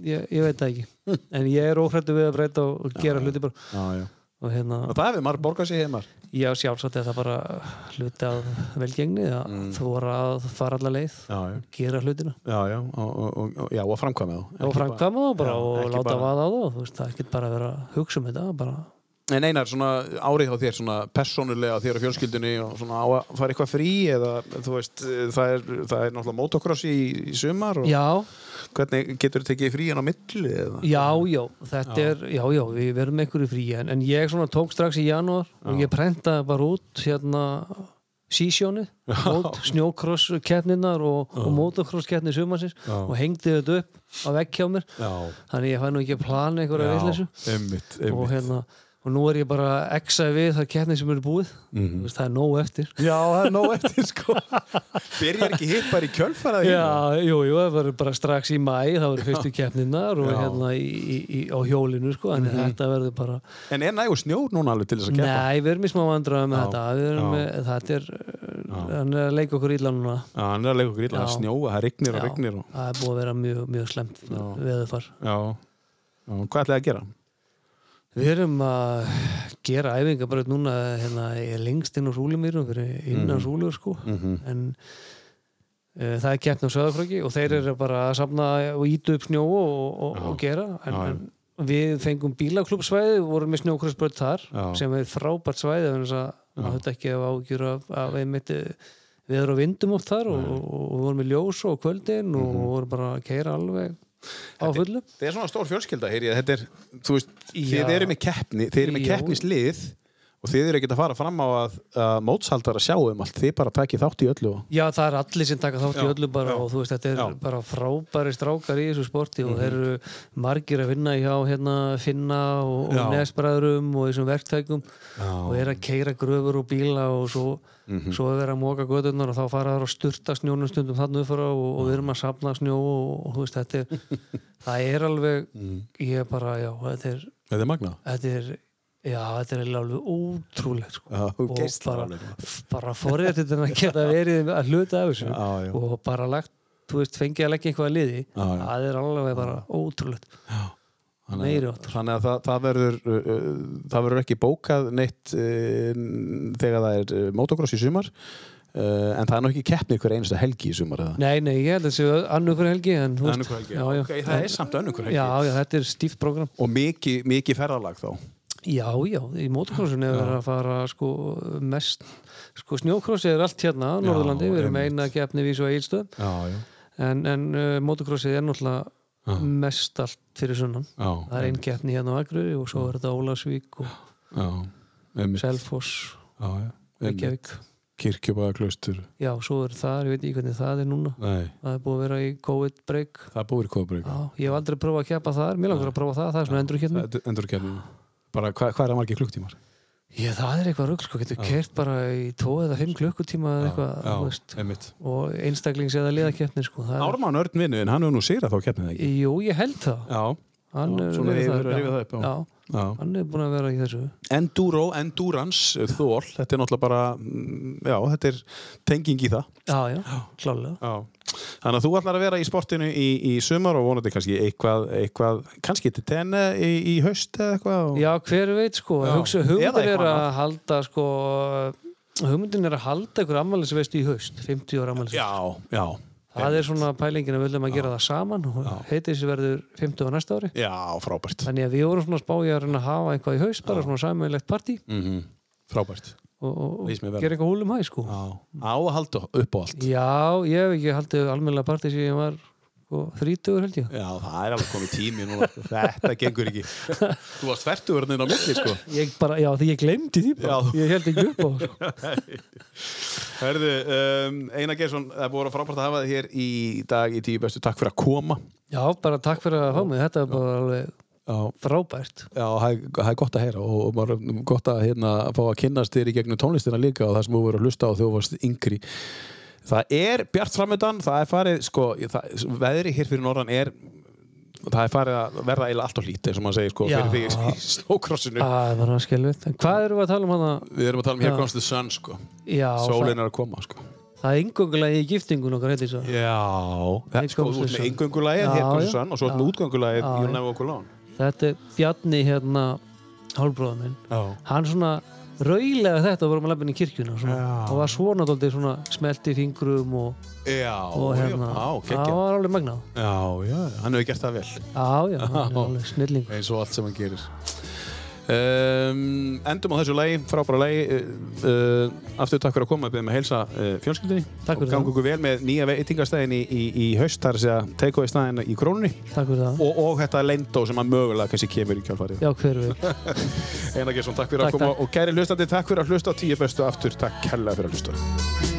Speaker 4: ég, ég veit það ekki en ég er óhrættu við að breyta og gera hluti bara
Speaker 2: Já, já.
Speaker 4: og hérna,
Speaker 2: Og það hefur marg borgað sér heimar.
Speaker 4: já sjálfsagt er það bara hluti af velgengni að þú voru að fara alla leið
Speaker 2: Mm. Já, já.
Speaker 4: gera hlutina
Speaker 2: Já, já, og, og, og, og, já, og framkvæmið
Speaker 4: og framkvæma það bara
Speaker 2: Já,
Speaker 4: og
Speaker 2: ekki
Speaker 4: láta
Speaker 2: bara-
Speaker 4: vaða á það þú veist, það er ekkert bara að vera að hugsa um þetta bara,
Speaker 2: En einar, svona árið á þér, svona persónulega á þér og fjölskyldunni og svona á að fara eitthvað frí eða þú veist, það er, það er náttúrulega motocross í, í sumar og
Speaker 4: já,
Speaker 2: hvernig getur þú tekið frí hann á milli eða?
Speaker 4: já, já þetta er, já, já, við verðum einhverju frí en, en ég svona tók strax í janúar og ég prentaði bara út hérna sísjónið, mót snjókross keppninar og, og motocross keppni sumansins og hengdi þetta upp á vegg hjá mér
Speaker 2: Já,
Speaker 4: þannig ég fæ nú ekki að plana einhverja veitleysu
Speaker 2: einmitt, einmitt.
Speaker 4: og hérna og nú er ég bara að exa við það keppni sem eru búið
Speaker 2: Mhm.
Speaker 4: mm veist, það er nóg eftir
Speaker 2: Já, það er nóg eftir sko. Byrjar ekki hitt bara í kjölfarað
Speaker 4: Já, jú, jú, það verður bara strax í mæ það verður fyrstu keppninar og
Speaker 2: Já. Mhm.
Speaker 4: hérna í, í, í, á hjólinu sko, en þetta verður bara
Speaker 2: En er nægur snjór núna alveg til þess að keppa?
Speaker 4: Nei, við erum í smá vandræðum með þetta við erum
Speaker 2: Já.
Speaker 4: með, þetta er uh, hann er að leika okkur illa núna
Speaker 2: Já, hann er að leika okkur illa, það
Speaker 4: Já.
Speaker 2: snjóa, það rignir og rignir og...
Speaker 4: það er búið að vera mjög, mjög slemt veðufar.
Speaker 2: Já. Já, hvað ætlaði að gera?
Speaker 4: Við erum að gera æfinga bara núna hérna, ég er lengst inn á Súlimýrum fyrir innan mm.
Speaker 2: Mhm.
Speaker 4: Súlur sko en uh, það er keppn á Söðakröki og þeir eru bara að safna og ítu upp snjó og, og, og gera en, en við fengum bílaklúbsvæði og vorum með snjókrossbröð þar
Speaker 2: Já.
Speaker 4: sem er frábært svæði þannig að maður þetta ekki að ágjur af, af einmitt eh, við erum á vindum oft þar og, og, og vorum með ljós og kvöldin og vorum bara að keira alveg á fullu
Speaker 2: Mhm. Þetta er svona stór fjölskylda, heyr ég, þetta er, þú veist,
Speaker 4: Já.
Speaker 2: þið eru með keppni, þið eru með
Speaker 4: Já.
Speaker 2: keppnislið og þið eru ekkert að fara fram á að, að mótshaldar að sjá um allt, þið bara takið þátt í öllu og...
Speaker 4: Já, það er allir sem taka þátt í
Speaker 2: Já,
Speaker 4: öllu bara
Speaker 2: já,
Speaker 4: og þú veist, þetta er
Speaker 2: já. Mhm.
Speaker 4: bara frábæri strákar í þessu sporti og þeir eru margir að vinna hjá hérna Finna og, og
Speaker 2: Já.
Speaker 4: Nesbræðurum og þessum verktækum og eru að keira gröfur og bíla og svo,
Speaker 2: Mhm.
Speaker 4: svo er verið að móka gödurnar og þá fara þar og styrta snjónum stundum þannig uppfara og, og við erum að safna snjó og, og þú veist, þetta er það er alveg,
Speaker 2: Mhm.
Speaker 4: ég er bara já, þetta er,
Speaker 2: Þetta er magnað.
Speaker 4: þetta er Já, þetta er eiginlega alveg ótrúlegt sko.
Speaker 2: Já,
Speaker 4: og
Speaker 2: geislar
Speaker 4: bara,
Speaker 2: alveg. sko.
Speaker 4: bara forréttið að geta verið að hluta af þessu
Speaker 2: Já, já.
Speaker 4: og bara lagt, þú veist, fengið að leggja einhvað að liði,
Speaker 2: já.
Speaker 4: það er alveg bara ótrúlegt
Speaker 2: Þannig,
Speaker 4: Meiri
Speaker 2: að,
Speaker 4: háttar.
Speaker 2: þannig að það, það, verður, uh, uh, það verður ekki bókað neitt uh, þegar það er uh, motocross í sumar uh, en það er nú ekki keppni hver einasta helgi í sumar eða?
Speaker 4: Nei, nei, ég held að þessi annukur helgi en, þú veist,
Speaker 2: Önnur hver helgi,
Speaker 4: já,
Speaker 2: já,
Speaker 4: já.
Speaker 2: ok, það er samt önnur hver helgi.
Speaker 4: Já, já, þetta er stíft program
Speaker 2: Og mikið miki ferðalag þá.
Speaker 4: Já, já, í motocrossun er verið að fara sko mest sko snjókrossi er allt hérna á Norðurlandi, við erum eina gefni vís og eilstöð
Speaker 2: Já, já.
Speaker 4: en, en uh, motocrossið er náttúrulega mest allt fyrir sunnan
Speaker 2: Já,
Speaker 4: það er einn getni hérna á Akureyri og svo er þetta Ólasvík og
Speaker 2: Já, einmitt.
Speaker 4: Selfoss
Speaker 2: Já, já. Einmitt.
Speaker 4: Reykjavík
Speaker 2: Kirkjubæðaklaustur.
Speaker 4: já, svo er það, ég veit ekki hvernig það er núna
Speaker 2: Nei,
Speaker 4: það er búið að vera í COVID break
Speaker 2: það búir kóðbreyk.
Speaker 4: já, ég hef aldrei prófað að keppa þar, mér langar að prófa það það er svona endur hérna,
Speaker 2: Endur keppni. Bara hva, hvað er að margir klukktímar?
Speaker 4: ég það er eitthvað rugl sko, getur kert bara í 2 eða 5 klukkutíma eða eitthvað, þú veist
Speaker 2: einmitt.
Speaker 4: og einstaklings eða liðakeppni sko, það er,
Speaker 2: Ármann Örn vinnuðin, hann hefur nú sýrað þá keppnið ekki.
Speaker 4: jú, ég held það
Speaker 2: Já.
Speaker 4: hann
Speaker 2: Já,
Speaker 4: er
Speaker 2: svona
Speaker 4: verið
Speaker 2: yfir að rifja það upp, já.
Speaker 4: já,
Speaker 2: Já.
Speaker 4: hann er búin að vera í þessu
Speaker 2: Enduro, endurance, þól, þetta er náttúrulega bara, mm, já, þetta er tenging í það.
Speaker 4: já, já, klálega
Speaker 2: Já. Þannig að þú ætlar að vera í sportinu í, í sumar og vonandi kannski eitthvað, eitthvað kannski til tenni í, í haust eða eitthvað. Og...
Speaker 4: Já, hver veit sko,
Speaker 2: Já.
Speaker 4: hugsa,
Speaker 2: Eða
Speaker 4: hugmyndin er
Speaker 2: eitthvað
Speaker 4: að
Speaker 2: annað.
Speaker 4: halda sko, hugmyndin er að halda einhver ammælisveist í haust, 50 ára ammælisveist
Speaker 2: já, já,
Speaker 4: það er svona pælingin að við viljum að gera það saman og heitið þessi verður 50 á næsta ári
Speaker 2: já, frábært,
Speaker 4: þannig að við vorum svona spája að reyna að hafa eitthvað í haust bara svona samanlegt partí
Speaker 2: Mhm. frábært.
Speaker 4: og, og, og
Speaker 2: Lýst Mm. mér vel.
Speaker 4: gera eitthvað húlum hæ sko
Speaker 2: Já, á að halda upp á allt.
Speaker 4: Já, ég hef ekki haldið almennilega partí sem ég var og þrítugur held ég
Speaker 2: Já, það er alveg komið tími núna. sko. Þetta gengur ekki. Þú varst færtugurinn á milli, sko.
Speaker 4: Ég bara, já því ég glemdi því bara
Speaker 2: Já.
Speaker 4: Ég held ekki upp á það, sko.
Speaker 2: Herðu, um, Einar Geirsson, það er búið að frábært að hafa þið hér í dag í tíu bestu. Takk fyrir að koma.
Speaker 4: Já, bara takk fyrir að fá mig Þetta er bara alveg
Speaker 2: Já,
Speaker 4: frábært
Speaker 2: Já, það er- það er gott að heyra og, og maður er gott að hérna, fá að kynnast þér í gegnum tónlistina líka og það sem þú voru að hlusta á þegar þú varst yngri. Það er bjart framöndan, það er farið, sko, það, veðri hér fyrir norðan er, það er farið að verða eiginlega allt og hlít, eins og maður segir, sko,
Speaker 4: Já.
Speaker 2: fyrir því í snókrossinu.
Speaker 4: Það var að skelvitt Hvað erum við að tala um hana?
Speaker 2: Við erum að tala um Here
Speaker 4: Já.
Speaker 2: Comes the Sun, sko.
Speaker 4: Já,
Speaker 2: Sólin
Speaker 4: það,
Speaker 2: er að koma, sko.
Speaker 4: það er yngöngulega í giftingun okkar heitir svo
Speaker 2: Já. Það,
Speaker 4: Here
Speaker 2: sko,
Speaker 4: Comes
Speaker 2: þú
Speaker 4: the
Speaker 2: ert með
Speaker 4: Sun.
Speaker 2: yngöngulægið,
Speaker 4: Já,
Speaker 2: Here Comes the
Speaker 4: já.
Speaker 2: Sun, og svo ert með
Speaker 4: Já.
Speaker 2: útgöngulægið,
Speaker 4: Já,
Speaker 2: You'll
Speaker 4: já.
Speaker 2: Never Walk Alone.
Speaker 4: Þetta er Bjarni hérna Hálbróða minn
Speaker 2: Já.
Speaker 4: Hann svona raulega þetta og vorum að labbin í kirkjuna svona, og var svona dóldi svona smelti fingrum og,
Speaker 2: Já,
Speaker 4: og hérna
Speaker 2: já,
Speaker 4: það
Speaker 2: geggjað.
Speaker 4: var alveg magnað
Speaker 2: Já, já, hann hefur gert það vel.
Speaker 4: Já, já, hann er alveg snilling
Speaker 2: eins og allt sem hann gerir um, Endum á þessu lagi, frábæra lagi uh, uh, Aftur takk fyrir að koma Við með heilsa uh, fjölskyldinni
Speaker 4: Takk
Speaker 2: Og
Speaker 4: fyrir
Speaker 2: gangu ykkur vel með nýja veitingastæðin í, í, í haust Það er að segja teikoði stæðin í krónunni
Speaker 4: Takk fyrir það
Speaker 2: og, og þetta lendó sem að mögulega kannski kemur í kjálfarið
Speaker 4: Já, hver veit
Speaker 2: Einar Gesson, takk fyrir
Speaker 4: Takk,
Speaker 2: að koma
Speaker 4: takk.
Speaker 2: Og kæri hlustandi, takk fyrir að hlusta á tíu bestu aftur Takk hella fyrir að hlusta